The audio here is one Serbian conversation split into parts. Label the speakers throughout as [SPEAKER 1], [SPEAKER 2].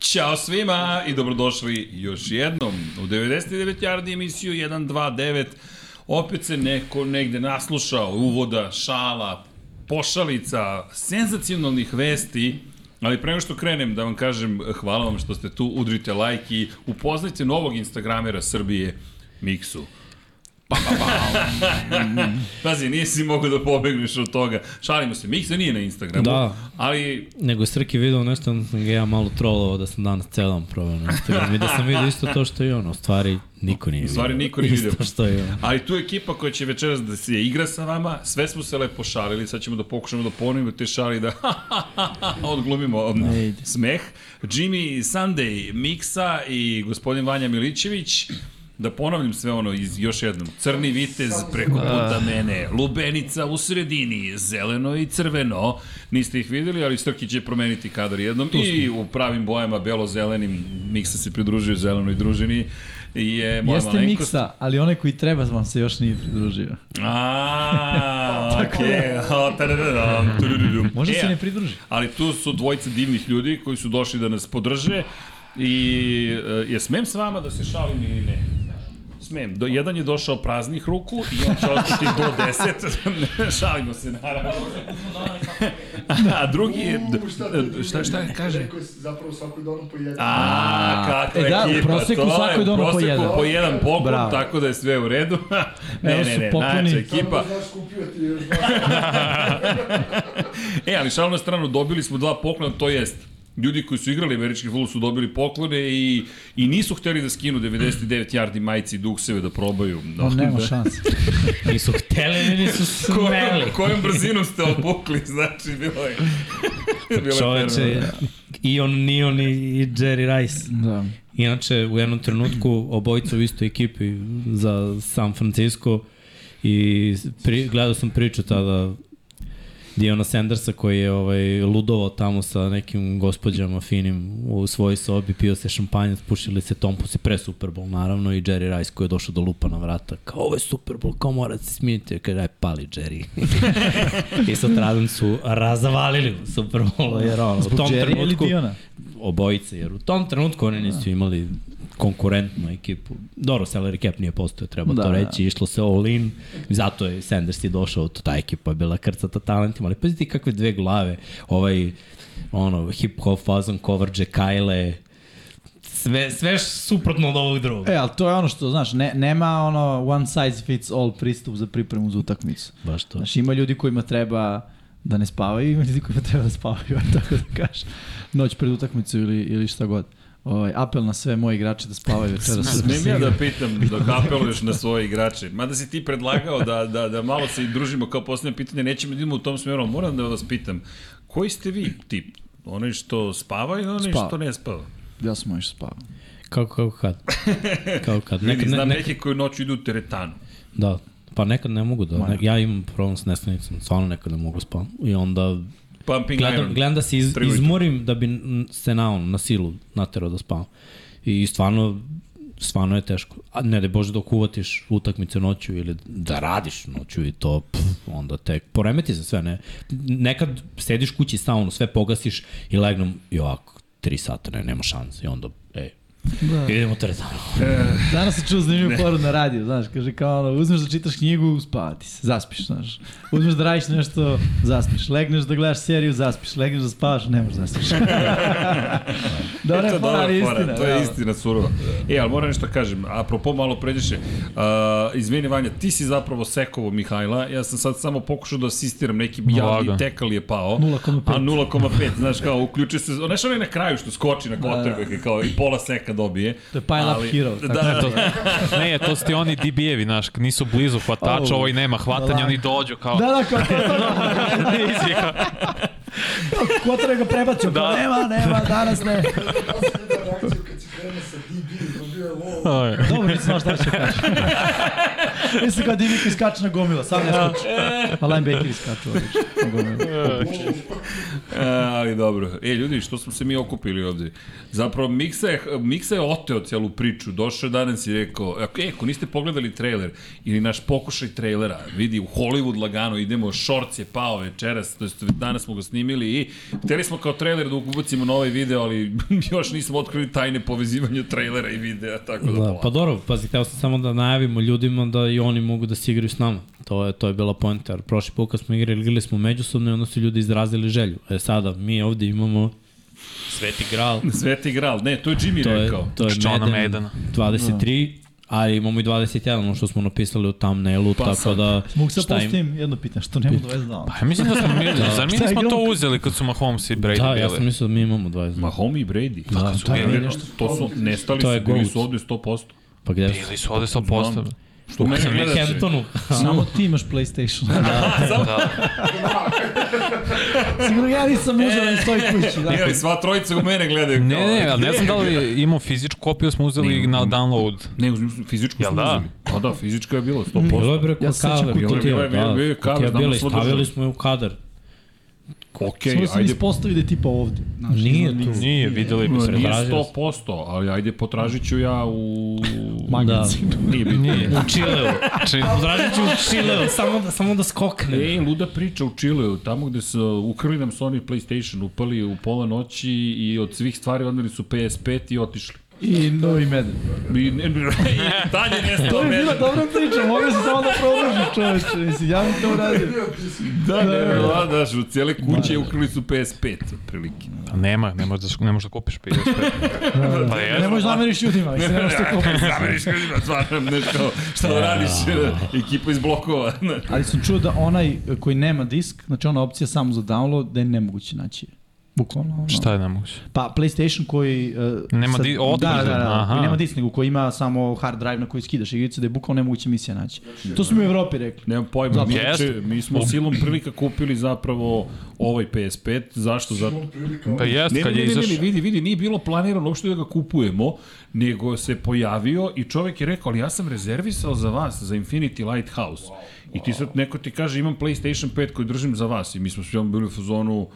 [SPEAKER 1] Ćao svima i dobrodošli još jednom u 99 Jardi emisiju 129. Opet se neko negde naslušao uvoda, šala, pošalica, senzacionalnih vesti. Ali pre nego što krenem da vam kažem hvala vam što ste tu, udrite like i upoznajte novog Instagramera Srbije, Miksu. Pa, Pazi, nisi mogao da pobegneš od toga. Šalimo se, Miksa nije na Instagramu,
[SPEAKER 2] Da.
[SPEAKER 1] ali
[SPEAKER 2] Nego je Srki video nešto, onda sam ga ja malo trolovao da sam danas celom probao na Instagram i da sam vidio isto to što je on. U stvari, niko nije
[SPEAKER 1] U stvari,
[SPEAKER 2] vidio.
[SPEAKER 1] niko nije
[SPEAKER 2] isto
[SPEAKER 1] vidio.
[SPEAKER 2] što je on.
[SPEAKER 1] Ali tu je ekipa koja će večeras da se igra sa vama, sve smo se lepo šalili, sad ćemo da pokušamo da ponovimo te šali i da odglumimo od
[SPEAKER 3] ide.
[SPEAKER 1] smeh. Jimmy Sunday, Miksa i gospodin Vanja Milićević, da ponavljam sve ono iz, još jednom. Crni vitez preko
[SPEAKER 3] Ah.
[SPEAKER 1] puta mene, lubenica u sredini, zeleno i crveno. Niste ih videli, ali Srki će promeniti kadar jednom i u pravim bojama, belo-zelenim, Miksa se pridružio zelenoj družini. Je moja
[SPEAKER 3] Jeste
[SPEAKER 1] malenkost.
[SPEAKER 3] miksa, ali onaj koji treba vam se još nije pridružio.
[SPEAKER 1] A, okej. O, tadadadam, tudududum.
[SPEAKER 3] Možda
[SPEAKER 1] E,
[SPEAKER 3] se ne pridruži.
[SPEAKER 1] Ali tu su dvojica divnih ljudi koji su došli da nas podrže i e, je smem s vama da se šalim ili ne? Smem. Do, jedan je došao praznih ruku i on će ostati do 10. Šalimo se, naravno. A drugi je... Šta, šta je, kaže?
[SPEAKER 4] Rekao si zapravo svakoj donu po jedan.
[SPEAKER 1] A, kakva
[SPEAKER 3] E da, u
[SPEAKER 1] ekipa,
[SPEAKER 3] proseku
[SPEAKER 1] to je,
[SPEAKER 3] svako je doneo po
[SPEAKER 1] u proseku
[SPEAKER 3] jedan.
[SPEAKER 1] po jedan poklon,
[SPEAKER 3] Bravo.
[SPEAKER 1] tako da je sve u redu. ne,
[SPEAKER 3] Evo
[SPEAKER 1] ne,
[SPEAKER 3] su
[SPEAKER 1] ne,
[SPEAKER 3] pokloni.
[SPEAKER 1] najjača ekipa.
[SPEAKER 4] Samo da znaš kupio ti još dva.
[SPEAKER 1] E, ali šalno na stranu, dobili smo dva poklona, to jest ljudi koji su igrali američki futbol su dobili poklone i, i nisu hteli da skinu 99 yardi majici i dukseve da probaju. Da,
[SPEAKER 3] No, nema
[SPEAKER 1] da.
[SPEAKER 3] šanse.
[SPEAKER 2] Nisu hteli, ni nisu smeli.
[SPEAKER 1] Kojom, kojom brzinom ste opukli, znači, bilo je... bilo je
[SPEAKER 2] Čoveče,
[SPEAKER 1] fenomenalno.
[SPEAKER 2] i on, ni on, i Jerry Rice.
[SPEAKER 3] Da.
[SPEAKER 2] Inače, u jednom trenutku obojica u istoj ekipi za San Francisco i pri, gledao sam priču tada Diona Sandersa koji je ovaj, ludovao tamo sa nekim gospođama finim u svojoj sobi, pio se šampanjac, pušili se tompus i pre Super Bowl naravno i Jerry Rice koji je došao do lupa na vrata kao ovo je Super Bowl, kao mora da se smijeniti kaže aj pali Jerry i sa tradan su razavalili Super
[SPEAKER 3] Da.
[SPEAKER 2] Bowl jer ono, u
[SPEAKER 3] Zbog
[SPEAKER 2] tom
[SPEAKER 3] Jerry ili
[SPEAKER 2] trenutku
[SPEAKER 3] Diona?
[SPEAKER 2] obojice, jer u tom trenutku oni
[SPEAKER 3] Da.
[SPEAKER 2] nisu imali konkurentnu ekipu. Dobro, salary cap nije postojao, treba da,
[SPEAKER 3] Da,
[SPEAKER 2] to
[SPEAKER 3] da.
[SPEAKER 2] reći, išlo se all in, zato je Sanders i došao, to ta ekipa je bila krcata talentima, ali pazite kakve dve glave, ovaj, ono, hip-hop fazon, coverage, Kyle, sve, sve suprotno od ovog drugog.
[SPEAKER 3] E, ali to je ono što, znaš, ne, nema ono one size fits all pristup za pripremu za utakmicu.
[SPEAKER 2] Baš to.
[SPEAKER 3] Znaš, ima ljudi kojima treba da ne spavaju, ima ljudi kojima treba da spavaju, aj tako da kažem. Noć pred utakmicu ili, ili šta god. Ovaj, apel na sve moje igrače da spavaju večeras.
[SPEAKER 1] Smem ja da pitam, da kapeluješ na svoje igrače. Mada si ti predlagao da, da, da malo se i družimo kao posljednje pitanje, nećemo da idemo u tom smeru, ali moram da vas pitam. Koji ste vi tip? Oni što spava ili oni
[SPEAKER 3] Spava.
[SPEAKER 1] što ne spava?
[SPEAKER 3] Ja sam moj što spavam.
[SPEAKER 2] Kako, kako kad? Kako kad?
[SPEAKER 1] Ljudi,
[SPEAKER 2] Nekad, ne,
[SPEAKER 1] znam
[SPEAKER 2] ne,
[SPEAKER 1] neke koji noću idu u teretanu.
[SPEAKER 2] da, pa nekad ne mogu da,
[SPEAKER 3] Moja.
[SPEAKER 2] ne, ja imam problem s nesanicom, stvarno nekad ne mogu spavam i onda
[SPEAKER 1] Pumping
[SPEAKER 2] gledam,
[SPEAKER 1] iron.
[SPEAKER 2] gledam da se iz,
[SPEAKER 1] Priviđu.
[SPEAKER 2] izmorim da bi n- se na, on, na silu naterao da spavam. I stvarno, stvarno je teško. A ne da bože dok uvatiš utakmice noću ili da radiš noću i to, pff, onda tek poremeti se sve. Ne? Nekad sediš kući sa ono, sve pogasiš i legnem i ovako, tri sata, ne, nema šanse. I onda, ej, da. idemo teretano.
[SPEAKER 3] Danas sam čuo zanimljivu poru na radiju, znaš, kaže kao ono, uzmeš da čitaš knjigu, spavati se, zaspiš, znaš. Uzmeš da radiš nešto, zaspiš. Legneš da gledaš seriju, zaspiš. Legneš da spavaš, ne možeš da zaspiš.
[SPEAKER 1] To
[SPEAKER 3] Dobra
[SPEAKER 1] je
[SPEAKER 3] je fora,
[SPEAKER 1] dobra
[SPEAKER 3] ali istina. da.
[SPEAKER 1] To je
[SPEAKER 3] realno.
[SPEAKER 1] istina surova. E, ali moram nešto da kažem. Apropo malo pređeše. Uh, izvini Vanja, ti si zapravo sekovo Mihajla. Ja sam sad samo pokušao da asistiram. Neki javni
[SPEAKER 5] Vlaga.
[SPEAKER 1] tekal je pao.
[SPEAKER 3] 0,5.
[SPEAKER 1] A 0,5. Znaš kao, uključuje se. Znaš onaj na kraju što skoči na kotrbeke kao i pola seka dobije.
[SPEAKER 3] To je pile up
[SPEAKER 1] Ali-
[SPEAKER 3] hero,
[SPEAKER 1] Da,
[SPEAKER 3] tako
[SPEAKER 1] da,
[SPEAKER 5] To, ne, to su ti oni DB-evi, znaš, nisu blizu hvatača,
[SPEAKER 3] Au.
[SPEAKER 5] ovaj nema hvatanja, oni dođu kao...
[SPEAKER 3] Da, da, kao
[SPEAKER 5] izvika.
[SPEAKER 3] kotre ga prebacio, da.
[SPEAKER 5] Da.
[SPEAKER 3] nema, nema, danas ne.
[SPEAKER 4] Ja sam vidio reakciju kad si Krenuo sa DB, dobio je lol.
[SPEAKER 5] Aj.
[SPEAKER 3] Dobro, nisam znao šta će kaži. Mislim kao Dimiko iskače na gomila, sam ne
[SPEAKER 1] Da.
[SPEAKER 3] Pa skoči. A linebacker iskače odlično na gomila.
[SPEAKER 1] E, ali dobro. E, ljudi, što smo se mi okupili ovde? Zapravo, Miksa je, Miksa je oteo celu priču. Došao je danas i rekao, "Ako- e, ako niste pogledali trailer ili naš pokušaj trailera, vidi, u Hollywood lagano idemo, šorc je pao večeras, to jest danas smo ga snimili i hteli smo kao trailer da ubacimo na ovaj video, ali još nismo otkrili tajne povezivanja trailera i videa, tako da...
[SPEAKER 2] Da,
[SPEAKER 1] polako.
[SPEAKER 2] pa dobro, pazi, hteo sam samo da najavimo ljudima da i oni mogu da se igraju s nama. To je, to je bila poenta. jer Prošli put kad smo igrali, igrali smo međusobno i onda su ljudi izrazili želju. E sada, mi ovde imamo Sveti Gral.
[SPEAKER 1] Sveti gral, ne, to je Jimmy
[SPEAKER 2] To je,
[SPEAKER 1] rekao.
[SPEAKER 2] to je
[SPEAKER 5] Johna
[SPEAKER 2] Madden
[SPEAKER 5] Maidena.
[SPEAKER 2] 23, a imamo i 21, ono što smo napisali u thumbnailu,
[SPEAKER 1] Pa
[SPEAKER 2] tako
[SPEAKER 1] sad.
[SPEAKER 2] da...
[SPEAKER 3] Mogu sad
[SPEAKER 2] šta im-
[SPEAKER 3] pustim jedno pitanje, što nema 22?
[SPEAKER 5] Pa ja mislim da smo mi, zar mi
[SPEAKER 3] Šta je
[SPEAKER 5] nismo to
[SPEAKER 3] igrao?
[SPEAKER 5] uzeli kad su Mahomes i Brady
[SPEAKER 2] Da,
[SPEAKER 5] da,
[SPEAKER 2] ja sam
[SPEAKER 5] bili?
[SPEAKER 2] mislio da mi imamo 22.
[SPEAKER 1] Mahomi i Brady.
[SPEAKER 2] Da,
[SPEAKER 1] to,
[SPEAKER 2] to
[SPEAKER 1] je,
[SPEAKER 2] je
[SPEAKER 1] ne,
[SPEAKER 2] nešto.
[SPEAKER 1] to su nestali,
[SPEAKER 2] To je
[SPEAKER 1] su, bili
[SPEAKER 2] gold.
[SPEAKER 1] su ovde 100%.
[SPEAKER 2] Pa gde su?
[SPEAKER 5] Bili su ovde 100%.
[SPEAKER 1] Što mene
[SPEAKER 5] Sam
[SPEAKER 1] gledaš?
[SPEAKER 2] Hamptonu.
[SPEAKER 3] Samo ti imaš PlayStation.
[SPEAKER 5] Da.
[SPEAKER 3] Sigurno ja nisam muža da mi stoji kući.
[SPEAKER 1] Ne, ali
[SPEAKER 3] Da.
[SPEAKER 1] sva trojica u mene gledaju.
[SPEAKER 5] Ne,
[SPEAKER 1] kao-
[SPEAKER 5] ne, ali ne znam da li imamo fizičku kopiju, smo uzeli na download.
[SPEAKER 1] Ne, uzim sam fizičku
[SPEAKER 5] Jel
[SPEAKER 1] smo
[SPEAKER 5] da?
[SPEAKER 1] uzeli. Pa da, fizička je bilo,
[SPEAKER 2] Bilo
[SPEAKER 1] 100%.
[SPEAKER 2] je bre
[SPEAKER 3] Ja
[SPEAKER 2] kod
[SPEAKER 3] se sećam
[SPEAKER 2] kave,
[SPEAKER 1] kutija,
[SPEAKER 2] kutija,
[SPEAKER 1] bila je- bila je- bila je
[SPEAKER 2] da.
[SPEAKER 1] kave,
[SPEAKER 2] Kutija
[SPEAKER 1] znamo
[SPEAKER 2] bila i
[SPEAKER 1] smo držali.
[SPEAKER 2] stavili smo je u kadar.
[SPEAKER 1] Okej,
[SPEAKER 3] Samo sam
[SPEAKER 1] ajde.
[SPEAKER 3] ispostavio da je tipa ovde. Znaš,
[SPEAKER 2] Nije
[SPEAKER 3] iznad
[SPEAKER 2] tu.
[SPEAKER 3] lice.
[SPEAKER 5] Nije, videli bi
[SPEAKER 1] Ma,
[SPEAKER 5] se.
[SPEAKER 1] Nije
[SPEAKER 2] Pretražio
[SPEAKER 1] 100%, ali ajde potražit ću ja u... da.
[SPEAKER 3] Magazin.
[SPEAKER 1] Nije bitno.
[SPEAKER 2] U Čileu. Podražit ću u Čileu, samo da, samo da skokne.
[SPEAKER 1] Ej, E, luda priča u Čileu, tamo gde su ukrali nam Sony PlayStation, upali u pola noći i od svih stvari odneli su PS5 i otišli.
[SPEAKER 3] I novi meden.
[SPEAKER 1] I, ne, ne, i dalje
[SPEAKER 3] To
[SPEAKER 1] nestao
[SPEAKER 3] je bila
[SPEAKER 1] mene.
[SPEAKER 3] dobra priča, mogu se samo da produži čoveče. Mislim, ja bih to uradio.
[SPEAKER 1] Da, ne, ne, da, daš, u cijele kuće ukrali su PS5, otprilike.
[SPEAKER 5] Pa nema, ne možeš da, ne možeš da kupiš PS5. Pa je,
[SPEAKER 3] Ne možeš zameriš ljudima, mislim, ne možeš to kopati.
[SPEAKER 1] Zameriš ljudima, stvarno, nešto, šta radiš, ekipa iz blokova.
[SPEAKER 3] Ali sam čuo da onaj koji nema disk, znači ona opcija samo za download, da je nemoguće naći. Bukvalno. Ono.
[SPEAKER 5] šta je nemoguće?
[SPEAKER 3] Pa PlayStation koji... Uh,
[SPEAKER 5] Nema di-
[SPEAKER 3] da, da,
[SPEAKER 5] otvrđen,
[SPEAKER 3] da,
[SPEAKER 5] aha.
[SPEAKER 3] koji nema disk, nego koji ima samo hard drive na koji skidaš igrice, da je bukvalno nemoguće misija naći. To su mi u Evropi rekli.
[SPEAKER 1] Nemam pojma, mi,
[SPEAKER 5] Jeste.
[SPEAKER 1] če, mi smo silom prilika kupili zapravo ovaj PS5, zašto? Zato,
[SPEAKER 5] Pa jest,
[SPEAKER 1] ne, ne,
[SPEAKER 5] kad
[SPEAKER 1] ne,
[SPEAKER 5] je
[SPEAKER 1] ne, ne,
[SPEAKER 5] izašao.
[SPEAKER 1] vidi, vidi, nije bilo planirano uopšte da ga kupujemo, nego se pojavio i čovek je rekao, ali ja sam rezervisao za vas, za Infinity Lighthouse. I ti sad neko ti kaže, imam PlayStation 5 koji držim za vas i mi smo svi ono bili u fazonu,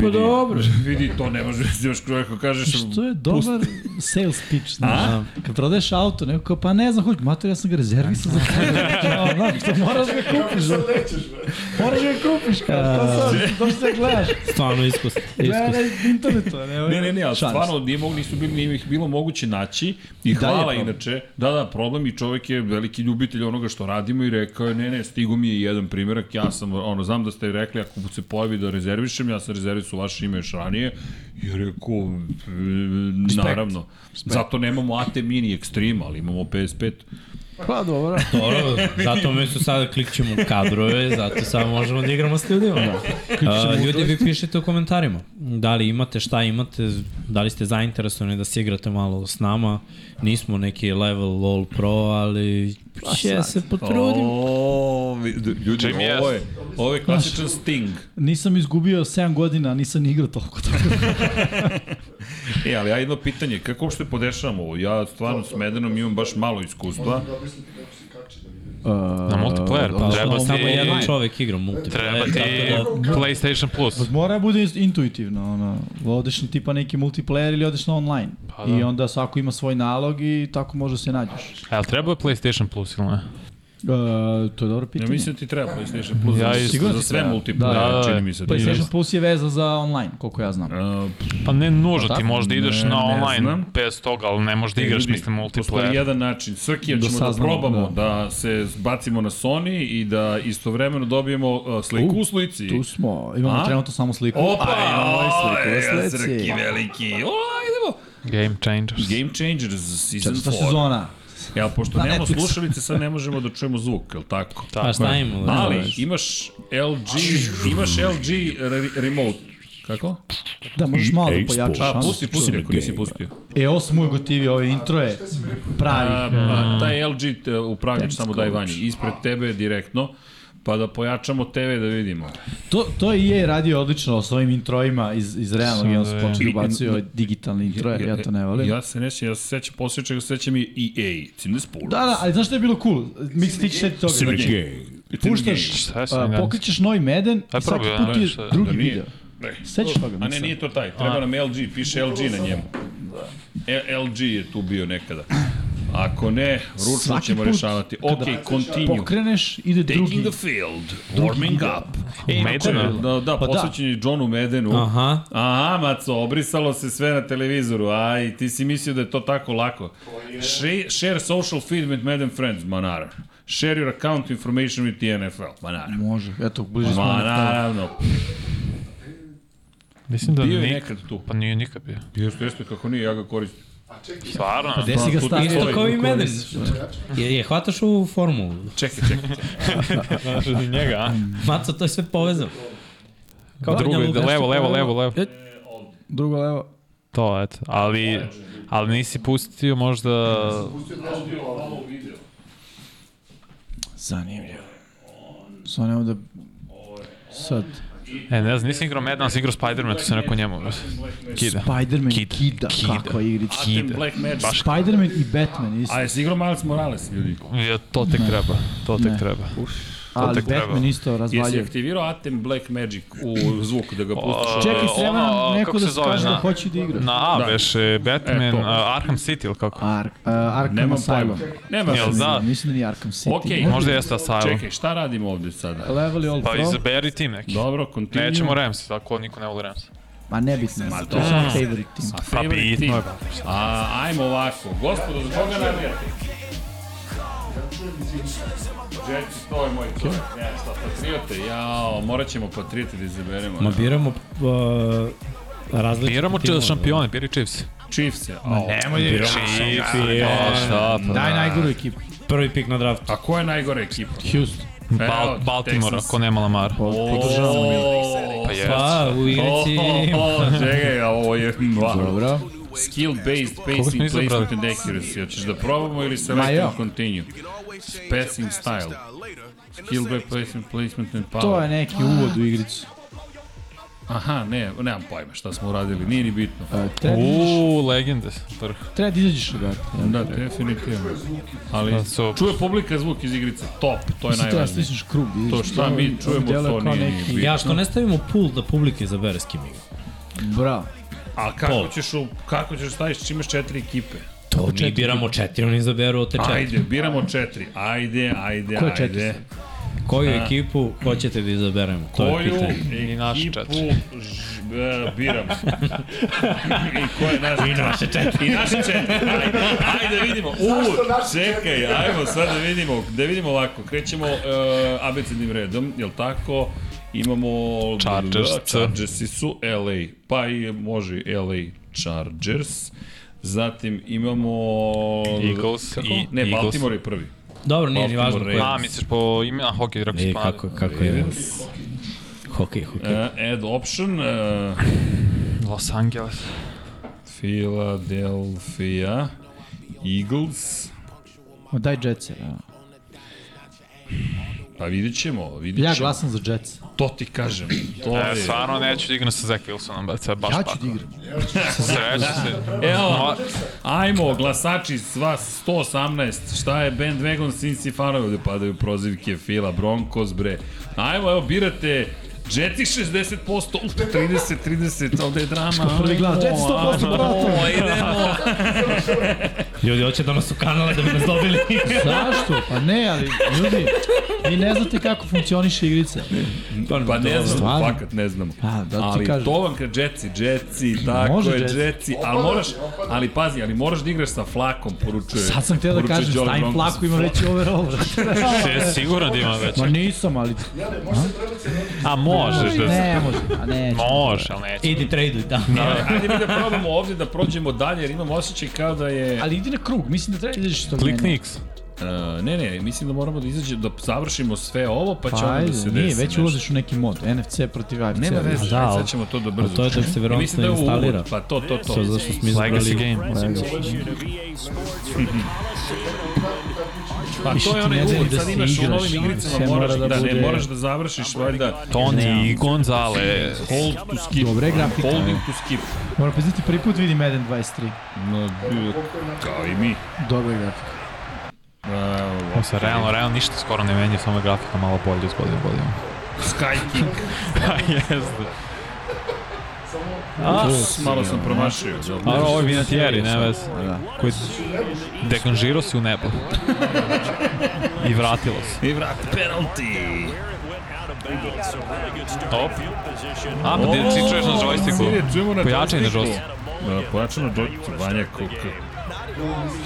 [SPEAKER 5] Pa
[SPEAKER 1] Vidi,
[SPEAKER 2] dobro.
[SPEAKER 1] Vidi, to ne može, još čovjeka kažeš...
[SPEAKER 3] Što Znači, je dobar sales pitch, znaš. Kad prodaješ auto, neko kao, pa ne znam, hoću, mater, ja sam ga rezervisao za tebe. Kao, Znaš, što moraš ga kupiš,
[SPEAKER 4] Sad nećeš, bre.
[SPEAKER 3] moraš ga kupiš, kao, šta sad,
[SPEAKER 5] da.
[SPEAKER 3] to što gledaš.
[SPEAKER 2] Stvarno iskustvo.
[SPEAKER 3] Gledaj
[SPEAKER 2] iskustvo.
[SPEAKER 3] na internetu, a ne,
[SPEAKER 1] Ne, ne, ne, ali
[SPEAKER 3] šans.
[SPEAKER 1] stvarno nije mog, nisu bili, nije ih bilo moguće naći i
[SPEAKER 3] Da, je
[SPEAKER 1] hvala da
[SPEAKER 3] problem.
[SPEAKER 1] inače. Da, da, problem i čovek je veliki ljubitelj onoga što radimo i rekao je, ne, ne, stigo mi je jedan primjerak, ja sam, ono, znam da ste rekli ako se pojavi da rezervišem, ja sam rezervisao vaše ime još ranije i je rekao, e, naravno, zato nemamo AT Mini Extreme, ali imamo PS5.
[SPEAKER 3] Pa dobro.
[SPEAKER 2] Dobro, zato mi su sada klikćemo kadrove, zato sad možemo da igramo s ljudima. Da. A, ljudi, vi pišite u komentarima. Da li imate, šta imate, da li ste zainteresovani da se igrate malo s nama. Nismo neki level LOL pro, ali
[SPEAKER 5] Pa,
[SPEAKER 2] će se potrudim.
[SPEAKER 1] O, vi- d- ljudi,
[SPEAKER 5] Čim je?
[SPEAKER 1] ovo je, ovo je klasičan sting.
[SPEAKER 3] Nisam izgubio 7 godina, a nisam ni igrao toliko toga.
[SPEAKER 1] E, ali ja jedno pitanje, kako uopšte podešavamo ovo? Ja stvarno s Medanom imam baš malo iskustva.
[SPEAKER 4] Da objasnite kako se kači da vidim.
[SPEAKER 5] Na multiplayer, pa treba
[SPEAKER 2] Samo jedan
[SPEAKER 5] ti...
[SPEAKER 2] čovek igra multiplayer.
[SPEAKER 5] Treba ti
[SPEAKER 2] E, tako da-
[SPEAKER 5] PlayStation Plus. E,
[SPEAKER 3] Mora da bude ist- intuitivno, ono. Odeš na tipa neki multiplayer ili odeš na online.
[SPEAKER 5] Pa
[SPEAKER 3] Pa,
[SPEAKER 5] da.
[SPEAKER 3] da. I onda svako ima svoj nalog i tako može da se nađeš.
[SPEAKER 5] A jel treba PlayStation Plus ili ne?
[SPEAKER 3] E, to je dobro pitanje.
[SPEAKER 1] Ja mislim da ti treba PlayStation Plus
[SPEAKER 5] Ja
[SPEAKER 1] ja,
[SPEAKER 5] i-
[SPEAKER 1] za,
[SPEAKER 5] sigurno
[SPEAKER 1] za
[SPEAKER 5] ti
[SPEAKER 1] sve
[SPEAKER 5] treba.
[SPEAKER 1] multiplayer,
[SPEAKER 5] Da, da,
[SPEAKER 1] čini
[SPEAKER 5] da.
[SPEAKER 1] mi se. da
[SPEAKER 3] PlayStation
[SPEAKER 1] ima.
[SPEAKER 3] Plus je veza za online, koliko ja znam.
[SPEAKER 1] Uh,
[SPEAKER 5] Pa ne nužno,
[SPEAKER 3] Pa
[SPEAKER 5] ti
[SPEAKER 3] da.
[SPEAKER 5] možda ideš
[SPEAKER 1] Ne, ne
[SPEAKER 5] na online
[SPEAKER 1] znam.
[SPEAKER 5] bez toga, ali ne možeš da igraš,
[SPEAKER 1] ljudi,
[SPEAKER 5] mislim,
[SPEAKER 1] Postoji
[SPEAKER 5] multiplayer.
[SPEAKER 1] jedan način. Srki, da
[SPEAKER 3] Da
[SPEAKER 1] ćemo da
[SPEAKER 3] saznamo,
[SPEAKER 1] probamo da. se bacimo na Sony i da istovremeno dobijemo uh, sliku
[SPEAKER 3] U,
[SPEAKER 1] u slici.
[SPEAKER 3] Tu smo, imamo
[SPEAKER 1] A?
[SPEAKER 3] trenutno samo sliku.
[SPEAKER 1] Opa,
[SPEAKER 3] A, imamo i
[SPEAKER 1] oj,
[SPEAKER 3] sliku na
[SPEAKER 1] Srki
[SPEAKER 3] slici.
[SPEAKER 1] veliki. O, idemo.
[SPEAKER 5] Game Changers.
[SPEAKER 1] Game Changers Season
[SPEAKER 3] Četvrta
[SPEAKER 1] 4.
[SPEAKER 3] sezona.
[SPEAKER 1] Ja, pošto
[SPEAKER 3] Na
[SPEAKER 1] nemamo
[SPEAKER 3] Netflixu.
[SPEAKER 1] slušalice, sad ne možemo da čujemo zvuk, je li tako?
[SPEAKER 2] Pa šta imamo?
[SPEAKER 1] Ali, imaš LG, imaš LG re- remote. Kako?
[SPEAKER 3] Da, možeš malo da
[SPEAKER 6] EA
[SPEAKER 3] pojačaš.
[SPEAKER 1] A,
[SPEAKER 3] ono.
[SPEAKER 1] pusti, pusti, ako nisi pustio.
[SPEAKER 3] E, ovo smo uvijek gotivio, ove introje. Pravi.
[SPEAKER 1] A, a, taj LG t- upravljač samo daj vanji, ispred tebe direktno. pa da pojačamo TV da vidimo.
[SPEAKER 3] To, to je EA radio odlično s ovim introima iz, iz realnog,
[SPEAKER 5] Sada
[SPEAKER 3] i onda su
[SPEAKER 5] je.
[SPEAKER 3] počeli da
[SPEAKER 1] I-
[SPEAKER 3] ubacuju ove digitalne introje, ja to ne volim.
[SPEAKER 1] Ja se ne sjećam, ja se sećam, poslije čega se sećam i E EA, Cinespol.
[SPEAKER 3] Da, da, ali znaš što je bilo cool? Mix, ti ćeš sjeti toga. Znači, Puštaš,
[SPEAKER 5] Šta
[SPEAKER 1] Pa,
[SPEAKER 5] je sa njim
[SPEAKER 3] a,
[SPEAKER 5] danas?
[SPEAKER 3] pokrećeš novi meden
[SPEAKER 5] Aj,
[SPEAKER 3] i svaki
[SPEAKER 5] probaj,
[SPEAKER 3] put
[SPEAKER 5] ajde,
[SPEAKER 3] je
[SPEAKER 5] šta je?
[SPEAKER 3] drugi
[SPEAKER 1] Da nije.
[SPEAKER 3] video.
[SPEAKER 1] Ne.
[SPEAKER 3] Sećaš toga,
[SPEAKER 1] A ne,
[SPEAKER 3] mislim?
[SPEAKER 1] nije to taj, treba nam LG, piše LG na njemu. E, LG je tu bio nekada. Ako ne, ručno
[SPEAKER 3] Svaki
[SPEAKER 1] ćemo
[SPEAKER 3] put
[SPEAKER 1] rješavati. Ok, continue.
[SPEAKER 3] Pokreneš, ide drugi.
[SPEAKER 1] Taking the field, warming up.
[SPEAKER 5] Medena?
[SPEAKER 1] Da, da,
[SPEAKER 3] Pa da.
[SPEAKER 1] posvećen je Johnu Medenu.
[SPEAKER 2] Aha.
[SPEAKER 1] Aha, maco, obrisalo se sve na televizoru. Aj, ti si mislio da je to tako lako. Share, share social feed with Madden friends, ma naravno. Share your account information with the NFL, ma naravno.
[SPEAKER 3] Može, eto, bliže smo.
[SPEAKER 1] Ma
[SPEAKER 3] na to.
[SPEAKER 1] naravno.
[SPEAKER 5] Mislim da
[SPEAKER 1] Bio je
[SPEAKER 5] nikad.
[SPEAKER 1] nekad tu.
[SPEAKER 5] Pa nije nikad bio.
[SPEAKER 1] Jeste, jeste, kako nije, ja ga koristim.
[SPEAKER 5] Stvarno?
[SPEAKER 1] Pa
[SPEAKER 3] Gde si ga
[SPEAKER 5] Pa,
[SPEAKER 1] Tu-
[SPEAKER 3] stavio?
[SPEAKER 1] tu-
[SPEAKER 2] Isto kao i
[SPEAKER 3] Kako
[SPEAKER 2] mene.
[SPEAKER 3] koristiš?
[SPEAKER 2] Je, je hvataš u formulu.
[SPEAKER 1] Čekaj, čekaj. da.
[SPEAKER 5] Znaš i njega, a?
[SPEAKER 2] Maco, to je sve povezano. Kao
[SPEAKER 5] Drugo, da
[SPEAKER 2] Banja Luka.
[SPEAKER 5] levo, levo, levo, levo.
[SPEAKER 2] E,
[SPEAKER 3] Drugo levo.
[SPEAKER 5] To, eto. Ali, ali nisi pustio možda...
[SPEAKER 3] Zanimljivo. Samo nemo da... Sad,
[SPEAKER 5] E, ne znam, nisi igrao Madden, si igrao Spider-Man, tu sam rekao njemu. Kida.
[SPEAKER 3] Spider-Man i
[SPEAKER 5] Kida,
[SPEAKER 3] Kida,
[SPEAKER 5] Kida.
[SPEAKER 3] kakva igrica.
[SPEAKER 1] Atem Black Magic. Baš.
[SPEAKER 3] Spider-Man i Batman, isto.
[SPEAKER 1] A jesi igrao Miles Morales, ljudi?
[SPEAKER 5] Ja, to tek treba, to tek
[SPEAKER 3] Ne.
[SPEAKER 5] treba. Uf,
[SPEAKER 3] Ali
[SPEAKER 5] tek treba.
[SPEAKER 3] Batman isto
[SPEAKER 1] Jesi
[SPEAKER 3] razvaljuje.
[SPEAKER 1] aktivirao Atem Black Magic u zvuk da ga pustiš?
[SPEAKER 3] Čekaj, treba nam
[SPEAKER 5] ono,
[SPEAKER 3] neko
[SPEAKER 5] kako
[SPEAKER 3] da
[SPEAKER 5] se zove,
[SPEAKER 3] kaže da
[SPEAKER 5] na-
[SPEAKER 3] hoće da igra.
[SPEAKER 5] Na A, beše Batman,
[SPEAKER 1] E, to.
[SPEAKER 5] uh, Arkham City ili kako?
[SPEAKER 3] Ark, uh, Arkham
[SPEAKER 1] Nemam pojma.
[SPEAKER 3] Asylum.
[SPEAKER 1] Nema
[SPEAKER 5] Jel
[SPEAKER 1] se.
[SPEAKER 5] da?
[SPEAKER 3] Da. Mislim da nije Arkham City.
[SPEAKER 1] Okej,
[SPEAKER 5] Možda jeste Asylum.
[SPEAKER 1] Čekaj, šta radimo ovde sada?
[SPEAKER 3] Level i All
[SPEAKER 5] Pa
[SPEAKER 3] Pro.
[SPEAKER 5] izaberi tim neki.
[SPEAKER 1] Dobro, continue.
[SPEAKER 5] Nećemo Rams, tako niko ne voli Rams.
[SPEAKER 3] Ma nebitno, Ma, to
[SPEAKER 1] to-
[SPEAKER 3] je samo favorite team.
[SPEAKER 1] A favorite
[SPEAKER 5] bitno
[SPEAKER 1] team.
[SPEAKER 5] je.
[SPEAKER 1] A, ajmo ovako. Gospodo, za koga navijate? Jetsi, to je moj čovjek. Ne, šta, Patriote, jao, morat ćemo Patriote da izaberemo.
[SPEAKER 2] Ma biramo uh, različite
[SPEAKER 5] Biramo
[SPEAKER 2] timove.
[SPEAKER 5] č- šampione, biri Chiefs.
[SPEAKER 1] Chiefs je, Da, ao.
[SPEAKER 2] Biramo
[SPEAKER 5] Chiefs,
[SPEAKER 2] je.
[SPEAKER 5] ja, šta pa.
[SPEAKER 3] Daj najgoru ekipu.
[SPEAKER 2] Prvi pik na draftu.
[SPEAKER 1] A pa ko je najgore ekipa?
[SPEAKER 3] Houston.
[SPEAKER 5] Bal Baltimore, ako nema Lamara.
[SPEAKER 1] Pa, Podržavamo.
[SPEAKER 5] Pa je.
[SPEAKER 2] Pa, u igrici...
[SPEAKER 1] Čekaj, a ovo je... Wow.
[SPEAKER 3] Dobro.
[SPEAKER 1] Skill-based
[SPEAKER 5] Koga smo
[SPEAKER 1] pacing,
[SPEAKER 5] izabrali?
[SPEAKER 1] placement and accuracy. Hoćeš da probamo ili
[SPEAKER 3] Ma
[SPEAKER 1] select
[SPEAKER 3] ja.
[SPEAKER 1] and continue? Passing style. Skill-based placement, placement and power.
[SPEAKER 3] To je neki uvod u igricu.
[SPEAKER 1] Aha, ne, nemam pojma šta smo uradili, nije ni bitno.
[SPEAKER 3] Uh, treba,
[SPEAKER 5] Uuu, legende. Vrh.
[SPEAKER 3] treba da izađeš od Arkham.
[SPEAKER 1] Da, definitivno. Ali
[SPEAKER 5] Da, so-
[SPEAKER 1] čuje publika zvuk iz igrice, top, to je
[SPEAKER 3] Mislim, treba da
[SPEAKER 1] najvažnije.
[SPEAKER 3] stisneš krug. da
[SPEAKER 1] To
[SPEAKER 3] izađeš.
[SPEAKER 1] šta
[SPEAKER 3] Ovo-
[SPEAKER 1] mi čujemo,
[SPEAKER 3] ovo djeluje
[SPEAKER 1] to
[SPEAKER 3] kao
[SPEAKER 1] nije ni
[SPEAKER 3] neki-
[SPEAKER 1] bitno.
[SPEAKER 2] Ja, što ne stavimo pool da publike izabere s kim igra?
[SPEAKER 3] Bravo.
[SPEAKER 1] A kako ćeš, u, kako ćeš staviš, čim imaš četiri ekipe?
[SPEAKER 2] To mi biramo četiri, oni izaberu od te četiri.
[SPEAKER 1] Ajde, biramo četiri, ajde, ajde,
[SPEAKER 3] Ko je četiri
[SPEAKER 1] ajde.
[SPEAKER 2] Koju ekipu hoćete da izaberemo? To je
[SPEAKER 1] Da. Koju
[SPEAKER 2] pitanje.
[SPEAKER 5] I naš
[SPEAKER 1] ekipu
[SPEAKER 5] četiri.
[SPEAKER 1] ž, e, biram? I ko je naš I naše četiri. I naše četiri. Ajde, ajde vidimo. U, čekaj, ajmo sad da vidimo. Da vidimo ovako. Krećemo uh, abecednim redom, jel tako? Imamo...
[SPEAKER 5] Chargers.
[SPEAKER 1] Chargersi su LA. Pa i može LA Chargers. Zatim imamo...
[SPEAKER 5] Eagles
[SPEAKER 1] Kako?
[SPEAKER 5] i-
[SPEAKER 1] ne,
[SPEAKER 5] Eagles.
[SPEAKER 1] Baltimore je prvi.
[SPEAKER 2] Dobro, nije ni
[SPEAKER 1] Baltimore
[SPEAKER 2] važno ko je.
[SPEAKER 5] A, misliš po ime, a hockey, rekao
[SPEAKER 1] da
[SPEAKER 2] E,
[SPEAKER 5] sam mladi.
[SPEAKER 2] kako, kako je. Hokej, hokej.
[SPEAKER 1] Uh, add option. Uh,
[SPEAKER 5] Los Angeles.
[SPEAKER 1] Philadelphia Eagles.
[SPEAKER 3] Ma daj Jetsa. evo.
[SPEAKER 1] Pa vidit ćemo, vidit ćemo.
[SPEAKER 3] Ja glasam za Jetsa.
[SPEAKER 1] To ti kažem. To
[SPEAKER 5] E,
[SPEAKER 1] je.
[SPEAKER 5] stvarno neću da igram sa Zach Wilsonom, ba, to je baš
[SPEAKER 3] Ja ću
[SPEAKER 5] pakao.
[SPEAKER 3] da igram.
[SPEAKER 5] Sreće se.
[SPEAKER 1] Evo,
[SPEAKER 5] Ma-
[SPEAKER 1] ajmo, glasači, sva 118, šta je bandwagon Sinci fanovi, ovde padaju prozivke Fila, Broncos, bre. Ajmo, evo, birate Jetsi 60%, up, 30, 30, ovde je drama. Što
[SPEAKER 3] prvi glas, Jetsi 100% brate.
[SPEAKER 1] idemo.
[SPEAKER 2] Ljudi, hoće da nas ukanale da bi nas dobili.
[SPEAKER 3] Zašto? Pa ne, ali ljudi, vi ne znate kako funkcioniše igrica.
[SPEAKER 1] Pa ne znamo,
[SPEAKER 3] Stvarno?
[SPEAKER 1] fakat ne znamo.
[SPEAKER 3] A, da ti
[SPEAKER 1] ali
[SPEAKER 3] kažem.
[SPEAKER 1] to vam kad Jetsi, Jetsi, tako
[SPEAKER 3] Može
[SPEAKER 1] je,
[SPEAKER 3] Jetsi.
[SPEAKER 1] Jetsi, ali moraš, ali pazi, ali moraš da igraš sa flakom, poručuje.
[SPEAKER 3] Sad sam htio da
[SPEAKER 1] poručuje
[SPEAKER 3] kažem,
[SPEAKER 1] Jolly
[SPEAKER 3] stavim
[SPEAKER 1] Broncos.
[SPEAKER 3] flaku, imam reći overall.
[SPEAKER 5] Še, siguran da ima već.
[SPEAKER 3] Ma nisam, ali
[SPEAKER 5] A možeš da se...
[SPEAKER 3] ne može. A ne,
[SPEAKER 5] Može, ali neće.
[SPEAKER 2] Idi, traduj tamo.
[SPEAKER 1] Ajde mi da probamo ovde da prođemo dalje, jer imam osjećaj kao da je...
[SPEAKER 3] ali idi na krug, mislim da treba ideš što
[SPEAKER 5] Klikni X.
[SPEAKER 1] Uh, ne, ne, mislim da moramo da izađe, da završimo sve ovo, pa će
[SPEAKER 3] Pa
[SPEAKER 1] onda
[SPEAKER 3] ajde,
[SPEAKER 1] da se
[SPEAKER 3] nije,
[SPEAKER 1] desi
[SPEAKER 3] već
[SPEAKER 1] nešto.
[SPEAKER 3] ulaziš u neki mod. NFC protiv AFC.
[SPEAKER 1] Nema veze,
[SPEAKER 2] Da,
[SPEAKER 1] da,
[SPEAKER 2] ali-
[SPEAKER 1] sad ćemo to da brzo.
[SPEAKER 2] to je da se
[SPEAKER 1] učinimo. I
[SPEAKER 2] verovatno
[SPEAKER 1] mislim da je ovo uvod,
[SPEAKER 2] instalira.
[SPEAKER 1] Pa to, to, to.
[SPEAKER 2] To zašto smo
[SPEAKER 5] Legacy
[SPEAKER 2] izbrali...
[SPEAKER 5] game.
[SPEAKER 6] Presentation of EA Sports from the Coliseum in London.
[SPEAKER 1] Pa to
[SPEAKER 3] Više
[SPEAKER 1] je
[SPEAKER 3] ti
[SPEAKER 1] onaj
[SPEAKER 3] ne daju
[SPEAKER 1] uvod,
[SPEAKER 3] da
[SPEAKER 1] sad
[SPEAKER 3] se
[SPEAKER 1] imaš u
[SPEAKER 3] igraš,
[SPEAKER 1] novim
[SPEAKER 3] ono,
[SPEAKER 1] igricama,
[SPEAKER 3] sve
[SPEAKER 1] moraš
[SPEAKER 3] mora
[SPEAKER 1] da,
[SPEAKER 3] da
[SPEAKER 1] da ne,
[SPEAKER 3] bude-
[SPEAKER 1] moraš da završiš valjda
[SPEAKER 5] Toni Gonzalez.
[SPEAKER 1] hold to skip.
[SPEAKER 3] Dobre grafika.
[SPEAKER 1] Holding to skip.
[SPEAKER 3] Moram priznati, prvi put vidim Madden 23.
[SPEAKER 1] No, kao i mi.
[SPEAKER 3] Dobra grafika.
[SPEAKER 1] Uh,
[SPEAKER 5] Ovo se realno, realno ništa skoro ne menja, samo je grafika malo bolje iz godine u godinu.
[SPEAKER 1] Sky King.
[SPEAKER 5] Pa jeste.
[SPEAKER 1] A, malo sam promašio.
[SPEAKER 5] Ali ovo je Vinatieri, ne vez. Koji dekanžirao si u nebo. I vratilo se.
[SPEAKER 1] I vrat, penalty.
[SPEAKER 5] Op. A, pa ti, ti čuješ na joysticku. Pojačaj na žosti.
[SPEAKER 1] Da, Pojačaj na joystiku, Vanja Kuka.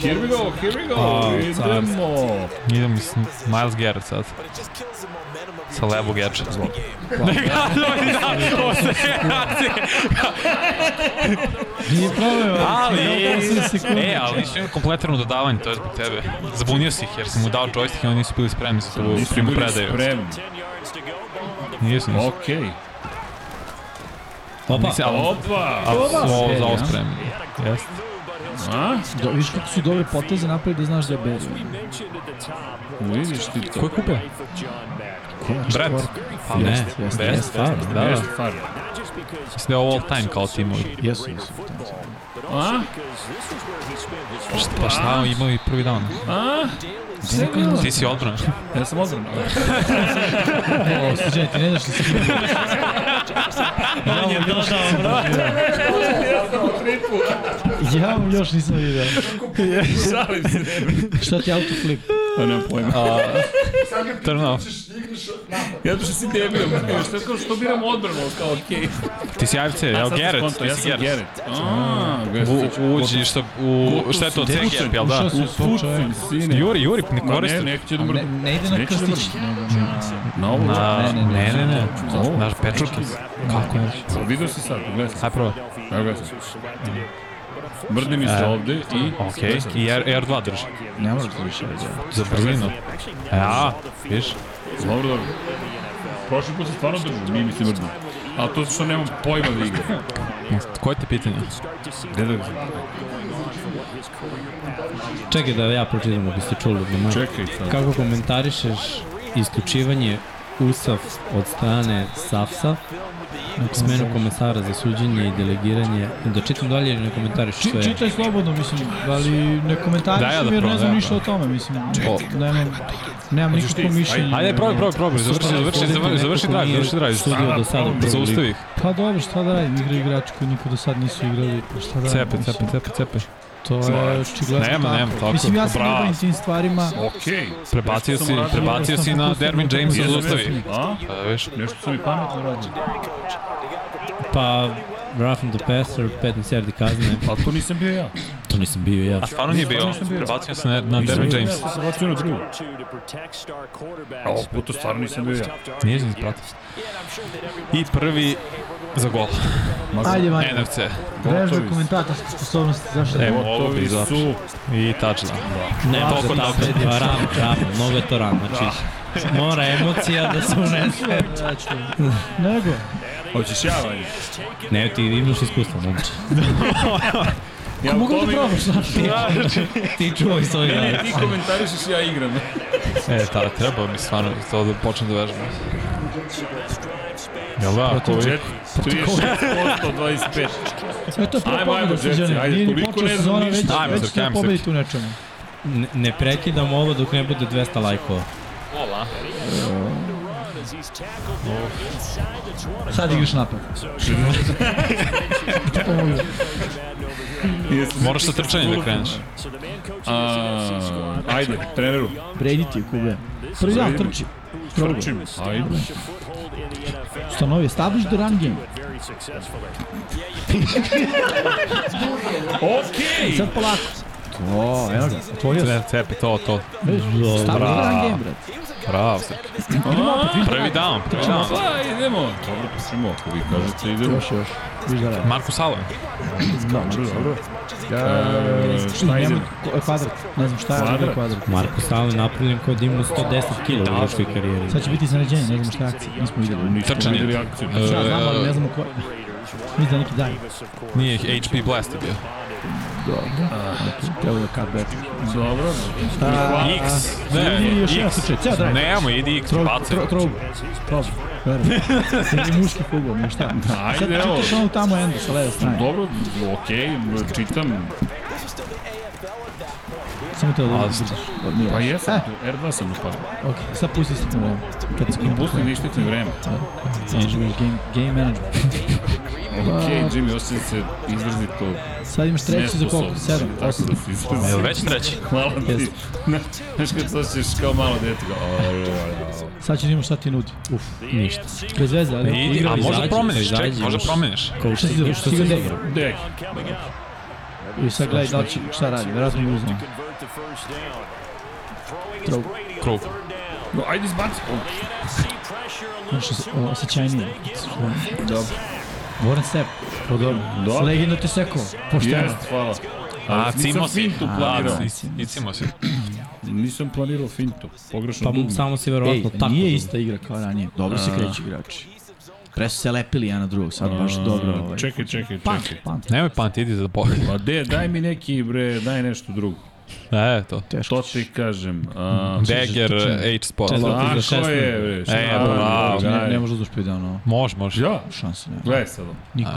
[SPEAKER 1] Here we go, here we go, idemo.
[SPEAKER 5] Idem, mislim, Miles Garrett sad. Sa levog geča.
[SPEAKER 3] Nije problem,
[SPEAKER 5] Ali,
[SPEAKER 3] sekundi.
[SPEAKER 5] e, ali nisi imao kompletirano dodavanje, to je zbog tebe. Zabunio si ih jer si mu dao joystick i oni nisu bili spremni za tu
[SPEAKER 1] Nisu
[SPEAKER 5] primu
[SPEAKER 1] bili
[SPEAKER 5] predaju.
[SPEAKER 1] spremni.
[SPEAKER 5] Nisu, nisu.
[SPEAKER 1] Okej.
[SPEAKER 2] Opa,
[SPEAKER 5] Nisi, ali,
[SPEAKER 1] Opa!
[SPEAKER 5] ali su ovo za ovo
[SPEAKER 3] serija.
[SPEAKER 5] spremni. Jeste.
[SPEAKER 1] A?
[SPEAKER 3] Do, viš kako su dobre poteze napravili da znaš da je beru.
[SPEAKER 1] Vidiš ti to.
[SPEAKER 5] Ko je kupio? Brad. Pa,
[SPEAKER 2] ne,
[SPEAKER 3] jeste,
[SPEAKER 5] Best,
[SPEAKER 3] jeste.
[SPEAKER 5] stvarno, da, da.
[SPEAKER 1] Best far.
[SPEAKER 5] Mislim da je ovo all time kao timovi.
[SPEAKER 3] Jesu, jesu.
[SPEAKER 1] A?
[SPEAKER 5] Pa šta imao i prvi dan?
[SPEAKER 1] A?
[SPEAKER 5] Ti si odbran.
[SPEAKER 1] Ja sam odvrno.
[SPEAKER 3] Srđane, ti ne znaš da si kim.
[SPEAKER 2] on je dodao,
[SPEAKER 3] Ja vam još nisam vidio.
[SPEAKER 1] Šalim se.
[SPEAKER 3] Šta ti autoflip?
[SPEAKER 1] Pa nemam pojma.
[SPEAKER 5] Turn off.
[SPEAKER 1] Ja što si debil. Šta kao što biram odbranu, kao okej.
[SPEAKER 5] Ti si AFC, ja
[SPEAKER 1] Sad sam
[SPEAKER 5] Garrett,
[SPEAKER 1] skontao,
[SPEAKER 5] ti
[SPEAKER 1] Ja
[SPEAKER 5] si
[SPEAKER 1] sam
[SPEAKER 5] Garrett.
[SPEAKER 1] Gerrit. A,
[SPEAKER 5] U, uđi što, u, šta je to,
[SPEAKER 3] Ušao
[SPEAKER 5] C-gap, jel da?
[SPEAKER 3] sam u svog čoveka.
[SPEAKER 1] sine.
[SPEAKER 5] Juri, Juri, ne
[SPEAKER 1] Ma
[SPEAKER 5] koristi.
[SPEAKER 1] ne, neko će da
[SPEAKER 3] Ne,
[SPEAKER 1] mrdi.
[SPEAKER 3] ne ide na
[SPEAKER 1] Neću da
[SPEAKER 3] krstić.
[SPEAKER 1] Na ovo.
[SPEAKER 5] Na,
[SPEAKER 3] Ne, ne, ne.
[SPEAKER 5] ne, ne, ne.
[SPEAKER 1] Ovo.
[SPEAKER 5] Naš pečurki. Kako ne?
[SPEAKER 1] Vidio si sad, pogledaj sad.
[SPEAKER 5] Aj prvo.
[SPEAKER 1] Evo ga. Mrdi mi se
[SPEAKER 5] E.
[SPEAKER 1] ovde i...
[SPEAKER 5] Okej, i R, R2 drži.
[SPEAKER 3] Ne moraš da više reći.
[SPEAKER 5] Za brzinu. Ja, viš?
[SPEAKER 1] Dobro, dobro. Prošli put se stvarno držao, nije mi se mrdno. A to što nemam pojma da igram.
[SPEAKER 5] Koje ti pitanje?
[SPEAKER 1] Gde da ga
[SPEAKER 2] Čekaj da ja pročitam, ako ste čuli. Da
[SPEAKER 1] Čekaj sad.
[SPEAKER 2] Kako komentarišeš isključivanje USAF od strane SAFSA, smenu komesara za suđenje i delegiranje, da čitam dalje ili ne komentariš
[SPEAKER 3] Či,
[SPEAKER 2] sve?
[SPEAKER 3] čitaj slobodno, mislim, ali ne
[SPEAKER 5] Daj ja
[SPEAKER 3] komentarišem
[SPEAKER 5] da
[SPEAKER 3] jer
[SPEAKER 5] probam,
[SPEAKER 3] ne znam
[SPEAKER 5] da,
[SPEAKER 3] ništa
[SPEAKER 5] da.
[SPEAKER 3] o tome, mislim. Nemam, nemam nikakvo mišljenje.
[SPEAKER 5] Ajde, probaj, probaj, probaj. Završi, završi, završi, završi drive, završi drive.
[SPEAKER 2] Sudio do sada u prvoj ligi.
[SPEAKER 5] Zaustavi ih.
[SPEAKER 3] Pa dobro, šta da radim, igra igrači koji niko do sad nisu igrali, pa šta da radim.
[SPEAKER 5] Cepe, cepe, cepe, cepe.
[SPEAKER 3] To je očigledno
[SPEAKER 5] Nema,
[SPEAKER 3] tako.
[SPEAKER 5] nema, tako,
[SPEAKER 3] Mislim, ja sam
[SPEAKER 5] bravo.
[SPEAKER 3] dobar tim stvarima,
[SPEAKER 1] Okej.
[SPEAKER 5] Prebacio si, prebacio si na Derwin Jamesa, zaustavi.
[SPEAKER 1] A?
[SPEAKER 5] Pa, viš?
[SPEAKER 1] Nešto sam i pametno radio.
[SPEAKER 2] Pa, roughing the passer, 15 yardi kazne.
[SPEAKER 1] Pa to nisam bio ja.
[SPEAKER 2] To nisam bio ja.
[SPEAKER 5] A stvarno nije bio. Prebacio se na, na Derwin
[SPEAKER 1] Nisam bio ja,
[SPEAKER 5] James.
[SPEAKER 1] Ja sam bacio na drugo. A ovog puta stvarno nisam bio ja.
[SPEAKER 5] Nije se ispratio. I prvi za gol.
[SPEAKER 3] ajde manje,
[SPEAKER 5] NFC.
[SPEAKER 3] vežba
[SPEAKER 1] gotovi su.
[SPEAKER 3] komentatorske sposobnosti, zašto ne?
[SPEAKER 5] Evo, ovo
[SPEAKER 1] Gotovi
[SPEAKER 5] bi za...
[SPEAKER 1] su.
[SPEAKER 5] I tačno.
[SPEAKER 2] Ne,
[SPEAKER 5] Toliko
[SPEAKER 2] toliko
[SPEAKER 5] dobro.
[SPEAKER 2] Pa rano, rano, mnogo je to rano. Znači, mora emocija da se unese.
[SPEAKER 3] Nego,
[SPEAKER 1] Hoćeš ja, Vanja?
[SPEAKER 2] Ne, ti imaš iskustvo, momče.
[SPEAKER 1] Ja mogu da probaš.
[SPEAKER 2] Ti čuvaj svoj
[SPEAKER 1] Ne, ne,
[SPEAKER 2] rad.
[SPEAKER 1] ti komentarišeš, ja igram.
[SPEAKER 5] E, ta, treba mi stvarno to da počnem da vežbam. Jel da, ako vi...
[SPEAKER 1] 36%, 25.
[SPEAKER 3] sve to je prvo
[SPEAKER 1] Ajmo, ajmo,
[SPEAKER 3] pobjeda
[SPEAKER 1] Žeci,
[SPEAKER 3] srđane,
[SPEAKER 1] ajde,
[SPEAKER 3] nije ni
[SPEAKER 1] toliko
[SPEAKER 3] počeo
[SPEAKER 1] ne znam
[SPEAKER 3] sezona,
[SPEAKER 1] ništa.
[SPEAKER 3] već,
[SPEAKER 5] Ajmo,
[SPEAKER 3] već
[SPEAKER 5] Srki,
[SPEAKER 3] ste
[SPEAKER 5] ajmo,
[SPEAKER 3] pobediti u nečemu.
[SPEAKER 2] Ne, ne prekidam ovo dok ne bude 200 lajkova.
[SPEAKER 5] Ola.
[SPEAKER 3] Sad igraš napad.
[SPEAKER 5] Moraš sa trčanjem da kreneš.
[SPEAKER 1] A, ajde, treneru.
[SPEAKER 3] Brady ti je kube. Prvi dan trči. Probaj.
[SPEAKER 1] Trčim. Ajde.
[SPEAKER 3] Stanovi, establish the run game.
[SPEAKER 1] Okej!
[SPEAKER 3] E, Sad polako. O, evo ga, otvorio se.
[SPEAKER 5] Ne, cepi to, to.
[SPEAKER 3] Establish the run game, brate.
[SPEAKER 5] Bravo, Srki. Prvi down, prvi down.
[SPEAKER 1] Pa, idemo. Dobro, pa svemo, ako vi kažete, idemo.
[SPEAKER 3] Još, još. Viš da radim.
[SPEAKER 5] Marko Salo.
[SPEAKER 3] Dobro, dobro.
[SPEAKER 1] E, šta idemo?
[SPEAKER 3] Kvadrat. Ne znam šta je
[SPEAKER 1] Kvadrat.
[SPEAKER 3] kvadrat. kvadrat.
[SPEAKER 2] Marko Stalin napravljen kao da ima 110 kg u ljudskoj karijeri.
[SPEAKER 3] Sad će biti iznenađenje, ne znamo šta je akcija. Nismo videli.
[SPEAKER 1] Nismo
[SPEAKER 5] Trčanje.
[SPEAKER 1] videli akciju.
[SPEAKER 3] Ja znam, ali ne
[SPEAKER 5] E,
[SPEAKER 3] znamo ko... Mislim da je neki dan.
[SPEAKER 5] Nije HP Blast bio.
[SPEAKER 3] Treba da kad bet.
[SPEAKER 1] Dobro.
[SPEAKER 5] X.
[SPEAKER 3] Ili
[SPEAKER 5] Ne,
[SPEAKER 3] još jedan
[SPEAKER 5] X.
[SPEAKER 3] slučaj. Ceo drive.
[SPEAKER 5] Nemamo, idi X,
[SPEAKER 3] Trobu,
[SPEAKER 5] bacaj.
[SPEAKER 3] tro, trobu, trobu, verujem. Ili muški futbol, ne šta. Sad
[SPEAKER 1] Ajde, evo.
[SPEAKER 3] čitaš ono tamo enda sa leve strane.
[SPEAKER 1] Dobro, okej, čitam.
[SPEAKER 3] Samo te odloži.
[SPEAKER 1] Pa jesam, R2 sam upadao.
[SPEAKER 3] Ok, sad pusti se tamo. Kad se
[SPEAKER 1] Pusti ništetno vreme.
[SPEAKER 3] Game, game management.
[SPEAKER 1] Okej, Jimmy, osjećam se izrazito
[SPEAKER 3] Sad imaš treći za koliko?
[SPEAKER 1] nesposobno.
[SPEAKER 3] Sedam,
[SPEAKER 1] Tako
[SPEAKER 3] osam.
[SPEAKER 1] da si izrazito.
[SPEAKER 5] Evo već treći.
[SPEAKER 1] Hvala ti.
[SPEAKER 3] Jeste.
[SPEAKER 1] Znaš znaš kad se osjećaš kao malo dete, kao... "Au, au, au."
[SPEAKER 3] Sad ćeš da imaš šta ti nudi. Uf,
[SPEAKER 2] Ništa.
[SPEAKER 3] bez veze, ali...
[SPEAKER 5] Idi, a možda
[SPEAKER 2] izađi,
[SPEAKER 5] promeniš, ček,
[SPEAKER 2] izađi,
[SPEAKER 5] možda
[SPEAKER 2] još.
[SPEAKER 5] promeniš.
[SPEAKER 2] Kao
[SPEAKER 3] Šta si izabrao?
[SPEAKER 2] što
[SPEAKER 3] Ti ga
[SPEAKER 2] si
[SPEAKER 3] dek.
[SPEAKER 2] izabrao?
[SPEAKER 1] Dek.
[SPEAKER 3] I sad gledaj da li će, šta radi, vjerojatno i uzmem. Trou.
[SPEAKER 5] Krug.
[SPEAKER 1] No, ajde izbaci. O,
[SPEAKER 3] Znaš, os- o- osjećajnije. Dobro. Warren Sepp, podobno. Dobro. Legenda te sekao, pošteno.
[SPEAKER 1] Jest, hvala.
[SPEAKER 5] A,
[SPEAKER 1] nisam
[SPEAKER 5] cimo si.
[SPEAKER 1] fintu
[SPEAKER 5] A,
[SPEAKER 1] planirao.
[SPEAKER 5] i- i cimo si.
[SPEAKER 1] Nisam planirao fintu. Pogrešno
[SPEAKER 2] Pa
[SPEAKER 1] dugme.
[SPEAKER 2] samo si verovatno tako. da-
[SPEAKER 3] nije
[SPEAKER 2] dobro.
[SPEAKER 3] ista igra kao ranije. Dobro se kreću igrači. Pre su se lepili jedan na drugog, sad baš dobro. Ovaj.
[SPEAKER 1] Čekaj, čekaj,
[SPEAKER 3] Punk,
[SPEAKER 1] čekaj.
[SPEAKER 3] punk.
[SPEAKER 5] Nemoj pamti, idi za Boga.
[SPEAKER 1] Pa de, daj mi neki, bre, daj nešto drugo.
[SPEAKER 5] E, to.
[SPEAKER 3] Pa
[SPEAKER 1] To ti kažem. A,
[SPEAKER 5] Dagger H Sport.
[SPEAKER 3] Četvrti.
[SPEAKER 1] Lako
[SPEAKER 3] šesnaest.
[SPEAKER 1] je, bre. šta
[SPEAKER 5] E,
[SPEAKER 1] radi,
[SPEAKER 5] bravo,
[SPEAKER 1] daj.
[SPEAKER 3] Ne, ne može da uspije da ono,
[SPEAKER 5] Može, može.
[SPEAKER 1] Ja,
[SPEAKER 3] šanse nema.
[SPEAKER 1] gledaj sad. ovo.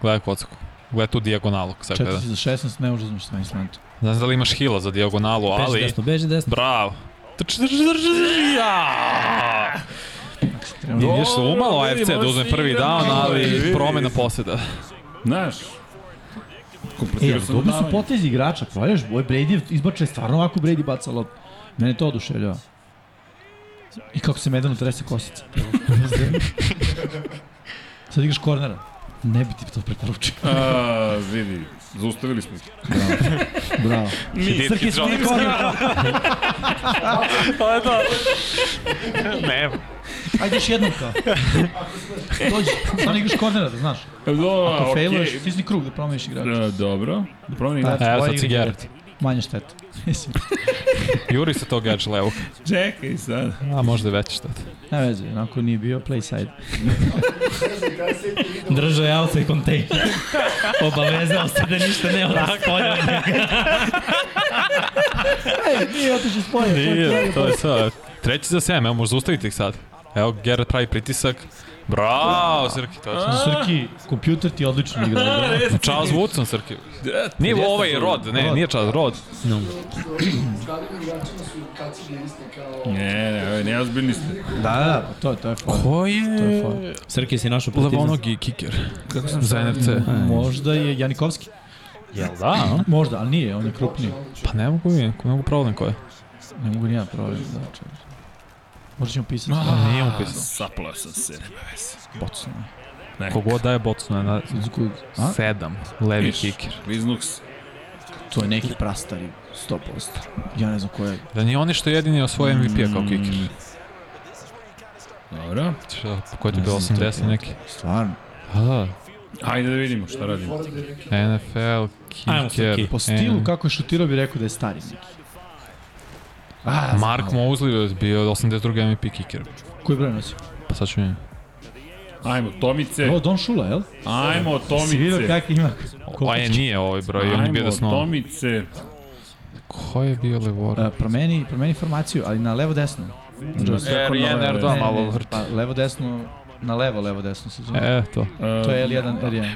[SPEAKER 5] Gledaj kocku. Gledaj tu dijagonalu. Sad gleda.
[SPEAKER 3] 4 za 16, ne može da uzmeš sve instrumente.
[SPEAKER 5] Ne znam da li imaš hila za dijagonalu,
[SPEAKER 2] Beži
[SPEAKER 5] ali...
[SPEAKER 2] desno, beži desno.
[SPEAKER 5] Bravo. Trč, trč, trč, trč, ja! Ideš se umalo
[SPEAKER 1] Dobro,
[SPEAKER 5] AFC
[SPEAKER 1] vidimo,
[SPEAKER 5] da uzme
[SPEAKER 1] si
[SPEAKER 5] prvi
[SPEAKER 1] igramo,
[SPEAKER 5] down, ali
[SPEAKER 1] vidi.
[SPEAKER 5] promena poseda.
[SPEAKER 1] Znaš,
[SPEAKER 3] E,
[SPEAKER 1] kompletirao sam
[SPEAKER 3] dobri su
[SPEAKER 1] davanje.
[SPEAKER 3] potezi igrača, praviš, boj Brady izbača je stvarno ovako Brady baca lop. Mene to oduševljava. I kako se medano trese kosica. Sad igraš kornera. Ne bi ti to preporučio.
[SPEAKER 1] A, vidi, zaustavili smo.
[SPEAKER 3] Bravo.
[SPEAKER 5] Hit
[SPEAKER 3] Srki
[SPEAKER 5] hit
[SPEAKER 3] smo
[SPEAKER 5] drop.
[SPEAKER 3] kornera.
[SPEAKER 5] Ne,
[SPEAKER 3] Ajde još jednom kao. Dođi, samo igraš kornera, da znaš.
[SPEAKER 1] Dobro,
[SPEAKER 3] Ako
[SPEAKER 1] Pa, okej.
[SPEAKER 3] failuješ, stisni krug da promeniš igrača.
[SPEAKER 1] E, Dobro, da promeni
[SPEAKER 3] Pa,
[SPEAKER 1] način.
[SPEAKER 5] Evo
[SPEAKER 3] tvoja
[SPEAKER 5] sad
[SPEAKER 3] igra
[SPEAKER 5] cigaret.
[SPEAKER 3] Manja šteta. Mislim,
[SPEAKER 5] Juri se to gađa levog.
[SPEAKER 1] Čekaj sad.
[SPEAKER 5] A možda je veći šteta.
[SPEAKER 3] ne veze, onako nije bio play side.
[SPEAKER 2] Držao je auto i kontejner. Obavezao se da ništa ne ora spolja.
[SPEAKER 3] Nije otišao spoje.
[SPEAKER 5] Nije, to je sad. Treći za 7, evo možda zaustavite ih sad. Evo, Gerrit pravi pritisak. Bravo, Srki, to je to.
[SPEAKER 3] Srki, kompjuter ti odlično igra. dobro.
[SPEAKER 5] Charles Woodson, Srki. Nije ovaj Rod, ne, nije Charles Rod.
[SPEAKER 4] Starim igračima su kacige iste kao...
[SPEAKER 1] Ne, ne, ovo je neozbiljni ste.
[SPEAKER 3] Da, da, da, to, to je fora.
[SPEAKER 5] Ko je?
[SPEAKER 3] fora.
[SPEAKER 2] Srki si našao protivnost.
[SPEAKER 5] Levonogi kiker. Kako sam za NFC?
[SPEAKER 3] Možda je Janikovski.
[SPEAKER 5] Jel da?
[SPEAKER 3] Možda, ali nije, on je krupniji.
[SPEAKER 5] Pa ne mogu je, ne mogu problem ko je.
[SPEAKER 3] Ne mogu nijedan problem. Da, čovječ. Možda ćemo pisati.
[SPEAKER 5] A, Nije mu
[SPEAKER 1] A,
[SPEAKER 5] pisao.
[SPEAKER 1] Saplao sam se.
[SPEAKER 3] Bocana.
[SPEAKER 5] Kogod daje Bocuna na
[SPEAKER 3] Za kog? A?
[SPEAKER 5] sedam, levi
[SPEAKER 1] Viš,
[SPEAKER 5] kiker.
[SPEAKER 1] Viznuk se.
[SPEAKER 3] To je neki prastari, 100%. Ja ne znam ko je.
[SPEAKER 5] Da nije oni što je jedini osvoje MVP-a
[SPEAKER 3] Mm.
[SPEAKER 5] kao kiker.
[SPEAKER 1] Dobro.
[SPEAKER 5] Šta, po koji je to
[SPEAKER 3] Ne
[SPEAKER 5] bio
[SPEAKER 3] znam, to je
[SPEAKER 5] 80
[SPEAKER 3] to.
[SPEAKER 5] neki?
[SPEAKER 3] Stvarno.
[SPEAKER 5] A da,
[SPEAKER 1] Hajde da vidimo šta radimo.
[SPEAKER 4] Fora da je neki
[SPEAKER 5] NFL,
[SPEAKER 2] Ajmo,
[SPEAKER 5] kiker.
[SPEAKER 2] Srki.
[SPEAKER 3] Po stilu kako je šutirao bi rekao da je stari neki.
[SPEAKER 5] A, Mark Mosley je bio 82. MVP kiker.
[SPEAKER 3] Koji broj nosi?
[SPEAKER 5] Pa sad ću mi...
[SPEAKER 1] Ajmo, Tomice.
[SPEAKER 3] O, Don Šula, jel?
[SPEAKER 1] Ajmo,
[SPEAKER 3] Si vidio
[SPEAKER 1] Tomice.
[SPEAKER 3] kak ima. Znači,
[SPEAKER 5] A je, nije ovaj broj, on je bio
[SPEAKER 1] Ajmo,
[SPEAKER 5] da snovu.
[SPEAKER 1] Tomice.
[SPEAKER 5] Ko je bio Levor?
[SPEAKER 3] E, promeni, promeni formaciju, ali na levo desno. Znači,
[SPEAKER 5] R1, R2,
[SPEAKER 3] ne,
[SPEAKER 5] malo
[SPEAKER 3] ne,
[SPEAKER 5] vrti.
[SPEAKER 3] Pa levo desno, na levo levo desno se zove.
[SPEAKER 5] E, to.
[SPEAKER 3] To je L1, R1.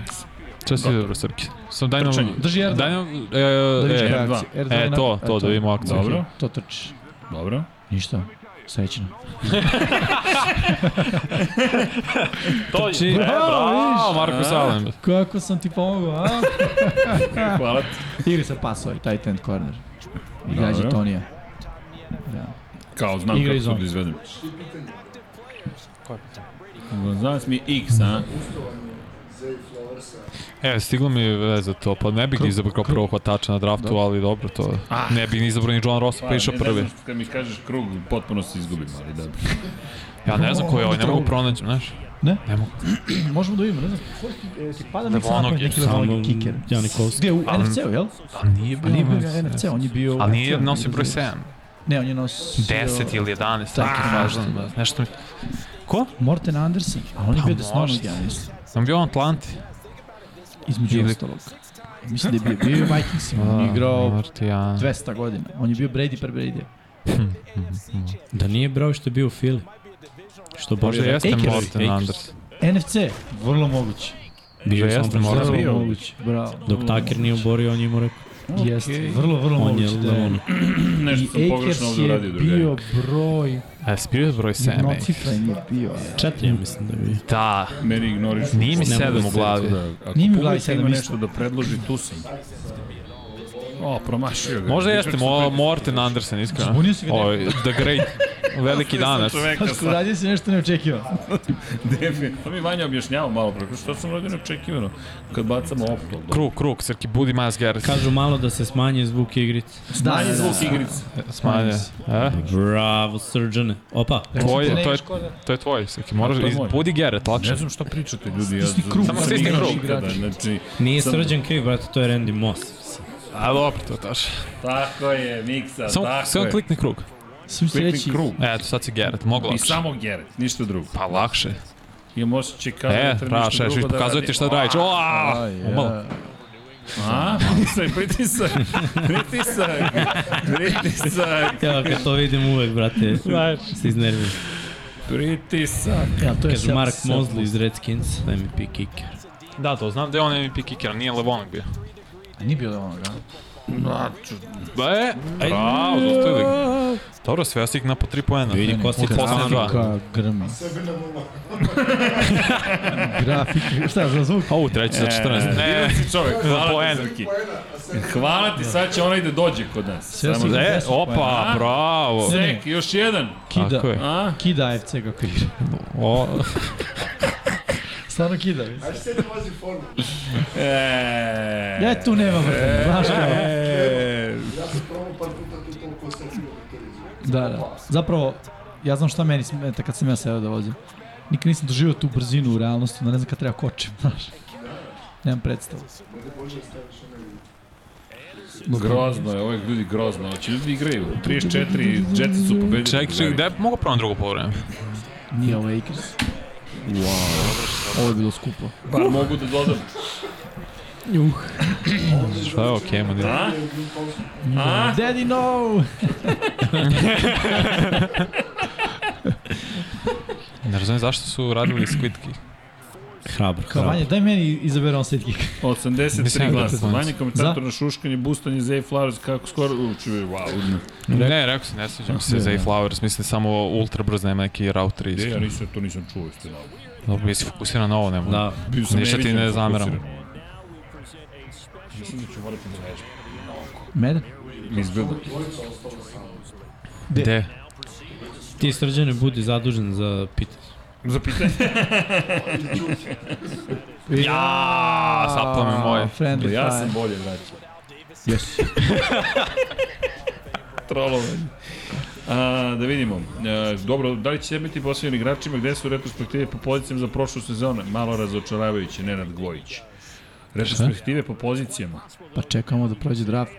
[SPEAKER 5] Čas je dobro, Srki. Sam daj nam...
[SPEAKER 1] Trčanje.
[SPEAKER 3] Drži R2.
[SPEAKER 5] Daj nam... e,
[SPEAKER 3] Da vidiš
[SPEAKER 5] e,
[SPEAKER 3] koja je
[SPEAKER 1] R2.
[SPEAKER 3] akcija. R2
[SPEAKER 5] E,
[SPEAKER 3] na-
[SPEAKER 5] to,
[SPEAKER 3] e,
[SPEAKER 5] to da vidimo akciju.
[SPEAKER 1] Dobro,
[SPEAKER 3] To trči.
[SPEAKER 1] dobro.
[SPEAKER 3] Ništa. Srećno.
[SPEAKER 5] To je... e, Znači, Bravo, Marko Salem.
[SPEAKER 3] Kako sam ti pomogao, a?
[SPEAKER 1] Hvala ti.
[SPEAKER 3] Igri sa pas ovaj, tight end corner. I gađa
[SPEAKER 1] Dobro.
[SPEAKER 3] Tonija. Da.
[SPEAKER 1] Kao, znam
[SPEAKER 3] Igra
[SPEAKER 1] kako
[SPEAKER 3] iz
[SPEAKER 1] sam
[SPEAKER 3] zone.
[SPEAKER 1] da izvedem. Znaš mi X, a?
[SPEAKER 4] Zay Flowers
[SPEAKER 5] E, stiglo mi je veze to, pa ne bih ni izabrao kao prvog hvatača na draftu, ali dobro, to ne bih ni izabrao ni John Ross, Da. Ah. pa išao
[SPEAKER 1] ne,
[SPEAKER 5] prvi.
[SPEAKER 1] Ne znam, kad mi kažeš krug, potpuno se izgubim, ali da.
[SPEAKER 5] Ja ne znam ko je ovaj, ne mogu pronaći, znaš.
[SPEAKER 3] Ne?
[SPEAKER 5] Ne mogu.
[SPEAKER 3] Možemo da vidimo, ne znam. ko je kiker? E, ti pada mi sam
[SPEAKER 5] Levonog
[SPEAKER 3] napad
[SPEAKER 5] je
[SPEAKER 3] neki
[SPEAKER 5] Da, samo-
[SPEAKER 3] Levonog kiker.
[SPEAKER 2] Ja Nikovski.
[SPEAKER 3] Gde, u NFC-u, jel?
[SPEAKER 5] A nije
[SPEAKER 3] A
[SPEAKER 5] bio
[SPEAKER 3] nije bio
[SPEAKER 5] veze.
[SPEAKER 3] ga NFC, on je bio...
[SPEAKER 5] A nije
[SPEAKER 3] u-
[SPEAKER 5] nosio broj 7,
[SPEAKER 3] Ne, on je nosio...
[SPEAKER 5] 10 ili 11, tako
[SPEAKER 3] Tako
[SPEAKER 5] važno, da, nešto mi... Ko?
[SPEAKER 3] Morten Andersen, a on je
[SPEAKER 5] Pa
[SPEAKER 3] bio desnonog,
[SPEAKER 5] možda.
[SPEAKER 3] ja mislim.
[SPEAKER 5] Sam bio u Atlanti.
[SPEAKER 3] Između
[SPEAKER 5] Ili- Pa,
[SPEAKER 3] ostalog. Mislim da je bio, bio je u Vikingsima, on je igrao
[SPEAKER 5] Martijan.
[SPEAKER 3] 200 godina. On je bio Brady pre Brady.
[SPEAKER 2] Da nije brao što je bio u Fili. Što bolje da-
[SPEAKER 5] Možda jeste
[SPEAKER 3] Akers.
[SPEAKER 2] Akers.
[SPEAKER 5] Morten Anders.
[SPEAKER 3] NFC, vrlo moguće.
[SPEAKER 2] Bio je
[SPEAKER 5] Možda
[SPEAKER 2] sam
[SPEAKER 5] jeste
[SPEAKER 2] Francisco.
[SPEAKER 5] Morten.
[SPEAKER 3] Vrlo moguće, bravo.
[SPEAKER 2] Dok Taker nije oborio, on je mu rekao.
[SPEAKER 3] Jeste, vrlo, vrlo
[SPEAKER 2] On je
[SPEAKER 3] moguće da je.
[SPEAKER 2] Levon.
[SPEAKER 1] Nešto sam
[SPEAKER 3] I Akers
[SPEAKER 1] pogrešno ovde
[SPEAKER 3] je
[SPEAKER 1] uradio drugari.
[SPEAKER 3] bio broj,
[SPEAKER 5] E, spio je broj 7.
[SPEAKER 3] jednocifren je bio.
[SPEAKER 2] Četiri, ja mislim da je bio.
[SPEAKER 5] Da,
[SPEAKER 1] Meni ignoriš.
[SPEAKER 5] nije mi
[SPEAKER 2] Ne mogu
[SPEAKER 5] 7 u glavi.
[SPEAKER 1] Da, ako
[SPEAKER 3] Nije mi u glavi
[SPEAKER 1] publika
[SPEAKER 3] sedam
[SPEAKER 1] ima
[SPEAKER 3] isto.
[SPEAKER 1] nešto da predloži, tu sam. O, promašio ga.
[SPEAKER 5] Možda jeste
[SPEAKER 1] Pričam
[SPEAKER 5] Mo,
[SPEAKER 1] sa-
[SPEAKER 5] Morten Andersen, iskreno.
[SPEAKER 3] Zbunio si ga
[SPEAKER 5] Ovo, The Great, veliki danas.
[SPEAKER 1] Čoveka
[SPEAKER 3] Pasko,
[SPEAKER 1] sa
[SPEAKER 3] uradio si nešto neočekivano.
[SPEAKER 1] defi. To mi Vanja objašnjava malo preko. Što sam uradio neočekivano? Kad bacamo opto.
[SPEAKER 5] Krug, krug, Srki, budi Miles Garrett.
[SPEAKER 2] Kažu malo da se smanje zvuk igrice.
[SPEAKER 1] Da, je zvuk igrice.
[SPEAKER 5] Smanje. E?
[SPEAKER 2] Bravo, srđane. Opa.
[SPEAKER 5] To je, to je,
[SPEAKER 3] da.
[SPEAKER 5] to je tvoj, Srki, moraš,
[SPEAKER 1] to je
[SPEAKER 5] iz-
[SPEAKER 1] moj.
[SPEAKER 5] budi Garrett,
[SPEAKER 1] Ne
[SPEAKER 5] lakše.
[SPEAKER 1] znam šta pričate ljudi. Ja,
[SPEAKER 3] Stisni krug.
[SPEAKER 1] Samo
[SPEAKER 5] Samo stisni
[SPEAKER 1] stisni
[SPEAKER 5] krug.
[SPEAKER 1] krug. Znači,
[SPEAKER 2] Nije
[SPEAKER 1] Sam-
[SPEAKER 2] srđan kriv, brate, to je Randy Moss.
[SPEAKER 5] A dobro, to taš.
[SPEAKER 1] tako je, miksa,
[SPEAKER 5] Samo,
[SPEAKER 1] tako
[SPEAKER 5] samo
[SPEAKER 1] je.
[SPEAKER 5] klikni krug. E,
[SPEAKER 3] Sam se
[SPEAKER 1] Klikni
[SPEAKER 3] reći,
[SPEAKER 1] krug.
[SPEAKER 5] Eto, sad si Garrett, mogu
[SPEAKER 1] I
[SPEAKER 5] lakše.
[SPEAKER 1] samo Geret, ništa drugo.
[SPEAKER 5] Pa lakše.
[SPEAKER 1] I možda će kada
[SPEAKER 5] E,
[SPEAKER 1] da treba
[SPEAKER 5] Raš,
[SPEAKER 1] ništa
[SPEAKER 5] Raš,
[SPEAKER 1] drugo da
[SPEAKER 5] pokazuje
[SPEAKER 1] radi.
[SPEAKER 5] ti šta da radiš. Oa!
[SPEAKER 3] Aj,
[SPEAKER 5] Malo.
[SPEAKER 3] ja.
[SPEAKER 1] A, pritisak, pritisak, pritisak, pritisak,
[SPEAKER 2] Ja, kad to vidim uvek, brate, se iznervim.
[SPEAKER 1] pritisak.
[SPEAKER 3] Da, Ja, to je
[SPEAKER 2] Kaže
[SPEAKER 3] sel-
[SPEAKER 2] Mark
[SPEAKER 3] sel-
[SPEAKER 2] Mosley iz Redskins, MVP kicker.
[SPEAKER 5] Da, to znam da je on MVP kicker, nije Levonik bio.
[SPEAKER 3] A Nije bilo da. onoga.
[SPEAKER 5] E, bravo, dostavili. Dobro, sve ja stigna na po 3 poena.
[SPEAKER 2] Vidi ko si
[SPEAKER 5] Posle dva.
[SPEAKER 3] Grafika grma. Grafika, šta za zvuk?
[SPEAKER 5] Ovo treći za 14. E, Ne,
[SPEAKER 1] Divan si čovek, hvala
[SPEAKER 5] Poen.
[SPEAKER 1] ti Zrki. Hvala ti, sad će onaj da dođe kod nas.
[SPEAKER 3] Sve
[SPEAKER 1] Samo
[SPEAKER 3] si-
[SPEAKER 1] da...
[SPEAKER 5] e, opa,
[SPEAKER 1] A?
[SPEAKER 5] bravo.
[SPEAKER 1] Sek, još jedan.
[SPEAKER 5] Tako
[SPEAKER 3] Kida,
[SPEAKER 5] je.
[SPEAKER 1] A?
[SPEAKER 3] kida AFC kako igra.
[SPEAKER 5] O,
[SPEAKER 3] Stvarno kida, mislim.
[SPEAKER 4] Sve vozi formu.
[SPEAKER 1] E,
[SPEAKER 3] Ja tu nema vrtanja, znaš kao.
[SPEAKER 1] e,
[SPEAKER 4] Ja sam probao par puta tu toliko osjetljivo da to
[SPEAKER 3] Da,
[SPEAKER 4] izgleda.
[SPEAKER 3] da. Zapravo, ja znam šta meni smeta kad sam ja seo da vozim. Nikad nisam doživio tu brzinu u realnosti, da ne znam kad treba kočim, znaš. Nemam predstavu.
[SPEAKER 1] Grozno je, ovo je ljudi grozno. Oći ljudi igraju. 34, Jetsi su pobedili.
[SPEAKER 5] ček, ček, da je mogu prvo na drugo povreme.
[SPEAKER 3] Nije ovo Akers. Wow. Ovo je bilo skupo.
[SPEAKER 1] Pa mogu da dodam.
[SPEAKER 5] Šta je okej, okay, ma
[SPEAKER 1] A?
[SPEAKER 5] Da.
[SPEAKER 1] A?
[SPEAKER 3] Daddy no!
[SPEAKER 5] Ne razumijem zašto su radili Squid Kick.
[SPEAKER 2] Hrabro,
[SPEAKER 3] Kao
[SPEAKER 2] hrabro.
[SPEAKER 3] Vanja, daj meni izabere on set kick.
[SPEAKER 1] 83
[SPEAKER 5] Mislim,
[SPEAKER 1] glasa.
[SPEAKER 5] da.
[SPEAKER 1] Manje komentator na šuškanje, bustanje, Zay Flowers, kako skoro... Uči, wow.
[SPEAKER 5] Ne, rekao sam, ne sviđam se Zay Flowers, mislim samo ultra brzo nema neki route 3.
[SPEAKER 1] Gde ja nisam, to nisam čuo, isto na ovo.
[SPEAKER 5] Dobro, bi se fokusiran na ovo, nema.
[SPEAKER 2] Da,
[SPEAKER 1] Bio sam
[SPEAKER 5] Ništa ti
[SPEAKER 1] neviđen,
[SPEAKER 5] ne
[SPEAKER 1] fokusiran.
[SPEAKER 5] zameram.
[SPEAKER 1] Mislim da ću morati da vežbam.
[SPEAKER 3] Mene?
[SPEAKER 1] Izbilda.
[SPEAKER 5] Gde?
[SPEAKER 2] ti srđane budi zadužen za pitanje.
[SPEAKER 1] Za pitanje.
[SPEAKER 5] Ja, saplo me moje.
[SPEAKER 3] Friendly
[SPEAKER 1] Ja sam
[SPEAKER 3] fire.
[SPEAKER 1] bolje vraćao.
[SPEAKER 3] Yes.
[SPEAKER 1] Trolovanje. A, da vidimo. E, dobro, da li će biti posljednji igračima gde su retrospektive po pozicijama za prošlu sezonu? Malo razočaravajuće, Nenad Gojić. Retrospektive po pozicijama.
[SPEAKER 3] Pa čekamo da prođe draft.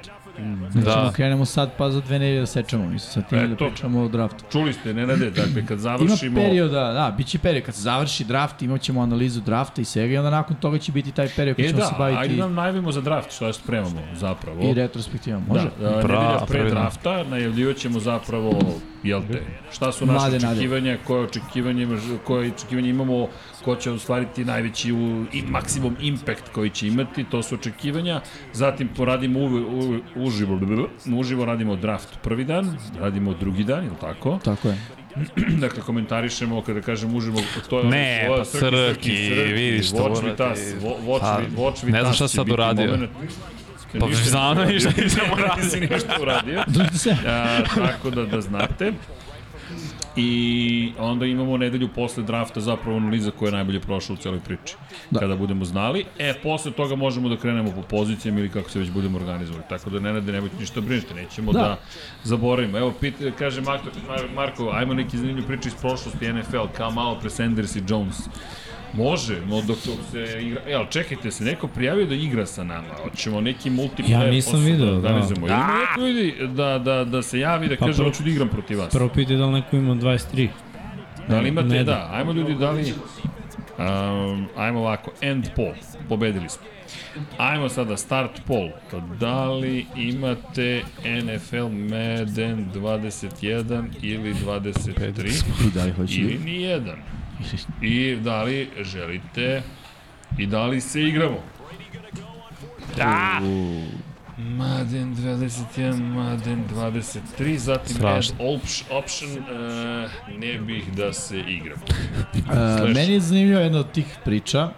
[SPEAKER 3] Znači,
[SPEAKER 5] Da.
[SPEAKER 3] krenemo sad, pa za dve nedelje da sečemo. Mislim, sad time da
[SPEAKER 1] Eto.
[SPEAKER 3] pričamo o draftu.
[SPEAKER 1] Čuli ste, Nenade, dakle, kad
[SPEAKER 3] Ima
[SPEAKER 1] završimo...
[SPEAKER 3] perioda, da, bit će period. Kad se završi draft, imat ćemo analizu drafta i svega i onda nakon toga će biti taj period koji
[SPEAKER 1] E
[SPEAKER 3] ćemo se
[SPEAKER 1] da, ajde
[SPEAKER 3] baviti
[SPEAKER 1] nam najavimo za draft, što je spremamo zapravo.
[SPEAKER 3] i retrospektivom. Može?
[SPEAKER 1] Da, da,
[SPEAKER 5] Bra,
[SPEAKER 1] nedelja pre
[SPEAKER 5] pravilno.
[SPEAKER 1] drafta najavljivaćemo zapravo, jel te, šta su naše
[SPEAKER 3] Mlade nade.
[SPEAKER 1] očekivanja, koje očekivanje, koje očekivanje imamo, ko će ostvariti najveći u, i maksimum impact koji će imati, to su očekivanja. Zatim poradimo u, u, uživo, uživo radimo draft prvi dan, radimo drugi dan, jel tako?
[SPEAKER 3] Tako je.
[SPEAKER 1] dakle, komentarišemo, kada kažem uživo, to je...
[SPEAKER 5] Ne,
[SPEAKER 1] ovo je
[SPEAKER 5] pa Srki, vidi šta
[SPEAKER 1] watch me
[SPEAKER 5] uradi.
[SPEAKER 1] tas, wo- watch,
[SPEAKER 5] Pa,
[SPEAKER 1] me- watch me
[SPEAKER 5] ne znam
[SPEAKER 1] tas
[SPEAKER 5] šta
[SPEAKER 1] će
[SPEAKER 5] sad
[SPEAKER 1] biti
[SPEAKER 5] uradio.
[SPEAKER 1] moment.
[SPEAKER 5] Pa
[SPEAKER 1] Dakle, Ništa
[SPEAKER 5] znam
[SPEAKER 1] nisam
[SPEAKER 5] ništa
[SPEAKER 1] uradio.
[SPEAKER 5] nisam
[SPEAKER 1] Nisi ništa uradio.
[SPEAKER 3] Držite se.
[SPEAKER 1] A, tako da, da znate. I onda imamo u nedelju posle drafta zapravo analiza koja je najbolje prošla u celoj priči. Da. Kada budemo znali. E, posle toga možemo da krenemo po pozicijama ili kako se već budemo organizovali. Tako da Nenade, nemojte ništa brinite, nećemo da, da zaboravimo. Evo, pit, kaže Marko, Mar- Marko, ajmo neki zanimljiv priče iz prošlosti NFL, kao malo pre Sanders i Jones. Može, no dok dok se igra... E, ali čekajte se, neko prijavio da igra sa nama. Hoćemo neki multiplayer
[SPEAKER 2] Ja nisam
[SPEAKER 1] posao
[SPEAKER 2] video, da.
[SPEAKER 1] organizujemo. Da. Ima neko vidi da, da, da se javi, da
[SPEAKER 2] Pa
[SPEAKER 1] kaže,
[SPEAKER 2] pro-
[SPEAKER 1] hoću da igram protiv vas.
[SPEAKER 2] Prvo pite da li neko ima 23.
[SPEAKER 1] Da li imate,
[SPEAKER 2] Ne da.
[SPEAKER 1] da, ajmo ljudi, da li... Um, ajmo ovako, end poll, pobedili smo. Ajmo sada start poll. Da li imate NFL Madden 21 ili 23
[SPEAKER 3] I da li hoće?
[SPEAKER 1] ili nijedan? I da li želite i da li se igramo? Da! Madden 21, Madden 23, zatim
[SPEAKER 5] Strašno.
[SPEAKER 1] add opš- option, e, ne bih da se igram.
[SPEAKER 3] E,
[SPEAKER 1] Slash.
[SPEAKER 3] meni je zanimljiva jedna od tih priča.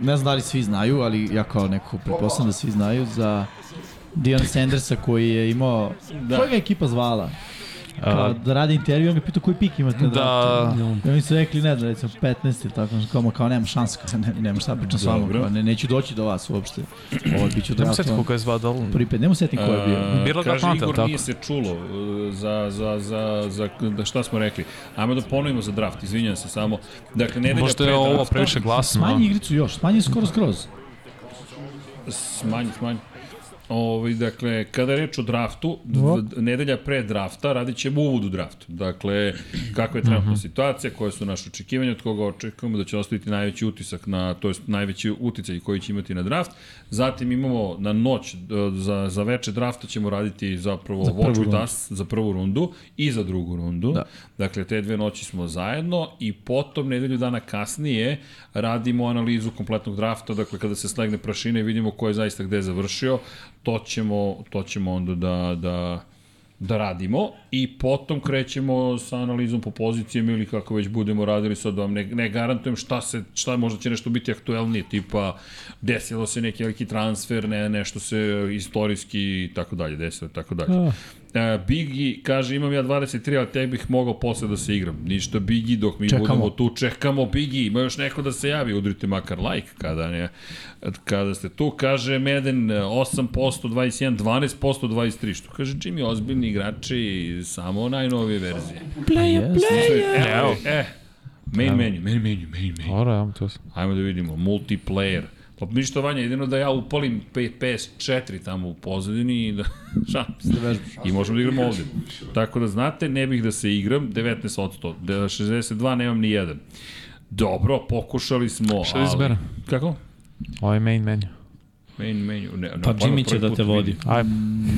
[SPEAKER 3] Ne znam da li svi znaju, ali ja kao neko pretpostavljam da svi znaju za Dion Sandersa koji je imao... Da. Koja ga je ekipa zvala? Kao
[SPEAKER 5] A,
[SPEAKER 3] da radi intervju, on ga pitao koji pik imate na draftu.
[SPEAKER 5] da,
[SPEAKER 3] I oni su rekli, ne znam, recimo 15 ili tako, kao, ma, kao nemam šanse, kao, ne, nemam šta da pričam s vama,
[SPEAKER 1] Dobro.
[SPEAKER 3] kao, ne, neću doći do vas uopšte. Ovo bit ću
[SPEAKER 5] nemam sjetko
[SPEAKER 3] draftovan.
[SPEAKER 5] koga je zvao Dolan.
[SPEAKER 3] Prvi pet, nemo setim ko je bio.
[SPEAKER 1] E,
[SPEAKER 5] Birla ga
[SPEAKER 1] kaže
[SPEAKER 5] Atlanta,
[SPEAKER 1] Igor,
[SPEAKER 5] tako?
[SPEAKER 1] nije se čulo e, za, za, za, za, da šta smo rekli. Ajmo da ponovimo za draft, izvinjam se samo. Dakle, nedelja
[SPEAKER 5] Možda je
[SPEAKER 1] pre
[SPEAKER 5] ovo
[SPEAKER 1] drafta-
[SPEAKER 5] previše glasno.
[SPEAKER 3] da. Smanji igricu još, smanji je skoro skroz.
[SPEAKER 1] Smanji, smanji. Ovi, dakle, kada je reč o draftu, d- d- nedelja pre drafta radit ćemo uvod u draftu. Dakle, kakva je trenutna situacija, koje su naše očekivanja, od koga očekujemo da će ostaviti najveći utisak, na, to jest najveći uticaj koji će imati na draft. Zatim imamo na noć, d- za, za veče drafta ćemo raditi zapravo za watch with us za prvu rundu i za drugu rundu. Da. Dakle, te dve noći smo zajedno i potom nedelju dana kasnije radimo analizu kompletnog drafta, dakle kada se slegne prašina i vidimo ko je zaista gde završio, to ćemo, to ćemo onda da, da, da radimo i potom krećemo sa analizom po pozicijama ili kako već budemo radili sad vam ne, ne garantujem šta se šta možda će nešto biti aktuelnije tipa desilo se neki veliki transfer ne, nešto se istorijski i tako dalje desilo i tako dalje E, Bigi kaže imam ja 23, ali tek bih mogao posle da se igram. Ništa Bigi dok mi
[SPEAKER 3] Čekamo.
[SPEAKER 1] budemo tu, čekamo Bigi, ima još neko da se javi, udrite makar like kada, ne, kada ste tu. Kaže Meden e, 8%, 21, 12%, 23, što kaže Jimmy, ozbiljni igrači, samo najnovije verzije. Pa
[SPEAKER 3] Play, play.
[SPEAKER 1] Evo, e, main menu, main menu, main menu.
[SPEAKER 5] Ora, ja to sam.
[SPEAKER 1] Ajmo da vidimo, multiplayer. Pa ništa vanja, jedino da ja upalim P- PS4 tamo u pozadini i da šalim se. I možemo da igramo ovde. Tako da znate, ne bih da se igram, 19%, da 62 nemam ni jedan. Dobro, pokušali smo,
[SPEAKER 5] Šta da izberem?
[SPEAKER 1] Kako?
[SPEAKER 5] Ovo je main menu.
[SPEAKER 1] Main menu. Ne, ne,
[SPEAKER 2] Pa
[SPEAKER 1] pardon,
[SPEAKER 2] Jimmy će
[SPEAKER 1] prvi
[SPEAKER 2] da
[SPEAKER 1] put
[SPEAKER 2] te vodi.
[SPEAKER 1] vidim.
[SPEAKER 5] Aj,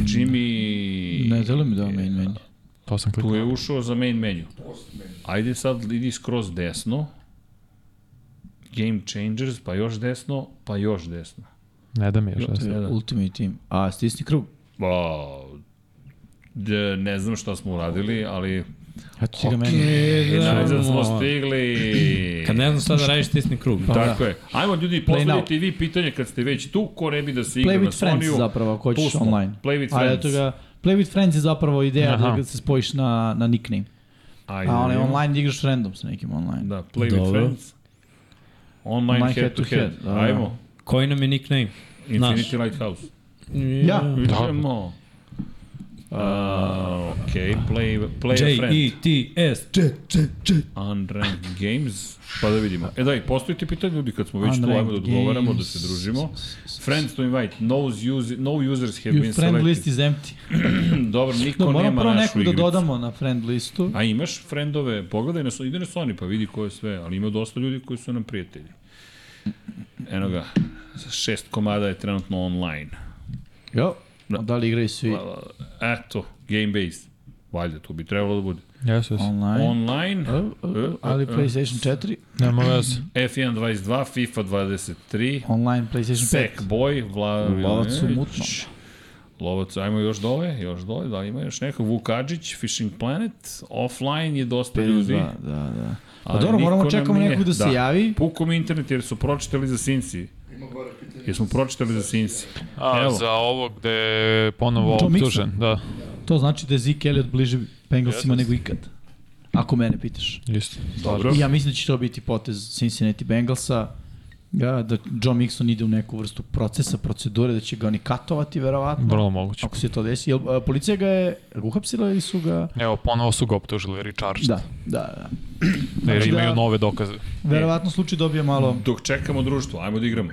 [SPEAKER 1] Jimmy...
[SPEAKER 3] Ne želim mi da
[SPEAKER 1] E,
[SPEAKER 3] vam main meni.
[SPEAKER 5] to sam
[SPEAKER 1] Tu
[SPEAKER 5] kliknuo.
[SPEAKER 1] je ušao za main menu. Ajde sad idi skroz desno. Game Changers, pa još desno, pa još desno.
[SPEAKER 5] Ne da mi još. ne znam.
[SPEAKER 1] Jedan.
[SPEAKER 3] Ultimate Team. A, stisni krug.
[SPEAKER 1] Pa, de, ne znam šta smo uradili, ali...
[SPEAKER 3] Ja ću ti ga meni.
[SPEAKER 2] E,
[SPEAKER 3] da,
[SPEAKER 1] Najzad smo stigli.
[SPEAKER 2] Kad ne znam šta da radiš, stisni krug.
[SPEAKER 1] Tako je. Ajmo ljudi,
[SPEAKER 3] now.
[SPEAKER 1] postavite i vi pitanje kad ste već tu, ko ne bi da se igra
[SPEAKER 3] Play
[SPEAKER 1] na
[SPEAKER 3] with Friends
[SPEAKER 1] Sonyu.
[SPEAKER 3] zapravo, ako
[SPEAKER 1] Tu
[SPEAKER 3] hoćeš
[SPEAKER 1] smo.
[SPEAKER 3] online.
[SPEAKER 1] Play with
[SPEAKER 3] Ali
[SPEAKER 1] Friends.
[SPEAKER 3] eto ga, Play with Friends je zapravo ideja
[SPEAKER 5] Aha.
[SPEAKER 3] da se spojiš na, na nickname.
[SPEAKER 1] Ajde,
[SPEAKER 3] A onaj
[SPEAKER 1] vidimo.
[SPEAKER 3] online da igraš random sa nekim online.
[SPEAKER 1] Da, play with
[SPEAKER 2] Dobro.
[SPEAKER 1] friends. Online
[SPEAKER 3] Online
[SPEAKER 1] head to head.
[SPEAKER 3] head, da.
[SPEAKER 1] Ajmo.
[SPEAKER 2] Koji nam je nickname? Naš.
[SPEAKER 1] Infinity Lighthouse.
[SPEAKER 3] Ja.
[SPEAKER 1] Vidimo. A, Okej, play, play
[SPEAKER 3] E.
[SPEAKER 1] a
[SPEAKER 2] E
[SPEAKER 1] friend.
[SPEAKER 2] J-E-T-S. J.
[SPEAKER 1] Unranked Games, pa da vidimo. E daj, postojite pitanje ljudi kad smo već tu, ajmo da
[SPEAKER 3] Unranked
[SPEAKER 1] odgovaramo, da
[SPEAKER 3] games.
[SPEAKER 1] se družimo. Friends to invite, no, user, no users have been
[SPEAKER 3] Your friend list
[SPEAKER 1] selected. Hmm,
[SPEAKER 3] is empty.
[SPEAKER 1] Dobro, niko
[SPEAKER 3] Da, moram
[SPEAKER 1] nema
[SPEAKER 3] prvo
[SPEAKER 1] našu
[SPEAKER 3] nekog da
[SPEAKER 1] igricu.
[SPEAKER 3] dodamo na friend listu.
[SPEAKER 1] A imaš friendove, pogledaj na, ide na Sony pa vidi ko je sve, ali ima dosta ljudi koji su nam prijatelji. Eno ga, šest komada je trenutno online.
[SPEAKER 3] Jo.
[SPEAKER 1] Da.
[SPEAKER 3] Da. da li igraju svi
[SPEAKER 1] Eto, game based. Valjda, to bi trebalo da bude.
[SPEAKER 5] Jes, jes.
[SPEAKER 3] online?
[SPEAKER 1] Online,
[SPEAKER 3] E, e, ali PlayStation 4,
[SPEAKER 5] Nema veze.
[SPEAKER 1] F1 22, FIFA 23,
[SPEAKER 3] online PlayStation 5.
[SPEAKER 1] Sek Boy, Vla...
[SPEAKER 3] Lovac u mutnom.
[SPEAKER 1] Lovac, ajmo još dole, još dole, da li ima još neko, Vukadžić, Fishing Planet, offline je dosta ljudi.
[SPEAKER 3] Da, da, da. Pa
[SPEAKER 1] ali
[SPEAKER 3] dobro, moramo
[SPEAKER 1] niko nam
[SPEAKER 3] čekamo
[SPEAKER 1] nije.
[SPEAKER 3] nekog da se
[SPEAKER 1] Da.
[SPEAKER 3] javi.
[SPEAKER 1] Pukom internet jer su pročitali za Sinci. Jesmo pročitali za Sinci.
[SPEAKER 5] A,
[SPEAKER 1] Evo.
[SPEAKER 5] za ovo gde je ponovo
[SPEAKER 3] Joe Mixon.
[SPEAKER 5] optužen, da.
[SPEAKER 3] To znači da je Zeke Elliot bliže Bengalsima nego ikad. Ako mene pitaš.
[SPEAKER 5] Isto.
[SPEAKER 1] Dobro.
[SPEAKER 3] I ja mislim da će to biti potez Cincinnati Bengalsa, ja, da Joe Mixon ide u neku vrstu procesa, procedure, da će ga oni katovati, verovatno.
[SPEAKER 5] Vrlo moguće.
[SPEAKER 3] Ako se to desi. Jel, a, policija ga je jel ga uhapsila ili su ga...
[SPEAKER 5] Evo, ponovo su ga optužili Richard.
[SPEAKER 3] Da, da, da.
[SPEAKER 5] Jer
[SPEAKER 3] Znači da-
[SPEAKER 5] imaju nove dokaze.
[SPEAKER 3] Verovatno slučaj dobija malo...
[SPEAKER 1] Dok čekamo društvo, ajmo da igramo.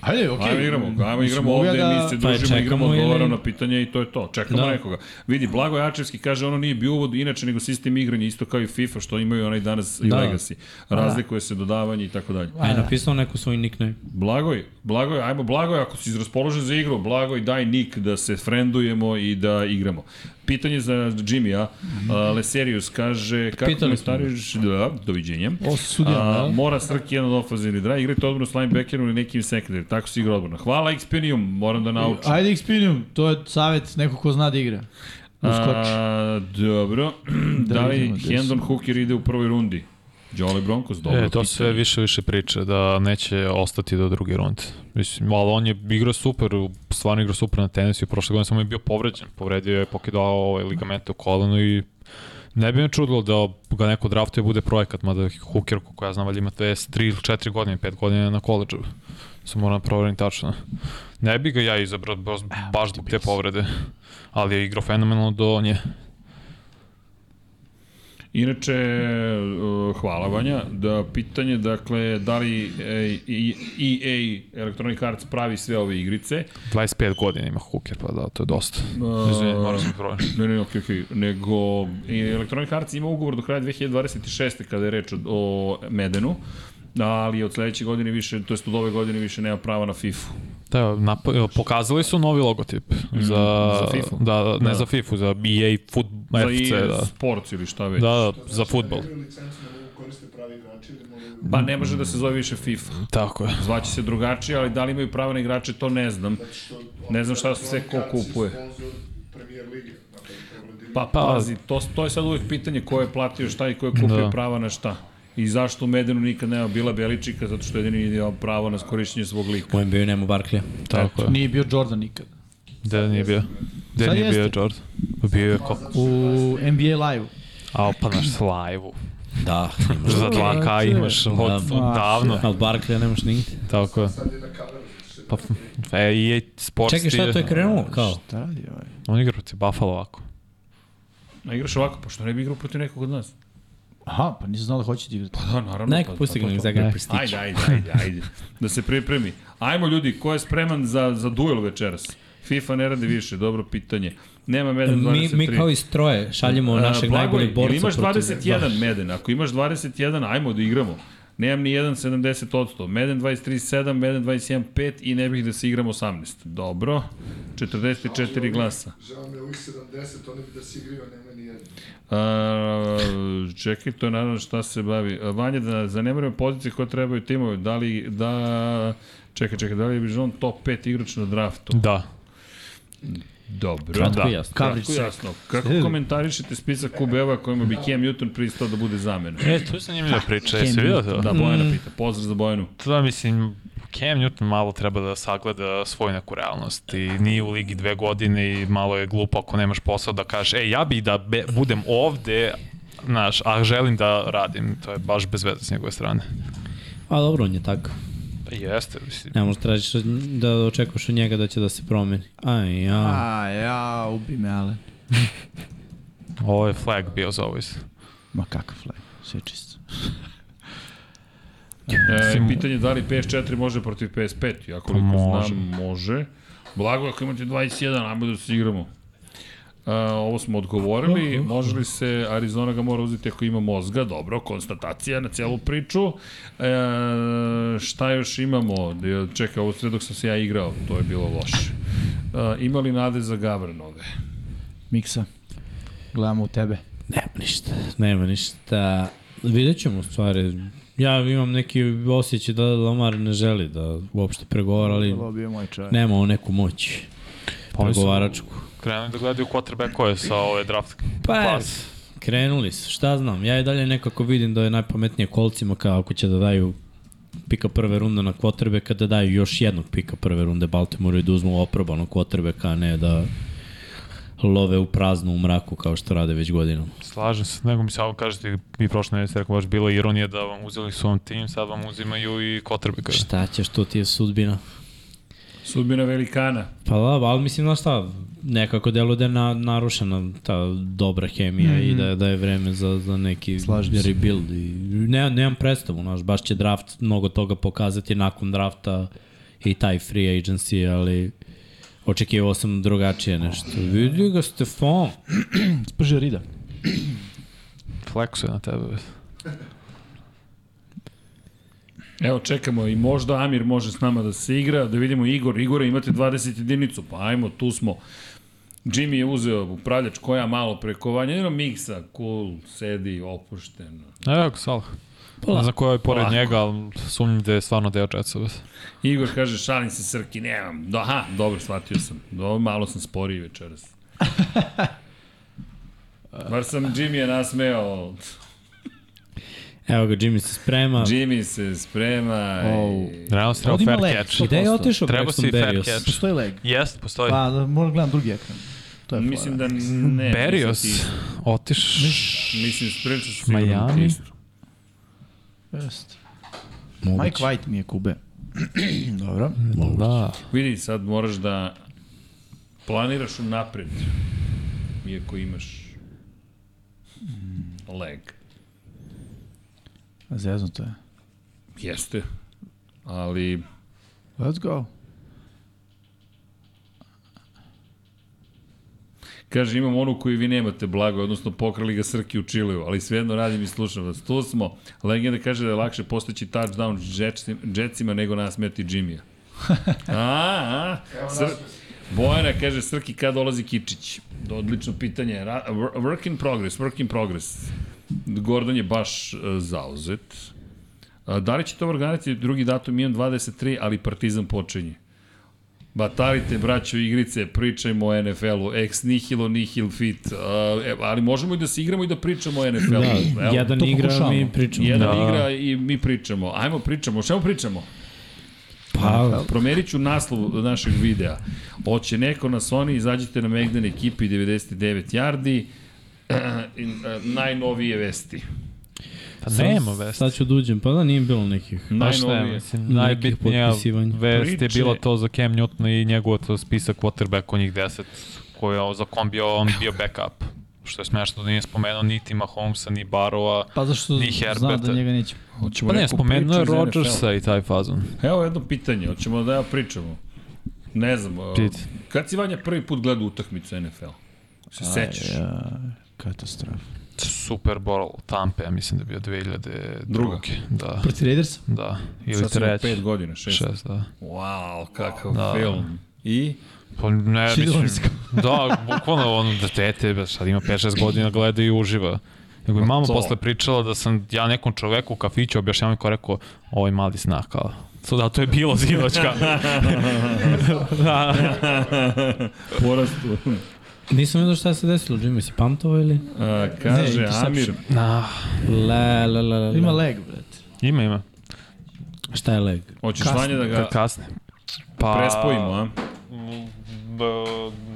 [SPEAKER 3] Ajde, okej.
[SPEAKER 1] Ajmo da igramo, ajmo
[SPEAKER 3] Mislim,
[SPEAKER 1] igramo
[SPEAKER 3] mogu ja
[SPEAKER 1] ovde,
[SPEAKER 3] da-
[SPEAKER 1] mi se
[SPEAKER 2] Pa,
[SPEAKER 1] družimo, igramo,
[SPEAKER 2] čekamo
[SPEAKER 1] odgovaramo
[SPEAKER 2] ili-
[SPEAKER 1] na pitanje i to je to. Čekamo
[SPEAKER 2] Da.
[SPEAKER 1] nekoga. Vidi, Blago Jačevski kaže, ono nije bio uvod inače nego sistem igranja, isto kao i FIFA, što imaju onaj danas i
[SPEAKER 2] Da.
[SPEAKER 1] Legacy. Razlikuje se dodavanje i tako dalje.
[SPEAKER 2] A je napisao neku svoj nickname.
[SPEAKER 1] Blagoj, Blagoj, ajmo Blagoj, ako si raspoložen za igru, Blagoj, daj nik da se frendujemo i da igramo. Pitanje za Jimmy-a, uh, Leserius kaže, kako
[SPEAKER 2] Pitali
[SPEAKER 1] mi
[SPEAKER 2] smo.
[SPEAKER 1] stariš, da, doviđenja.
[SPEAKER 3] Ovo se sudija,
[SPEAKER 1] A,
[SPEAKER 3] da?
[SPEAKER 1] mora Srki jedan od ofazivni draj, igrajte odbranu s linebackerom ili nekim sekundarim, tako se igra odbrana. Hvala Xperium, moram da naučim.
[SPEAKER 3] Ajde, Xpinium, to je savjet, neko ko zna da igra. Uskoči.
[SPEAKER 1] A, dobro, da, li
[SPEAKER 3] vidimo gde su.
[SPEAKER 1] Hendon Hooker ide u prvoj rundi? Jolly Broncos, dobro.
[SPEAKER 5] e, to
[SPEAKER 1] pitanje.
[SPEAKER 5] sve više više priče da neće ostati do druge runde. Mislim, ali on je igrao super, stvarno igrao super na tenisu i prošle godine samo je bio povređen. Povredio je, pokidao ovaj ligamente u kolenu i ne bi me čudilo da ga neko draftuje bude projekat, mada Hooker, kako ja znam, valjda ima 23 ili 4 godine, 5 godina na koleđu. Samo moram da proverim tačno. Ne bi ga ja izabrao baš, baš zbog te povrede, ali je igrao fenomenalno do nje.
[SPEAKER 1] Inače, uh, hvala Vanja, da pitanje, dakle, da li e, i- EA Electronic Arts pravi sve ove igrice?
[SPEAKER 5] 25 godina ima Hooker, pa da, to je dosta.
[SPEAKER 1] A-
[SPEAKER 5] Izvini, moram sam proverim.
[SPEAKER 1] Eh, Ne, ne, okej, okej, nego i Electronic Arts ima ugovor do kraja 2026. kada je reč o, o Medenu, ali od sledeće godine više, to jest od ove godine više nema prava na FIFA.
[SPEAKER 5] Da, nap- pokazali su novi logotip za,
[SPEAKER 1] za FIFA.
[SPEAKER 5] Da, da, ne
[SPEAKER 1] Da.
[SPEAKER 5] za FIFA, za EA Foot
[SPEAKER 1] Za E
[SPEAKER 5] FC,
[SPEAKER 1] EA
[SPEAKER 5] da.
[SPEAKER 1] Sports ili šta već.
[SPEAKER 5] Da, da, za futbol.
[SPEAKER 4] licencu ne mogu koriste pravi igrači ili moraju...
[SPEAKER 1] Pa ne može da se zove više FIFA.
[SPEAKER 5] Tako je.
[SPEAKER 1] Zvaće se drugačije, ali da li imaju prava na igrače, to ne znam.
[SPEAKER 4] Što,
[SPEAKER 1] Ne znam šta su sve ko kupuje.
[SPEAKER 4] Sponzor Premier Lige. Dakle,
[SPEAKER 1] Pa,
[SPEAKER 5] Pa-
[SPEAKER 1] pazi, to, to je sad uvek pitanje ko je platio šta i ko je kupio da.
[SPEAKER 5] Da.
[SPEAKER 1] prava na šta. I zašto u Medenu nikad nema bila Beličika, zato što jedini je imao pravo na korišćenje svog lika.
[SPEAKER 2] U NBA nema Barklija.
[SPEAKER 5] Tako je.
[SPEAKER 3] Nije bio Jordan nikad.
[SPEAKER 5] Gde nije bio? Gde
[SPEAKER 3] Sad
[SPEAKER 5] nije bio
[SPEAKER 3] jeste.
[SPEAKER 5] Jordan? Bio je kao...
[SPEAKER 3] U NBA live-u.
[SPEAKER 5] A, pa naš slavu.
[SPEAKER 2] Da.
[SPEAKER 5] Za 2K imaš od
[SPEAKER 2] Da.
[SPEAKER 5] davno.
[SPEAKER 2] Ali Barklija nemaš nigde.
[SPEAKER 5] Tako je. Pa, e, EA Sports
[SPEAKER 2] Čekaj, šta to je krenulo? Kao?
[SPEAKER 3] Šta radi ovaj?
[SPEAKER 5] On igra protiv Buffalo ovako.
[SPEAKER 1] A igraš ovako, pa što ne bi igrao protiv nekog od nas?
[SPEAKER 3] Aha, pa nisam znao da hoćete igrati.
[SPEAKER 1] Da, naravno.
[SPEAKER 2] Neka pusti ga nek zagra
[SPEAKER 5] Ne.
[SPEAKER 2] prstić.
[SPEAKER 1] Ajde, ajde, ajde, ajde. Da se pripremi. Ajmo ljudi, ko je spreman za, za duel večeras? FIFA ne radi više, dobro pitanje. Nema Meden 23.
[SPEAKER 2] Mi, mi kao iz stroje šaljemo
[SPEAKER 1] A,
[SPEAKER 2] našeg
[SPEAKER 1] Blagoje,
[SPEAKER 2] najboljeg borca.
[SPEAKER 1] Ili imaš
[SPEAKER 2] protiv- Da.
[SPEAKER 1] 21 Meden, ako imaš 21, ajmo da igramo. Nemam ni 1,70%. Meden 23,7, Meden 21,5 i ne bih da se igram 18. Dobro. 44 glasa.
[SPEAKER 4] Žao mi je ovih 70, oni bi da si igrio, nema ni jedno.
[SPEAKER 1] A, čekaj, to je naravno šta se bavi. A, Vanja, da zanemarimo pozicije koje trebaju timove. Da li, da... Čekaj, čekaj, da li bi on top 5 igrač na draftu?
[SPEAKER 5] Da.
[SPEAKER 1] Dobro.
[SPEAKER 2] Kratko
[SPEAKER 5] Da.
[SPEAKER 2] i jasno.
[SPEAKER 1] Kratko i jasno. Kako komentarišete spisak klubeva kojima bi Cam Newton pristao da bude zamena?
[SPEAKER 5] E, to je zanimljiva priča, jesi vidio to?
[SPEAKER 1] Da, Bojana pita. Pozdrav za Bojanu.
[SPEAKER 5] Da, mislim, Cam Newton malo treba da sagleda svoju neku realnost i nije u ligi dve godine i malo je glupo ako nemaš posao da kažeš, e, ja bi da be, budem ovde, znaš, a želim da radim, to je baš bez veze s njegove strane.
[SPEAKER 2] A dobro, on je tako.
[SPEAKER 5] Pa jeste, mislim.
[SPEAKER 2] Ne možeš tražiš od, da očekuješ od njega da će da se promeni. Aj, ja.
[SPEAKER 3] A, Pa, ja, ubi me, ale.
[SPEAKER 5] Ovo je flag bio za ovaj always.
[SPEAKER 3] Ma kakav flag, sve čisto.
[SPEAKER 1] E,
[SPEAKER 5] Mislim- Pa
[SPEAKER 1] pitanje je da li PS4 može protiv PS5. Ja koliko
[SPEAKER 5] Može.
[SPEAKER 1] znam, može. Blago, ako imate 21, ajmo da se igramo. E, ovo smo
[SPEAKER 5] Da,
[SPEAKER 1] odgovorili. Može li se, Arizona ga mora uzeti ako ima mozga. Dobro, konstatacija na celu priču. E, šta još imamo? Da, Čekaj, ovo sve dok sam se ja igrao, to je bilo loše. E, ima li nade za Gavranove?
[SPEAKER 3] Miksa, gledamo u tebe.
[SPEAKER 2] Nema ništa. Nema ništa. Vidjet ćemo u stvari. Ja imam neki osjećaj da Lamar ne želi da uopšte pregovara, ali
[SPEAKER 3] Ovo bio moj čovjek.
[SPEAKER 2] nema on neku moć
[SPEAKER 5] Pa
[SPEAKER 2] pregovaračku.
[SPEAKER 5] ovaj Krenu da gledaju quarterback koje sa ove draft
[SPEAKER 2] Pa,
[SPEAKER 5] class.
[SPEAKER 2] Krenuli su, šta znam, ja i dalje nekako vidim da je najpametnije kolcima kao ako će da daju pika prve runde na quarterbacka, da daju još jednog pika prve runde Baltimoreu i da uzmu oprobanog quarterbacka, a ne da love u prazno u mraku kao što rade već godinom.
[SPEAKER 5] Slažem se, nego mi samo kažete, vi prošle nedelje ste rekao, baš bila ironija da vam uzeli su vam tim, sad vam uzimaju i Kotrbeka.
[SPEAKER 2] Šta ćeš, to ti je sudbina.
[SPEAKER 1] Sudbina velikana.
[SPEAKER 2] Pa da, ali mislim, znaš šta, nekako delo da je na, narušena ta dobra hemija mm. i da, da je vreme za, za neki
[SPEAKER 3] Slažem se.
[SPEAKER 2] rebuild. I, ne, nemam predstavu, znaš, baš će draft mnogo toga pokazati nakon drafta i taj free agency, ali očekivao sam drugačije nešto. Vidi ga Stefan.
[SPEAKER 3] Spržio Rida.
[SPEAKER 5] Flexuje na tebe.
[SPEAKER 1] Evo, čekamo i možda Amir može s nama da se igra, da vidimo Igor. Igore, imate 20 jedinicu, pa ajmo, tu smo. Jimmy je uzeo upravljač koja malo prekovanja, jedno miksa, cool, sedi, opušteno.
[SPEAKER 5] Evo ga Salah. Ne znam ko je pored
[SPEAKER 1] Polako.
[SPEAKER 5] njega, ali sumnjim da je stvarno deo Jetsa.
[SPEAKER 1] Igor kaže, šalim se Srki, nemam. Da, Aha, dobro, shvatio sam. Dobro, malo sam sporiji večeras. Bar sam Jimmy je nasmeo.
[SPEAKER 2] Evo ga, Jimmy se sprema.
[SPEAKER 1] Jimmy se sprema. Oh.
[SPEAKER 3] Oh.
[SPEAKER 5] Realno si trebao
[SPEAKER 3] Ovdje ima
[SPEAKER 5] fair
[SPEAKER 3] leg.
[SPEAKER 5] catch.
[SPEAKER 2] Gde je
[SPEAKER 3] Posto.
[SPEAKER 2] otišao
[SPEAKER 5] Treba si
[SPEAKER 2] Braxton
[SPEAKER 5] i fair
[SPEAKER 2] Berrios?
[SPEAKER 5] catch.
[SPEAKER 3] Postoji leg.
[SPEAKER 5] Jest, postoji.
[SPEAKER 3] Pa, da, moram gledam drugi ekran. To je
[SPEAKER 1] Mislim
[SPEAKER 3] fora.
[SPEAKER 1] da ne.
[SPEAKER 5] Berrios,
[SPEAKER 1] mislim ti-
[SPEAKER 5] otiš...
[SPEAKER 1] Mislim, sprečaš sigurno
[SPEAKER 5] Miami?
[SPEAKER 1] Kristu.
[SPEAKER 3] Jeste. Mike
[SPEAKER 2] Moguće.
[SPEAKER 3] White mi je kube. Dobro.
[SPEAKER 5] Da.
[SPEAKER 1] Vidi, sad moraš da planiraš unapred, iako imaš leg.
[SPEAKER 3] Zezno to je.
[SPEAKER 1] Jeste, ali
[SPEAKER 3] Let's go.
[SPEAKER 1] Kaže, imam onu koju vi nemate blago, odnosno pokrali ga Srki u Čiliju, ali svejedno radim i slušam vas. Tu smo. Legenda kaže da je lakše postići touchdown Jetsim- Jetsima nego nasmeti Jimmy-a. a, a, Sr... Bojana kaže, Srki, kad dolazi Kičić? Odlično pitanje. Ra- wor- Work in progress, work in progress. Gordon je baš e, zauzet. A, Da li će to organizati drugi datum? Imam 23, ali Partizan počinje. Batarite, braćo, igrice, pričajmo o NFL-u, ex nihilo, nihil fit, a, e, ali možemo i da se igramo i da pričamo o NFL-u.
[SPEAKER 2] Da,
[SPEAKER 1] Evo,
[SPEAKER 2] jedan
[SPEAKER 3] to
[SPEAKER 2] igra
[SPEAKER 3] pokušavamo.
[SPEAKER 2] mi pričamo.
[SPEAKER 1] jedan
[SPEAKER 5] Da.
[SPEAKER 1] igra i mi pričamo. Ajmo pričamo, o čemu pričamo?
[SPEAKER 2] Pa,
[SPEAKER 1] Promerit ću naslov našeg videa. Oće neko na Sony, izađite na Megden ekipi 99 yardi, i, e, najnovije vesti.
[SPEAKER 5] Pa nema vesti.
[SPEAKER 2] Sad ću da uđem, pa da nije bilo nekih.
[SPEAKER 5] Pa šta je,
[SPEAKER 1] Najnovije.
[SPEAKER 5] mislim,
[SPEAKER 2] Nekih
[SPEAKER 5] najbitnija
[SPEAKER 2] potpisivanja.
[SPEAKER 5] vest je
[SPEAKER 1] Priče.
[SPEAKER 5] bila to za Cam Newton i njegov to spisak quarterback u njih 10, koji je za kom bio, on bio backup. Što je smešno da nije spomenuo niti Mahomesa, ni Barova.
[SPEAKER 3] Pa zašto
[SPEAKER 5] Ni
[SPEAKER 3] znam
[SPEAKER 5] Herberta.
[SPEAKER 3] da njega neće.
[SPEAKER 1] Hoćemo
[SPEAKER 5] Pa ne,
[SPEAKER 1] neku
[SPEAKER 5] spomenuo je
[SPEAKER 1] priču iz
[SPEAKER 5] Rodgersa i taj fazon.
[SPEAKER 1] Evo jedno pitanje, hoćemo da ja pričamo. Ne znam, a,
[SPEAKER 5] Pit.
[SPEAKER 1] kad si Vanja prvi put gledao utakmicu NFL? Se sećaš?
[SPEAKER 3] Ja, katastrofa.
[SPEAKER 5] Super Bowl Tampa, ja mislim da je bio 2002.
[SPEAKER 1] Druga.
[SPEAKER 5] Da,
[SPEAKER 3] Proti Raidersa?
[SPEAKER 5] da. Ili
[SPEAKER 1] Sad sam imao
[SPEAKER 5] treći.
[SPEAKER 1] pet godina, šest.
[SPEAKER 5] Šest, da.
[SPEAKER 1] Wow, kakav
[SPEAKER 5] Da.
[SPEAKER 1] film. I?
[SPEAKER 5] Pa ne,
[SPEAKER 3] Svidelo mi se
[SPEAKER 5] mislim, da, bukvalno ono detete, ba, sad ima 5-6 godina, gleda i uživa. Nego mi mama
[SPEAKER 1] Pa to.
[SPEAKER 5] posle pričala da sam ja nekom čoveku u kafiću objašnjavam kao rekao, ovaj mali snak, kao. So, da, to je bilo zinoćka. da,
[SPEAKER 1] Porastu. Eh,
[SPEAKER 2] Nisam vidio šta se desilo, Jimmy, si pamtovao ili?
[SPEAKER 1] A, kaže
[SPEAKER 3] Ne, interception.
[SPEAKER 1] Amir,
[SPEAKER 5] da.
[SPEAKER 2] La, la, la, la, la.
[SPEAKER 3] Ima leg, brate.
[SPEAKER 5] Ima, ima.
[SPEAKER 2] Šta je leg?
[SPEAKER 1] hoćeš
[SPEAKER 3] Kasno.
[SPEAKER 1] Vanja da ga
[SPEAKER 5] Kad kasne. Pa,
[SPEAKER 1] prespojimo, a?
[SPEAKER 5] m, b,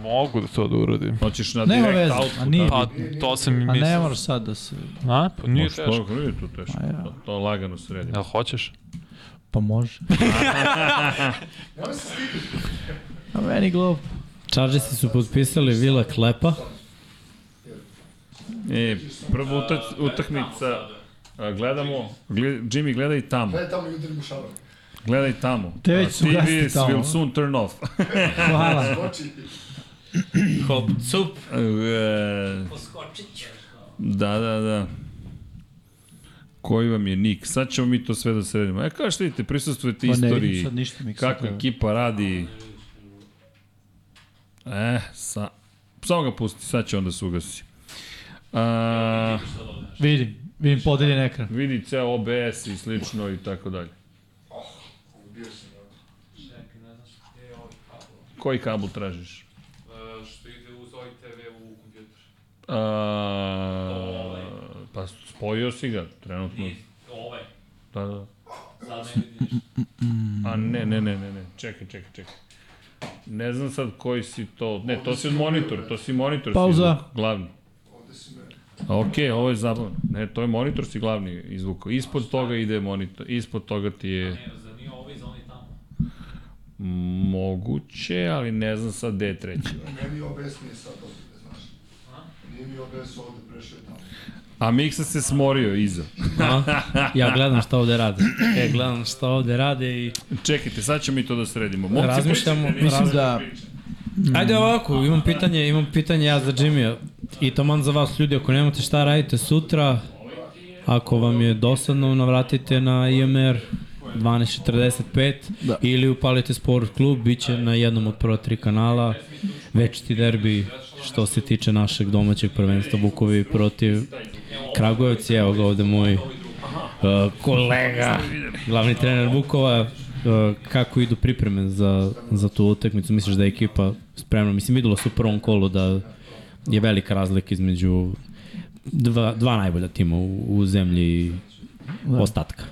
[SPEAKER 5] mogu da to da uradim.
[SPEAKER 1] Hoćeš na
[SPEAKER 3] Nema
[SPEAKER 1] direct
[SPEAKER 3] veze,
[SPEAKER 1] output.
[SPEAKER 3] a nije-
[SPEAKER 5] Pa, to sam i
[SPEAKER 3] A ne
[SPEAKER 5] mislio.
[SPEAKER 3] moraš sad da se...
[SPEAKER 5] A, pa nije
[SPEAKER 1] Može
[SPEAKER 5] teško.
[SPEAKER 1] to, nije to teško. Pa
[SPEAKER 3] A ja.
[SPEAKER 1] To, to lagano sredi.
[SPEAKER 5] Jel hoćeš?
[SPEAKER 3] Pa može. A meni glup.
[SPEAKER 2] Chargersi su potpisali Vila Klepa.
[SPEAKER 1] E, prva utak, utakmica, a, gledamo, gled, Jimmy gledaj tamo,
[SPEAKER 4] Gledaj tamo Judin Bušarov.
[SPEAKER 1] gledaj tamo.
[SPEAKER 3] Te već su
[SPEAKER 1] A
[SPEAKER 3] gasni
[SPEAKER 1] TVs
[SPEAKER 3] tamo,
[SPEAKER 1] will
[SPEAKER 3] a?
[SPEAKER 1] soon turn off.
[SPEAKER 3] Hvala.
[SPEAKER 4] Oči.
[SPEAKER 2] Hop, cup.
[SPEAKER 1] E, Da, da, da. Koji vam je nik? Sad ćemo mi to sve da sredimo. E, kao što vidite, prisustujete
[SPEAKER 3] Pa ne vidim
[SPEAKER 1] istoriji.
[SPEAKER 3] sad ništa mi
[SPEAKER 1] Kako ekipa radi. E, sa... Samo ga pusti, sad će onda se ugasi. A,
[SPEAKER 3] Vidim, vidim podeljen ekran.
[SPEAKER 1] vidi ceo OBS i slično i tako dalje. Koji kabel tražiš?
[SPEAKER 5] Što ide uz ovaj TV u kompjuter.
[SPEAKER 1] A, pa spojio si ga trenutno.
[SPEAKER 5] Ovaj.
[SPEAKER 1] Da, da.
[SPEAKER 5] Sad ne vidim
[SPEAKER 1] A ne, ne, ne, ne, ne. Čekaj, čekaj, čekaj. Ne znam sad koji si to... Ne, to si od monitor, to si monitor.
[SPEAKER 3] Pauza.
[SPEAKER 1] Si izvuk, glavni. Ok, ovo je zabavno. Ne, to je monitor si glavni izvuk. Ispod toga ide monitor, ispod toga ti je... Moguće, ali ne znam sad gde je treći.
[SPEAKER 4] Meni OBS nije sad ovde, znaš. Nije mi OBS ovde prešao je tamo.
[SPEAKER 1] A Miksa se smorio iza.
[SPEAKER 2] A? Ja gledam šta ovde rade. Ja gledam šta ovde rade i
[SPEAKER 1] Čekajte, sad ćemo mi to da sredimo. Momci,
[SPEAKER 2] Razmišljamo-
[SPEAKER 1] pričajte,
[SPEAKER 2] mislim
[SPEAKER 1] pričajte,
[SPEAKER 3] da-
[SPEAKER 1] pričajte.
[SPEAKER 2] Ajde ovako, imam pitanje, imam pitanje ja za Jimmy i taman za vas ljudi, ako nemate šta radite sutra, ako vam je dosadno, navratite na IMR 12.45
[SPEAKER 3] Da.
[SPEAKER 2] ili upalite Sport klub, bit će na jednom od prva tri kanala večiti derbi što se tiče našeg domaćeg prvenstva Vukovi protiv Kragujevci, evo ga ovde moj uh, kolega, glavni trener Vukova, uh, kako idu pripreme za, za tu utakmicu, misliš da je ekipa spremna, mislim videlo se u prvom kolu da je velika razlika između dva, dva najbolja tima u, u zemlji i ostatka.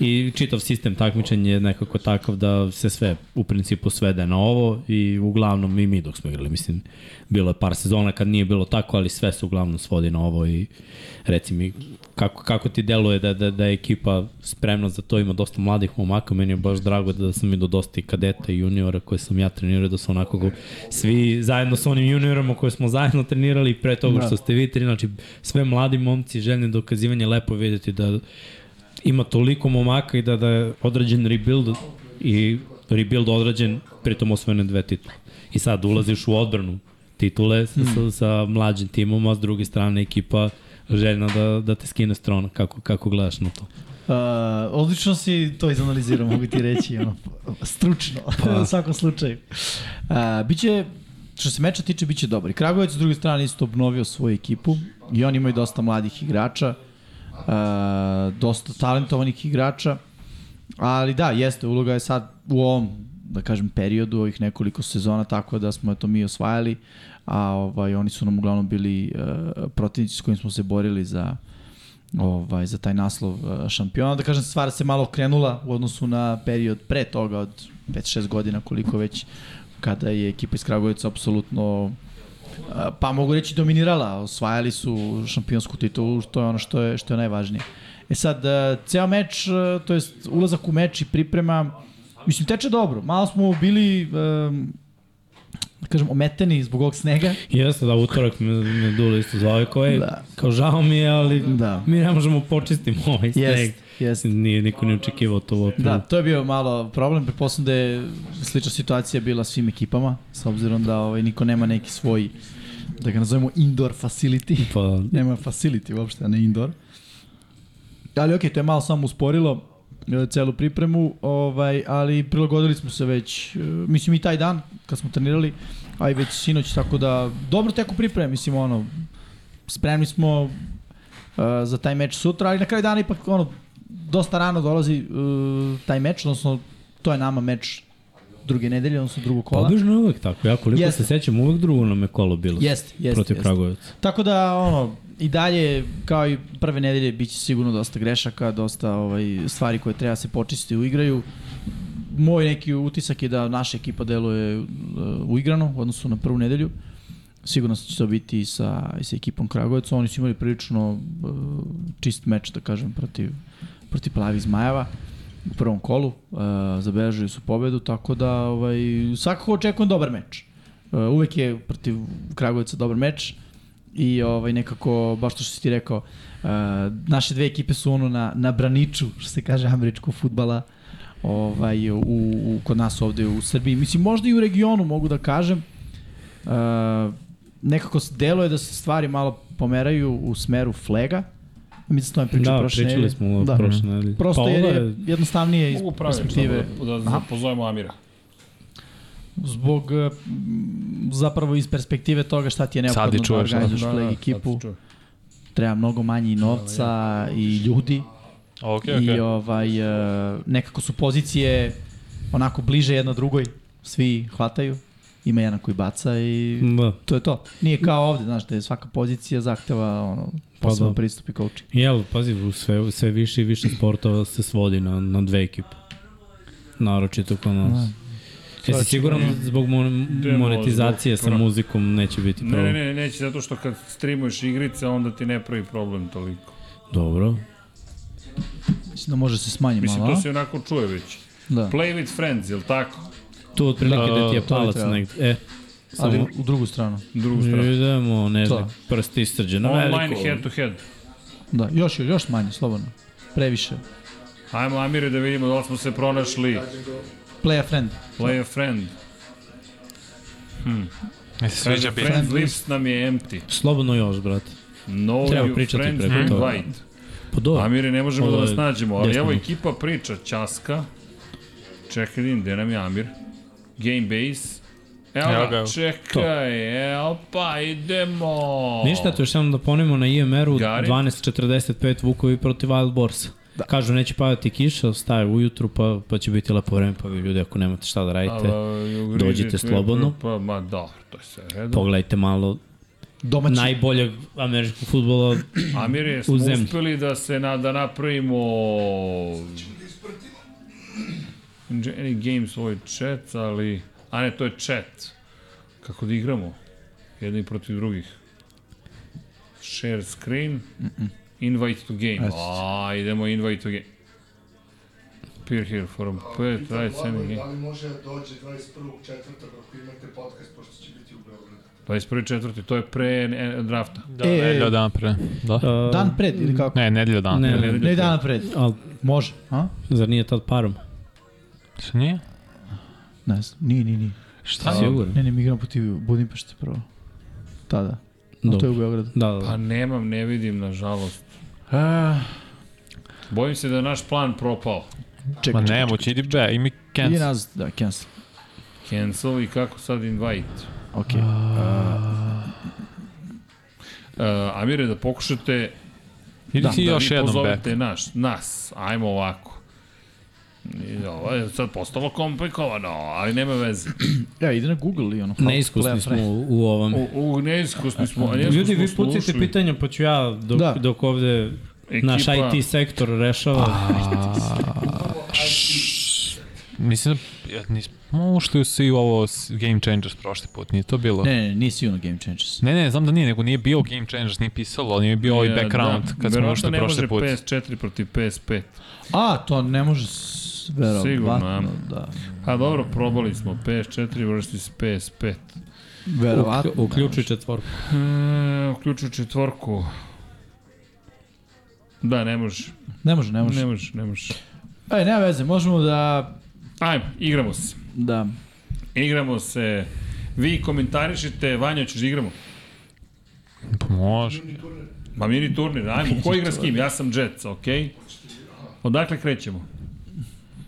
[SPEAKER 2] I čitav sistem takmičenja je nekako takav da se sve u principu svede na ovo i uglavnom i mi dok smo igrali, mislim, bilo je par sezona kad nije bilo tako, ali sve se uglavnom svodi na ovo i reci mi kako, kako ti deluje da, da, da je ekipa spremna za to, ima dosta mladih momaka, meni je baš drago da sam vidio dosta i kadeta i juniora koje sam ja trenirao, da su onako go, svi zajedno sa onim juniorama koje smo zajedno trenirali i pre toga
[SPEAKER 3] Da.
[SPEAKER 2] što ste vi trenirali, znači sve mladi momci željni dokazivanje, lepo je vidjeti da ima toliko momaka i da, da je odrađen rebuild i rebuild odrađen pritom osvojene dve titule. I sad ulaziš u odbranu titule sa,
[SPEAKER 3] Hmm.
[SPEAKER 2] sa, sa mlađim timom, a s druge strane ekipa željna da, da te skine s trona. Kako, kako gledaš na to?
[SPEAKER 3] Uh, odlično si to izanalizirao, mogu ti reći, ono, stručno,
[SPEAKER 2] Pa.
[SPEAKER 3] u svakom slučaju. Uh, biće, što se meča tiče, biće dobar. I Kragujevac, s druge strane, isto obnovio svoju ekipu i oni imaju dosta mladih igrača, uh, dosta talentovanih igrača, ali da, jeste, uloga je sad u ovom, da kažem, periodu, ovih nekoliko sezona, tako da smo eto mi osvajali, a ovaj, oni su nam uglavnom bili uh, protivnici s kojim smo se borili za ovaj, za taj naslov eh, šampiona. Da kažem, stvar se malo okrenula u odnosu na period pre toga od 5-6 godina koliko već kada je ekipa iz Kragovica apsolutno eh, pa mogu reći dominirala, osvajali su šampionsku titulu, što je ono što je, što je najvažnije. E sad, eh, ceo meč, eh, to jest ulazak u meč i priprema, mislim, teče dobro. Malo smo bili, eh, da kažem, ometeni zbog ovog snega.
[SPEAKER 2] Jeste da utorak me, me Dule isto zvao i kao, da.
[SPEAKER 3] Da.
[SPEAKER 2] kao žao mi je, ali
[SPEAKER 3] Da.
[SPEAKER 2] mi ne možemo počistiti ovaj sneg.
[SPEAKER 3] Jest, jest.
[SPEAKER 2] Nije niko ni očekivao to u aprilu.
[SPEAKER 3] Da, to je bio malo problem, pretpostavljam da je slična situacija bila svim ekipama, s obzirom da ovaj, niko nema neki svoj, da ga nazovemo indoor facility.
[SPEAKER 2] Pa,
[SPEAKER 3] Nema facility uopšte, a ne indoor. Ali okej, to je malo samo usporilo e, celu pripremu, ovaj, ali prilagodili smo se već, e, mislim i taj dan kad smo trenirali, a i već sinoć, tako da dobro teku pripreme, mislim ono, spremni smo e, za taj meč sutra, ali na kraju dana ipak ono, dosta rano dolazi e, taj meč, odnosno to je nama meč druge nedelje, odnosno drugo
[SPEAKER 2] pa
[SPEAKER 3] kola.
[SPEAKER 2] obično je uvek tako. Ja koliko
[SPEAKER 3] Jeste.
[SPEAKER 2] se sećam, uvek drugo nam je kolo bilo.
[SPEAKER 3] Jeste, jeste.
[SPEAKER 2] protiv
[SPEAKER 3] jeste.
[SPEAKER 2] Kragujevca.
[SPEAKER 3] Tako da, ono, i dalje, kao i prve nedelje, bit će sigurno dosta grešaka, dosta ovaj, stvari koje treba se počistiti u igraju. Moj neki utisak je da naša ekipa deluje uh, uigrano u odnosu na prvu nedelju. Sigurno će to biti i sa, i sa ekipom Kragujevca. Oni su imali prilično uh, čist meč, da kažem, protiv, protiv Plavi Zmajeva u prvom kolu. Uh, zabeležili su pobedu, tako da ovaj, svakako očekujem dobar meč. Uh, uvek je protiv Kragujevca dobar meč. Uh, i ovaj nekako baš to što si ti rekao uh, naše dve ekipe su ono na na braniču što se kaže američkog fudbala ovaj u, u kod nas ovde u Srbiji mislim možda i u regionu mogu da kažem uh, nekako s- deluje da se stvari malo pomeraju u smeru flega mislim da smo pričali
[SPEAKER 2] Da,
[SPEAKER 3] prošle
[SPEAKER 2] pričali
[SPEAKER 3] nedelje.
[SPEAKER 2] smo da.
[SPEAKER 3] da.
[SPEAKER 2] prošle nedelje.
[SPEAKER 3] prosto
[SPEAKER 2] pa
[SPEAKER 3] jer
[SPEAKER 2] ovo
[SPEAKER 3] je jednostavnije iz
[SPEAKER 1] Mogu praviti,
[SPEAKER 3] perspektive
[SPEAKER 1] da, da, da
[SPEAKER 3] Aha.
[SPEAKER 1] pozovemo Amira.
[SPEAKER 3] zbog eh, m, zapravo iz perspektive toga šta ti je
[SPEAKER 5] Sad i
[SPEAKER 3] neophodno da
[SPEAKER 5] čuješ, da.
[SPEAKER 3] organizuješ
[SPEAKER 1] Da,
[SPEAKER 3] flag
[SPEAKER 1] da,
[SPEAKER 3] ekipu
[SPEAKER 1] sad se čuje.
[SPEAKER 3] treba mnogo manje i novca i ljudi
[SPEAKER 5] Ok,
[SPEAKER 3] i
[SPEAKER 5] ok.
[SPEAKER 3] ovaj e, nekako su pozicije onako bliže jedna drugoj, svi hvataju, ima jedan koji baca i
[SPEAKER 2] Da.
[SPEAKER 3] to je to. Nije kao ovde, znaš, da je svaka pozicija zahteva ono
[SPEAKER 2] Pa
[SPEAKER 3] posebno
[SPEAKER 2] da.
[SPEAKER 3] pristup i coaching.
[SPEAKER 2] I evo, pazi, u sve, sve više i više sportova se svodi na, na dve ekipe. Naročito kod nas.
[SPEAKER 3] Da.
[SPEAKER 2] Jesi siguran zbog mon
[SPEAKER 1] Idemo
[SPEAKER 2] monetizacije
[SPEAKER 1] zbog
[SPEAKER 2] sa
[SPEAKER 1] korona.
[SPEAKER 2] muzikom neće biti
[SPEAKER 1] Ne,
[SPEAKER 2] problem?
[SPEAKER 1] ne, ne, neće, zato što kad streamuješ igrice, onda ti ne pravi problem toliko.
[SPEAKER 2] Dobro.
[SPEAKER 3] Mislim da može se smanji
[SPEAKER 1] Mislim,
[SPEAKER 3] malo,
[SPEAKER 1] to
[SPEAKER 3] a?
[SPEAKER 1] se onako čuje već.
[SPEAKER 3] Da.
[SPEAKER 1] Play with friends, jel tako?
[SPEAKER 2] Tu otprilike da ti je
[SPEAKER 5] A,
[SPEAKER 3] bi
[SPEAKER 2] palac
[SPEAKER 3] trebalo.
[SPEAKER 2] negde. E,
[SPEAKER 3] Ali
[SPEAKER 2] samo
[SPEAKER 3] u drugu stranu.
[SPEAKER 1] Drugu stranu.
[SPEAKER 2] idemo, ne
[SPEAKER 3] To.
[SPEAKER 2] znam, prst istrđe na
[SPEAKER 1] Online
[SPEAKER 2] veliko.
[SPEAKER 1] head to head.
[SPEAKER 3] Da, još, još manje, slobodno. Previše.
[SPEAKER 1] Ajmo Amire da vidimo da li smo se pronašli.
[SPEAKER 3] Play a friend.
[SPEAKER 1] Play a friend.
[SPEAKER 5] Ne se sviđa
[SPEAKER 1] Kaže,
[SPEAKER 5] bit.
[SPEAKER 1] friends lips nam je empty.
[SPEAKER 2] Slobodno još, brate.
[SPEAKER 1] No
[SPEAKER 2] Treba
[SPEAKER 1] you
[SPEAKER 2] pričati
[SPEAKER 1] friends
[SPEAKER 2] preko toga.
[SPEAKER 1] invite.
[SPEAKER 2] Pa dobro.
[SPEAKER 1] Amire, ne možemo
[SPEAKER 2] Ovo
[SPEAKER 1] da
[SPEAKER 2] je
[SPEAKER 1] vas nađemo, ali
[SPEAKER 2] desno
[SPEAKER 1] evo
[SPEAKER 2] ruku.
[SPEAKER 1] ekipa priča. Ćaska. Čekaj, vidim, gde nam je Amir? Game base. Evo
[SPEAKER 5] Evo
[SPEAKER 1] ga,
[SPEAKER 5] ga.
[SPEAKER 1] čekaj, evo pa idemo.
[SPEAKER 2] Ništa, to još samo da ponovimo na IMR-u
[SPEAKER 1] Gari?
[SPEAKER 2] 12.45 Vukovi protiv Wild Borsa. Da. Kažu neće padati kiša, staje ujutru pa, pa će biti lepo vreme, pa vi ljudi ako nemate šta da radite,
[SPEAKER 1] Ali,
[SPEAKER 2] dođite slobodno.
[SPEAKER 1] Pa, ma da, to je sve redom.
[SPEAKER 2] pogledajte malo
[SPEAKER 3] Domaći.
[SPEAKER 2] najboljeg američkog futbola.
[SPEAKER 1] Amir, je, smo
[SPEAKER 2] zemlji.
[SPEAKER 1] uspeli da se na, da napravimo... Any game svoj chat, ali... A ne, to je chat. Kako da igramo? Jedni protiv drugih. Share screen. Invite to game.
[SPEAKER 3] Eto.
[SPEAKER 1] A, idemo invite to game. Peer here forum 5,
[SPEAKER 4] Pitam
[SPEAKER 1] right, send
[SPEAKER 4] Blagoje,
[SPEAKER 1] game.
[SPEAKER 4] da li može da dođe 21. četvrtog ako imate podcast, pošto će biti u Beogradu.
[SPEAKER 1] 21. četvrti, to je pre e, drafta.
[SPEAKER 5] Da,
[SPEAKER 3] E, e.
[SPEAKER 5] nedelja dan pre. Da?
[SPEAKER 2] Uh,
[SPEAKER 3] Pa, Dan pred ili kako?
[SPEAKER 5] Ne, nedelja dan
[SPEAKER 2] Ne,
[SPEAKER 5] pre.
[SPEAKER 2] ne, da.
[SPEAKER 3] Ne, dana pred.
[SPEAKER 2] Al,
[SPEAKER 3] Može, a?
[SPEAKER 2] zar nije tad parom?
[SPEAKER 5] Šta nije?
[SPEAKER 3] Ne znam, nije, nije, nije.
[SPEAKER 1] Pa, da.
[SPEAKER 5] Šta? E,
[SPEAKER 2] Sigurno.
[SPEAKER 3] Ne, ne, mi igramo protiv Budimpešte prvo. Tada. No, to je
[SPEAKER 2] Dobro.
[SPEAKER 3] u Beogradu.
[SPEAKER 2] Da, da,
[SPEAKER 1] Pa
[SPEAKER 2] da.
[SPEAKER 1] nemam, ne vidim, nažalost.
[SPEAKER 3] A,
[SPEAKER 1] Bojim se da je naš plan propao.
[SPEAKER 5] Ma
[SPEAKER 3] čekaj, čekaj.
[SPEAKER 5] ne, moći idi be, imi
[SPEAKER 3] Ide
[SPEAKER 5] cancel.
[SPEAKER 3] nazad, da, cancel.
[SPEAKER 1] Cancel i kako sad invite?
[SPEAKER 3] Ok.
[SPEAKER 1] Uh, Amire, da pokušate
[SPEAKER 5] Idi ti
[SPEAKER 1] da
[SPEAKER 5] još
[SPEAKER 1] vi
[SPEAKER 5] jednom be.
[SPEAKER 1] pozovete naš, nas. Ajmo ovako. I Ovo je sad postalo komplikovano, ali nema veze.
[SPEAKER 3] Ja, ide na Google i ono.
[SPEAKER 2] Neiskusni smo u, u ovom.
[SPEAKER 1] U, u neiskusni smo, a neiskusni
[SPEAKER 2] Ljudi, vi
[SPEAKER 1] smo
[SPEAKER 2] pucite
[SPEAKER 1] ušli.
[SPEAKER 2] pitanja, pa ću ja dok,
[SPEAKER 3] Da.
[SPEAKER 2] dok ovde naš
[SPEAKER 1] Ekipa-
[SPEAKER 2] IT sektor rešava.
[SPEAKER 3] Pa,
[SPEAKER 5] Mislim da ja, nismo ušli u svi u ovo s- Game Changers prošli put, nije to bilo?
[SPEAKER 3] Ne, ne, ne, nisi ono Game Changers.
[SPEAKER 5] Ne, ne, znam da nije, nego nije bio Game Changers, nije pisalo, ali nije bio ovaj
[SPEAKER 1] E,
[SPEAKER 5] background kad smo
[SPEAKER 1] verovatno
[SPEAKER 5] ušli
[SPEAKER 1] ne može
[SPEAKER 5] prošli put.
[SPEAKER 1] PS4 protiv PS5.
[SPEAKER 3] A, to ne može s- verovatno,
[SPEAKER 1] Sigurno,
[SPEAKER 3] da.
[SPEAKER 1] A dobro, probali smo PS4 versus PS5.
[SPEAKER 3] Verovatno. da.
[SPEAKER 2] Uk- Uključi četvorku.
[SPEAKER 1] E, uključuju četvorku. Da, ne može.
[SPEAKER 3] Ne može, ne
[SPEAKER 1] Ne
[SPEAKER 3] može.
[SPEAKER 1] može, ne može.
[SPEAKER 3] Ej, nema veze, možemo da...
[SPEAKER 1] Ajmo, igramo se.
[SPEAKER 3] Da.
[SPEAKER 1] Igramo se. Vi komentarišite, Vanja, ćeš da igramo?
[SPEAKER 5] Pa može.
[SPEAKER 1] Ma mini turnir, ajmo, ko igra s kim? Ja sam Jets, okej? Odakle krećemo?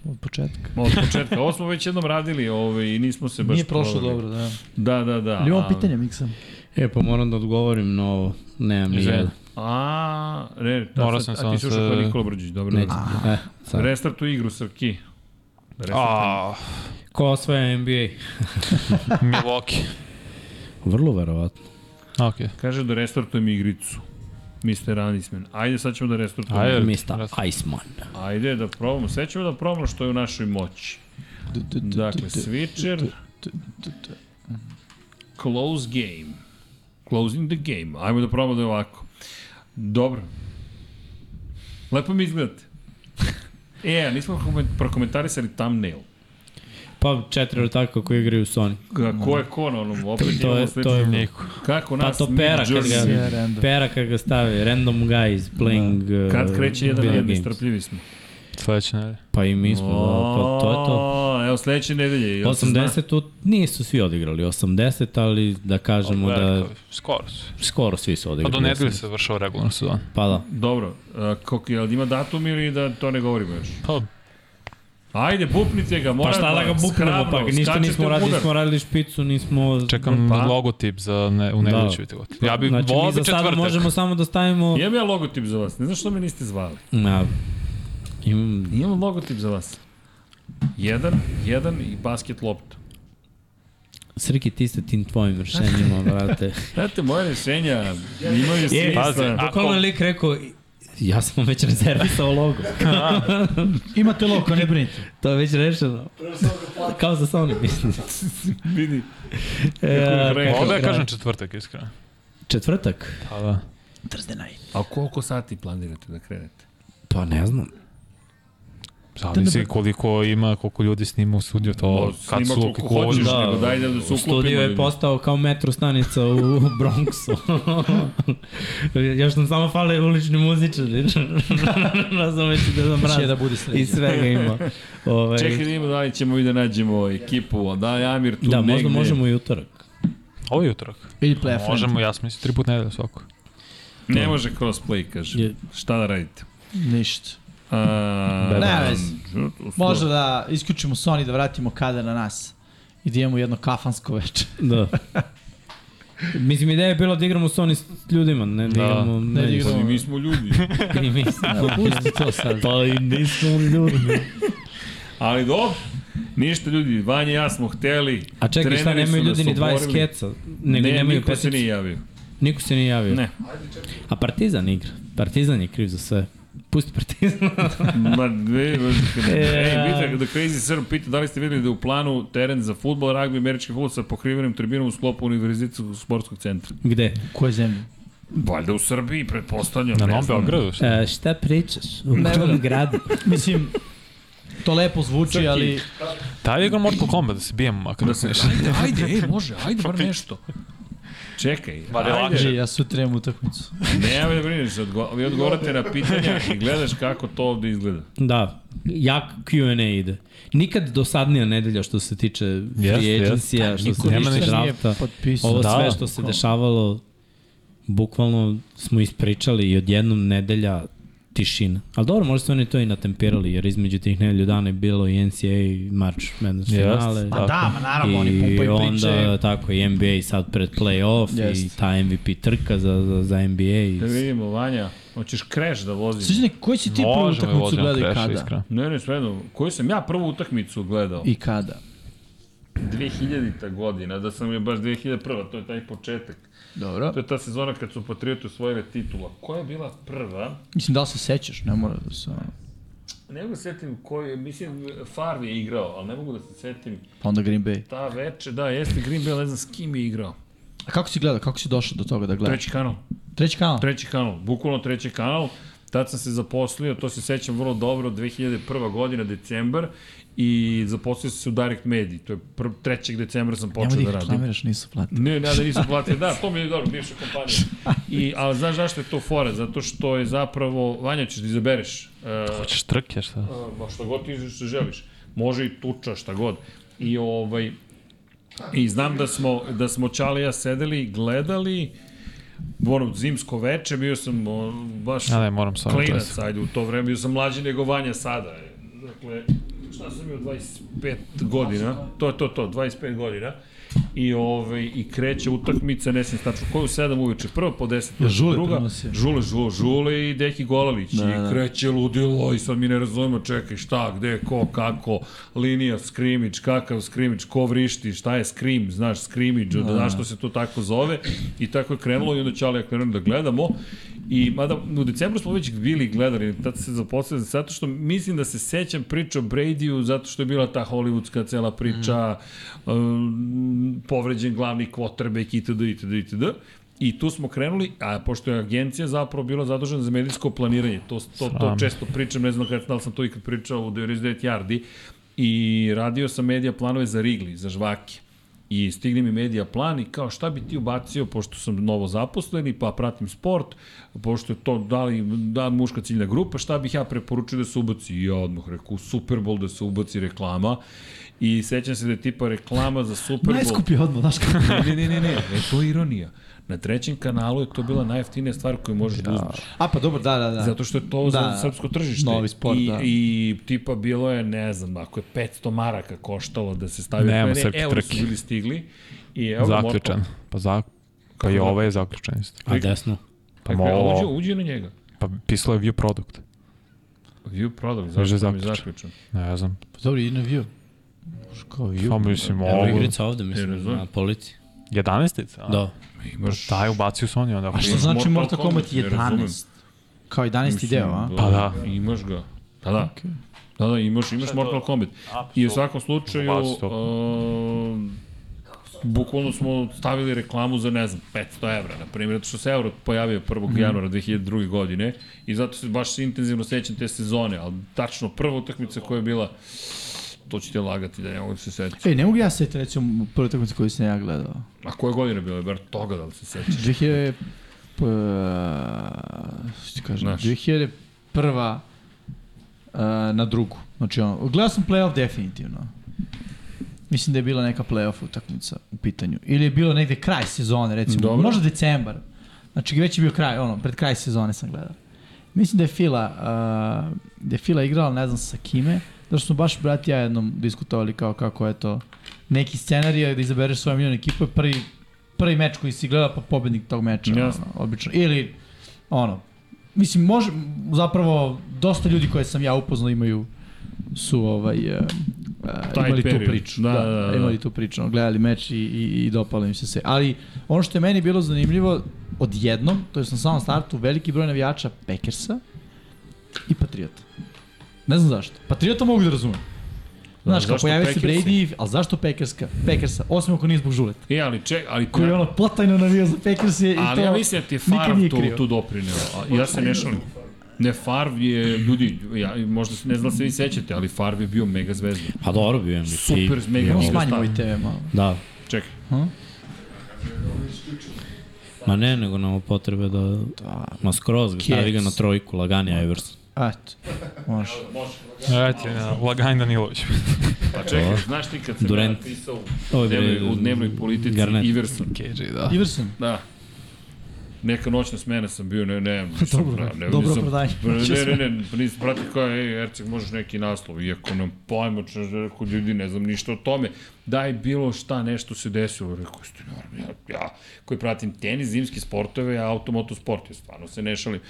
[SPEAKER 3] Od početka.
[SPEAKER 1] Od početka. Ovo smo već jednom radili ovaj, i nismo se baš...
[SPEAKER 3] Nije prošlo
[SPEAKER 1] proveli.
[SPEAKER 3] dobro, da.
[SPEAKER 1] Da, da, da.
[SPEAKER 3] Ali imamo
[SPEAKER 1] a-
[SPEAKER 3] pitanje, Miksa.
[SPEAKER 2] E, pa moram da odgovorim na ovo. Nemam ni
[SPEAKER 5] Izvini.
[SPEAKER 2] jedan.
[SPEAKER 1] A, ne, da,
[SPEAKER 5] Morao
[SPEAKER 1] sad-
[SPEAKER 5] sam
[SPEAKER 1] a ti
[SPEAKER 5] samo
[SPEAKER 1] si ušao
[SPEAKER 5] se-
[SPEAKER 1] kod Nikola Brđić, dobro.
[SPEAKER 2] Neću.
[SPEAKER 1] dobro.
[SPEAKER 2] E, sad.
[SPEAKER 1] Restartuj igru, Srki. Restartuj.
[SPEAKER 5] A,
[SPEAKER 2] Ko osvaja NBA?
[SPEAKER 5] Milwaukee.
[SPEAKER 2] Vrlo verovatno.
[SPEAKER 5] Okej.
[SPEAKER 1] Kaže da restartujem igricu. Mr. Anisman. Ajde, sad ćemo da restartujemo.
[SPEAKER 5] Ajde.
[SPEAKER 2] Mr. Iceman.
[SPEAKER 1] Ajde da probamo, sve ćemo da probamo što je u našoj moći. Dakle, switcher, close game. Closing the game. Ajmo da probamo da je ovako. Dobro. Lepo mi izgledate. E, a nismo koment- prokomentarisali thumbnail.
[SPEAKER 2] Pa četiri ortaka koji igraju Sony.
[SPEAKER 1] Ka- Ko je ko na onom, opet
[SPEAKER 2] To je,
[SPEAKER 1] imamo
[SPEAKER 2] to
[SPEAKER 1] slično.
[SPEAKER 2] je
[SPEAKER 5] Niko.
[SPEAKER 1] Kako nas
[SPEAKER 2] to pera kad
[SPEAKER 1] Jersey.
[SPEAKER 2] ga-
[SPEAKER 3] Sve random.
[SPEAKER 2] pera kad ga stavi. Random guys playing uh,
[SPEAKER 1] Kad kreće jedan
[SPEAKER 2] video
[SPEAKER 1] jedan,
[SPEAKER 2] games.
[SPEAKER 1] strpljivi smo.
[SPEAKER 5] Sledeće nedelje.
[SPEAKER 2] Pa i mi smo, pa to je to.
[SPEAKER 1] O, Evo, sledeće nedelje. jel se zna?
[SPEAKER 2] 80 tu nisu svi odigrali 80, ali da kažemo da
[SPEAKER 5] Velikovi, Skoro su.
[SPEAKER 2] skoro svi su
[SPEAKER 5] Pa
[SPEAKER 2] odigrali.
[SPEAKER 5] do nedelje se završava regularna sezona.
[SPEAKER 2] Pa da.
[SPEAKER 1] Dobro, a, kok, jel ima datum ili da to ne govorimo još?
[SPEAKER 5] Pa,
[SPEAKER 1] Ajde, bupnite ga,
[SPEAKER 2] Pa
[SPEAKER 1] mora
[SPEAKER 2] šta da ga buknemo, pa ništa nismo radili, nismo radili špicu, nismo...
[SPEAKER 5] čekam
[SPEAKER 1] Pa.
[SPEAKER 5] logotip za ne, u nedelju
[SPEAKER 2] Da.
[SPEAKER 5] će biti gotov. Ja bih
[SPEAKER 2] znači,
[SPEAKER 5] volao
[SPEAKER 2] mi
[SPEAKER 5] bi
[SPEAKER 2] za sada
[SPEAKER 5] četvrtak.
[SPEAKER 2] možemo samo da stavimo...
[SPEAKER 1] Imam ja logotip za vas, ne znam što me niste zvali.
[SPEAKER 2] Na, imam
[SPEAKER 1] Imam logotip za vas. Jedan, jedan i basket lopta.
[SPEAKER 2] Srki, ti ste tim tvojim rešenjima, brate.
[SPEAKER 1] Znate, moje rješenja imaju smisla.
[SPEAKER 2] E,
[SPEAKER 5] pazi,
[SPEAKER 1] E, Pazi,
[SPEAKER 5] a-
[SPEAKER 2] Bukvalno je lik rekao, Ja sam već rezervisao logo.
[SPEAKER 3] Imate loko, ne brinite.
[SPEAKER 2] to je već rešeno. Kao za Sony, mislim.
[SPEAKER 1] Vidi.
[SPEAKER 2] E,
[SPEAKER 5] Mogu da kažem četvrtak, iskreno.
[SPEAKER 2] četvrtak?
[SPEAKER 5] Pa da.
[SPEAKER 1] A koliko sati planirate da krenete?
[SPEAKER 2] Pa ne znam.
[SPEAKER 5] Zavisi koliko ima, koliko ljudi snima u studiju, to kad
[SPEAKER 1] Pa, snima
[SPEAKER 5] su,
[SPEAKER 1] koliko
[SPEAKER 5] koliko
[SPEAKER 1] hoćeš,
[SPEAKER 5] hoćeš.
[SPEAKER 1] da,
[SPEAKER 2] Da,
[SPEAKER 1] nego daj da se uklopimo.
[SPEAKER 2] Studio je
[SPEAKER 1] ljudi.
[SPEAKER 2] postao kao metro stanica u Bronxu. Još nam samo fale ulični muzičari. Razumeš da je
[SPEAKER 3] Će
[SPEAKER 2] mraz.
[SPEAKER 3] da bude
[SPEAKER 2] I
[SPEAKER 3] sređen.
[SPEAKER 2] svega ima. Ovaj, Ove,
[SPEAKER 1] Čekaj da ima da li ćemo i da nađemo ekipu, a da je Amir tu
[SPEAKER 2] da,
[SPEAKER 1] negde.
[SPEAKER 2] možda možemo i utorak.
[SPEAKER 5] Ovo je utorak.
[SPEAKER 3] Ili play a friend.
[SPEAKER 5] Možemo, ja sam mislim, tri put nedelje svako.
[SPEAKER 1] Ne može crossplay, kaže.
[SPEAKER 2] Je.
[SPEAKER 1] Šta da radite?
[SPEAKER 3] Ništa.
[SPEAKER 1] A,
[SPEAKER 2] Da,
[SPEAKER 3] da. Možda da isključimo Sony da vratimo kada na nas i da imamo jedno kafansko veče.
[SPEAKER 2] Da. Mislim, ideja je bila da igramo Sony s ljudima, ne da,
[SPEAKER 5] Da.
[SPEAKER 2] igramo...
[SPEAKER 3] Ne da
[SPEAKER 1] Pa
[SPEAKER 3] igramo.
[SPEAKER 1] i mi smo ljudi.
[SPEAKER 2] I mi smo.
[SPEAKER 3] Pusti to sad.
[SPEAKER 2] Pa i nismo ljudi.
[SPEAKER 1] Ali dobro, ništa ljudi, Vanja i ja smo hteli.
[SPEAKER 2] A čekaj, šta,
[SPEAKER 1] treneri su
[SPEAKER 2] nemaju
[SPEAKER 1] nas
[SPEAKER 2] ljudi ni 20
[SPEAKER 1] oborili.
[SPEAKER 2] keca, nego
[SPEAKER 1] ne,
[SPEAKER 2] nemaju
[SPEAKER 1] niko se
[SPEAKER 2] peticu.
[SPEAKER 1] nije javio.
[SPEAKER 2] Niko se nije javio.
[SPEAKER 1] Ne.
[SPEAKER 2] A Partizan igra. Partizan je kriv za sve. Pusti Partizan.
[SPEAKER 1] Ma, ne,
[SPEAKER 2] E,
[SPEAKER 1] Ej, vidite, da Crazy Srb pita da li ste videli da je u planu teren za futbol, ragbi, američki futbol sa pokrivenim tribinom u sklopu Univerzitetskog sportskog centra.
[SPEAKER 2] Gde?
[SPEAKER 3] U kojoj zemlji?
[SPEAKER 1] Valjda u Srbiji, pretpostavljam.
[SPEAKER 5] Na
[SPEAKER 1] ne
[SPEAKER 5] Novom
[SPEAKER 1] znam.
[SPEAKER 5] Beogradu, šta?
[SPEAKER 2] E, šta pričaš? U tom gradu.
[SPEAKER 3] Mislim, to lepo zvuči, ali
[SPEAKER 5] Taj je igra Mortal Kombat, da se bijemo makar.
[SPEAKER 1] Da se, ajde, ajde, ej, može, ajde bar nešto. Čekaj,
[SPEAKER 5] Bar je
[SPEAKER 3] Ej,
[SPEAKER 5] lakše.
[SPEAKER 3] ja sutra imam utakmicu.
[SPEAKER 1] nema da brineš, odgo, vi odgovarate na pitanja i gledaš kako to ovde izgleda.
[SPEAKER 2] Da, jak Q&A ide. Nikad dosadnija nedelja što se tiče free
[SPEAKER 5] Jeste, jeste.
[SPEAKER 2] agency-a, što se
[SPEAKER 5] nema
[SPEAKER 2] tiče
[SPEAKER 5] ništa
[SPEAKER 2] drafta.
[SPEAKER 3] potpisao.
[SPEAKER 2] Ovo
[SPEAKER 5] Da.
[SPEAKER 2] sve što se dešavalo, bukvalno smo ispričali i odjednom nedelja tišina. Ali dobro, možda su oni to i natempirali, jer između tih nedelju dana je bilo i NCAA i March Madness
[SPEAKER 5] Jeste.
[SPEAKER 2] finale.
[SPEAKER 5] Pa
[SPEAKER 3] Pa da, ma naravno, oni
[SPEAKER 2] I
[SPEAKER 3] pumpaju
[SPEAKER 2] onda
[SPEAKER 3] priče.
[SPEAKER 2] tako i NBA sad pred play-off i
[SPEAKER 3] Jeste.
[SPEAKER 2] ta MVP trka za, za, za NBA. I...
[SPEAKER 1] Da vidimo, Vanja, hoćeš kreš da vozimo?
[SPEAKER 3] Sviđane, koji si ti prvu
[SPEAKER 5] Možemo je
[SPEAKER 3] utakmicu
[SPEAKER 5] voziti
[SPEAKER 3] gledao
[SPEAKER 5] na
[SPEAKER 3] i
[SPEAKER 5] krešu,
[SPEAKER 3] kada?
[SPEAKER 5] iskreno.
[SPEAKER 1] Ne, ne, svejedno. Koju sam ja prvu utakmicu gledao?
[SPEAKER 3] I kada?
[SPEAKER 1] 2000-ta godina, da sam je baš 2001. To je taj početak.
[SPEAKER 3] Dobro.
[SPEAKER 1] To je ta sezona kad su Patrioti osvojili titula. Koja je bila prva?
[SPEAKER 3] Mislim, da li se sećaš? Ne mora da se...
[SPEAKER 1] Ne mogu da se setim koji, je- mislim, Favre je igrao, ali ne mogu da se setim.
[SPEAKER 3] Pa onda Green Bay.
[SPEAKER 1] Ta veče, da, jeste Green Bay, ali ne znam s kim je igrao.
[SPEAKER 3] A kako si gledao? Kako si došao do toga da gledaš?
[SPEAKER 1] Treći kanal.
[SPEAKER 3] Treći kanal?
[SPEAKER 1] Treći kanal, bukvalno treći kanal. Tad sam se zaposlio, to se sećam vrlo dobro, 2001. godina, decembar, i zaposlio sam se u Direct Mediji. To je prv, 3. decembra sam
[SPEAKER 3] Nemoj
[SPEAKER 1] počeo
[SPEAKER 3] da
[SPEAKER 1] da
[SPEAKER 3] ih
[SPEAKER 1] radim.
[SPEAKER 3] reklamiraš, nisu platili.
[SPEAKER 1] Ne, ne, da nisam platio. Da, to mi je dobro, bivša kompanija. I, ali znaš zašto je to fora? Zato što je zapravo, Vanja, ćeš da izabereš. Uh,
[SPEAKER 5] Hoćeš trke, šta?
[SPEAKER 1] ma šta god ti što želiš. Može i tuča, šta god. I ovaj i znam da smo da smo Čale i ja sedeli, i gledali ono zimsko veče, bio sam o, baš
[SPEAKER 5] A ne, moram sa ovim
[SPEAKER 1] klinac, ajde, u to vreme, bio sam mlađi nego Vanja sada. Dakle, šta sam imao 25 godina, to je to, to, 25 godina. I, ove, i kreće utakmica, ne sam stačno, koju 7 uveče, prva po 10,
[SPEAKER 3] Ja, Žule
[SPEAKER 1] druga,
[SPEAKER 3] prenosio.
[SPEAKER 1] žule, žule, žule i Deki Golalić. Da, I kreće ludilo i sad mi ne razumemo, čekaj, šta, gde, ko, kako, linija, skrimič, kakav skrimič, ko vrišti, šta je skrim, znaš, skrimič, da, zašto se to tako zove. I tako je krenulo i onda ćale ja krenuo da gledamo. I mada u decembru smo već bili gledali, tad se zaposlili, zato što mislim da se sećam priča o Bradyu, zato što je bila ta hollywoodska cela priča, mm. um, povređen glavni quarterback itd. itd. itd. I tu smo krenuli, a pošto je agencija zapravo bila zadužena za medijsko planiranje, to, to, to
[SPEAKER 5] Sram.
[SPEAKER 1] često pričam, ne znam kada da li sam to ikad pričao u 99 Yardi, i radio sam medija planove za Rigli, za žvake. I stigne mi medija plan i kao šta bi ti ubacio, pošto sam novo zaposleni, pa pratim sport, pošto je to da li da muška ciljna grupa, šta bih ja preporučio da se ubaci? I ja odmah rekao, u Super Bowl da se ubaci reklama. I sećam se da je tipa reklama za Super Bowl.
[SPEAKER 3] Najskuplji odmah, znaš kako?
[SPEAKER 1] Ne, ne, ne, ne, e, to je ironija. Na trećem kanalu je to bila najjeftinija stvar koju možeš da uzmeš.
[SPEAKER 3] A pa dobro, da, da, da.
[SPEAKER 1] Zato što je to da, za srpsko tržište.
[SPEAKER 3] novi sport,
[SPEAKER 1] I,
[SPEAKER 3] da.
[SPEAKER 1] I tipa bilo je, ne znam, ako je 500 maraka koštalo da se stavi,
[SPEAKER 5] Nema
[SPEAKER 1] ne,
[SPEAKER 5] srpske
[SPEAKER 1] evo su
[SPEAKER 5] trke.
[SPEAKER 1] bili stigli. I evo ga,
[SPEAKER 5] Zaključan. Pa za... Pa i ovaj je zaključan isto.
[SPEAKER 2] A desno?
[SPEAKER 5] Pa
[SPEAKER 1] Mortal- Rekao, Uđi,
[SPEAKER 5] mo...
[SPEAKER 1] uđi na njega.
[SPEAKER 5] Pa pisalo je view product.
[SPEAKER 1] View product,
[SPEAKER 5] Kaže
[SPEAKER 1] zašto mi je
[SPEAKER 5] zaključan.
[SPEAKER 1] zaključan.
[SPEAKER 5] Ne znam.
[SPEAKER 3] Pa dobro, i na view. Može Kao view.
[SPEAKER 5] Pa mislim,
[SPEAKER 2] Evo
[SPEAKER 5] ovo...
[SPEAKER 2] igrica ovde,
[SPEAKER 1] Ne
[SPEAKER 2] mislim,
[SPEAKER 1] razumem.
[SPEAKER 2] na polici.
[SPEAKER 5] 11-ica?
[SPEAKER 2] Da.
[SPEAKER 1] Imaš...
[SPEAKER 5] Taj ubacio Sony onda.
[SPEAKER 3] A što znači Mortal Kombat
[SPEAKER 1] ne razumem.
[SPEAKER 3] 11? Kao 11. deo, a?
[SPEAKER 5] Pa da.
[SPEAKER 1] Imaš ga. Pa da. Da, da, imaš, imaš Mortal Kombat. I u svakom slučaju,
[SPEAKER 5] Baš to.
[SPEAKER 1] uh, bukvalno smo stavili reklamu za, ne znam, 500 evra, na primjer, zato što se euro pojavio 1.
[SPEAKER 3] Mhm.
[SPEAKER 1] januara 2002. godine i zato se baš intenzivno sećam te sezone, ali tačno prva utakmica koja je bila, to ću ti lagati da ne mogu da se setiti.
[SPEAKER 3] Ej, ne mogu ja se sjetiti, recimo, prve utakmice koju sam ja gledao.
[SPEAKER 1] A koje godine je bila, bar toga da li se sećaš?
[SPEAKER 3] 2000... Pa, što e, ti kažem,
[SPEAKER 1] Znaš.
[SPEAKER 3] 2001. Uh, na drugu. Znači, ono, gledao sam playoff definitivno. Mislim da je bila neka playoff utakmica u pitanju. Ili je bilo negde kraj sezone, recimo.
[SPEAKER 1] Dobro.
[SPEAKER 3] Možda decembar. Znači, već je bio kraj, ono, pred kraj sezone sam gledao. Mislim da je Fila, uh, da je Fila igrala, ne znam sa kime, da smo baš brat i ja jednom diskutovali kao kako je to neki scenarij da izabereš svoju miljenu ekipu je prvi, prvi meč koji si gledao pa pobednik tog meča,
[SPEAKER 1] Jasno.
[SPEAKER 3] ono, obično. Ili, ono, mislim, može, zapravo, dosta ljudi koje sam ja upoznao imaju su ovaj, uh,
[SPEAKER 1] Taj
[SPEAKER 3] imali
[SPEAKER 1] period.
[SPEAKER 3] tu priču.
[SPEAKER 1] Da, da, da.
[SPEAKER 3] Imali tu priču, ono, gledali meč i, i, i dopalo im se sve. Ali ono što je meni bilo zanimljivo, odjednom, to je na samom startu, veliki broj navijača Packersa i Patriota. Ne znam zašto. Patriota mogu da razumem.
[SPEAKER 1] Da,
[SPEAKER 3] Znaš, kao
[SPEAKER 1] zašto
[SPEAKER 3] pojavio se
[SPEAKER 1] Packersi?
[SPEAKER 3] Brady, ali zašto Packerska? Packersa, osim ako nije zbog žuleta.
[SPEAKER 1] E, ali ček, ali...
[SPEAKER 3] Koji je ono platajno navija za Packers i
[SPEAKER 1] Ali
[SPEAKER 3] to
[SPEAKER 1] ja mislim da ti je
[SPEAKER 3] nikad
[SPEAKER 1] Favre
[SPEAKER 3] nije
[SPEAKER 1] tu,
[SPEAKER 3] krio.
[SPEAKER 1] tu doprineo. A, Ja se ne šalim. Ne, Favre je, ljudi, ja, možda se- ne znam da se vi sećate, ali Favre je bio mega zvezda.
[SPEAKER 2] Pa dobro bio MVP.
[SPEAKER 1] Super,
[SPEAKER 3] Е,
[SPEAKER 1] mega
[SPEAKER 2] Bio-
[SPEAKER 1] mi
[SPEAKER 3] Smanjimo
[SPEAKER 1] stav.
[SPEAKER 3] i tebe malo.
[SPEAKER 2] Da.
[SPEAKER 1] Čekaj,
[SPEAKER 2] Ma ne, nego nam je potrebe da... da. Ma skroz ga stavi ga na trojku, lagani Iverson.
[SPEAKER 3] A, eto, može.
[SPEAKER 5] Ajde, na, Lagajn Danilović.
[SPEAKER 1] pa čekaj, znaš ti kad sam Durant.
[SPEAKER 2] Durant.
[SPEAKER 1] napisao
[SPEAKER 2] Ovo
[SPEAKER 1] u
[SPEAKER 2] je
[SPEAKER 1] dnevnoj,
[SPEAKER 2] Ovaj bre- mm,
[SPEAKER 1] u dnevnoj politici
[SPEAKER 2] Garnet.
[SPEAKER 1] Iverson.
[SPEAKER 5] KJ, da.
[SPEAKER 3] Iverson,
[SPEAKER 1] Da. Neka noćna smena sam bio, ne, ne, nisam,
[SPEAKER 3] Dobro,
[SPEAKER 1] pra- ne,
[SPEAKER 3] dobro
[SPEAKER 1] nisam-
[SPEAKER 3] opravdanje.
[SPEAKER 1] Pa Ne, ne, ne, ne, nisam pratio kao, ej, Ercik, možeš neki naslov, iako nam pojma, če, rekao, ljudi, ne znam ništa o tome. Daj bilo šta, nešto se desilo, rekao, isto, normalno, ja, ja, koji pratim tenis, zimski sportove, ja automoto sport, ja stvarno se ne šalim.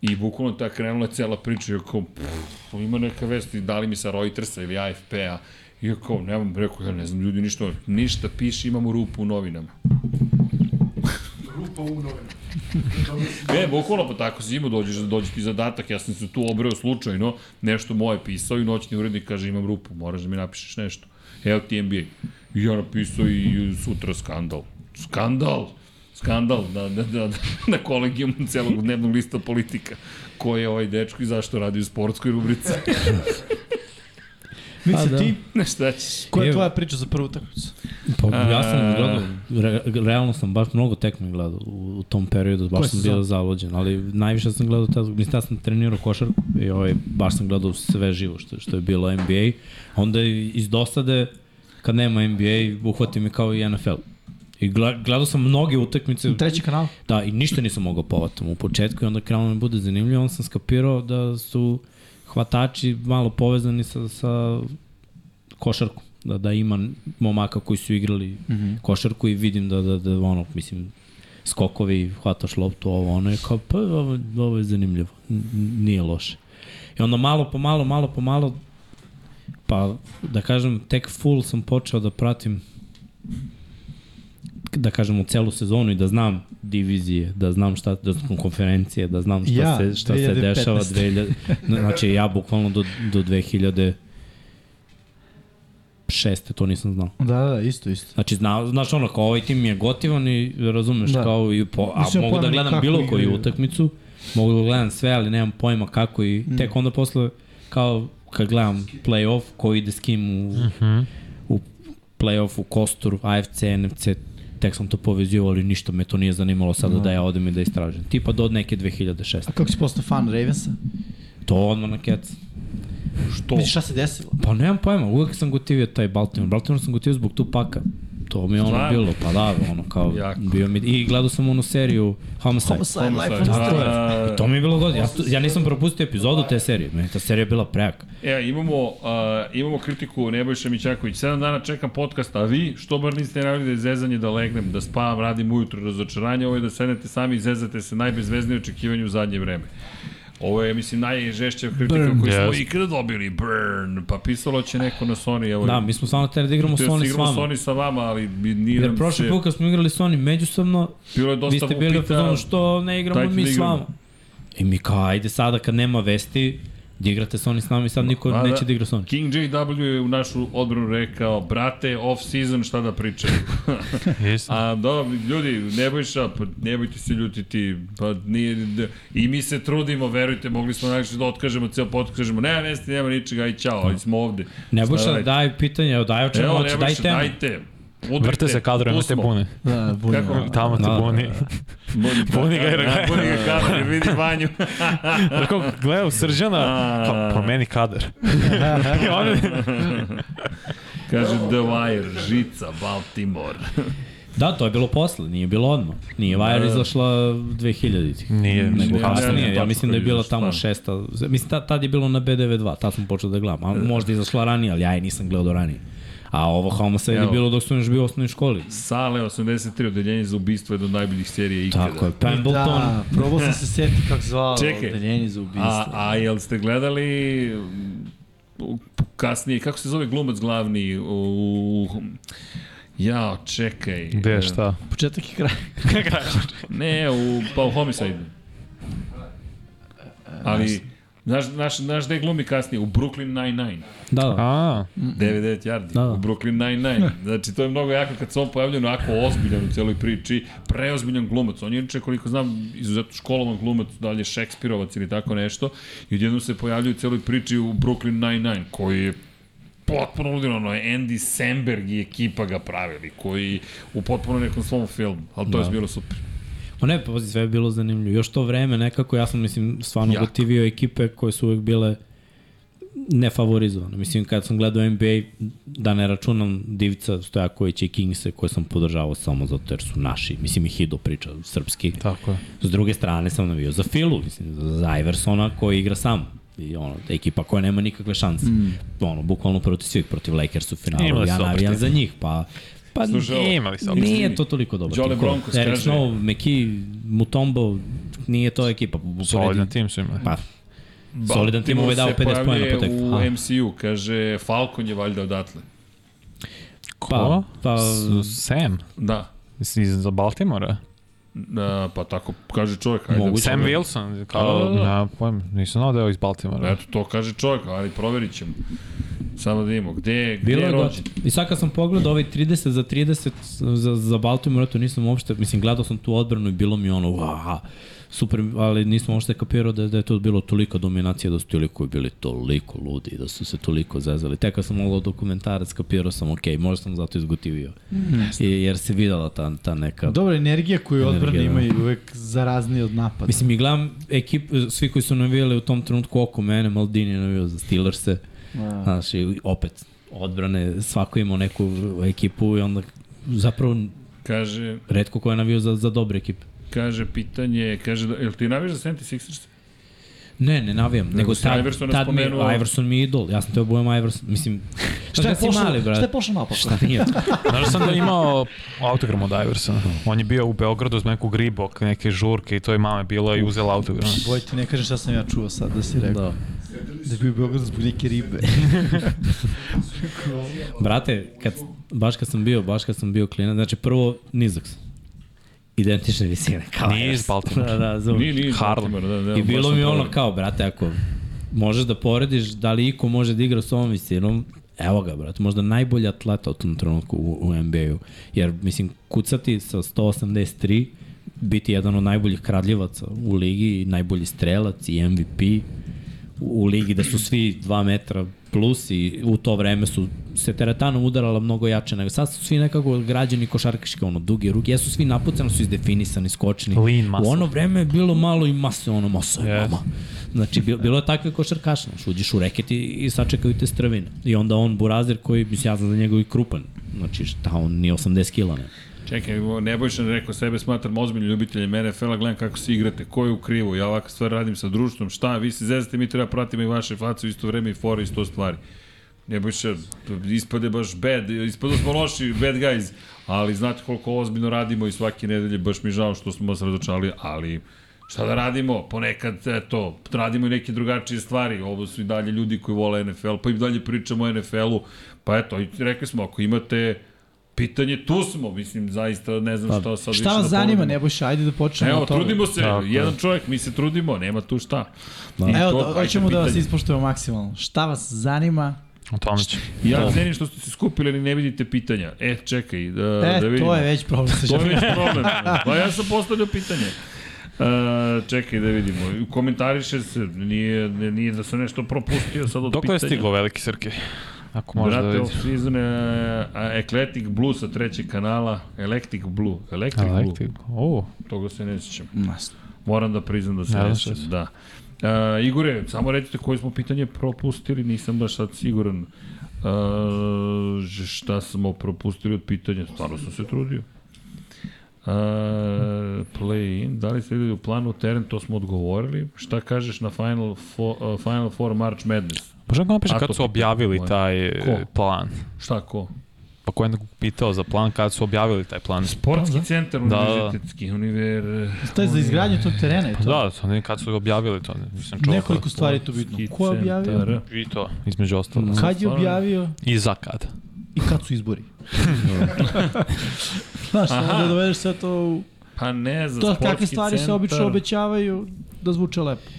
[SPEAKER 1] I bukvalno ta krenula je cela priča, ja kao, pff, ima neka vest, i da li mi sa Reutersa ili AFP-a, I ja kao, nemam, rekao, ja ne znam, ljudi, ništa, ništa piše, imamo rupu u novinama.
[SPEAKER 4] Rupa u novinama.
[SPEAKER 1] Ne, bukvalno pa tako si imao, dođeš, dođe ti zadatak, ja sam se tu obreo slučajno, nešto moje pisao i noćni urednik kaže imam rupu, moraš da mi napišeš nešto. Evo ti NBA. I ja napisao i sutra skandal. Skandal! Skandal na, na, na, na kolegijumu celog dnevnog lista politika. Ko je ovaj dečko i zašto radi u sportskoj rubrici?
[SPEAKER 3] Mica,
[SPEAKER 2] da.
[SPEAKER 3] ti,
[SPEAKER 1] ne, šta ćeš?
[SPEAKER 3] koja je
[SPEAKER 2] Evo.
[SPEAKER 3] tvoja priča za prvu utakmicu?
[SPEAKER 2] Pa
[SPEAKER 1] A-
[SPEAKER 2] ja sam gledao, re, realno sam baš mnogo tekme gledao u, u tom periodu, baš
[SPEAKER 3] Koje
[SPEAKER 2] sam
[SPEAKER 3] sezone?
[SPEAKER 2] bio zavođen, ali najviše sam gledao tad, mislim tad sam trenirao košarku i ovaj, baš sam gledao sve živo što, što je bilo NBA, onda i- iz dosade, kad nema NBA, uhvati me kao i NFL. I gla- gledao sam mnoge utakmice,
[SPEAKER 3] Treći kanal?
[SPEAKER 2] da, i ništa nisam mogao povatom u početku i onda krenuo mi bude zanimljivo, onda sam skapirao da su hvatači malo povezani sa, sa košarkom, da, da ima momaka koji su igrali mm -hmm. košarku i vidim da, da, da ono, mislim, skokovi, hvataš loptu, ovo, ono je kao, pa ovo, ovo je zanimljivo, N- n- nije loše. I onda malo po malo, malo po malo, pa da kažem, tek full sam počeo da pratim da kažem u celu sezonu i da znam divizije, da znam šta da znam konferencije, da znam šta
[SPEAKER 3] Ja,
[SPEAKER 2] se šta se
[SPEAKER 3] 2015.
[SPEAKER 2] dešava 2000 znači ja bukvalno do do 2000 šeste, to nisam znao.
[SPEAKER 3] Da, da, isto, isto.
[SPEAKER 2] Znači, zna, znaš ono, kao ovaj tim je gotivan i razumeš
[SPEAKER 3] Da.
[SPEAKER 2] da. kao i po, a
[SPEAKER 3] Mislim,
[SPEAKER 2] mogu da
[SPEAKER 3] pojma
[SPEAKER 2] gledam
[SPEAKER 3] kako
[SPEAKER 2] bilo koju
[SPEAKER 3] igraju.
[SPEAKER 2] utakmicu, mogu da gledam sve, ali nemam pojma kako i mm. tek onda posle, kao kad gledam play-off, ko ide s kim u, u play-off, u kostur, AFC, NFC, tek sam to povezio, ali ništa me to nije zanimalo sada da ja odem i da istražim. Tipa do neke 2006.
[SPEAKER 3] A kako si postao fan Ravensa?
[SPEAKER 2] To odmah na kec.
[SPEAKER 1] Što?
[SPEAKER 3] Vidiš šta se desilo?
[SPEAKER 2] Pa nemam pojma, uvek sam gotivio taj Baltimore. Baltimore sam gotivio zbog Tupaka. To mi je ono
[SPEAKER 1] Stvarno?
[SPEAKER 2] bilo, pa da, ono kao,
[SPEAKER 1] Jako.
[SPEAKER 2] bio mi, i gledao sam onu seriju Homicide.
[SPEAKER 3] Homicide, Life on the
[SPEAKER 1] Da,
[SPEAKER 3] Street.
[SPEAKER 1] da, da.
[SPEAKER 2] I to mi je bilo godin. Ja, stu- ja nisam propustio epizodu te serije. Meni ta serija je bila prejaka.
[SPEAKER 1] E, imamo, uh, imamo kritiku Nebojša Mićaković. 7 dana čekam podcast, a vi, što bar niste najavili da je zezanje, da legnem, da spavam, radim ujutro, razočaranje, ovo je da sednete sami i zezate se najbezveznije očekivanje u zadnje vreme. Ovo je, mislim, najžešća kritika
[SPEAKER 3] Burn.
[SPEAKER 1] koju smo
[SPEAKER 5] Yes.
[SPEAKER 1] ikada dobili. Burn. Pa pisalo će neko na Sony. Evo,
[SPEAKER 2] Da, mi smo stvarno terali da igramo
[SPEAKER 1] Tj.
[SPEAKER 2] s oni s
[SPEAKER 1] igramo
[SPEAKER 2] vama.
[SPEAKER 1] Sony sa vama, ali bi- nije
[SPEAKER 2] Jer
[SPEAKER 1] nam
[SPEAKER 2] prošli
[SPEAKER 1] se...
[SPEAKER 2] put kad smo igrali s oni međusobno,
[SPEAKER 1] Bilo je dosta
[SPEAKER 2] vi ste bili u
[SPEAKER 1] upita,
[SPEAKER 2] fazonu što ne igramo
[SPEAKER 1] dajte
[SPEAKER 2] mi
[SPEAKER 1] da
[SPEAKER 2] s
[SPEAKER 1] igramo.
[SPEAKER 2] vama. I mi kao, ajde sada kad nema vesti, da igrate Sony s nama i sad niko
[SPEAKER 1] Ma da.
[SPEAKER 2] neće da igra Sony.
[SPEAKER 1] King JW je u našu odbranu rekao, brate, off-season, šta da pričaju?
[SPEAKER 5] Jesi.
[SPEAKER 1] A da, ljudi, ne bojša, pa ne bojte se ljutiti, pa nije, d- i mi se trudimo, verujte, mogli smo najviše da otkažemo ceo podcast, kažemo, nema vesti, nema ničega, aj ćao, ali smo ovde.
[SPEAKER 2] Ne
[SPEAKER 1] Šta
[SPEAKER 2] boš da
[SPEAKER 1] radite?
[SPEAKER 2] daj pitanje, evo daj o čemu
[SPEAKER 1] Evo,
[SPEAKER 2] hoće,
[SPEAKER 1] ne
[SPEAKER 2] daj
[SPEAKER 1] bojša,
[SPEAKER 2] temu.
[SPEAKER 1] dajte. Udrite,
[SPEAKER 5] Vrte se kadro,
[SPEAKER 1] tu
[SPEAKER 5] ima te
[SPEAKER 1] smo.
[SPEAKER 5] bune.
[SPEAKER 3] Da, bunio.
[SPEAKER 1] Kako?
[SPEAKER 5] Tamo te
[SPEAKER 2] Da, da,
[SPEAKER 5] buni.
[SPEAKER 1] Buni ga,
[SPEAKER 5] Buni ga, jer ga-
[SPEAKER 1] a, Buni ga kadar, vidi vanju.
[SPEAKER 5] Tako, gledao Srđana, kao, promeni kadar. I on je,
[SPEAKER 1] Kaže The Wire, Žica, Baltimore.
[SPEAKER 2] Da, to je bilo posle, nije bilo odmah. Nije Vajer izašla 2000-ih.
[SPEAKER 5] Nije,
[SPEAKER 2] Nego
[SPEAKER 5] ne,
[SPEAKER 2] kasnije,
[SPEAKER 1] ne znam
[SPEAKER 2] ja
[SPEAKER 1] tačno
[SPEAKER 2] Da, mislim da
[SPEAKER 1] kad
[SPEAKER 2] je
[SPEAKER 1] je
[SPEAKER 2] bila
[SPEAKER 1] izašla,
[SPEAKER 2] tamo
[SPEAKER 1] stvarno.
[SPEAKER 2] šesta. Mislim, tad, tad je bilo na B92, tad sam počeo da gledam. A možda je izašla ranije, ali ja je nisam gledao do ranije. A ovo Homicide je
[SPEAKER 1] Evo.
[SPEAKER 2] bilo dok sam još bio u osnovnoj školi.
[SPEAKER 1] Sale 83, odeljenje za ubistvo je do najboljih serija ikada.
[SPEAKER 2] Tako je, Pembleton.
[SPEAKER 3] Da, probao sam se setiti kako se zvalo
[SPEAKER 1] Čekaj.
[SPEAKER 3] odeljenje za ubistvo.
[SPEAKER 1] A, a jel ste gledali m, u- kasnije, kako se zove glumac glavni u... u jao, čekaj.
[SPEAKER 5] Gde,
[SPEAKER 1] E,
[SPEAKER 5] šta?
[SPEAKER 3] Početak i kraj.
[SPEAKER 1] Ne, u, pa u Homicide. Ali, znaš, znaš, znaš gde glumi kasnije? U Brooklyn Nine-Nine.
[SPEAKER 2] Da, da.
[SPEAKER 5] A,
[SPEAKER 1] 99 yardi
[SPEAKER 2] Da, da.
[SPEAKER 1] u Brooklyn Nine-Nine. Znači, to je mnogo jako kad se on pojavlja onako ozbiljan u cijeloj priči, preozbiljan glumac. On je inače, koliko znam, izuzetno školovan glumac, dalje Šekspirovac ili tako nešto, i odjednom se pojavlja u cijeloj priči u Brooklyn Nine-Nine, koji je potpuno ludilo, ono, Andy Samberg i ekipa ga pravili, koji u potpuno nekom svom filmu, ali to da. je
[SPEAKER 2] Da.
[SPEAKER 1] bilo super.
[SPEAKER 2] O ne, pa pazi, sve je bilo zanimljivo. Još to vreme nekako, ja sam, mislim, stvarno
[SPEAKER 1] Jako.
[SPEAKER 2] gotivio ekipe koje su uvek bile nefavorizovane. Mislim, kad sam gledao NBA, da ne računam Divica Stojakovića i Kingse koje sam podržavao samo zato jer su naši. Mislim, i Hido priča srpski.
[SPEAKER 1] Da.
[SPEAKER 5] tako je.
[SPEAKER 2] S druge strane sam navio za Filu, mislim, za Iversona koji igra sam i ono, ekipa koja nema nikakve šanse. Mm. Ono, bukvalno protiv svih, protiv Lakers u finalu.
[SPEAKER 5] Imali
[SPEAKER 2] Ja
[SPEAKER 5] su dobar
[SPEAKER 2] navijam
[SPEAKER 5] tim.
[SPEAKER 2] za njih, pa Pa
[SPEAKER 1] Slušaj, ovo,
[SPEAKER 5] Imali su
[SPEAKER 1] opcije.
[SPEAKER 2] Nije to toliko dobro.
[SPEAKER 1] Jole
[SPEAKER 2] Tako,
[SPEAKER 1] da Broncos,
[SPEAKER 2] Eric
[SPEAKER 1] kaže.
[SPEAKER 2] Snow, McKee, Mutombo, nije to ekipa. po- po-
[SPEAKER 5] Solidan
[SPEAKER 2] poredi-
[SPEAKER 5] tim su imali.
[SPEAKER 2] Pa, solidan tim ovaj dao 50 pojena po
[SPEAKER 1] po
[SPEAKER 2] tekmi.
[SPEAKER 1] U
[SPEAKER 2] A.
[SPEAKER 1] MCU, kaže, Falcon je valjda odatle.
[SPEAKER 2] pa,
[SPEAKER 5] Ko?
[SPEAKER 2] pa,
[SPEAKER 5] S- Sam?
[SPEAKER 1] Da.
[SPEAKER 5] Iz, iz Baltimora?
[SPEAKER 1] Da, pa tako kaže čovjek, ajde.
[SPEAKER 2] Moguće.
[SPEAKER 5] Sam Wilson, kao,
[SPEAKER 1] Da, da, da.
[SPEAKER 5] na pojem, nisam znao da je ovo iz Baltimora.
[SPEAKER 1] Eto, to kaže čovjek, ali proverit ćemo. Samo da vidimo, gde, je- gde
[SPEAKER 2] Bilo
[SPEAKER 1] je
[SPEAKER 2] je
[SPEAKER 1] rođen?
[SPEAKER 2] gotovo. I sad kad sam pogledao ovaj 30 za 30 za, za Baltimore, to nisam uopšte, mislim, gledao sam tu odbranu i bilo mi ono, aha, super, ali nisam uopšte kapirao da, da je to bilo toliko dominacija, da su ti likovi bili toliko ludi, i da su se toliko zezali. Tek kad sam mogao dokumentarac, kapirao sam, ok, možda sam zato izgotivio.
[SPEAKER 1] Mm,
[SPEAKER 2] I, jer se videla ta, ta neka...
[SPEAKER 3] Dobra energija koju
[SPEAKER 2] Energija,
[SPEAKER 3] odbrana
[SPEAKER 2] da.
[SPEAKER 3] ima je uvek zaraznija od napada.
[SPEAKER 2] Pa Mislim, i gledam ekip, svi koji su navijali u tom trenutku oko mene, Maldini je navijao za Steelers-e,
[SPEAKER 3] Da.
[SPEAKER 2] znaš, i opet odbrane, svako imao neku ekipu i onda zapravo
[SPEAKER 1] Kaže,
[SPEAKER 2] redko ko je navio za, za dobre ekipe.
[SPEAKER 1] kaže pitanje, kaže, da, jel ti navijaš za 76ers?
[SPEAKER 2] Ne, ne navijam, nego
[SPEAKER 1] si
[SPEAKER 2] tad,
[SPEAKER 1] Iversona
[SPEAKER 2] tad mi,
[SPEAKER 1] spomenuo.
[SPEAKER 2] Iverson mi je idol, ja sam te obojem Iverson, mislim,
[SPEAKER 3] šta je
[SPEAKER 2] si
[SPEAKER 3] pošlo,
[SPEAKER 2] mali, brate?
[SPEAKER 3] šta je pošlo napad?
[SPEAKER 2] Šta nije?
[SPEAKER 5] Znaš sam da je imao autogram od Iversona. On je bio u Beogradu uz neku gribok, neke žurke i to je mama bila i uzela autogram.
[SPEAKER 3] Boj ti ne kažem šta sam ja čuo sad da si rekao.
[SPEAKER 2] da.
[SPEAKER 3] Da, da bi u Beogradu zbog neke ribe.
[SPEAKER 2] Brate, kad, baš kad sam bio, baš kad sam bio klinac, znači prvo nizak sam. Identične visine, kao
[SPEAKER 5] Nije iz
[SPEAKER 2] Iverson.
[SPEAKER 3] pa-
[SPEAKER 5] Baltimora.
[SPEAKER 2] Da, da, razumem.
[SPEAKER 1] Nije, nije. iz
[SPEAKER 5] Harlem.
[SPEAKER 1] Baltimora, Da, da,
[SPEAKER 2] I
[SPEAKER 1] baš
[SPEAKER 2] bilo
[SPEAKER 1] sam
[SPEAKER 2] mi ono
[SPEAKER 1] proverio.
[SPEAKER 2] kao, brate, ako možeš da porediš da li iko može da igra s ovom visinom, evo ga, brate, možda najbolji atleta u tom trenutku u, u NBA-u. Jer, mislim, kucati sa 183, biti jedan od najboljih kradljivaca u ligi, i najbolji strelac i MVP u, u ligi, da su svi 2 metra plus i u to vreme su se teretanom udarala mnogo jače nego sad su svi nekako građani košarkaški ono duge ruke jesu svi napucani su izdefinisani skočni
[SPEAKER 5] Lean muscle.
[SPEAKER 2] u ono vreme je bilo malo i mase ono masa je
[SPEAKER 5] Yes.
[SPEAKER 2] mama Znači, bilo, bilo je takve košarkaša, znaš, uđeš u reket i, i sačekaju te strvine. I onda on burazir koji, mislim, ja znam da njegov i krupan. Znači, šta, on nije 80 kila, ne.
[SPEAKER 1] Čekaj, Nebojšan rekao, sebe smatram ozbiljnim ljubiteljem NFL-a, gledam kako se igrate, ko je u krivu, ja ovakve stvari radim sa društvom, šta, vi se zezate, mi treba pratimo i vaše face u isto vreme i fore i sto stvari. Nebojša, ispade baš bad, ispadu smo loši, bad guys, ali znate koliko ozbiljno radimo i svake nedelje, baš mi žao što smo vas razočali, ali šta da radimo, ponekad, eto, radimo i neke drugačije stvari, ovo su i dalje ljudi koji vole NFL, pa i dalje pričamo o NFL-u, pa eto, i rekli smo, ako imate pitanje, tu smo, mislim, zaista ne znam šta sad
[SPEAKER 3] Pa, Šta vas
[SPEAKER 1] da
[SPEAKER 3] zanima,
[SPEAKER 1] ponudimo.
[SPEAKER 3] Nebojša, ajde da počnemo
[SPEAKER 1] Evo,
[SPEAKER 3] od toga.
[SPEAKER 1] trudimo se,
[SPEAKER 5] Tako je.
[SPEAKER 1] jedan čovjek, mi se trudimo, nema tu šta.
[SPEAKER 2] Da.
[SPEAKER 1] I
[SPEAKER 3] Evo,
[SPEAKER 1] to,
[SPEAKER 3] da,
[SPEAKER 1] ajde,
[SPEAKER 3] hoćemo da vas
[SPEAKER 1] pitanje.
[SPEAKER 3] ispoštujemo maksimalno. Šta vas zanima?
[SPEAKER 5] O tome će.
[SPEAKER 1] Ja ne cenim što ste se skupili, ali ne vidite pitanja. E, čekaj, da,
[SPEAKER 3] e,
[SPEAKER 1] da vidimo.
[SPEAKER 3] to je već problem sa
[SPEAKER 1] To je
[SPEAKER 3] željom.
[SPEAKER 1] već problem. Pa ja sam postavljao pitanje. E, čekaj da vidimo. Komentariše se, nije, ne- nije da sam nešto propustio sad od
[SPEAKER 5] Dokle
[SPEAKER 1] pitanja.
[SPEAKER 5] je stiglo veliki Srke? Ako možda da
[SPEAKER 1] Brate,
[SPEAKER 5] vidim.
[SPEAKER 1] off-season je a, Eclectic Blue sa trećeg kanala. Electric Blue. Electric, Blue.
[SPEAKER 5] Electric. O,
[SPEAKER 1] Toga se ne sjećam.
[SPEAKER 3] Masno.
[SPEAKER 1] Moram da priznam da se
[SPEAKER 5] Ne
[SPEAKER 1] ne
[SPEAKER 5] znaš šta
[SPEAKER 1] sjećam. Da. E, Igore, samo recite koje smo pitanje propustili, nisam baš sad siguran. E, ž- šta smo propustili od pitanja? Stvarno sam se trudio. E, Play-in, da li ste videli u planu teren, to smo odgovorili. Šta kažeš na Final, fo, e, final Four March Madness?
[SPEAKER 5] možda ga napiše
[SPEAKER 1] A, to
[SPEAKER 5] kad su
[SPEAKER 1] pitanje
[SPEAKER 5] objavili
[SPEAKER 1] moje.
[SPEAKER 5] taj e,
[SPEAKER 1] Ko?
[SPEAKER 5] plan.
[SPEAKER 1] Šta ko?
[SPEAKER 5] Pa ko je nekog pitao za plan kad su objavili taj plan?
[SPEAKER 1] Sportski centar
[SPEAKER 5] Da, da.
[SPEAKER 1] univerzitetski, univer...
[SPEAKER 3] To je za izgradnju tog terena. Je to.
[SPEAKER 5] Da, to ne, kad su ga objavili to, ne, nisam čuo.
[SPEAKER 3] Nekoliko stvari Mm. je tu bitno.
[SPEAKER 1] Sportski
[SPEAKER 3] Ko je objavio?
[SPEAKER 1] centar.
[SPEAKER 5] I to, između ostalo.
[SPEAKER 3] Kad je
[SPEAKER 1] Da. Stvarno?
[SPEAKER 3] objavio
[SPEAKER 5] I za kad.
[SPEAKER 3] i kad su izbori? Znaš, samo da dovedeš sve to u...
[SPEAKER 1] Pa ne, za
[SPEAKER 3] To
[SPEAKER 1] sportski
[SPEAKER 3] kakve stvari se obično
[SPEAKER 1] centar.
[SPEAKER 3] obećavaju da zvuče lepo.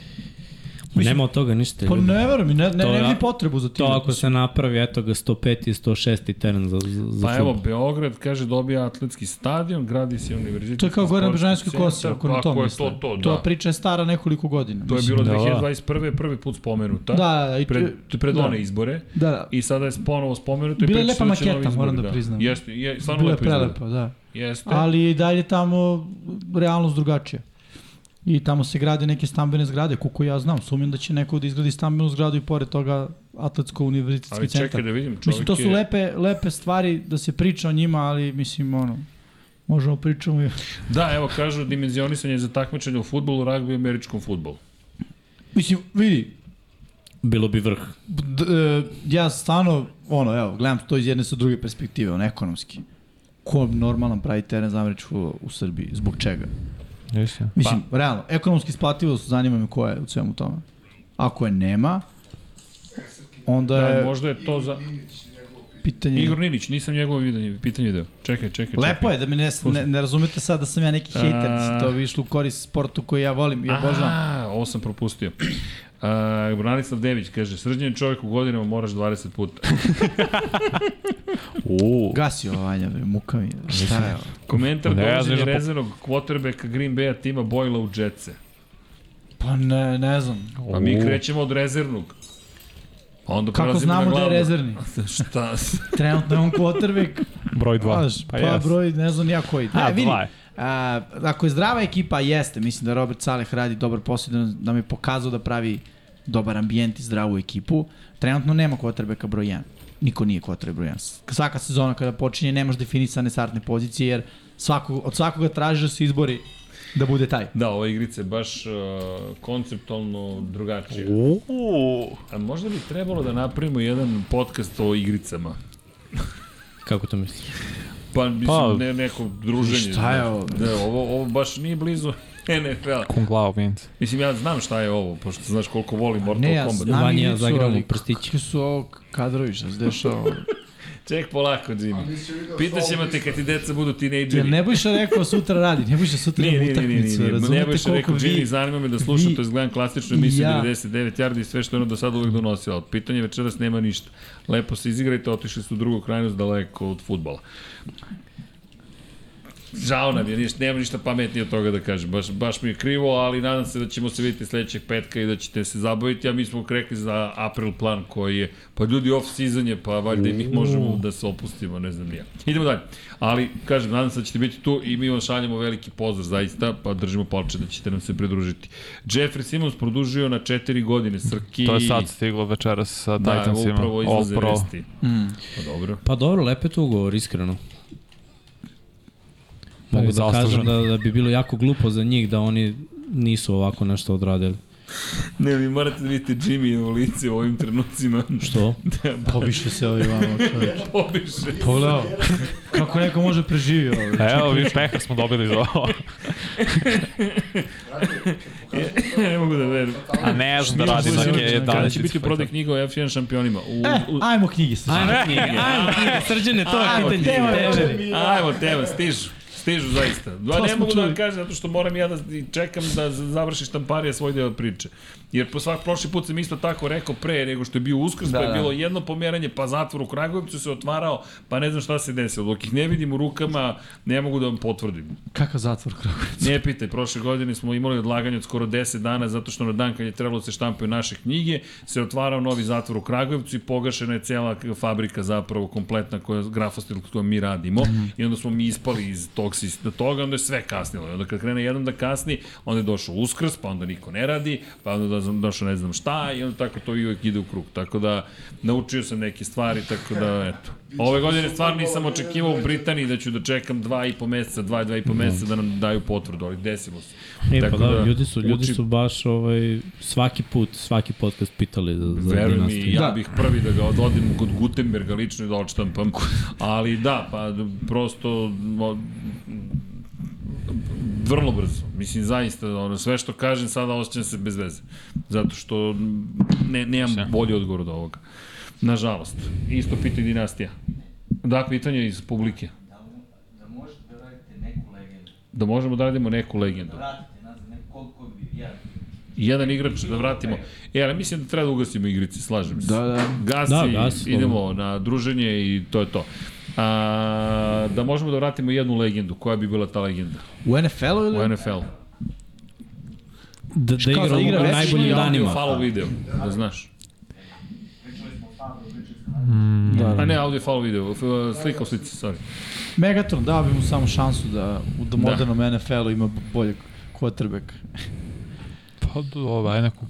[SPEAKER 2] Nema od toga ništa.
[SPEAKER 1] da
[SPEAKER 3] Pa
[SPEAKER 2] ljudi.
[SPEAKER 3] ne verujem, ne, ne,
[SPEAKER 2] To
[SPEAKER 3] ne,
[SPEAKER 2] ja-
[SPEAKER 3] ne potrebu za
[SPEAKER 2] To
[SPEAKER 3] tim.
[SPEAKER 2] ako se napravi, eto ga 105. i 106. teren za, za, za
[SPEAKER 1] Pa evo, Beograd, kaže, dobija atletski stadion, gradi se univerzitet.
[SPEAKER 3] To je kao gore na
[SPEAKER 1] sportski
[SPEAKER 3] Bežanskoj kosi,
[SPEAKER 1] centar,
[SPEAKER 3] ako
[SPEAKER 1] pa
[SPEAKER 3] na to
[SPEAKER 1] Ako je
[SPEAKER 3] misle.
[SPEAKER 1] to, to, da.
[SPEAKER 3] To priča je stara nekoliko godina.
[SPEAKER 1] To je
[SPEAKER 3] mislim.
[SPEAKER 1] bilo
[SPEAKER 5] Da, da.
[SPEAKER 1] 2021. prvi put spomenuta.
[SPEAKER 3] Da, da, i to-
[SPEAKER 1] pred, pred
[SPEAKER 3] da.
[SPEAKER 1] one izbore.
[SPEAKER 3] Da, da.
[SPEAKER 1] I sada je ponovo spomenuto. i
[SPEAKER 3] Bila je
[SPEAKER 1] priča se
[SPEAKER 3] lepa
[SPEAKER 1] da će novi
[SPEAKER 3] maketa, moram
[SPEAKER 1] izbori,
[SPEAKER 3] da priznam.
[SPEAKER 1] Jeste, je, stvarno
[SPEAKER 3] Bilo je
[SPEAKER 1] lepo izgleda.
[SPEAKER 3] prelepo, da.
[SPEAKER 1] Jeste.
[SPEAKER 3] Ali je i dalje tamo realnost drugačija. I tamo se grade neke stambene zgrade, koliko ja znam. Sumnjam da će neko da izgradi stambenu zgradu i pored toga Atletsko univerzitetski
[SPEAKER 1] Ali čekaj
[SPEAKER 3] centar.
[SPEAKER 1] da vidim, čovjek
[SPEAKER 3] Mislim, to su
[SPEAKER 1] je...
[SPEAKER 3] lepe, lepe stvari da se priča o njima, ali mislim, ono, možemo pričamo i...
[SPEAKER 1] Da, evo, kažu, dimenzionisanje za takmičenje u futbolu, ragbi i američkom futbolu.
[SPEAKER 3] Mislim, vidi,
[SPEAKER 2] Bilo bi vrh.
[SPEAKER 3] d, e, ja stvarno, ono, evo, gledam to iz jedne sa druge perspektive, ono, ekonomski. Ko normalan pravi teren za američki fudbal u Srbiji? Zbog čega?
[SPEAKER 5] Jesi.
[SPEAKER 3] Mislim, pa. realno, ekonomski isplativost zanima me koja je u svemu tome. Ako je nema, onda
[SPEAKER 1] Da,
[SPEAKER 3] je
[SPEAKER 1] možda je to za...
[SPEAKER 3] pitanje...
[SPEAKER 1] Igor Ninić, nisam njegovo vidanje, pitanje video. Čekaj, čekaj, čekaj.
[SPEAKER 3] Lepo je da me ne, ne, ne razumete sad da sam ja neki hejter, mislim, to bi išlo u korist sportu koji ja volim i obožavam.
[SPEAKER 1] A, ovo sam propustio. Uh, Branislav Dević kaže, srđan je čovjek u godinama, moraš 20 puta.
[SPEAKER 5] Uuu.
[SPEAKER 3] Gasi ovo, Vanja, bre, muka mi je. Šta je ovo?
[SPEAKER 1] Komentar
[SPEAKER 5] Ne, ja
[SPEAKER 1] dovođenja
[SPEAKER 5] znaš da po-
[SPEAKER 1] rezervnog quarterbacka Green Bay-a tima Boyla u Jetсе.
[SPEAKER 3] Pa ne, ne znam.
[SPEAKER 1] Pa mi krećemo od rezervnog. Pa onda
[SPEAKER 3] Kako
[SPEAKER 1] prelazimo na
[SPEAKER 3] znamo da je
[SPEAKER 1] glavnog.
[SPEAKER 3] rezervni?
[SPEAKER 1] Šta?
[SPEAKER 3] Trenutno je on quarterback,
[SPEAKER 5] Broj dva.
[SPEAKER 3] Znaš, pa, pa broj, ne znam ja koji.
[SPEAKER 5] A,
[SPEAKER 3] E, vidi,
[SPEAKER 5] dva je.
[SPEAKER 3] a, ako je zdrava ekipa, jeste. Mislim da Robert Saleh radi dobar posao, da, da mi je pokazao da pravi dobar ambijent i zdravu ekipu. Trenutno nema quarterbacka broj 1. Niko nije quarterback broj 1. Svaka sezona kada počinje nemaš definisane startne pozicije, jer svako, od svakoga traži da se izbori da bude taj.
[SPEAKER 1] da, ova igrica je baš uh, konceptualno drugačija.
[SPEAKER 5] Uuu.
[SPEAKER 1] A možda bi trebalo da napravimo jedan podcast o igricama.
[SPEAKER 2] Kako to misliš?
[SPEAKER 1] Pa, mislim,
[SPEAKER 5] Pa,
[SPEAKER 1] ne, neko druženje.
[SPEAKER 3] šta je
[SPEAKER 1] znaš.
[SPEAKER 3] ovo?
[SPEAKER 1] Da, ovo, ovo baš nije blizu NFL-a.
[SPEAKER 5] Kung Lao, Vince.
[SPEAKER 1] Mislim, ja znam šta je ovo, pošto znaš koliko volim Mortal
[SPEAKER 3] Ne, ja
[SPEAKER 1] Kombat.
[SPEAKER 3] znam
[SPEAKER 2] Vanja,
[SPEAKER 3] igricu,
[SPEAKER 2] zagramo
[SPEAKER 3] ali
[SPEAKER 2] prstiće.
[SPEAKER 3] Kakvi su ovo kadrovi što se dešava?
[SPEAKER 1] Ček polako, Jimmy. Pitaćemo te kad ti deca budu
[SPEAKER 3] Jel
[SPEAKER 1] tinejdžeri.
[SPEAKER 3] ne bojša rekao sutra radi, ne bojša sutra
[SPEAKER 1] Nije,
[SPEAKER 3] imamo
[SPEAKER 1] nije, nije, nije,
[SPEAKER 3] utakmicu,
[SPEAKER 1] nije. Ne
[SPEAKER 3] razumete
[SPEAKER 1] bojiš
[SPEAKER 3] koliko
[SPEAKER 1] rekao, Jimmy,
[SPEAKER 3] vi
[SPEAKER 1] zanima me da slušam,
[SPEAKER 3] vi-
[SPEAKER 1] to izgledam klasičnu emisiju
[SPEAKER 3] Ja.
[SPEAKER 1] 99 yardi i sve što je ono do sada uvek donosila. Od pitanja večeras nema ništa. Lepo se izigrajte, otišli su u drugu krajnost daleko od futbala. Žao nam je, ništa, nema ništa pametnije od toga da kažem. Baš, baš mi je krivo, ali nadam se da ćemo se vidjeti sledećeg petka i da ćete se zabaviti, a mi smo rekli za april plan koji je, pa ljudi off season je, pa valjda i mi možemo da se opustimo, ne znam ni ja. Idemo dalje. Ali, kažem, nadam se da ćete biti tu i mi vam šaljemo veliki pozdrav zaista, pa držimo palče da ćete nam se pridružiti. Jeffrey Simons produžio na 4 godine, Srki...
[SPEAKER 5] To je sad stiglo večeras sa
[SPEAKER 1] da,
[SPEAKER 5] Titansima.
[SPEAKER 1] upravo izlaze
[SPEAKER 5] All Pro.
[SPEAKER 1] vesti.
[SPEAKER 3] Mm.
[SPEAKER 1] Pa dobro.
[SPEAKER 2] Pa dobro, lepo je to ugovor, iskreno. Mogu da kažem da, da bi bilo jako glupo za njih da oni nisu ovako nešto odradili.
[SPEAKER 1] Ne, vi morate da vidite Jimmy u lice u ovim trenucima.
[SPEAKER 2] Što?
[SPEAKER 1] da,
[SPEAKER 3] Pobiše se ovaj vamo čovječ.
[SPEAKER 1] pobiše.
[SPEAKER 3] Pogledao. Kako ako neko može preživi ovo.
[SPEAKER 5] Evo, vi peha smo dobili za ovo.
[SPEAKER 1] ne mogu da verujem.
[SPEAKER 5] A ne znam da radim na G11.
[SPEAKER 1] Kada će biti prodaj knjiga o F1 šampionima? U,
[SPEAKER 3] E,
[SPEAKER 1] u,
[SPEAKER 3] ajmo knjige sa
[SPEAKER 2] Ajmo knjige, ajmo knjige, srđane, to je
[SPEAKER 3] Ajmo,
[SPEAKER 2] pitanje.
[SPEAKER 3] tema večeri.
[SPEAKER 1] Ajmo, tema, stižu. Stižu zaista. Dva,
[SPEAKER 3] To
[SPEAKER 1] ne
[SPEAKER 3] smo
[SPEAKER 1] mogu da vam
[SPEAKER 3] čuli.
[SPEAKER 1] kažem, zato što moram ja da čekam da z- završi štamparija svoj deo priče. Jer po svak, prošli put sam isto tako rekao pre nego što je bio uskrs, da,
[SPEAKER 3] Da,
[SPEAKER 1] pa je
[SPEAKER 3] da.
[SPEAKER 1] bilo jedno pomeranje, pa zatvor u Kragujevcu se otvarao, pa ne znam šta se desilo. Dok ih ne vidim u rukama, ne mogu da vam potvrdim.
[SPEAKER 3] Kakav zatvor Kragujevac?
[SPEAKER 1] Ne pitaj, prošle godine smo imali odlaganje od skoro 10 dana zato što na dan kad je trebalo da se štampaju naše knjige, se otvarao novi zatvor u Kragujevcu i pogašena je cela fabrika zapravo kompletna koja grafostil kojom mi radimo i onda smo mi ispali iz tog sistema toga, onda je sve kasnilo. I onda kad krene jedan da kasni, onda je došao uskrs, pa onda niko ne radi, pa onda da znam- došao ne znam šta i onda tako to i uvijek ide u krug. Tako da naučio sam neke stvari, tako da eto. Ove godine stvarno nisam očekivao u Britaniji da ću da čekam dva i po meseca, dva, dva i po meseca da nam daju potvrdu, ali desilo se.
[SPEAKER 2] E, pa
[SPEAKER 1] Tako
[SPEAKER 2] da,
[SPEAKER 1] da,
[SPEAKER 2] ljudi su, ljudi
[SPEAKER 1] uči-
[SPEAKER 2] su baš ovaj, svaki put, svaki podcast pitali za, za
[SPEAKER 1] Veruj mi,
[SPEAKER 2] dinastiju.
[SPEAKER 1] ja
[SPEAKER 3] Da.
[SPEAKER 1] bih prvi da ga ododim kod Gutenberga lično i da odštampam. Ali da, pa prosto mo- vrlo brzo. Mislim, zaista, ono, sve što kažem sada osjećam se bez veze. Zato što ne, nemam
[SPEAKER 5] Sve.
[SPEAKER 1] bolji odgovor od ovoga. Nažalost. Isto pitanje dinastija. Da, pitanje iz publike.
[SPEAKER 7] da možete da radite neku legendu.
[SPEAKER 1] Da možemo da radimo neku legendu.
[SPEAKER 7] Vratite nazad neko koliko bi ja
[SPEAKER 1] Jedan igrač da vratimo. E, ali mislim da treba da ugasimo igrice, slažem se.
[SPEAKER 3] Da, da.
[SPEAKER 1] Gasi, da,
[SPEAKER 2] Da,
[SPEAKER 1] gasi
[SPEAKER 2] gasi,
[SPEAKER 1] idemo na druženje i to je to. A, da možemo da vratimo jednu legendu. Koja bi bila ta legenda
[SPEAKER 3] U NFL-u ili?
[SPEAKER 1] u NFL?
[SPEAKER 2] Da, da igra
[SPEAKER 3] za igra
[SPEAKER 2] u
[SPEAKER 3] veći
[SPEAKER 2] najboljim
[SPEAKER 3] milion,
[SPEAKER 1] Audio,
[SPEAKER 2] danima.
[SPEAKER 1] follow video, da znaš.
[SPEAKER 5] Mm,
[SPEAKER 3] Da,
[SPEAKER 1] A
[SPEAKER 3] da.
[SPEAKER 1] ne, audio, follow video, f- slika u slici, sorry.
[SPEAKER 3] Megatron dao bi mu samo šansu da u da modernom NFL-u ima boljeg quarterbacka.
[SPEAKER 5] Pa dobro, aj neku...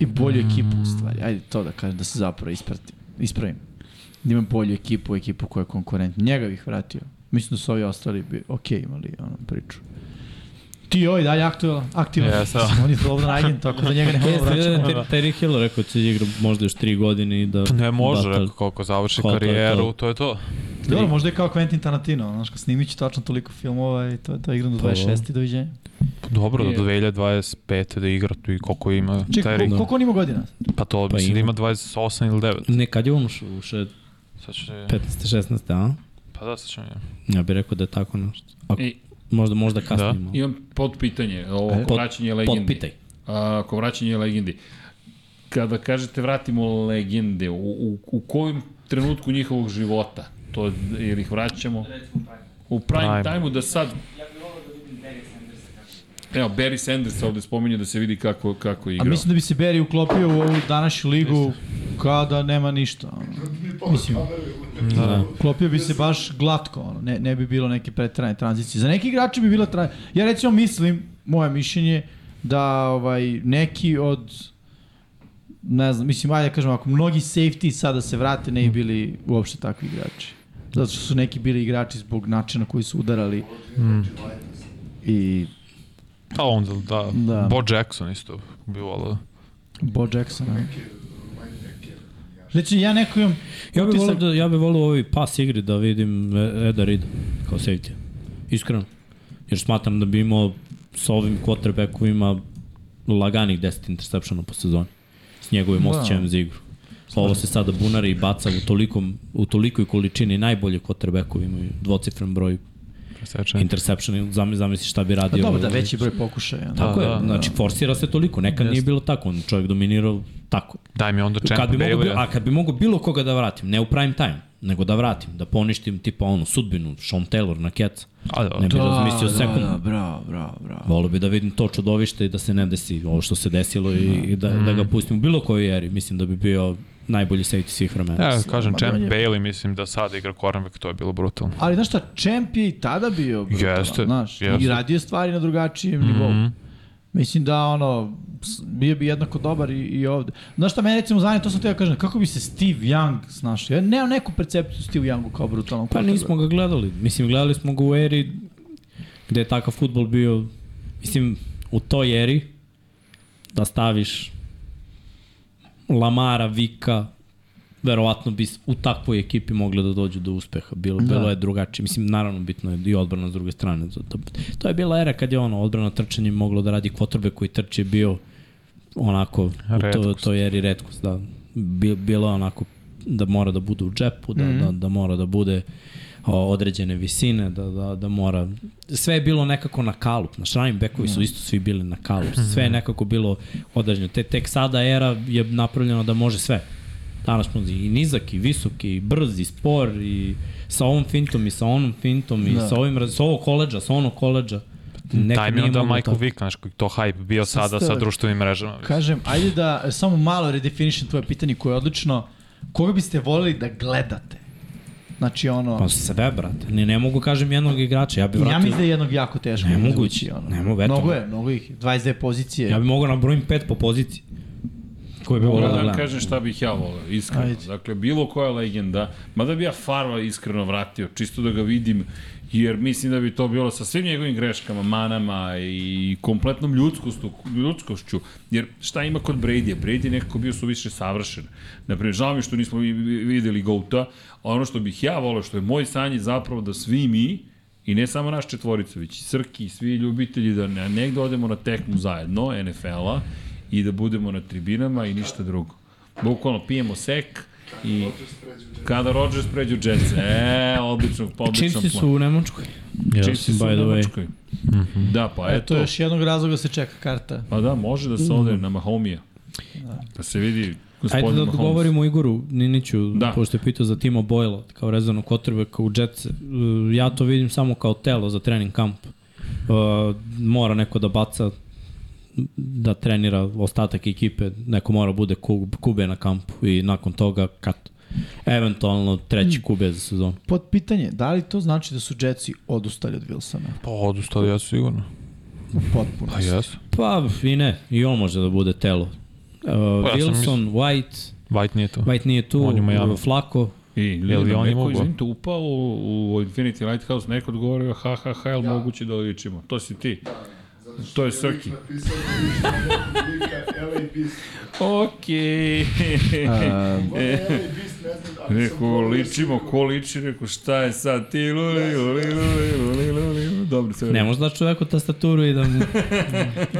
[SPEAKER 3] I bolju ekipu u stvari. Ajde to da kažem, da se zapravo ispratim. Ispravim. Da imam bolju ekipu, ekipu koja je konkurentna. Njega bih vratio. Mislim da su ovi ostali bi ok imali ono priču. Ti ovaj dalje aktualan, aktivan.
[SPEAKER 5] Jeste.
[SPEAKER 3] Mislim, On je slobodan agent, tako da njega ne mogu
[SPEAKER 2] Jeste, vidio da
[SPEAKER 3] vraćati.
[SPEAKER 2] je Terry Hill rekao da će da igra možda još tri godine i da...
[SPEAKER 5] Ne može,
[SPEAKER 2] da,
[SPEAKER 5] rekao, koliko
[SPEAKER 2] Ko,
[SPEAKER 5] završi
[SPEAKER 2] to je to.
[SPEAKER 5] karijeru, to je to.
[SPEAKER 3] Dobro, možda je kao Quentin Tarantino, ono, znaš, kad snimit će tačno toliko filmova i to, to igram do
[SPEAKER 2] Pa,
[SPEAKER 3] 26. doviđenja.
[SPEAKER 5] Pa Dobro, do
[SPEAKER 1] Je.
[SPEAKER 5] 2025. da igra tu i koliko ima taj
[SPEAKER 3] Čekaj,
[SPEAKER 5] ring.
[SPEAKER 3] kol- koliko on ima godina?
[SPEAKER 5] Pa to
[SPEAKER 2] Pa
[SPEAKER 5] mislim da
[SPEAKER 2] ima.
[SPEAKER 5] ima 28 ili 9.
[SPEAKER 2] da. Ne, kad je on ušao? Ušao je
[SPEAKER 5] Sad će...
[SPEAKER 2] 15. 16. a?
[SPEAKER 5] Pa da, sad ćemo ja.
[SPEAKER 2] Ja bih rekao da je tako nešto. Ako,
[SPEAKER 1] I,
[SPEAKER 2] možda, možda
[SPEAKER 5] Da.
[SPEAKER 2] kasnije. Da.
[SPEAKER 1] imam potpitanje, ovo, oko
[SPEAKER 2] E, Pot-
[SPEAKER 1] vraćanje legendi.
[SPEAKER 2] Potpitaj.
[SPEAKER 1] A, oko vraćanje legendi. Kada kažete vratimo legende, u, u, u kojem trenutku njihovog života? To, je- jer ih vraćamo u prime
[SPEAKER 5] Prime.
[SPEAKER 1] time-u da sad Evo, Barry Sanders ovde spominje da se vidi kako, kako je
[SPEAKER 3] A
[SPEAKER 1] igrao.
[SPEAKER 3] mislim da bi se Barry uklopio u ovu današnju ligu kao da nema ništa. ono. Mislim,
[SPEAKER 2] Da.
[SPEAKER 3] uklopio bi se baš glatko, ono. ne, ne bi bilo neke pretrane tranzicije. Za neki igrače bi bila tra... Ja recimo mislim, moje mišljenje, da ovaj, neki od ne znam, mislim, ajde da kažem ako mnogi safety sada se vrate,
[SPEAKER 2] Mm.
[SPEAKER 3] ne bi bili uopšte takvi igrači. Zato što su neki bili igrači zbog načina koji su udarali.
[SPEAKER 2] Mm.
[SPEAKER 3] I
[SPEAKER 5] A onda, da.
[SPEAKER 3] Da.
[SPEAKER 5] Bo Jackson isto da bivalo.
[SPEAKER 3] Bo Jacksona. Znači, ja neko imam
[SPEAKER 2] Ja bih volio
[SPEAKER 3] utisak-
[SPEAKER 2] da, ja bih volio u ovoj pas igri da vidim E- Eda Rida kao safety. Iskreno. Jer smatram da bi imao sa ovim quarterbackovima laganih 10 interceptiona po sezoni. S njegovim
[SPEAKER 3] Da.
[SPEAKER 2] osjećajem za igru. Ovo se sada bunari i baca u, tolikom, u tolikoj količini najbolje quarterbackovi imaju dvocifren broj
[SPEAKER 5] Presečen.
[SPEAKER 2] interceptiona. Zamisli, zamisli šta bi
[SPEAKER 3] Da. Pa
[SPEAKER 2] radio.
[SPEAKER 3] dobro,
[SPEAKER 2] ovaj
[SPEAKER 3] da
[SPEAKER 2] igrač.
[SPEAKER 3] veći broj pokušaja. Da.
[SPEAKER 2] Tako
[SPEAKER 5] Da,
[SPEAKER 2] je,
[SPEAKER 5] da, da.
[SPEAKER 2] znači forsira se toliko, nekad nije
[SPEAKER 3] Jeste.
[SPEAKER 2] bilo tako, on čovjek dominirao tako.
[SPEAKER 5] Daj mi onda Champ
[SPEAKER 2] Kad bi mogo, bilo,
[SPEAKER 5] Bailey.
[SPEAKER 2] a kad bi mogo bilo koga da vratim, ne u prime time, nego da vratim, da poništim tipa ono, sudbinu, Sean Taylor na Cats,
[SPEAKER 5] A da,
[SPEAKER 2] ne bi
[SPEAKER 5] da.
[SPEAKER 2] razmislio
[SPEAKER 3] da,
[SPEAKER 2] sekund.
[SPEAKER 3] Da, bravo, bravo, bravo.
[SPEAKER 2] Volio bi da vidim to čudovište i da se ne desi ovo što se desilo i, i da, da ga pustim u bilo kojoj eri. Mislim da bi bio najbolji safety svih vremena.
[SPEAKER 5] Ja, kažem, Champ
[SPEAKER 3] on je-
[SPEAKER 5] Bailey mislim da sad igra cornerback, to je bilo brutalno.
[SPEAKER 3] Ali znaš šta, Čemp je i tada bio brutalan,
[SPEAKER 5] Jeste,
[SPEAKER 3] znaš, i
[SPEAKER 5] jeste.
[SPEAKER 3] radio je stvari na drugačijem mm -hmm. nivou. Mislim da ono, s- bio bi jednako dobar i, i ovde. Znaš šta, mene recimo zanima, to sam teo da kažem, kako bi se Steve Young snašao? Ja nemam neku percepciju Steve Youngu kao brutalnom.
[SPEAKER 2] Pa nismo ga gledali. Mislim, gledali smo ga u eri gde je takav futbol bio, mislim, u toj eri da staviš Lamara, Vika, verovatno bi u takvoj ekipi mogli da dođu do uspeha. Bilo, da. bilo je drugačije. Mislim, naravno, bitno je i odbrana s druge strane. To, to, to je bila era kad je ono, odbrana trčanjem moglo da radi kvotrbe koji trči je bio onako, redkost. u to,
[SPEAKER 5] Retkost.
[SPEAKER 2] to je eri redkost, da. Bi- Bilo je onako da mora da bude u džepu, da, mm -hmm. da, da mora da bude o, određene visine, da, da, da mora... Sve je bilo nekako na kalup. Naš running backovi su isto svi bili na kalup. Sve je nekako bilo određeno. Te, tek sada era je napravljeno da može sve. Danas smo i nizak, i visok, i brz, i spor, i sa ovom fintom, i sa onom fintom, i da. sa, ovim, raz- sa ovog koleđa, sa onog koleđa. Nekad
[SPEAKER 5] Tajmino
[SPEAKER 2] nije
[SPEAKER 5] da
[SPEAKER 2] moglo
[SPEAKER 5] Michael
[SPEAKER 2] tako.
[SPEAKER 5] Vick, znaš, koji to hype bio
[SPEAKER 3] Sad
[SPEAKER 5] sada
[SPEAKER 3] ste-
[SPEAKER 5] sa društvenim mrežama.
[SPEAKER 3] Kažem, ajde da e, samo malo redefinišem tvoje pitanje koje je odlično. Koga biste voljeli da gledate? Znači ono,
[SPEAKER 2] Pa sve, brate. Ne, ne mogu kažem jednog igrača. Ja bi
[SPEAKER 3] ja
[SPEAKER 2] vratio...
[SPEAKER 3] mislim da je jednog jako teško.
[SPEAKER 2] Nemoguće,
[SPEAKER 3] izvući,
[SPEAKER 2] nemo- eto.
[SPEAKER 3] Mnogo je, mnogo ih je. 22 pozicije.
[SPEAKER 2] Ja bih mogao nabrojim pet po poziciji. Koji bi volao da
[SPEAKER 1] Moram da vam
[SPEAKER 2] gledam.
[SPEAKER 1] kažem šta bih ja volao, iskreno.
[SPEAKER 3] Ajde.
[SPEAKER 1] Ajde. Dakle, bilo koja legenda, mada bi ja Farva iskreno vratio, čisto da ga vidim, jer mislim da bi to bilo sa svim njegovim greškama, manama i kompletnom ljudskostu, ljudskošću. Jer šta ima kod Brady? Brady je nekako bio su više savršen. Naprimjer, žao mi što nismo vi- vi- videli Gouta, a ono što bih ja volao, što je moj sanj je zapravo da svi mi, I ne samo naš četvorica, već i Srki, i svi ljubitelji da ne- negde odemo na tekmu zajedno, NFL-a, i da budemo na tribinama i ništa drugo. Bukvalno pijemo sek i kada Rodgers pređu u Jets. E, odlično, pa odličan
[SPEAKER 2] Čimsi Znači, su
[SPEAKER 1] plan.
[SPEAKER 2] u Nemačkoj.
[SPEAKER 1] Chiefs su
[SPEAKER 2] by
[SPEAKER 1] u
[SPEAKER 2] the way. Mhm. E,
[SPEAKER 1] Nemačkoj. Da, pa
[SPEAKER 3] Eto,
[SPEAKER 1] eto.
[SPEAKER 3] još jednog razloga se čeka karta.
[SPEAKER 1] Pa da, može da
[SPEAKER 2] Mhm.
[SPEAKER 1] se ode na Mahomija. Da se vidi gospodin
[SPEAKER 2] Ajde da
[SPEAKER 1] Mahomes.
[SPEAKER 2] odgovorimo Igoru Niniću, da.
[SPEAKER 1] Da.
[SPEAKER 2] pošto je pitao za Timo Bojla, kao rezano kotrbeka u Jets. E, Ja to vidim samo kao telo za trening kamp. E, Mora neko da baca da trenira ostatak ekipe, neko mora bude ku- kube na kampu i nakon toga kat. Eventualno treći kube za sezonu.
[SPEAKER 3] Pod pitanje, da li to znači da su Jetsi odustali od Wilsona?
[SPEAKER 5] Pa odustali, ja sigurno.
[SPEAKER 3] U potpuno.
[SPEAKER 5] Pa jes.
[SPEAKER 2] Pa i ne, i on može da bude telo. Uh,
[SPEAKER 5] Pa ja sam
[SPEAKER 2] Wilson, White,
[SPEAKER 5] White nije to.
[SPEAKER 2] White nije tu,
[SPEAKER 5] On je u Miami.
[SPEAKER 2] uh, Flako,
[SPEAKER 1] I,
[SPEAKER 5] Jel
[SPEAKER 1] ljudi,
[SPEAKER 5] i on
[SPEAKER 1] on
[SPEAKER 5] ima
[SPEAKER 1] neko,
[SPEAKER 5] ugla?
[SPEAKER 1] izvinite, upao u, u Infinity Lighthouse, neko odgovorio, ha, ha, ha, jel moguće da ličimo? To si ti. To je Srki.
[SPEAKER 4] Napisao da više nekog lika LA Beast.
[SPEAKER 1] Okej.
[SPEAKER 3] E.
[SPEAKER 4] Ne, LA Beast ne znam, ali sam da
[SPEAKER 1] Rekao,
[SPEAKER 4] pogledao
[SPEAKER 1] ličimo,
[SPEAKER 4] sigurno.
[SPEAKER 1] ko liči, rekao, šta je sad ti, luli, luli, luli, luli, luli, dobro, sve.
[SPEAKER 2] ne može da čoveku tastaturu i da mu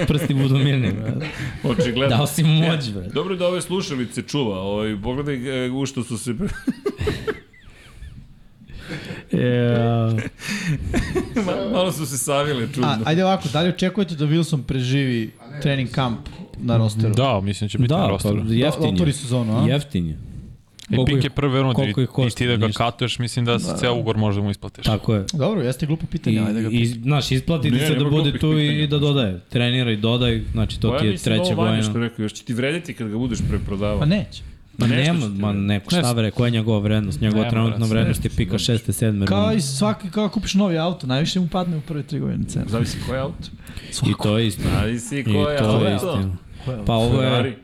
[SPEAKER 2] prsti budu mirni. brate.
[SPEAKER 1] Očigledno. Da,
[SPEAKER 2] Dao si mu moć, bre.
[SPEAKER 1] Dobro je da ove slušalice čuva, ovaj, pogledaj e, u što su se...
[SPEAKER 3] E,
[SPEAKER 2] Yeah.
[SPEAKER 1] Ma- malo su se savile
[SPEAKER 3] A,
[SPEAKER 1] čudno.
[SPEAKER 3] ajde ovako, da li očekujete da Wilson preživi trening kamp na rosteru?
[SPEAKER 5] Da, mislim da će biti da, na
[SPEAKER 2] Da, pa
[SPEAKER 5] rosteru.
[SPEAKER 2] jeftin
[SPEAKER 3] Otvori
[SPEAKER 2] je.
[SPEAKER 3] sezonu, a?
[SPEAKER 2] Jeftin je.
[SPEAKER 5] I
[SPEAKER 2] Koliko
[SPEAKER 5] pik
[SPEAKER 2] ih-
[SPEAKER 5] je prve runde
[SPEAKER 2] koliko
[SPEAKER 5] i,
[SPEAKER 2] ih košta,
[SPEAKER 5] i ti da ga
[SPEAKER 2] ništa.
[SPEAKER 5] katuješ, mislim da se ceo ugor može da mu isplatiš.
[SPEAKER 2] Tako je.
[SPEAKER 3] Dobro, jeste glupo
[SPEAKER 2] I,
[SPEAKER 3] pitanje, ajde da ga
[SPEAKER 2] i,
[SPEAKER 3] pitam.
[SPEAKER 2] znaš, isplati ti
[SPEAKER 1] Ne,
[SPEAKER 2] se da
[SPEAKER 1] nema
[SPEAKER 2] bude
[SPEAKER 1] glupih
[SPEAKER 2] tu i
[SPEAKER 1] pitanja.
[SPEAKER 2] da dodaje. Treniraj, dodaj, znači to
[SPEAKER 1] Pa ja
[SPEAKER 2] ti je
[SPEAKER 1] mislim da
[SPEAKER 2] treća
[SPEAKER 1] ovo Vanja
[SPEAKER 2] godina.
[SPEAKER 1] Što rekao, još će ti vrediti kad ga budeš preprodavao.
[SPEAKER 3] Pa neće.
[SPEAKER 2] Ma
[SPEAKER 1] Nešto
[SPEAKER 2] nema,
[SPEAKER 1] ćete
[SPEAKER 2] ma
[SPEAKER 1] reći.
[SPEAKER 2] neko, šta bre, koja je njegova vrednost? Njegova
[SPEAKER 5] Nema,
[SPEAKER 2] trenutna
[SPEAKER 5] brate,
[SPEAKER 2] vrednost je pika šeste, sedme.
[SPEAKER 3] Kao
[SPEAKER 2] runde.
[SPEAKER 3] i svaki, kao da kupiš novi auto, najviše mu padne u prve tri godine cena.
[SPEAKER 1] Zavisi koji auto.
[SPEAKER 2] I to je istina.
[SPEAKER 1] Zavisi
[SPEAKER 2] I
[SPEAKER 1] koji auto.
[SPEAKER 2] to je istina. Pa ovo je,
[SPEAKER 1] Ferrari.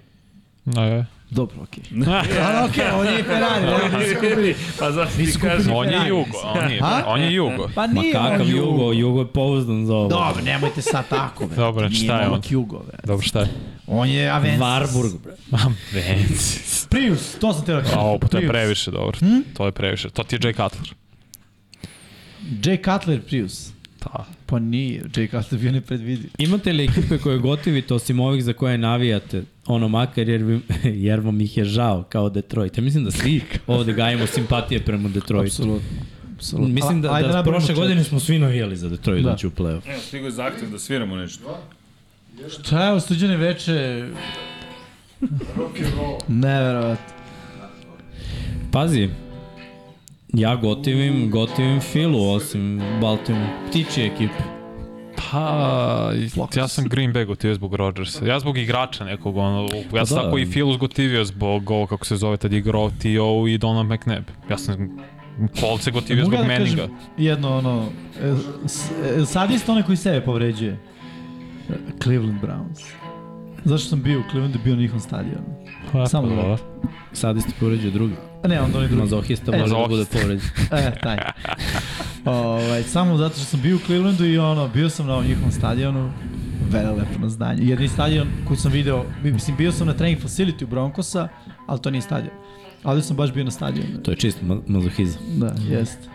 [SPEAKER 5] Da, je.
[SPEAKER 3] Dobro, okej. Ali okej, ovo nije Ferrari, ne?
[SPEAKER 1] Pa zašto ti
[SPEAKER 3] Nisu kupili
[SPEAKER 1] kažem?
[SPEAKER 5] On je
[SPEAKER 3] Ferrari.
[SPEAKER 5] jugo, on je,
[SPEAKER 3] A?
[SPEAKER 5] on je jugo.
[SPEAKER 3] Pa
[SPEAKER 2] ma
[SPEAKER 3] nije
[SPEAKER 2] kakav
[SPEAKER 3] on
[SPEAKER 2] Jugo, Jugo je pouzdan za ovo.
[SPEAKER 3] Dobro, nemojte sad tako, bre.
[SPEAKER 5] Dobro,
[SPEAKER 3] Nije
[SPEAKER 5] šta je
[SPEAKER 3] momak Jugo, bre.
[SPEAKER 5] Dobro, šta je?
[SPEAKER 3] On je Avensis.
[SPEAKER 2] Varburg, bre.
[SPEAKER 5] Ma, Vencis.
[SPEAKER 3] Prius, to sam te rekao.
[SPEAKER 5] A, pa to je
[SPEAKER 3] Prius.
[SPEAKER 5] previše, dobro.
[SPEAKER 2] Hm?
[SPEAKER 5] To je previše. To ti je Jay Cutler.
[SPEAKER 3] Jay Cutler Prius.
[SPEAKER 5] Da.
[SPEAKER 3] Pa nije, Jay Cutler bio nepredvidiv.
[SPEAKER 2] Imate li ekipe koje gotivite osim ovih za koje navijate? Ono makar jer, bi, jer vam ih je žao kao Detroit. Ja mislim da svi ovde gajimo simpatije prema Detroitu.
[SPEAKER 3] Apsolutno. Apsolutno.
[SPEAKER 2] Mislim da,
[SPEAKER 3] Ajde
[SPEAKER 2] da
[SPEAKER 3] napravimo
[SPEAKER 2] prošle
[SPEAKER 3] četiri.
[SPEAKER 2] godine smo svi navijali za Detroit da.
[SPEAKER 3] Da.
[SPEAKER 2] da će u play-off.
[SPEAKER 1] Evo, stigao je zahtev da sviramo nešto.
[SPEAKER 3] Šta je ovo suđene veče? Neverovatno.
[SPEAKER 2] Pazi, ja gotivim, gotivim Filu osim Baltimore. Ptiči ekipe.
[SPEAKER 5] Pa, ja sam Green Bay gotivio zbog Rodgersa. Ja zbog igrača nekog, ono, ja sam
[SPEAKER 2] da.
[SPEAKER 5] da. tako i Filus gotivio zbog ovo, kako se zove, tad je igrao T.O. i Donald McNabb. Ja sam Kolce gotivio
[SPEAKER 3] Mogu
[SPEAKER 5] zbog
[SPEAKER 3] ja da kažem
[SPEAKER 5] Manninga.
[SPEAKER 3] jedno ono, e, s- e, sadist onaj koji sebe povređuje. E, Cleveland Browns. Zašto sam bio u Clevelandu, bio na njihovom stadionu.
[SPEAKER 5] Pa,
[SPEAKER 3] Samo
[SPEAKER 5] pa,
[SPEAKER 3] da.
[SPEAKER 5] dobro.
[SPEAKER 2] Sad ste povređuje drugi.
[SPEAKER 3] A ne, onda onaj drugi.
[SPEAKER 2] Mazohista može da bude
[SPEAKER 5] Mazohist.
[SPEAKER 2] povređen.
[SPEAKER 3] E, taj. Ovaj, samo zato što sam bio u Clevelandu i ono, bio sam na ovom njihovom stadionu, velelepno zdanje. Jedini stadion koji sam video, mislim, bio sam na training facility u Broncosa, ali to nije stadion. ali sam baš bio na stadionu.
[SPEAKER 2] To je čist ma mazohizam.
[SPEAKER 3] Da, jeste.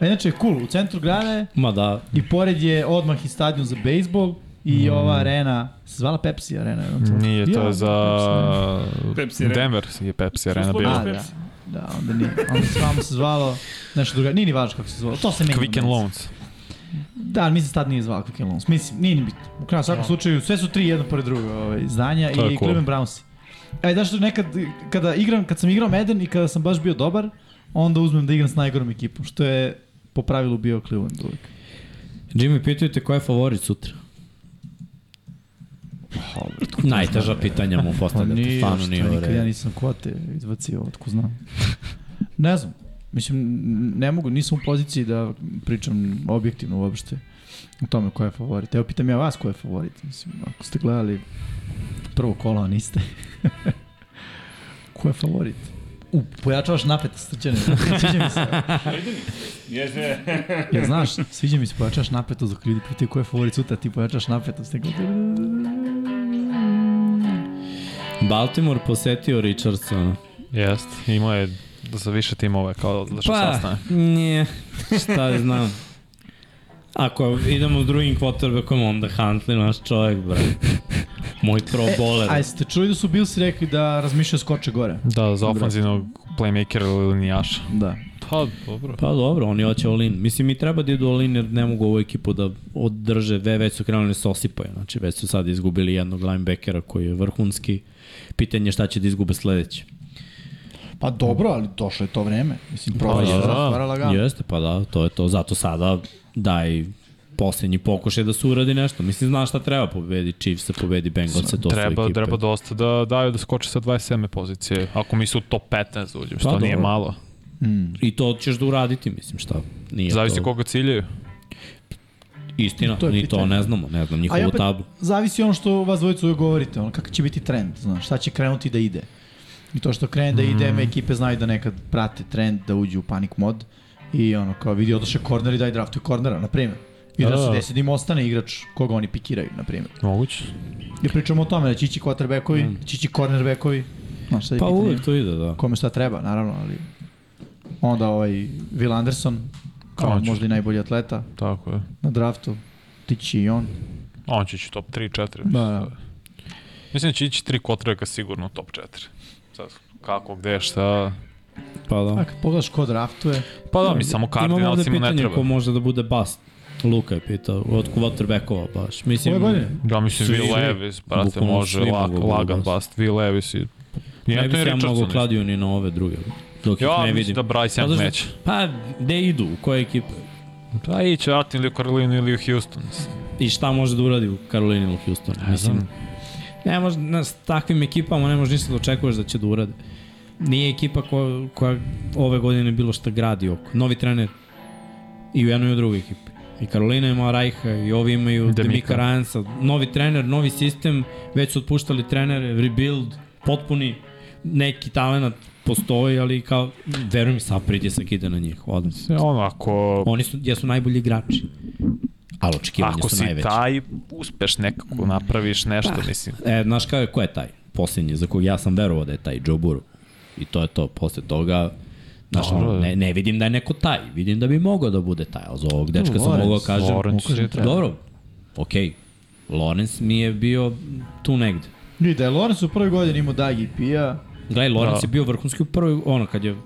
[SPEAKER 3] A inače je cool, u centru grada je
[SPEAKER 2] Ma da,
[SPEAKER 3] i pored je odmah i stadion za bejsbol i mm. ova arena, se zvala Pepsi arena. je li
[SPEAKER 5] Nije, to
[SPEAKER 3] da. Ja,
[SPEAKER 5] je za...
[SPEAKER 1] Pepsi Arena.
[SPEAKER 5] Denver je Pepsi Arena
[SPEAKER 1] Suslovi-
[SPEAKER 5] bila.
[SPEAKER 3] A, da. Da, onda nije. Onda se vamo se zvalo nešto druga. Nije ni važno kako se zvalo. To se menja.
[SPEAKER 5] Quick and Loans.
[SPEAKER 3] Da, ali mislim se tad nije zvalo Quick and Loans. Mislim, nije ni bitno. U kraju svakom slučaju, sve su tri jedno pored drugo ovaj, izdanja i
[SPEAKER 5] Da. To je
[SPEAKER 3] cool.
[SPEAKER 5] cool.
[SPEAKER 3] Cleveland Browns. Ej, znaš što nekad, kada igram, kad sam igrao Madden i kada sam baš bio dobar, onda uzmem da igram s najgorom ekipom, što je po pravilu bio Cleveland uvek.
[SPEAKER 2] Jimmy, pitaju te ko je favorit sutra? Najteža pitanja mu postavljate, Pa da, stvarno nije u
[SPEAKER 3] Pa nikad ja
[SPEAKER 2] redu.
[SPEAKER 3] nisam kvote izvacio, otko znam. Ne znam, mislim, ne mogu, nisam u poziciji da pričam objektivno uopšte o tome ko je favorit. Evo, pitam ja vas ko je favorit, mislim, ako ste gledali prvo kolo, a niste. ko je favorit? U, pojačavaš napet, srđane. Sviđa mi se.
[SPEAKER 1] Jeste.
[SPEAKER 3] Ja, znaš, sviđa mi se, pojačavaš napetost dok ljudi pitaju ko je favorit sutra, ti pojačavaš napetost. Neko...
[SPEAKER 2] Baltimore posetio Richardsona.
[SPEAKER 5] Jest, imao je za više timove kao
[SPEAKER 3] Pa
[SPEAKER 5] da što
[SPEAKER 2] Pa.
[SPEAKER 5] sastane.
[SPEAKER 2] nije, šta da znam. Ako idemo s drugim quarterbackom, onda Huntley, naš čovjek, bre. Moj pro
[SPEAKER 3] E,
[SPEAKER 2] bowler.
[SPEAKER 3] A jeste čuli da su Bilsi rekli da razmišljaju skoče gore?
[SPEAKER 5] Da, za ofanzivnog playmakera ili linijaša.
[SPEAKER 3] Da.
[SPEAKER 5] Pa, dobro.
[SPEAKER 2] Pa dobro, oni hoće all-in. Mislim, i treba da idu all-in jer ne mogu ovu ekipu da održe. Ve, već su krenuli da se osipaju. Znači, već su sad izgubili jednog linebackera koji je vrhunski. Pitanje je šta će da izgube sledeće.
[SPEAKER 3] Pa dobro, ali došlo je to vreme. Mislim,
[SPEAKER 2] Pa,
[SPEAKER 3] prolazi
[SPEAKER 2] da,
[SPEAKER 3] pa,
[SPEAKER 2] da.
[SPEAKER 3] razvara lagano.
[SPEAKER 2] Jeste, pa da, to je to. Zato sada daj poslednji pokušaj da se uradi nešto. Mislim, znaš šta treba pobedi Chiefs, pobedi Bengalsa, to su
[SPEAKER 5] Treba,
[SPEAKER 2] ekipe.
[SPEAKER 5] treba dosta da daju da skoče sa 27. pozicije. Ako mi su u top 15 da uđem, što
[SPEAKER 2] Pa dobro.
[SPEAKER 5] nije malo.
[SPEAKER 3] Mm.
[SPEAKER 2] I to ćeš da uraditi, mislim, šta. Nije
[SPEAKER 5] Zavisi
[SPEAKER 2] to...
[SPEAKER 5] koga ciljaju.
[SPEAKER 2] Istina,
[SPEAKER 3] To je
[SPEAKER 2] ni to
[SPEAKER 3] pitanje.
[SPEAKER 2] ne znamo, ne znam
[SPEAKER 3] A i
[SPEAKER 2] njihovu
[SPEAKER 3] opet,
[SPEAKER 2] tablu.
[SPEAKER 3] zavisi ono što vas dvojicu uvijek govorite, ono, kakav će biti trend, znaš, šta će krenuti da ide. I to što krene da ide,
[SPEAKER 2] Mm.
[SPEAKER 3] me ekipe znaju da nekad prate trend, da uđu u panic mod i ono, kao vidi, odoše korner i daj draftuju kornera, na primjer. I da
[SPEAKER 5] Da,
[SPEAKER 3] se
[SPEAKER 5] da.
[SPEAKER 3] desi da im ostane igrač koga oni pikiraju, na primjer.
[SPEAKER 5] Moguće.
[SPEAKER 3] I pričamo o tome da će ići quarterbackovi, mm. će ići cornerbackovi, znaš, šta je
[SPEAKER 2] Pa
[SPEAKER 3] pitanje.
[SPEAKER 2] uvek to ide, da.
[SPEAKER 3] kome šta treba, naravno, ali onda ovaj Will Anderson, kao
[SPEAKER 5] On će.
[SPEAKER 3] možda i najbolji atleta
[SPEAKER 5] Tako je.
[SPEAKER 3] na draftu, tići i on.
[SPEAKER 5] On će ići top 3-4.
[SPEAKER 3] Da,
[SPEAKER 5] Da,
[SPEAKER 3] da.
[SPEAKER 5] da. Mislim da će ići tri kotreka sigurno u top 4. Sad, kako, gde, šta...
[SPEAKER 2] Pa da.
[SPEAKER 3] A kad pogledaš ko draftuje,
[SPEAKER 5] Pa da, mi samo kardinalcima ne
[SPEAKER 2] pitanje
[SPEAKER 5] treba.
[SPEAKER 2] ko može da bude bast. Luka je pitao, od quarterbackova baš. Mislim,
[SPEAKER 3] ove godine.
[SPEAKER 5] Da, mislim,
[SPEAKER 2] Svi,
[SPEAKER 5] Will
[SPEAKER 2] svi.
[SPEAKER 5] Levis, brate,
[SPEAKER 2] Bukvalno
[SPEAKER 5] može,
[SPEAKER 2] svi
[SPEAKER 5] lag,
[SPEAKER 2] mogu da budu
[SPEAKER 5] lagan
[SPEAKER 2] bust.
[SPEAKER 5] bast. Will Levis i... I
[SPEAKER 2] ne bi
[SPEAKER 5] Anthony
[SPEAKER 2] se ja
[SPEAKER 5] Richardson
[SPEAKER 2] mnogo
[SPEAKER 5] isto.
[SPEAKER 2] kladio ni na ove druge. Dok ih
[SPEAKER 5] Ja
[SPEAKER 2] ne
[SPEAKER 5] mislim
[SPEAKER 2] vidim.
[SPEAKER 5] da Bryce Young
[SPEAKER 2] Zato što-
[SPEAKER 5] neće.
[SPEAKER 2] Pa, gde idu, u koje ekipe?
[SPEAKER 5] Pa iće Atin ili u Karolinu ili u Houston.
[SPEAKER 2] I šta može da uradi u Karolini ili Houston? Mislim, ne može, na, s takvim ekipama ne može ništa da očekuješ da će da urade. Nije ekipa koja, koja ove godine bilo šta gradi oko. Novi trener i u jednoj i u drugoj ekipi. I Karolina ima Rajha i ovi imaju
[SPEAKER 5] Demika.
[SPEAKER 2] Demika Rajansa. Novi trener, novi sistem, već su otpuštali trenere, rebuild, potpuni neki talent postoji, ali kao, veruj mi, sav pritisak ide na njih. Odmah.
[SPEAKER 5] Ono, ako...
[SPEAKER 2] Oni su, jesu najbolji igrači. Ali očekivanja
[SPEAKER 5] Ako
[SPEAKER 2] su
[SPEAKER 5] si
[SPEAKER 2] najveća.
[SPEAKER 5] taj, uspeš nekako, napraviš nešto, mislim.
[SPEAKER 2] E, znaš kao je, ko je taj posljednji za kog ja sam verovao da je taj Joe Burrow. I to je to. Posle toga, znaš,
[SPEAKER 5] Dobro,
[SPEAKER 2] ono,
[SPEAKER 5] da.
[SPEAKER 2] ne, ne vidim da je neko taj. Vidim da bi mogao da bude taj. Ali za ovog dečka sam
[SPEAKER 3] Lawrence,
[SPEAKER 2] mogao kažem,
[SPEAKER 5] Lawrence
[SPEAKER 3] ukažem
[SPEAKER 5] je-
[SPEAKER 3] treba.
[SPEAKER 2] dobro, okej, Lorenz mi je bio tu negde.
[SPEAKER 3] Vidi, da je Lawrence u prvoj godini imao Dagi Pija,
[SPEAKER 2] Gledaj, Lorenz
[SPEAKER 5] Da.
[SPEAKER 2] je bio vrhunski u prvoj, ono, kad je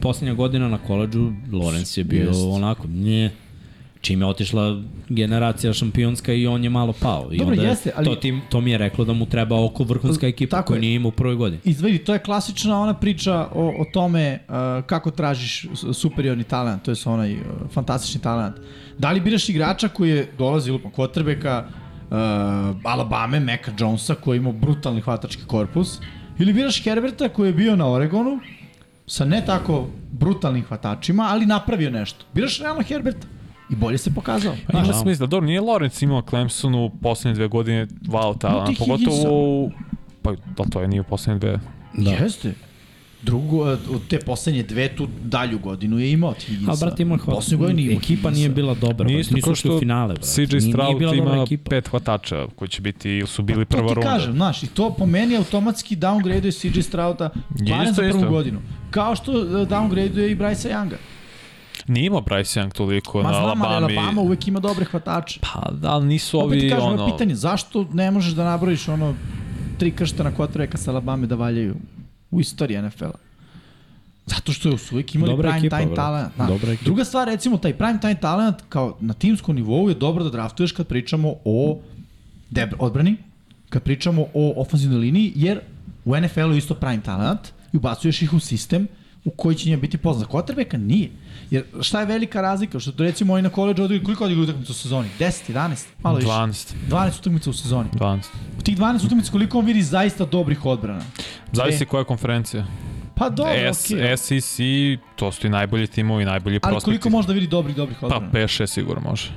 [SPEAKER 2] posljednja godina na koleđu, Lorenz je bio
[SPEAKER 3] Jest.
[SPEAKER 2] onako, nje, čim je otišla generacija šampionska i on je malo pao. I
[SPEAKER 3] Dobro,
[SPEAKER 2] onda je-
[SPEAKER 3] jeste, ali-
[SPEAKER 2] To, tim, to mi je reklo da mu treba oko vrhunska ekipa
[SPEAKER 3] Tako
[SPEAKER 2] koju
[SPEAKER 3] je.
[SPEAKER 2] nije imao u prvoj godini.
[SPEAKER 3] I vidi, to je klasična ona priča o, o tome uh, kako tražiš s- superiorni talent, to je onaj uh, fantastični talent. Da li biraš igrača koji je dolazi lupom Kotrbeka, uh, Alabama, Meka Jonesa koji ima brutalni hvatački korpus, ili biraš Herberta koji je bio na Oregonu sa ne tako brutalnim hvatačima, ali napravio nešto. Biraš realno Herberta i bolje se pokazao.
[SPEAKER 5] Pa ima smisla, dobro, nije Lawrence imao Clemson u poslednje dve godine wow
[SPEAKER 3] No,
[SPEAKER 5] talent,
[SPEAKER 3] ti
[SPEAKER 5] pogotovo
[SPEAKER 3] Higginsa.
[SPEAKER 5] u... Pa da, to je nije u poslednje dve.
[SPEAKER 3] Da. Jeste. Drugo, od te poslednje dve, tu dalju godinu je imao od Higginsa.
[SPEAKER 2] A brate ima hvala.
[SPEAKER 3] Poslednju godinu je imao
[SPEAKER 2] Ekipa nije
[SPEAKER 3] Higginsa.
[SPEAKER 2] bila dobra.
[SPEAKER 5] Nije
[SPEAKER 2] Nije
[SPEAKER 5] isto
[SPEAKER 2] nisu
[SPEAKER 5] kao
[SPEAKER 2] ušli u
[SPEAKER 5] što
[SPEAKER 2] finale. Brate.
[SPEAKER 5] CJ
[SPEAKER 2] Nije- nije
[SPEAKER 5] Stroud
[SPEAKER 2] bila dobra
[SPEAKER 5] ima
[SPEAKER 2] ekipa.
[SPEAKER 5] pet hvatača koji će biti ili su bili
[SPEAKER 3] Pa, To
[SPEAKER 5] prva
[SPEAKER 3] ti
[SPEAKER 5] runda.
[SPEAKER 3] kažem, znaš, i to po meni automatski downgrade-uje CJ Strauta
[SPEAKER 5] Je,
[SPEAKER 3] barem
[SPEAKER 5] isto,
[SPEAKER 3] za prvu
[SPEAKER 5] isto.
[SPEAKER 3] godinu. Kao što e, downgrade-uje i Bryce Younga.
[SPEAKER 5] Nije imao Bryce Young toliko
[SPEAKER 3] Ma
[SPEAKER 5] na
[SPEAKER 3] znam, ali
[SPEAKER 5] Alabami.
[SPEAKER 3] Alabama uvek ima dobre hvatače.
[SPEAKER 5] Pa, da, ali nisu
[SPEAKER 3] Opet ti
[SPEAKER 5] ovi
[SPEAKER 3] kažem, ono...
[SPEAKER 5] ono...
[SPEAKER 3] je pitanje, zašto ne možeš da nabrojiš ono tri krštena kvotreka sa Alabama da valjaju u istoriji NFL-a? Zato što su uvijek imali
[SPEAKER 2] Dobra
[SPEAKER 3] prime
[SPEAKER 2] ekipa,
[SPEAKER 3] time
[SPEAKER 2] brate.
[SPEAKER 3] talent. Da.
[SPEAKER 2] Dobra ekipa.
[SPEAKER 3] Druga stvar, recimo, taj prime time talent kao na timskom nivou je dobro da draftuješ kad pričamo o deb odbrani, kad pričamo o ofenzivnoj liniji, jer u NFL-u je isto prime talent i ubacuješ ih u sistem u koji će njima biti poznat. Kotrbeka nije. Jer šta je velika razlika? Što recimo oni na koleđu odigraju, koliko odigraju utakmica u sezoni? 10, 11, malo više.
[SPEAKER 5] 12.
[SPEAKER 3] 12 utakmica u sezoni.
[SPEAKER 5] 12.
[SPEAKER 3] U tih 12 utakmica koliko on vidi zaista dobrih odbrana?
[SPEAKER 5] Zavisi
[SPEAKER 3] Dve.
[SPEAKER 5] koja je konferencija.
[SPEAKER 3] Pa dobro,
[SPEAKER 5] S,
[SPEAKER 3] okej. Okay.
[SPEAKER 5] SEC, to su i najbolji timovi, najbolji
[SPEAKER 3] Ali
[SPEAKER 5] prospekti.
[SPEAKER 3] koliko može da vidi dobrih, dobrih
[SPEAKER 5] Pa
[SPEAKER 3] odbrana?
[SPEAKER 5] 5-6 sigurno može.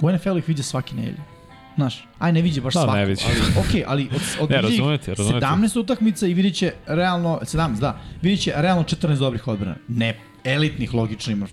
[SPEAKER 3] u NFL ih viđe svaki nedelje. Znaš, aj ne viđe baš
[SPEAKER 5] Da,
[SPEAKER 3] da,
[SPEAKER 5] ne
[SPEAKER 3] svako.
[SPEAKER 5] viđe.
[SPEAKER 3] Ali, okej, ali od, od
[SPEAKER 5] Ne,
[SPEAKER 3] viđe ih
[SPEAKER 5] razumete, razumete.
[SPEAKER 3] 17 utakmica i vidit će realno, 17, da, vidit će realno 14 dobrih odbrana. Ne elitnih, logično imaš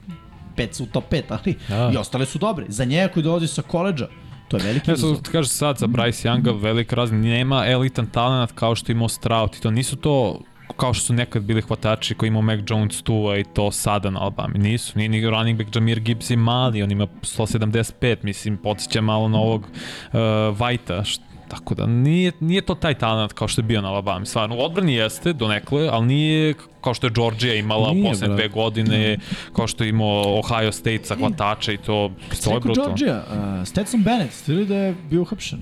[SPEAKER 3] 5 su u top 5, ali
[SPEAKER 5] Da.
[SPEAKER 3] i ostale su dobre. Za njega koji dolazi sa koleđa, to je veliki
[SPEAKER 5] Ne,
[SPEAKER 3] izazov.
[SPEAKER 5] sad ti kažeš sad za Bryce Younga velika razlika, nema elitan talent kao što je imao Stroud i to nisu to kao što su nekad bili hvatači koji je imao Mac Jones Tua i to sada na Alabama. Nisu, nije ni running back Jamir Gibbs i mali, on ima 175, mislim, podsjeća malo na ovog uh, Vajta, št- tako da nije, nije to taj talent kao što je bio na Alabama. Stvarno, u odbrani jeste donekle, ali nije k- kao što je Georgia imala u
[SPEAKER 2] Nije,
[SPEAKER 5] poslednje
[SPEAKER 2] brate. Da.
[SPEAKER 5] dve godine, kao što je imao Ohio State sa hvatača i to, to je
[SPEAKER 3] Rekao
[SPEAKER 5] brutalno.
[SPEAKER 3] Georgia, uh, Stetson Bennett, ste videli da je bio uhapšen?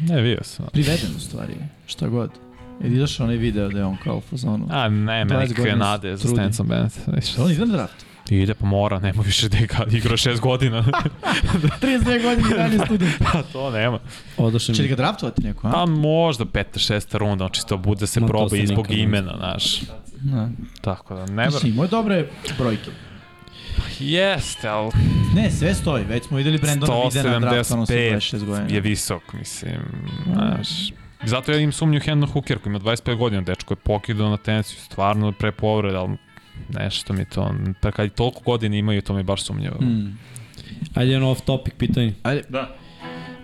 [SPEAKER 5] Ne, vidio sam.
[SPEAKER 3] Priveden u stvari, šta god. Jel izašao onaj video da je on kao u fazonu?
[SPEAKER 5] A ne, nema
[SPEAKER 3] 20
[SPEAKER 5] nikakve
[SPEAKER 3] godina se
[SPEAKER 5] nade za
[SPEAKER 3] trudi.
[SPEAKER 5] Stenson Bennett.
[SPEAKER 3] Jel on ide na draft?
[SPEAKER 5] Ide pa mora, nema više da igra, igra šest godina.
[SPEAKER 3] 32 Pa, godine i dalje student.
[SPEAKER 5] pa to nema.
[SPEAKER 2] Odoše
[SPEAKER 3] Će
[SPEAKER 2] mi
[SPEAKER 3] li ga draftovati neko, a?
[SPEAKER 5] Pa možda peta, šesta runda, znači to bude da se
[SPEAKER 2] Ma, to
[SPEAKER 5] proba
[SPEAKER 2] se
[SPEAKER 5] i zbog
[SPEAKER 2] nikad ne
[SPEAKER 5] imena, znaš.
[SPEAKER 3] Da.
[SPEAKER 5] Tako da, ne
[SPEAKER 3] Mislim,
[SPEAKER 5] vrlo.
[SPEAKER 3] imao je dobre brojke.
[SPEAKER 5] Jeste, ali
[SPEAKER 3] Ne, sve stoji, već smo videli Brandona Bidena na draftu, ono sa 26
[SPEAKER 5] 175 je
[SPEAKER 3] godina.
[SPEAKER 5] visok, mislim, znaš. Zato ja im sumnju Hendon Hooker koji ima 25 godina, dečko je pokidao na tenisiju, stvarno pre povreda, ali nešto mi to, pa kad toliko godina imaju, to mi je baš sumnjivo.
[SPEAKER 3] Mm.
[SPEAKER 2] Ajde jedno off topic pitanje.
[SPEAKER 1] Da.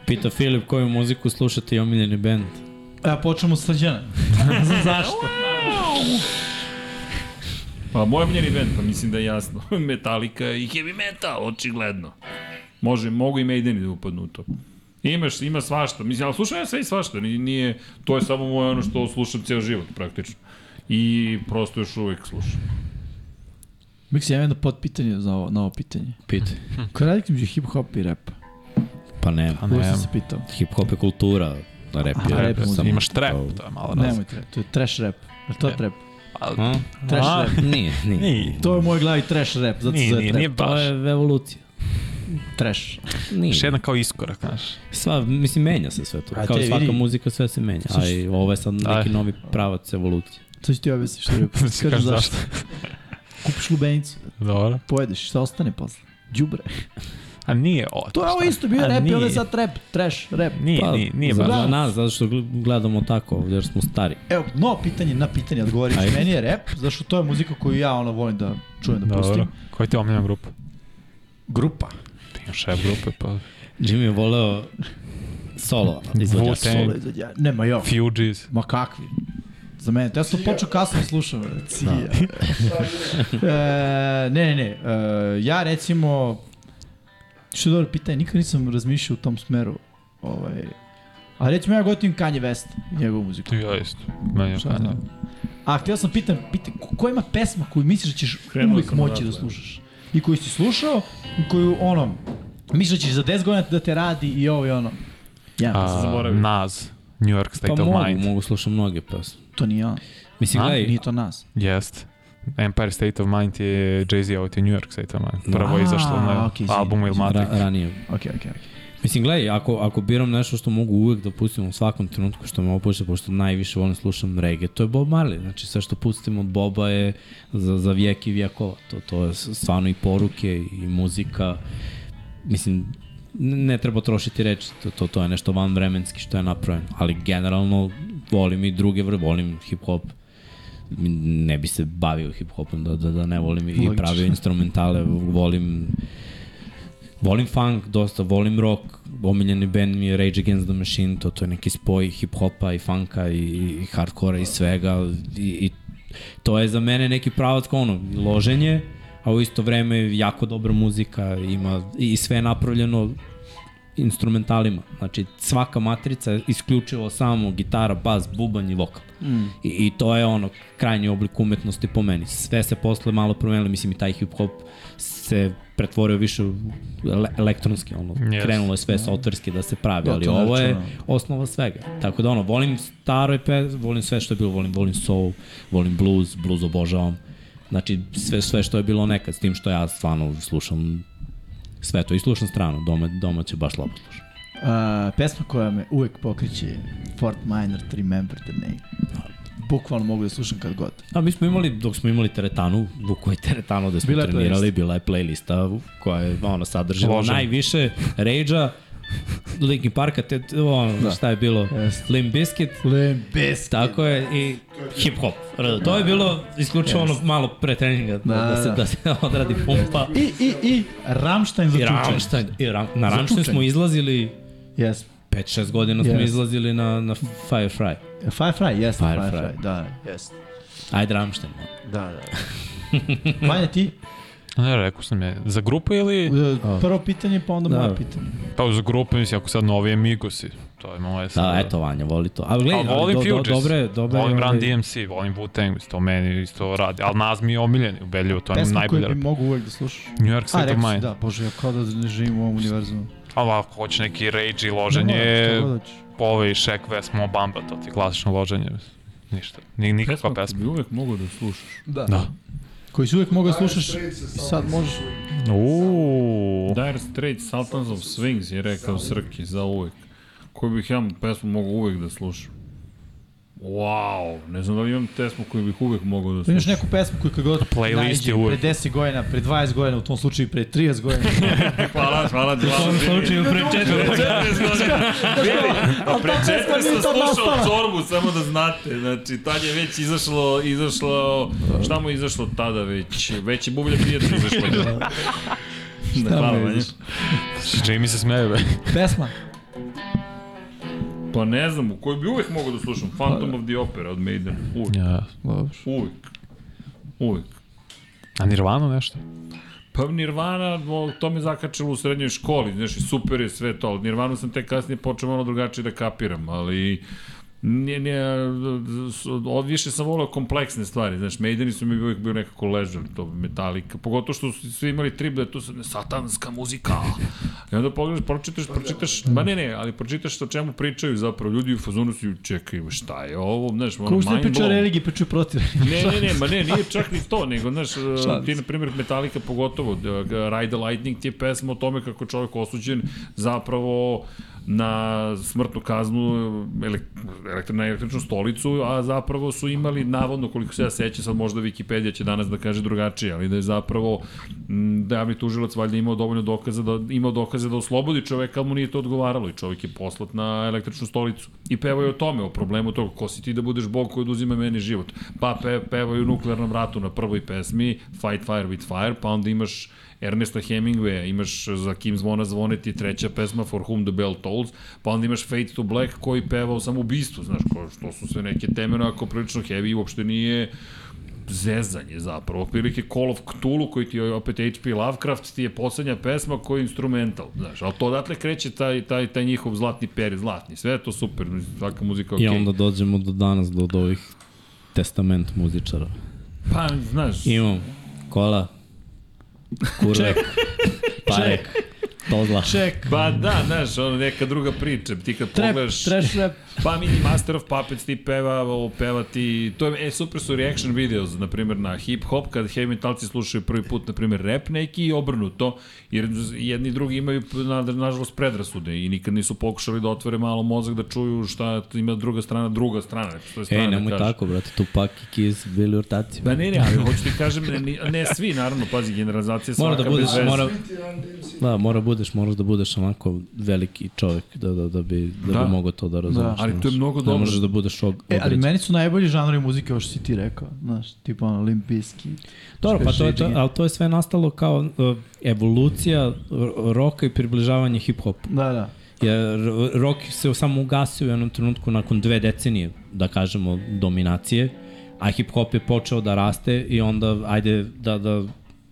[SPEAKER 2] Pita Filip koju muziku slušate i omiljeni bend.
[SPEAKER 3] E, A počnemo s Srđana. Ne znam zašto.
[SPEAKER 1] Pa moj omiljeni band, pa mislim da je jasno. Metallica i heavy metal, očigledno. Može, mogu i Maideni da upadnu u to. Imaš, ima svašta. Mislim, ali slušam ja sve i svašta. Nije, nije, to je samo moje ono što slušam ceo život, praktično. I prosto još uvek slušam.
[SPEAKER 3] Miksi, ja imam jedno potpitanje za ovo, na ovo pitanje.
[SPEAKER 2] Pita.
[SPEAKER 3] Koja je razlika između hip-hop i rap?
[SPEAKER 2] Pa nema.
[SPEAKER 5] Pa
[SPEAKER 3] Ovo sam
[SPEAKER 5] nema.
[SPEAKER 3] se pitao.
[SPEAKER 2] Hip hop je kultura. Da rap je
[SPEAKER 3] Aha,
[SPEAKER 2] rap.
[SPEAKER 3] rap je
[SPEAKER 2] samo
[SPEAKER 5] Imaš trap,
[SPEAKER 2] to-
[SPEAKER 5] to je malo Pa, razlika.
[SPEAKER 3] Nemojte, to je trash rap. Je li to trap?
[SPEAKER 2] A?
[SPEAKER 3] Trash
[SPEAKER 2] A?
[SPEAKER 3] rap.
[SPEAKER 2] Nije, nije.
[SPEAKER 5] Nije.
[SPEAKER 3] To je u mojoj glavi trash rap, zato se
[SPEAKER 5] Nije,
[SPEAKER 3] zove
[SPEAKER 5] nije, nije
[SPEAKER 3] trap.
[SPEAKER 2] To
[SPEAKER 5] baš.
[SPEAKER 2] je evolucija.
[SPEAKER 3] Trash.
[SPEAKER 2] Nije.
[SPEAKER 5] Još jedna kao iskorak, znaš.
[SPEAKER 2] Sva, mislim, menja se sve to.
[SPEAKER 3] Brate,
[SPEAKER 2] Kao i svaka
[SPEAKER 3] vidi.
[SPEAKER 2] muzika sve se menja. A i ovo je sad
[SPEAKER 5] Aj.
[SPEAKER 2] neki novi pravac evolucije.
[SPEAKER 3] To ću ti objasniti što je.
[SPEAKER 5] Kažem
[SPEAKER 3] Kažem zašto. Kupiš lubenicu,
[SPEAKER 5] Dobro.
[SPEAKER 3] pojedeš, šta ostane posle? Đubre.
[SPEAKER 5] A nije ovo. Pa,
[SPEAKER 3] To je ovo isto bio
[SPEAKER 5] A
[SPEAKER 3] rap i
[SPEAKER 5] nije.
[SPEAKER 3] ovo je sad rap, trash, rap.
[SPEAKER 5] Nije, nije, nije
[SPEAKER 2] Pa, za
[SPEAKER 5] baš.
[SPEAKER 3] Da.
[SPEAKER 2] nas, zato što gl- gledamo tako ovdje, jer smo stari.
[SPEAKER 3] Evo, no pitanje na pitanje odgovorit ću.
[SPEAKER 2] Ajde.
[SPEAKER 3] Meni je rap, zašto to je muzika koju ja ono volim da čujem, da
[SPEAKER 5] Dobro.
[SPEAKER 3] pustim.
[SPEAKER 5] Koja ti je omiljena grupa?
[SPEAKER 3] Grupa.
[SPEAKER 5] Ti imaš rap grupe, pa...
[SPEAKER 2] Jimmy je voleo solo izvođač.
[SPEAKER 5] Wu-Tang.
[SPEAKER 3] Solo izvođa. Nema jo.
[SPEAKER 5] Fugees.
[SPEAKER 3] Ma kakvi. Za mene, ja sam to počeo kasno da slušam. bre. Cija. e, ne, ne, ne. E, ja recimo, što je dobro pitanje, nikad nisam razmišljao u tom smeru. Ovaj, a recimo ja gotivim Kanye West, i njegovu muziku.
[SPEAKER 5] Tu ja isto. Meni je
[SPEAKER 3] Šta
[SPEAKER 5] Kanye.
[SPEAKER 3] znam? A htio sam pitam, pitam, ko- koja ima pesma koju misliš da ćeš
[SPEAKER 1] Krenuo
[SPEAKER 3] uvijek
[SPEAKER 1] sam odatle,
[SPEAKER 3] moći da
[SPEAKER 1] evo.
[SPEAKER 3] slušaš? I koju si slušao, i koju ono, misliš da ćeš za 10 godina da te radi i ovo i ono. Ja,
[SPEAKER 5] A,
[SPEAKER 1] sam zaboravio.
[SPEAKER 5] Nas. New York State
[SPEAKER 2] Pa
[SPEAKER 5] of
[SPEAKER 2] mogu,
[SPEAKER 5] Mind.
[SPEAKER 2] mogu slušam mnoge pesme.
[SPEAKER 3] to nije on,
[SPEAKER 2] Mislim,
[SPEAKER 5] A,
[SPEAKER 2] gledaj,
[SPEAKER 3] nije to nas.
[SPEAKER 5] Jest. Empire State of Mind je Jay-Z out i New York State of Mind. Prvo je
[SPEAKER 3] A,
[SPEAKER 5] izašlo na
[SPEAKER 3] okej, izvini,
[SPEAKER 5] albumu
[SPEAKER 2] ra,
[SPEAKER 5] Ilmatic.
[SPEAKER 2] ranije.
[SPEAKER 3] Ok, ok, ok.
[SPEAKER 2] Mislim, gledaj, ako, ako biram nešto što mogu uvek da pustim u svakom trenutku što me opušta, pošto najviše volim slušam rege, to je Bob Marley. Znači, sve što pustim od Boba je za, za vijek i vijekova. To, to je stvarno i poruke i muzika. Mislim, n- ne treba trošiti reči, to, to, to je nešto vanvremenski što je napravljeno, ali generalno volim i druge, vre- volim hip-hop, ne bi se bavio hip-hopom da, da, da ne volim i
[SPEAKER 3] Logično.
[SPEAKER 2] pravio instrumentale, volim volim funk dosta, volim rock, omiljeni band mi je Rage Against the Machine, to, to je neki spoj hip-hopa i funka i, i hardkora i svega i, i to je za mene neki pravac kao ono, loženje, a u isto vreme jako dobra muzika, ima i sve je napravljeno instrumentalima. Znači, svaka matrica je isključivo samo gitara, bas, bubanj i vokal. Mm. I, I to je ono, krajnji oblik umetnosti po meni. Sve se posle malo promenilo, mislim i taj hip-hop se pretvorio više u ele- elektronski, ono,
[SPEAKER 5] Yes.
[SPEAKER 2] yes. krenulo je sve softverski da se pravi,
[SPEAKER 3] Da,
[SPEAKER 2] ali
[SPEAKER 3] to ne
[SPEAKER 2] ovo je
[SPEAKER 3] računam.
[SPEAKER 2] osnova svega. Tako da ono, volim staroj pe, volim sve što je bilo, volim, volim soul, volim blues, blues obožavam. Znači, sve, sve što je bilo nekad, s tim što ja stvarno slušam sve to i slušam strano, doma, domaće baš slabo slušam.
[SPEAKER 3] Uh, pesma koja me uvek pokriće je Fort Minor Remember the Name. Bukvalno mogu da slušam kad god.
[SPEAKER 2] A mi smo imali, dok smo imali teretanu, Vuko i teretanu da smo
[SPEAKER 3] Bila
[SPEAKER 2] bila
[SPEAKER 3] je
[SPEAKER 2] trenirali,
[SPEAKER 3] playlist.
[SPEAKER 2] bila je playlista koja je ono sadržala
[SPEAKER 5] Ložen.
[SPEAKER 2] najviše rage-a, Linkin Parka, te, ono, da. šta je bilo, yes. Limp Bizkit,
[SPEAKER 3] Limp Bizkit.
[SPEAKER 2] tako je, i hip hop. To je bilo isključivo yes. ono malo pre treninga, da,
[SPEAKER 3] Da,
[SPEAKER 2] da, se,
[SPEAKER 3] da.
[SPEAKER 2] da se odradi pumpa.
[SPEAKER 3] I, i, i Ramštajn za
[SPEAKER 2] I
[SPEAKER 3] čučanj.
[SPEAKER 2] Ramštajn, i Ram, na Ramštajn smo izlazili,
[SPEAKER 3] Jesmo.
[SPEAKER 2] 5-6 godina smo
[SPEAKER 3] Yes.
[SPEAKER 2] izlazili na, na Firefly.
[SPEAKER 3] Firefly, jeste
[SPEAKER 2] Firefly.
[SPEAKER 3] Firefly. Firefly. Da, jeste.
[SPEAKER 2] Ajde Ramštajn.
[SPEAKER 3] Da, da. Vanja ti,
[SPEAKER 5] Ne, rekao sam je, za grupu ili...
[SPEAKER 3] uh, prvo pitanje pa onda da.
[SPEAKER 2] Da.
[SPEAKER 3] moje pitanje.
[SPEAKER 5] Pa za grupu, mislim, ako sad novi Amigosi, to je moje sad.
[SPEAKER 2] Da, eto Vanja, voli to. Ali gledaj,
[SPEAKER 5] A volim
[SPEAKER 2] ali do, do,
[SPEAKER 5] Fugees,
[SPEAKER 2] dobre,
[SPEAKER 3] Pa da,
[SPEAKER 2] dobre.
[SPEAKER 5] volim
[SPEAKER 2] ovaj,
[SPEAKER 5] Run DMC, volim Wu-Tang, to meni isto radi. Ali Nas mi je omiljeni, ubedljivo, to je
[SPEAKER 3] Pesma koju
[SPEAKER 5] Pa najbolje.
[SPEAKER 3] bi mogu uvek da slušaš.
[SPEAKER 5] New York
[SPEAKER 3] A,
[SPEAKER 5] State of
[SPEAKER 3] rekao si,
[SPEAKER 5] Mind.
[SPEAKER 3] da, bože, ja kao da ne živim u ovom univerzumu.
[SPEAKER 5] Ali ako hoće neki rage i
[SPEAKER 3] Ne
[SPEAKER 5] loženje,
[SPEAKER 3] moram, šta
[SPEAKER 5] je
[SPEAKER 3] god hoćeš.
[SPEAKER 5] ovaj Shaq West Mo Bamba, to ti klasično loženje. mislim. Ništa, Ni, nikakva
[SPEAKER 1] pesma.
[SPEAKER 5] pesma.
[SPEAKER 1] Bi uvek mogu da slušaš.
[SPEAKER 3] Da.
[SPEAKER 5] Da.
[SPEAKER 3] Koji si uvek mogao da slušaš
[SPEAKER 4] Straight se
[SPEAKER 3] i sad možeš.
[SPEAKER 5] Uuuu.
[SPEAKER 1] Dire Straits, Sultans of Swings je rekao Srki za uvek. Koju bih ja pesmu mogu uvek da slušam. Wow, ne znam da li imam pesmu koju bih uvek mogao da
[SPEAKER 3] Da imaš
[SPEAKER 1] slušam.
[SPEAKER 3] neku pesmu koju kad god
[SPEAKER 5] Playlist
[SPEAKER 3] najđe
[SPEAKER 5] je uvek.
[SPEAKER 3] pre 10 godina, pre 20 godina, u tom slučaju i pre 30 godina.
[SPEAKER 1] Hvala, hvala, hvala.
[SPEAKER 2] U slučaju pre četiri.
[SPEAKER 1] 40 godina. Vidi, a pre
[SPEAKER 3] pesma
[SPEAKER 1] 4
[SPEAKER 3] nije
[SPEAKER 1] sam
[SPEAKER 3] tad
[SPEAKER 1] slušao
[SPEAKER 3] nastala.
[SPEAKER 1] Čorbu, samo da znate. Znači, tad je već izašlo, izašlo, šta mu je izašlo tada već? Već je bublja prijatelj izašlo. Da, hvala,
[SPEAKER 3] mu je
[SPEAKER 1] Vanja.
[SPEAKER 5] Jamie se smeje, be.
[SPEAKER 3] Pesma.
[SPEAKER 1] Pa ne znam, u koju bi uvek mogao da slušam.
[SPEAKER 3] Pa
[SPEAKER 1] Phantom of the Opera od Maiden. Uvek,
[SPEAKER 5] Ja.
[SPEAKER 3] Dobro.
[SPEAKER 1] uvek, uvek.
[SPEAKER 5] A Nirvana nešto?
[SPEAKER 1] Pa Nirvana, o, to me zakačilo u srednjoj školi, znaš, i super je sve to, ali Nirvanu sam tek kasnije počeo malo drugačije da kapiram, ali nije, nije, s- od, više sam volao kompleksne stvari, znaš, Maideni su mi uvijek bio nekako ležan, to Metallica, pogotovo što su svi imali trip da je tu sad satanska muzika, i onda pogledaš, pročitaš, pročitaš, ma ne, ne, ali pročitaš o čemu pričaju zapravo, ljudi u fazonu su, čekaj, šta je ovo, znaš, ono,
[SPEAKER 3] Kako što ne
[SPEAKER 1] mind
[SPEAKER 3] da pričaju o
[SPEAKER 1] blown.
[SPEAKER 3] religiji, pričaju protiv
[SPEAKER 1] Ne, ne, ne, ma ne, nije čak ni to, nego, znaš, e, ti, na primjer, Metallica pogotovo, e, Ride the Lightning ti je pesma o tome kako je čovjek osuđen zapravo na smrtnu kaznu elek, elektri, na električnu stolicu, a zapravo su imali, navodno, koliko se ja sećam, sad možda Wikipedia će danas da kaže drugačije, ali da je zapravo m, da javni tužilac valjda imao dovoljno dokaza da imao dokaze da oslobodi čoveka, ali mu nije to odgovaralo i čovek je poslat na električnu stolicu. I pevaju o tome, o problemu toga, ko si ti da budeš bog koji oduzima meni život. Pa pe, pevaju o nuklearnom ratu na prvoj pesmi, Fight Fire with Fire, pa onda imaš Ernesta Hemingwaya, imaš za kim zvona zvone ti je treća pesma For Whom the Bell Tolls, pa onda imaš Fade to Black koji peva o samobistvu, znaš, ko, što su sve neke teme, ako prilično heavy, uopšte nije zezanje zapravo. Otprilike Call of Cthulhu koji ti je opet HP Lovecraft ti je poslednja pesma koja je instrumental, znaš, ali to odatle kreće taj, taj, taj njihov zlatni peri, zlatni, sve je to super, mislim, svaka muzika okej.
[SPEAKER 2] I onda dođemo do danas, do, do ovih testament muzičara.
[SPEAKER 1] Pa, znaš,
[SPEAKER 2] Imam kola, kurvek, parek, tozla.
[SPEAKER 3] Ček.
[SPEAKER 1] pa da, znaš, ono neka druga priča, ti kad
[SPEAKER 3] Trap,
[SPEAKER 1] pogledaš...
[SPEAKER 3] trash rap.
[SPEAKER 1] Pa mini Master of Puppets ti peva, ovo, peva ti, to je, e, super su reaction videos, na primjer, na hip hop, kad heavy metalci slušaju prvi put, na primjer, rap neki i obrnuto, jer jedni i drugi imaju, na, nažalost, predrasude i nikad nisu pokušali da otvore malo mozak da čuju šta ima druga strana, druga strana, ne postoje strana
[SPEAKER 2] Ej,
[SPEAKER 1] da
[SPEAKER 2] E, nemoj
[SPEAKER 1] kaže.
[SPEAKER 2] tako, brate, Tupac i Kiss bili ortaci.
[SPEAKER 1] Pa ne, ne, ali hoću ti kažem, ne, ne svi, naravno, pazi, generalizacija svaka
[SPEAKER 2] Mora da budeš,
[SPEAKER 1] bez veze.
[SPEAKER 2] mora, da, mora bude budeš, moraš da budeš onako veliki čovek da, da, da, bi, da,
[SPEAKER 3] Da.
[SPEAKER 2] da. bi mogao to da razumeš.
[SPEAKER 1] Ali
[SPEAKER 2] znaš.
[SPEAKER 1] to je mnogo dobro.
[SPEAKER 2] Ne možeš da budeš ob,
[SPEAKER 3] E, ali
[SPEAKER 2] obređen.
[SPEAKER 3] meni su najbolji žanrovi muzike, ovo što si ti rekao, znaš, tipa ono, Limp Bizkit.
[SPEAKER 2] Dobro, pa to je, to,
[SPEAKER 3] Shading.
[SPEAKER 2] ali to je sve nastalo kao uh, evolucija r- roka i približavanje hip-hopu.
[SPEAKER 3] Da, da.
[SPEAKER 2] Jer rock se samo ugasio u jednom trenutku nakon dve decenije, da kažemo, dominacije, a hip-hop je počeo da raste i onda ajde da, da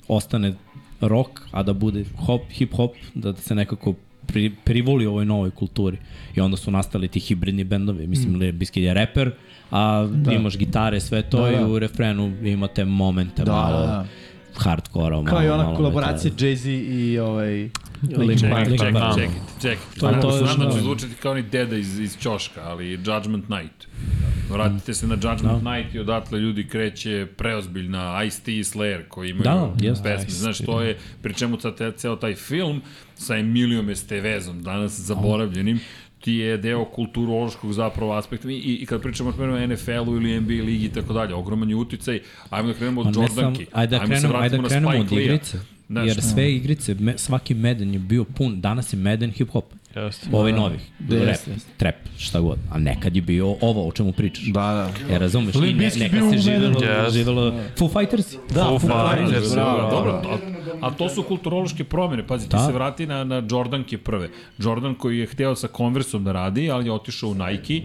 [SPEAKER 2] ostane rock, a da bude hop, hip-hop, da se nekako pri, privoli ovoj novoj kulturi. I onda su nastali ti hibridni bendovi. Mislim, mm. Biskid je reper, a da. imaš gitare, sve to
[SPEAKER 3] Da,
[SPEAKER 2] da,
[SPEAKER 3] da.
[SPEAKER 2] i u refrenu imate momente
[SPEAKER 3] Da,
[SPEAKER 2] da, malo da,
[SPEAKER 3] da, da.
[SPEAKER 2] hardkora. Malo,
[SPEAKER 3] Kao i
[SPEAKER 2] malo
[SPEAKER 3] ona kolaboracija
[SPEAKER 2] metala.
[SPEAKER 3] Jay-Z i ovaj...
[SPEAKER 2] Link
[SPEAKER 3] Park.
[SPEAKER 2] Park.
[SPEAKER 1] Čekaj,
[SPEAKER 5] Park.
[SPEAKER 1] čekaj, čekaj.
[SPEAKER 2] To
[SPEAKER 1] To
[SPEAKER 2] je-
[SPEAKER 1] je
[SPEAKER 2] to je
[SPEAKER 1] Znam da
[SPEAKER 2] što-
[SPEAKER 1] ću zvučati kao ni deda iz, iz Ćoška, ali Judgment Night.
[SPEAKER 2] Da.
[SPEAKER 1] Vratite se na Judgment Night i odatle ljudi kreće preozbiljna Ice-T i Slayer koji imaju
[SPEAKER 2] Da, jeste.
[SPEAKER 1] pesme. Znaš, to je, pri čemu sad te- ceo taj film sa Emilijom Estevezom, danas zaboravljenim, ti je deo kulturološkog zapravo aspekta i, i kad pričamo o NFL-u ili NBA ligi i tako dalje, ogroman je uticaj. Ajmo da krenemo
[SPEAKER 2] Pa
[SPEAKER 1] od
[SPEAKER 2] ne samo-
[SPEAKER 1] Jordanki.
[SPEAKER 2] Ajde da
[SPEAKER 1] Ajmo se
[SPEAKER 2] krenemo, ajde
[SPEAKER 1] vratimo na
[SPEAKER 2] da krenemo od
[SPEAKER 1] Spike Lee-a.
[SPEAKER 2] igrice.
[SPEAKER 1] Znaš,
[SPEAKER 2] jer sve igrice, me, svaki meden je bio pun, danas je meden hip-hop.
[SPEAKER 5] Jeste.
[SPEAKER 2] Ovaj novih,
[SPEAKER 3] Da,
[SPEAKER 2] rap,
[SPEAKER 3] jeste, jeste.
[SPEAKER 2] trap, šta god. A nekad je bio ovo o čemu pričaš.
[SPEAKER 3] Da,
[SPEAKER 2] E, razumeš, I
[SPEAKER 3] Limp
[SPEAKER 2] ne,
[SPEAKER 3] Bizkit bio
[SPEAKER 2] nekad se
[SPEAKER 3] u
[SPEAKER 2] živelo,
[SPEAKER 5] Medenu.
[SPEAKER 2] živelo... Foo Fighters? Da,
[SPEAKER 5] Foo Fighters,
[SPEAKER 1] Fighters, da.
[SPEAKER 5] bravo,
[SPEAKER 1] bravo,
[SPEAKER 5] bravo.
[SPEAKER 1] dobro. A, a to su kulturološke promjene. Pazi, ti
[SPEAKER 2] Da.
[SPEAKER 1] se vrati na, na Jordanke prve. Jordan koji je hteo sa Converse-om da radi, ali je otišao u Nike.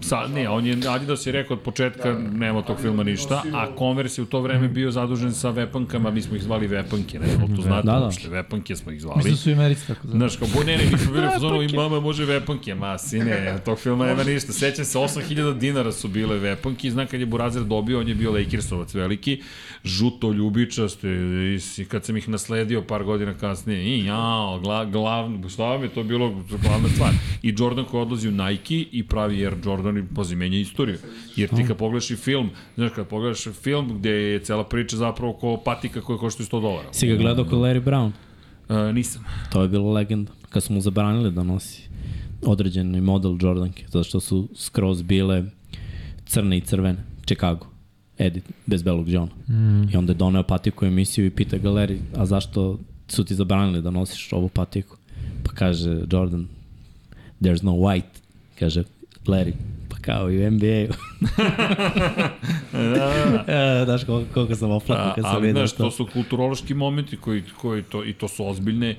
[SPEAKER 1] Sa, ne, on je Adidas je rekao od početka nema tog filma ništa, a Converse je u to vreme bio zadužen sa vepankama, mi smo ih zvali vepanke, ne znam, to znate
[SPEAKER 2] Da, da.
[SPEAKER 1] uopšte, vepanke smo ih
[SPEAKER 3] Mislim
[SPEAKER 1] zvali.
[SPEAKER 3] da su i Americi tako zvali.
[SPEAKER 1] Znaš, kao, bo, ne, ne, mi smo bili u fazonu i mama može vepanke, ma, sine, od tog filma nema ništa. Sećam se, 8000 dinara su bile vepanke i znam kad je Burazer dobio, on je bio Lakersovac veliki, žuto ljubičast, i, i kad sam ih nasledio par godina kasnije, i jao, gla, glavno, šta mi je to bilo glavna stvar. I Jordan koji odlazi u Nike i pravi Air Jordan i pazi, menja istoriju. Jer ti kad pogledaš i film, znaš, kad pogledaš film gde je cela priča zapravo ko patika koja košta 100 dolara.
[SPEAKER 2] Si ga gledao kod Larry Brown?
[SPEAKER 1] E, nisam.
[SPEAKER 2] To je bilo legenda. Kad su mu zabranili da nosi određeni model Jordanke, zato što su skroz bile crne i crvene. Chicago. Edit, bez belog džona. Mm. I onda je doneo patiku u emisiju i pita galeri, a zašto su ti zabranili da nosiš ovu patiku? Pa kaže Jordan, there's no white. Kaže Larry, pa kao i u NBA-u. da, Znaš kol- koliko sam
[SPEAKER 1] A,
[SPEAKER 2] oflakao kad sam
[SPEAKER 1] ali
[SPEAKER 2] vidio
[SPEAKER 1] znaš, to
[SPEAKER 2] to.
[SPEAKER 1] su kulturološki momenti koji, koji to, i to su ozbiljne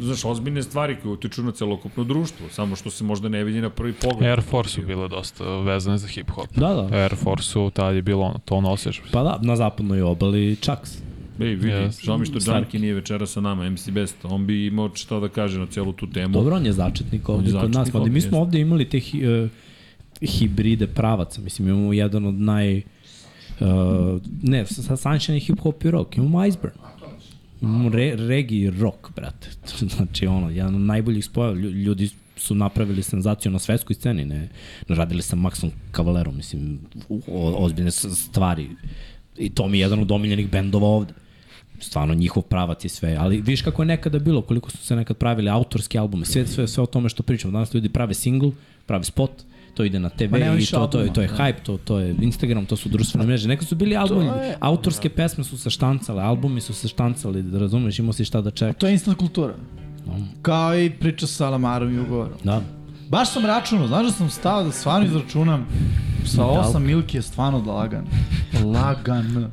[SPEAKER 1] znaš, ozbiljne stvari koje utiču na celokupno društvo, samo što se možda ne vidi na prvi pogled.
[SPEAKER 5] Air Force su bile dosta vezane za hip-hop.
[SPEAKER 2] Da, da.
[SPEAKER 5] Air Force-u tad je bilo ono, to nosiš.
[SPEAKER 2] Pa da, na zapadnoj obali Chucks.
[SPEAKER 1] Ej, vidi,
[SPEAKER 5] Yes.
[SPEAKER 1] yes. žao mi što
[SPEAKER 2] Stark.
[SPEAKER 1] Đanki nije večera sa nama, MC Best, on bi imao šta da kaže na celu tu temu.
[SPEAKER 2] Dobro, on je začetnik ovde
[SPEAKER 1] On je
[SPEAKER 2] kod nas.
[SPEAKER 1] začetnik
[SPEAKER 2] Mada
[SPEAKER 1] ovde,
[SPEAKER 2] mi smo
[SPEAKER 1] jeste.
[SPEAKER 2] ovde imali te hi- e, hibride pravaca. Mislim, imamo jedan od naj... e, ne, sa sa Sunshine je hip hop i rock. Imamo Iceberg. Imamo re, regi i rock, brate. znači, ono, jedan od najboljih spojeva. Lju- Ljudi su napravili senzaciju na svetskoj sceni, ne? Radili sa Maxom Cavalerom, mislim, u- o, ozbiljne s- stvari. I to mi je jedan od omiljenih bendova ovde stvarno njihov pravac i sve, ali viš kako je nekada bilo, koliko su se nekad pravili autorski albume, sve, sve, sve o tome što pričamo. Danas ljudi prave single, prave spot, to ide na TV
[SPEAKER 3] Ma nema
[SPEAKER 2] i
[SPEAKER 3] više
[SPEAKER 2] to, to, je,
[SPEAKER 3] albuma,
[SPEAKER 2] to je hype, to, to je Instagram, to su društvene mreže. Nekad su bili albumi,
[SPEAKER 3] je- da.
[SPEAKER 2] autorske pesme su se štancale, albumi su se štancali, da razumeš, imao si šta da čeka.
[SPEAKER 3] To je instant kultura. Kao i priča sa Alamarom i ugovorom.
[SPEAKER 2] Da.
[SPEAKER 3] Baš sam računao, znaš da sam stao da stvarno izračunam sa osam milki je stvarno da lagan. Lagan.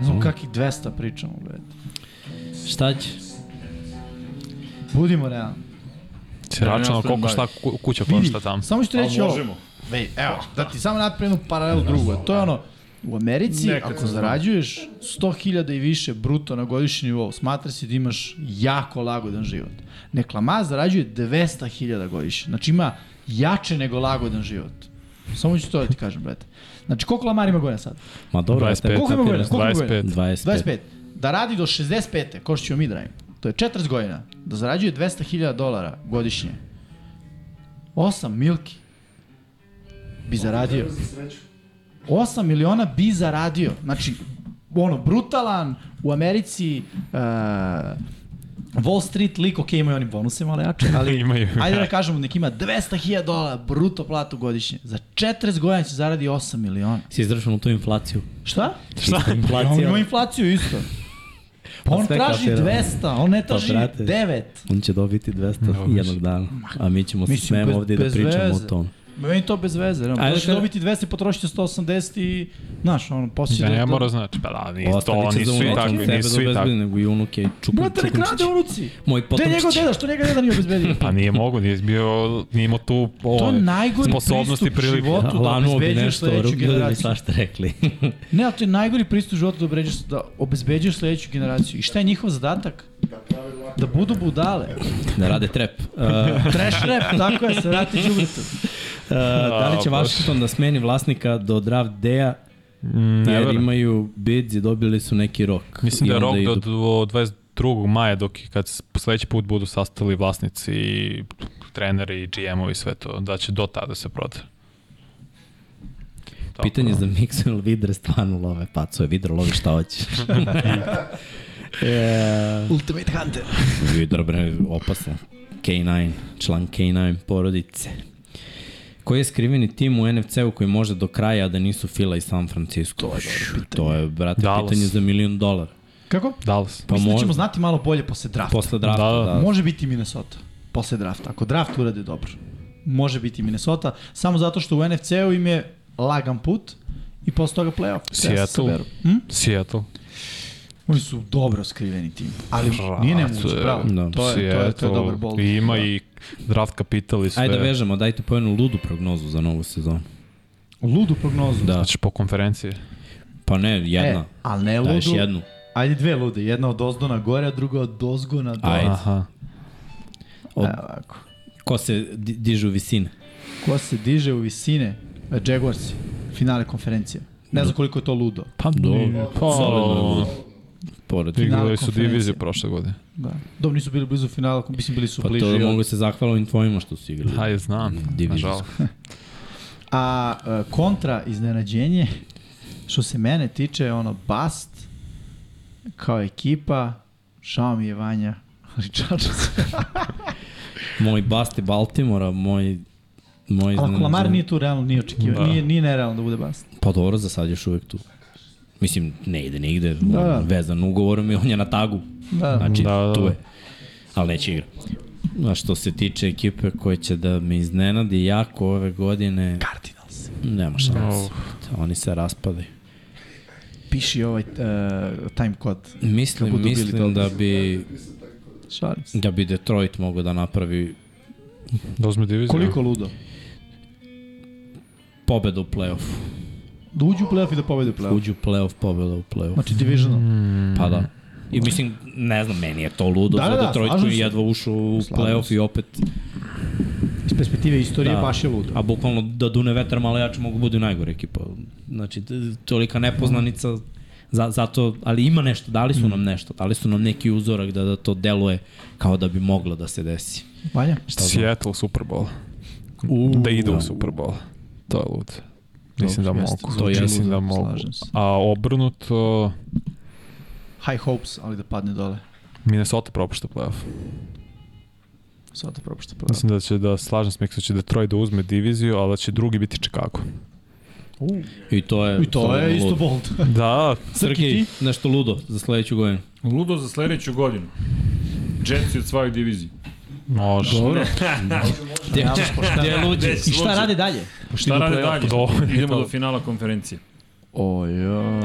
[SPEAKER 3] Ne znam kakih 200 pričamo, bre.
[SPEAKER 2] Šta će?
[SPEAKER 3] Budimo realni.
[SPEAKER 5] Si
[SPEAKER 1] Ja
[SPEAKER 5] računao
[SPEAKER 1] sam
[SPEAKER 5] koliko
[SPEAKER 1] baš.
[SPEAKER 5] šta ku- kuća
[SPEAKER 3] Vidi,
[SPEAKER 5] košta tamo.
[SPEAKER 3] samo ću ti
[SPEAKER 1] Ali
[SPEAKER 3] reći ovo.
[SPEAKER 1] Pa možemo.
[SPEAKER 3] Vej, evo, da ti samo napravim jednu paralelu drugu. To je ono, u Americi,
[SPEAKER 1] Nekad
[SPEAKER 3] ako
[SPEAKER 1] sam znao.
[SPEAKER 3] zarađuješ 100.000 i više bruto na godišnji nivou, smatra se da imaš jako lagodan život. Neklama zarađuje 200.000 godišnje. Znači ima jače nego lagodan život. Samo ću to da ti kažem, brate. Znači, koliko Lamar ima godina sad?
[SPEAKER 2] Ma dobro,
[SPEAKER 5] 25.
[SPEAKER 2] ja te
[SPEAKER 3] Koliko ima
[SPEAKER 2] kapiram.
[SPEAKER 3] godina? Koliko ima godina?
[SPEAKER 5] 25.
[SPEAKER 2] 25.
[SPEAKER 3] 25. Da radi do 65. Ko što ćemo mi da radimo? To je 40 godina. Da zarađuje 200.000 dolara godišnje. 8 milki bi zaradio. 8 miliona bi zaradio. Znači, ono, brutalan u Americi uh, Wall Street lik, ok, imaju oni bonuse malo jače, ali
[SPEAKER 5] Imaju,
[SPEAKER 3] ajde da
[SPEAKER 5] da.
[SPEAKER 3] kažemo, nek ima 200.000 dolara bruto platu godišnje. Za 40 godina će zaradi 8 miliona.
[SPEAKER 2] Si izračunao tu inflaciju.
[SPEAKER 3] Šta?
[SPEAKER 2] Šta?
[SPEAKER 3] Inflacija.
[SPEAKER 2] Inflacija.
[SPEAKER 3] Imamo inflaciju isto. Pa on
[SPEAKER 2] sve
[SPEAKER 3] traži
[SPEAKER 2] kapira.
[SPEAKER 3] 200, on ne traži
[SPEAKER 2] brate.
[SPEAKER 3] 9.
[SPEAKER 2] On će dobiti 200
[SPEAKER 5] Dobro.
[SPEAKER 2] jednog dana, a mi ćemo se
[SPEAKER 3] Mislim,
[SPEAKER 2] smemo
[SPEAKER 3] bez-
[SPEAKER 2] ovde da
[SPEAKER 3] bez
[SPEAKER 2] pričamo
[SPEAKER 3] veze.
[SPEAKER 2] o tom.
[SPEAKER 3] Meni to bez veze, no,
[SPEAKER 2] Ajde,
[SPEAKER 3] možeš
[SPEAKER 2] kada-
[SPEAKER 3] da dobiti 200, potrošiti 180 i, znaš, ono, poslije...
[SPEAKER 5] Da ne
[SPEAKER 3] to-
[SPEAKER 5] mora znači, pa da, ni,
[SPEAKER 2] Ostali
[SPEAKER 5] to
[SPEAKER 2] će za
[SPEAKER 5] nisu i
[SPEAKER 2] unuke,
[SPEAKER 5] takvi,
[SPEAKER 2] sebe da
[SPEAKER 5] nisu i takvi.
[SPEAKER 2] obezbedi, nego i unuke i čukum,
[SPEAKER 3] Brate, nek
[SPEAKER 2] čukumčići.
[SPEAKER 3] rade unuci!
[SPEAKER 2] Moj
[SPEAKER 3] Gde je njegov
[SPEAKER 2] potomčić.
[SPEAKER 3] deda, što njega deda nije obezbedio?
[SPEAKER 5] Pa nije mogo, nije bio, nije imao tu ovaj,
[SPEAKER 3] To
[SPEAKER 5] o,
[SPEAKER 3] je najgori
[SPEAKER 5] sposobnosti
[SPEAKER 3] pristup
[SPEAKER 5] prilike.
[SPEAKER 3] životu da
[SPEAKER 2] Lanuo bi
[SPEAKER 3] obezbeđuješ
[SPEAKER 2] nešto,
[SPEAKER 3] sledeću
[SPEAKER 2] ljudi bi
[SPEAKER 3] generaciju.
[SPEAKER 2] svašta rekli.
[SPEAKER 3] Ne, ali to je najgori pristup životu da obezbeđuješ, da obezbeđuješ sledeću generaciju. I šta je njihov zadatak? Da budu budale.
[SPEAKER 2] da rade trep. Uh,
[SPEAKER 3] Trash rap, tako je, se vrati džubritom.
[SPEAKER 2] Uh, da li će
[SPEAKER 5] A, baš.
[SPEAKER 2] Washington da smeni vlasnika do draft day-a
[SPEAKER 5] Ne
[SPEAKER 2] jer
[SPEAKER 5] verujem.
[SPEAKER 2] imaju bids i dobili su neki rok.
[SPEAKER 5] Mislim da
[SPEAKER 2] I
[SPEAKER 5] je rok
[SPEAKER 2] onda
[SPEAKER 5] do,
[SPEAKER 2] idu-
[SPEAKER 5] do 22. maja dok i kad s- sledeći put budu sastali vlasnici i treneri i GM-ovi sve to, da će do tada se proda. Tako
[SPEAKER 2] Pitanje
[SPEAKER 5] da.
[SPEAKER 2] za Mixel Vidre stvarno love pacove. Vidre lovi šta hoćeš. e,
[SPEAKER 3] Ultimate Hunter.
[SPEAKER 2] Vidre bre, opasno. K9, član K9 porodice. Koji je skriveni tim u NFC-u koji može do kraja a da nisu Fila i San Francisco? To je, to je brate,
[SPEAKER 5] Dallas.
[SPEAKER 2] pitanje za milion dolara.
[SPEAKER 3] Kako?
[SPEAKER 5] Dallas.
[SPEAKER 2] Pa
[SPEAKER 3] Mislim da
[SPEAKER 2] možda.
[SPEAKER 3] ćemo znati malo bolje posle drafta.
[SPEAKER 2] Posle drafta,
[SPEAKER 5] Da, da.
[SPEAKER 2] da.
[SPEAKER 3] Može biti Minnesota posle drafta. Ako draft urade dobro, može biti Minnesota. Samo zato što u NFC-u im je lagan put i posle toga playoff. Treba se
[SPEAKER 5] Seattle.
[SPEAKER 3] saberu. Hm?
[SPEAKER 5] Seattle.
[SPEAKER 3] Oni su dobro skriveni tim. Ali nije nemoguće,
[SPEAKER 5] Brate,
[SPEAKER 3] bravo.
[SPEAKER 2] Da.
[SPEAKER 3] To, je, to, je, to je
[SPEAKER 5] Seattle.
[SPEAKER 3] dobar bol.
[SPEAKER 5] I ima i draft kapital i sve.
[SPEAKER 2] Ajde da vežemo, dajte po jednu ludu prognozu za novu sezonu.
[SPEAKER 3] Ludu prognozu.
[SPEAKER 2] Da.
[SPEAKER 5] Znači po konferenciji.
[SPEAKER 2] Pa ne, jedna.
[SPEAKER 3] E, ali ne
[SPEAKER 2] E, Daješ
[SPEAKER 3] ludu.
[SPEAKER 2] jednu.
[SPEAKER 3] Ajde dve lude. Jedna od ozdo na gore, a druga od dozgo na dole.
[SPEAKER 2] Ajde.
[SPEAKER 5] Aha.
[SPEAKER 2] Od,
[SPEAKER 3] Evo ovako.
[SPEAKER 2] ko se di, diže u visine?
[SPEAKER 3] Ko se diže u visine? E, Jaguarsi. Finale konferencije. Ne
[SPEAKER 2] Da.
[SPEAKER 3] znam koliko je to ludo.
[SPEAKER 2] Pa dobro.
[SPEAKER 5] Pa,
[SPEAKER 2] Solidno. Pored.
[SPEAKER 5] igrali su
[SPEAKER 3] konferencije.
[SPEAKER 5] diviziju prošle godine.
[SPEAKER 3] Da. Dobro, nisu bili blizu finala, mislim bili su
[SPEAKER 2] Pa
[SPEAKER 3] bliži.
[SPEAKER 2] to
[SPEAKER 3] od-
[SPEAKER 2] mogu se zahvala ovim tvojima što su igrali.
[SPEAKER 5] Ajde, znam.
[SPEAKER 3] Mm,
[SPEAKER 2] Divizijsku.
[SPEAKER 5] Nažalost.
[SPEAKER 3] A e, kontra iznenađenje, što se mene tiče, ono, Bast, kao ekipa, šao mi je Vanja Richardson.
[SPEAKER 5] Pa
[SPEAKER 2] Moj Basti Baltimora, moj... moj
[SPEAKER 3] Ali ako Lamar
[SPEAKER 2] znam-
[SPEAKER 3] nije tu realno, nije očekivao,
[SPEAKER 5] Da.
[SPEAKER 3] nije, nije nerealno da bude Bast.
[SPEAKER 2] Pa dobro, za sad još uvek tu. Mislim, ne ide nigde,
[SPEAKER 3] Da, da.
[SPEAKER 2] da. vezan ugovorom i on je na tagu.
[SPEAKER 3] Da.
[SPEAKER 2] Znači,
[SPEAKER 5] Da, da, da.
[SPEAKER 2] tu je. Ali neće igra. A što se tiče ekipe koja će da me iznenadi jako ove godine,
[SPEAKER 3] Cardinals.
[SPEAKER 2] nema šanse. Oni se raspadaju.
[SPEAKER 3] Piši ovaj e, time kod. Kako
[SPEAKER 2] Mislim,
[SPEAKER 3] dobili
[SPEAKER 2] mislim
[SPEAKER 3] dobro.
[SPEAKER 2] da bi,
[SPEAKER 3] Šalim se.
[SPEAKER 2] da bi Detroit mogao da napravi
[SPEAKER 5] Da uzme diviziju.
[SPEAKER 3] Koliko ludo?
[SPEAKER 2] pobedu u play-offu.
[SPEAKER 3] Da uđu u playoff i da pobede u playoff.
[SPEAKER 2] Uđu u play-off, pobeda u play-off.
[SPEAKER 3] Znači divisional.
[SPEAKER 5] Mm.
[SPEAKER 2] Pa da. I mislim, ne znam, meni je to ludo
[SPEAKER 3] Da,
[SPEAKER 2] da,
[SPEAKER 3] da,
[SPEAKER 2] za
[SPEAKER 3] da,
[SPEAKER 2] Detroit
[SPEAKER 3] slažem
[SPEAKER 2] koji
[SPEAKER 3] se.
[SPEAKER 2] je jedva ušao u
[SPEAKER 3] Slažem
[SPEAKER 2] play-off
[SPEAKER 3] se.
[SPEAKER 2] i opet,
[SPEAKER 3] Iz perspektive istorije
[SPEAKER 2] Da.
[SPEAKER 3] baš je ludo.
[SPEAKER 2] a bukvalno da dune vetar malo jače mogu budu i najgore ekipa. Znači, t- tolika nepoznanica, za, zato, ali ima nešto, dali su nam nešto, dali su nam neki uzorak da, da to deluje kao da bi moglo da se desi.
[SPEAKER 3] Vanja?
[SPEAKER 5] Seattle Super Bowl. da idu u Super Bowl. To je lud. Mislim da
[SPEAKER 3] Dobro,
[SPEAKER 5] mogu.
[SPEAKER 3] jeste,
[SPEAKER 5] To
[SPEAKER 3] zvuči
[SPEAKER 5] mislim
[SPEAKER 3] Znači, ludo,
[SPEAKER 5] da mogu.
[SPEAKER 3] slažem se.
[SPEAKER 5] A uh, obrnuto,
[SPEAKER 3] High hopes, ali da padne dole.
[SPEAKER 5] Minnesota propušta playoff.
[SPEAKER 3] Sada da propušta playoff.
[SPEAKER 5] Mislim da će da, slažem se, Miksa, će Detroit da uzme diviziju, ali da će drugi biti Chicago.
[SPEAKER 2] I E, to je...
[SPEAKER 3] I to je
[SPEAKER 2] solidno
[SPEAKER 3] isto
[SPEAKER 2] ludo.
[SPEAKER 3] bold.
[SPEAKER 5] Da,
[SPEAKER 2] Srki, nešto ludo za sledeću godinu.
[SPEAKER 1] Ludo za sledeću godinu. Jetsi od svojih diviziji.
[SPEAKER 5] može. Dobro.
[SPEAKER 2] Gde, gde je luđi?
[SPEAKER 3] I šta rade dalje?
[SPEAKER 1] Šta rade dalje?
[SPEAKER 5] Do,
[SPEAKER 1] Idemo do finala konferencije.
[SPEAKER 3] Ojo.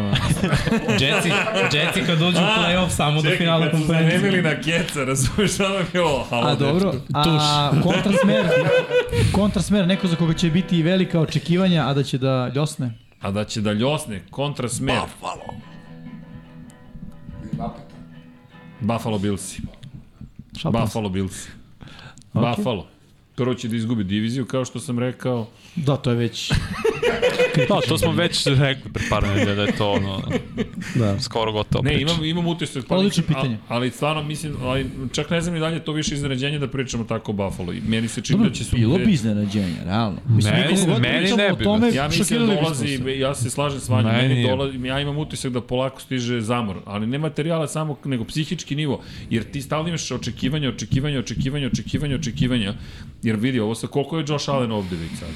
[SPEAKER 2] Jetsi, Jetsi kad dođu u play-off samo do finala konferencije.
[SPEAKER 1] Zanemili na keca, razumiješ šta nam je ovo? Halo,
[SPEAKER 3] A dobro, a kontrasmer, kontrasmer, neko za koga će biti i velika očekivanja, a da će da ljosne.
[SPEAKER 1] A da će da ljosne kontrasmer. Buffalo. Buffalo Billsi.
[SPEAKER 3] Šalpans.
[SPEAKER 1] Buffalo Bills. Buffalo. Prvo će da izgubi diviziju, kao što sam rekao.
[SPEAKER 3] Da, to je već
[SPEAKER 5] Da, to smo već rekli pre par nedelja da je to ono, da. skoro gotovo
[SPEAKER 1] Ne,
[SPEAKER 5] priča.
[SPEAKER 1] imam, imam utisak. pa
[SPEAKER 3] Odlično
[SPEAKER 1] mislim, a-
[SPEAKER 3] pitanje.
[SPEAKER 1] ali stvarno, mislim, ali čak ne znam ni dalje to više iznenađenje da pričamo tako o Buffalo. I meni se čini da će su...
[SPEAKER 3] bilo
[SPEAKER 1] gde-
[SPEAKER 3] bi iznenađenje, realno.
[SPEAKER 5] Meni-
[SPEAKER 3] koliko god
[SPEAKER 5] meni
[SPEAKER 3] pričamo
[SPEAKER 5] ne
[SPEAKER 3] o
[SPEAKER 5] bi,
[SPEAKER 3] tome,
[SPEAKER 5] brate.
[SPEAKER 1] Ja mislim da
[SPEAKER 3] šokirali bismo
[SPEAKER 1] dolazi,
[SPEAKER 3] se.
[SPEAKER 1] ja se slažem s vama,
[SPEAKER 5] Meni
[SPEAKER 1] meni
[SPEAKER 5] je.
[SPEAKER 1] dolazi, ja imam utisak da polako stiže zamor, ali ne materijala samo, nego psihički nivo, jer ti stalno imaš očekivanja, očekivanja, očekivanja, očekivanja, očekivanja, jer vidi ovo sa koliko je Josh Allen ovde već sada.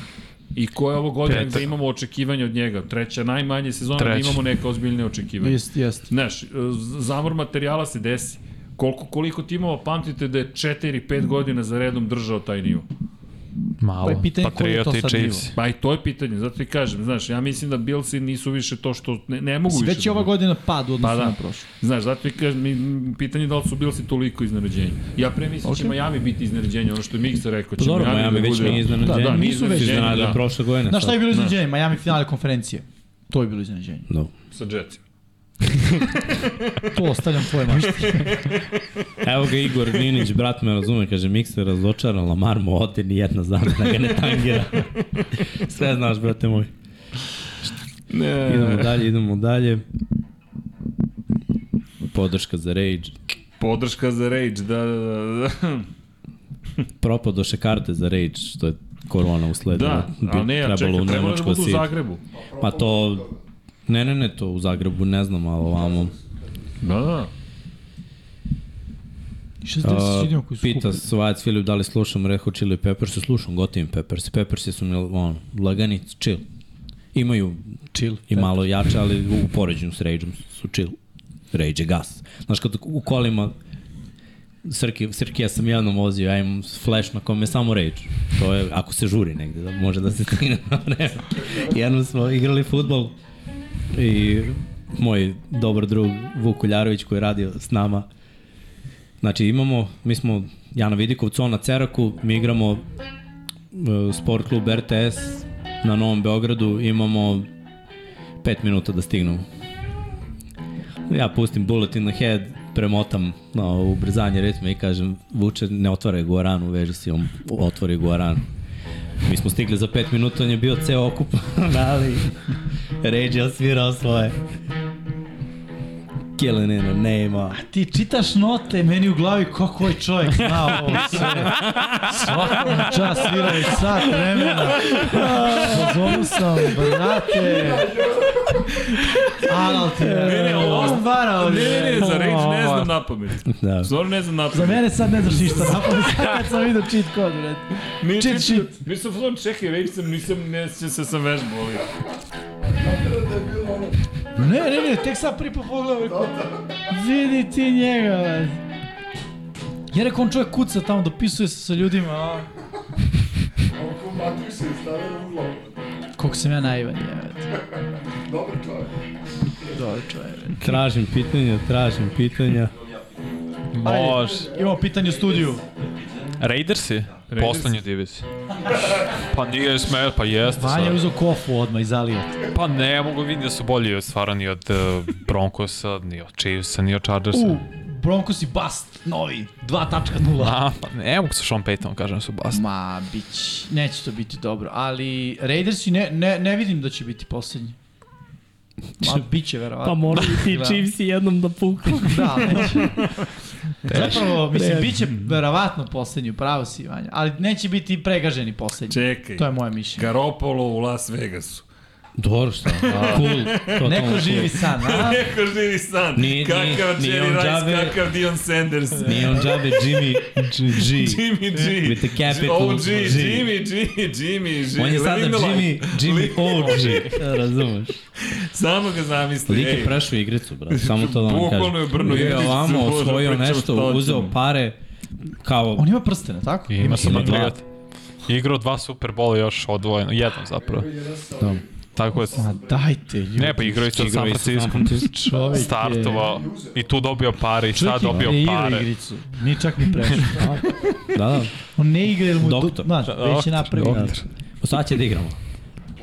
[SPEAKER 1] I ko je ovo godina
[SPEAKER 5] Peta.
[SPEAKER 1] gde imamo očekivanje od njega? Treća, najmanje sezona gde
[SPEAKER 5] Treća.
[SPEAKER 1] imamo neke ozbiljne očekivanja.
[SPEAKER 3] Jest, jest.
[SPEAKER 1] Znaš, e, z- zamor materijala se desi. Koliko, koliko timova pamtite da je 4-5 godina za redom držao taj nivo?
[SPEAKER 5] Malo.
[SPEAKER 3] Pa je pitanje koji je to
[SPEAKER 5] Patrioti,
[SPEAKER 3] sad
[SPEAKER 5] Chiefs.
[SPEAKER 1] Pa i to je pitanje, zato ti kažem, znaš, ja mislim da Billsi nisu više to što, ne, ne mogu
[SPEAKER 3] Mislim,
[SPEAKER 1] više.
[SPEAKER 3] Već je
[SPEAKER 1] da
[SPEAKER 3] ova
[SPEAKER 1] budu.
[SPEAKER 3] godina pad u odnosu
[SPEAKER 1] Pa da.
[SPEAKER 3] na prošlu.
[SPEAKER 1] Znaš, zato ti kažem, mi- m, pitanje je da li su Billsi toliko iznenađenje. Ja pre mislim okay. će
[SPEAKER 3] Ok. Pa
[SPEAKER 1] Miami biti iznenađenje, ono što je Miksa rekao, će
[SPEAKER 2] Dobro, Miami
[SPEAKER 1] da
[SPEAKER 2] već
[SPEAKER 1] bude...
[SPEAKER 2] nije iznenađenje.
[SPEAKER 1] Da, da, nije
[SPEAKER 3] nisu već
[SPEAKER 1] iznenađenje,
[SPEAKER 2] iznenadili
[SPEAKER 1] da,
[SPEAKER 2] prošle godine.
[SPEAKER 3] Znaš šta je
[SPEAKER 2] sad.
[SPEAKER 3] bilo iznenađenje? Miami finale konferencije. To je bilo iznenađenje.
[SPEAKER 2] No.
[SPEAKER 1] sa Jetsima.
[SPEAKER 3] To ostavljam tvoje mašte.
[SPEAKER 2] Evo ga Igor Ninić, brat me razume, kaže Mikser razočaran, Lamar mu ode ni jedna zamena ga ne tangira. Sve znaš, brate moj.
[SPEAKER 1] E.
[SPEAKER 2] Ne. Idemo dalje, idemo dalje. Podrška za Rage.
[SPEAKER 1] Podrška za Rage, da, da, da. da.
[SPEAKER 2] Propadoše karte za Rage, što je korona usledila.
[SPEAKER 1] Da, ali ne, ja čekaj, trebalo je da budu u Zagrebu.
[SPEAKER 2] Pa to... Ne, ne, ne, to u Zagrebu, ne znam, ali ovamo...
[SPEAKER 1] Da, da.
[SPEAKER 3] Šta ste se činio koji su
[SPEAKER 2] pita
[SPEAKER 3] kupili?
[SPEAKER 2] Svajac Filip da li slušam Red Hot Chili Peppers, Da slušam gotivim Peppers. Peppers su mi on, lagani, chill. Imaju chill i malo jače, ali u poređenju s Rageom su chill. Rage je gas. Znaš, kad u kolima Srki, Srki, ja sam jednom vozio, ja imam flash na kome je samo Rage. To je, ako se žuri negde, da može da se stigne na vreme. Jednom smo igrali futbol i moj dobar drug Vuk Kuljarović koji je radio s nama, Znači imamo, mi smo ja na Vidikovcu, on na Ceraku, mi igramo e, sport klub RTS na Novom Beogradu, imamo 5 minuta da stignemo. Ja pustim bullet in the head, premotam na no, ubrzanje ritma i kažem Vuče ne otvaraj guaranu, veži si on otvori guaranu. Mi smo stigli za 5 minuta, on je bio ceo okupan, ali Rage je osvirao svoje. Killing in the name of...
[SPEAKER 3] Ti čitaš note meni u glavi kako je čovjek znao ovo sve. Svako na čas svira već sat vremena. Pozovu sam, brate. Anal ti je.
[SPEAKER 1] Ne, ne, ovo-
[SPEAKER 3] On vara ovdje.
[SPEAKER 1] Ne, ne, ne, za Rage ne znam na pamet.
[SPEAKER 2] Da.
[SPEAKER 1] Stvarno ne znam na pamet.
[SPEAKER 3] Za mene sad ne znaš ništa. Napomni sad kad sam vidio cheat kod, brate.
[SPEAKER 1] Mi
[SPEAKER 3] Cheat sheet.
[SPEAKER 1] Nisam fazon, čekaj, Rage sam, nisam, ne sjećam se sam vežbao, ali...
[SPEAKER 3] Ne, ne, ne, tek sad prvi put pogledam. rekao, Vidi ti njega, brate. Ja rekao, on čovjek kuca tamo, dopisuje se sa ljudima, a...
[SPEAKER 4] Ovo ko Matrixa je stavio u glavu.
[SPEAKER 3] Koliko sam ja naivan, jebate.
[SPEAKER 4] Dobar čovjek.
[SPEAKER 3] Dobro čovjek.
[SPEAKER 2] Tražim pitanja, tražim pitanja.
[SPEAKER 5] Može.
[SPEAKER 3] Imamo pitanje u studiju.
[SPEAKER 5] Raidersi? Poslednje divizije. Pa nije smer, pa jeste
[SPEAKER 3] Vanja je
[SPEAKER 5] sad.
[SPEAKER 3] uzao kofu odmah i zalio.
[SPEAKER 5] Pa ne, mogu vidjeti da su bolji stvarno ni od eh, Broncosa, ni od Chiefsa, ni od Chargersa.
[SPEAKER 3] U, Broncos i Bast, novi, 2.0.
[SPEAKER 5] A, pa ne mogu sa Sean Paytonom kažem da su bast.
[SPEAKER 3] Ma, bić, neće to biti dobro, ali Raidersi ne, ne, ne vidim da će biti posljednji. Ma, bit će verovatno.
[SPEAKER 2] morali ti
[SPEAKER 3] Da.
[SPEAKER 2] Pa Chiefs jednom da puknu.
[SPEAKER 3] da, neće. Zapravo, mislim, bit će verovatno posljednji, pravo si, Vanja, ali neće biti pregaženi posljednji.
[SPEAKER 1] Čekaj,
[SPEAKER 3] To je moje mišljenje.
[SPEAKER 1] Garopolo u Las Vegasu.
[SPEAKER 2] Dobro šta, cool. Totalno
[SPEAKER 3] Neko
[SPEAKER 2] cool.
[SPEAKER 3] živi san, a?
[SPEAKER 1] Neko živi san.
[SPEAKER 2] Nije-
[SPEAKER 1] kakav
[SPEAKER 2] nije- nije
[SPEAKER 1] Jerry
[SPEAKER 2] on
[SPEAKER 1] Rice,
[SPEAKER 2] džabe-
[SPEAKER 1] kakav Dion Sanders.
[SPEAKER 2] Nije on džabe Jimmy G.
[SPEAKER 1] Jimmy G.
[SPEAKER 2] With the capital
[SPEAKER 1] Oh, G,
[SPEAKER 2] G.
[SPEAKER 1] Jimmy G, Jimmy G.
[SPEAKER 2] On je sada
[SPEAKER 1] Living the
[SPEAKER 2] Jimmy,
[SPEAKER 1] life.
[SPEAKER 2] Jimmy
[SPEAKER 1] Living the
[SPEAKER 2] OG.
[SPEAKER 1] life.
[SPEAKER 2] Razumeš?
[SPEAKER 1] Samo ga zamisli.
[SPEAKER 2] Lik je
[SPEAKER 1] ej.
[SPEAKER 2] prešao igricu, brate. Samo to da vam kažem.
[SPEAKER 1] Bukvalno je obrnuo
[SPEAKER 2] Bio
[SPEAKER 1] igricu,
[SPEAKER 2] ovamo,
[SPEAKER 1] Bože,
[SPEAKER 2] osvojio
[SPEAKER 1] pričam šta
[SPEAKER 2] nešto,
[SPEAKER 1] hoćemo.
[SPEAKER 2] uzeo pare, kao...
[SPEAKER 3] On ima prstene, tako?
[SPEAKER 5] I ima
[SPEAKER 2] Ima
[SPEAKER 5] sam
[SPEAKER 2] dva.
[SPEAKER 5] Patriot. Igrao dva Super Bowl još odvojeno, jednom zapravo.
[SPEAKER 2] Da.
[SPEAKER 5] Tako je,
[SPEAKER 3] Ma dajte, ljudi.
[SPEAKER 5] ne pa igrao je sa San
[SPEAKER 2] Igrao je sa San
[SPEAKER 5] Francisco.
[SPEAKER 2] Francisco.
[SPEAKER 3] Čovjek je-
[SPEAKER 5] Startovao i tu dobio pare i sad
[SPEAKER 3] Čovjek je
[SPEAKER 5] dobio
[SPEAKER 3] kreirao
[SPEAKER 5] pare.
[SPEAKER 3] igricu. Nije čak ni prešao.
[SPEAKER 2] Da, da.
[SPEAKER 3] On ne igra ili mu...
[SPEAKER 2] Doktor.
[SPEAKER 3] Doktor. Znaš, već je
[SPEAKER 5] Doktor,
[SPEAKER 3] napravio.
[SPEAKER 2] Sad će da igramo.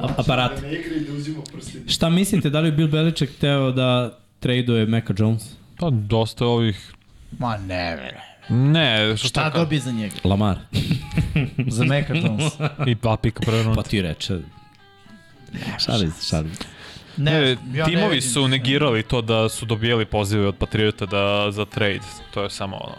[SPEAKER 2] A- Aparat.
[SPEAKER 4] Ne igra i da uzima prsti.
[SPEAKER 2] Šta mislite, da li bi Bill Belichick teo da traduje Meka Jones?
[SPEAKER 5] Pa dosta je ovih...
[SPEAKER 3] Ma ne, vere.
[SPEAKER 5] Ne, šta,
[SPEAKER 3] Šta
[SPEAKER 5] šta
[SPEAKER 3] dobije za njega?
[SPEAKER 2] Lamar.
[SPEAKER 3] Za Meka Jones.
[SPEAKER 5] I dva pika prve runde.
[SPEAKER 2] Pa ti reče. Šalim se, šalim se.
[SPEAKER 5] Ne,
[SPEAKER 3] ja
[SPEAKER 5] timovi
[SPEAKER 3] vidim.
[SPEAKER 5] su negirali to da su dobijali pozive od Patriota da, za trade. To je samo ono.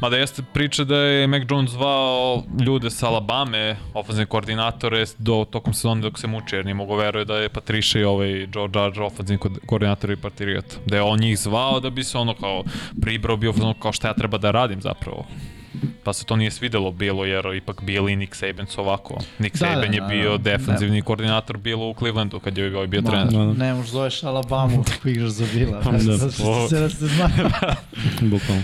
[SPEAKER 5] Mada jeste priča da je Mac Jones zvao ljude sa Alabame, ofenzivne koordinatore, do, tokom sezone dok se muče, jer nije mogo veruje da je Patricia i ovaj Joe Judge ofenzivni ko- koordinator i Patriot. Da je on njih zvao da bi se ono kao pribrao bio ono kao šta ja treba da radim zapravo. Pa se to nije svidelo bilo, jer ipak Bill i Nick Saban su ovako. Nick
[SPEAKER 3] Da,
[SPEAKER 5] da, Saban
[SPEAKER 3] da,
[SPEAKER 5] je
[SPEAKER 3] da, da.
[SPEAKER 5] bio defanzivni koordinator bilo u Clevelandu kad je ovaj bio
[SPEAKER 3] Ma,
[SPEAKER 5] trener.
[SPEAKER 2] Da, da.
[SPEAKER 3] Ne možeš zoveš Alabamu ako igraš za Bila. Da, da, se, da se zna.
[SPEAKER 2] Bukvalno.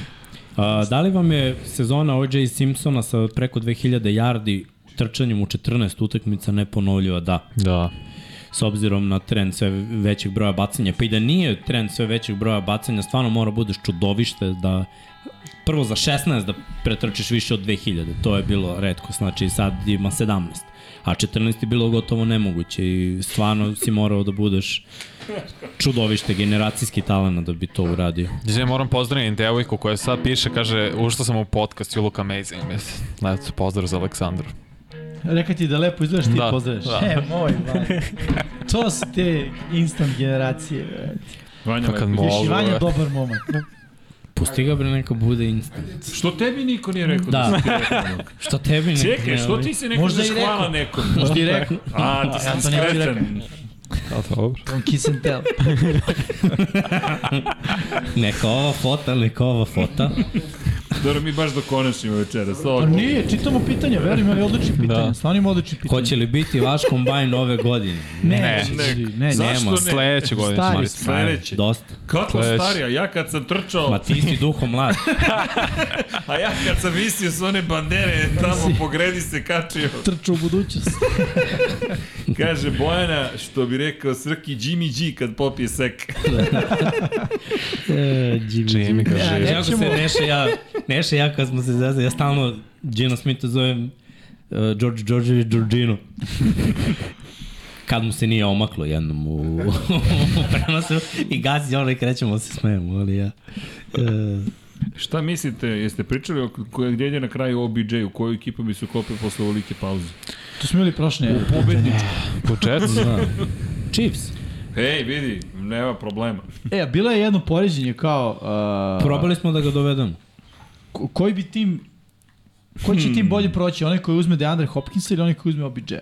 [SPEAKER 2] A, da li vam je sezona O.J. Simpsona sa preko 2000 yardi trčanjem u 14 utakmica neponovljiva? Da.
[SPEAKER 5] Da.
[SPEAKER 2] S obzirom na trend sve većeg broja bacanja. Pa i da nije trend sve većeg broja bacanja, stvarno mora budeš čudovište da prvo za 16 da pretrčiš više od 2000. To je bilo redko, znači sad ima 17. A 14 je bilo gotovo nemoguće i stvarno si morao da budeš čudovište, generacijski talent da bi to uradio.
[SPEAKER 5] Znači, moram pozdraviti devojku koja sad piše, kaže, ušla sam u podcast You Look Amazing. Mislim, Eto, pozdrav za Aleksandru.
[SPEAKER 3] Reka ti da lepo izgledaš, ti
[SPEAKER 5] Da,
[SPEAKER 3] da, pozdraviš.
[SPEAKER 5] da.
[SPEAKER 3] Da. E, moj, man. To su te instant generacije. brate.
[SPEAKER 1] Vanja
[SPEAKER 5] Pa kad
[SPEAKER 1] lepo.
[SPEAKER 5] mogu,
[SPEAKER 3] Još i Vanja
[SPEAKER 5] brate.
[SPEAKER 3] dobar momak.
[SPEAKER 2] Pusti ga bre neka bude instant.
[SPEAKER 1] Što tebi niko nije rekao da,
[SPEAKER 2] Da.
[SPEAKER 1] si ti rekao? ono?
[SPEAKER 2] Šta tebi neka?
[SPEAKER 1] Čekaj, što ti se neko
[SPEAKER 3] Možda i
[SPEAKER 1] zaškvala
[SPEAKER 3] rekao.
[SPEAKER 1] nekom?
[SPEAKER 3] Možda ti rekao,
[SPEAKER 1] A, ti si
[SPEAKER 3] Ja to nisam
[SPEAKER 1] skretan.
[SPEAKER 5] Da, dobro.
[SPEAKER 3] on kiss and tell.
[SPEAKER 2] Neka ova fota, neka ova fota.
[SPEAKER 1] Dobro, mi baš dokonačnimo večeras. Ovo,
[SPEAKER 3] Pa nije, čitamo pitanja, verujem, ali odlični pitanja.
[SPEAKER 5] Da.
[SPEAKER 3] Da. Stvarno ima odlični pitanja.
[SPEAKER 2] Hoće li biti vaš kombajn ove godine?
[SPEAKER 3] Ne,
[SPEAKER 5] Ne.
[SPEAKER 3] ne, ne. ne, ne.
[SPEAKER 1] Zašto
[SPEAKER 2] nema.
[SPEAKER 1] ne?
[SPEAKER 5] Pa Sledeće godine ćemo
[SPEAKER 3] Stari
[SPEAKER 5] raditi.
[SPEAKER 3] smo.
[SPEAKER 1] Sledeće.
[SPEAKER 2] Dosta.
[SPEAKER 1] Kako
[SPEAKER 5] Sledeće.
[SPEAKER 1] starija? Ja kad sam
[SPEAKER 2] Ma
[SPEAKER 1] trčao,
[SPEAKER 2] ti si duho mlad.
[SPEAKER 1] a ja kad sam visio s one bandere, tamo po gredi se kačio.
[SPEAKER 3] Trču u budućnost.
[SPEAKER 1] Kaže Bojana, što bi rekao Srki Jimmy G kad popije sek.
[SPEAKER 5] Jimmy kaže,
[SPEAKER 3] Ja,
[SPEAKER 2] Da, Jako se
[SPEAKER 3] Nećemo-
[SPEAKER 2] Neša i ja, Neša i ja kad smo se zazali, ja stalno Gino Smitha zovem uh, George George Georgino. kad mu se nije omaklo jednom u, u prenosu i gazi ono i krećemo da se smejemo, ali ja. Uh,
[SPEAKER 1] Šta mislite, jeste pričali o koje gdje je na kraju OBJ, u koju ekipu bi se uklopio posle ovolike pauze?
[SPEAKER 3] To smo imali prošle nedelje.
[SPEAKER 1] Pobednički.
[SPEAKER 5] budžet?
[SPEAKER 2] Chiefs.
[SPEAKER 1] Ej, vidi, nema problema.
[SPEAKER 3] E, a bilo je jedno poređenje kao... Uh,
[SPEAKER 2] Probali smo da ga dovedemo.
[SPEAKER 3] ko- koji bi tim... Koji će tim bolje proći? Onaj koji uzme DeAndre Hopkinsa ili onaj koji uzme OBJ-a?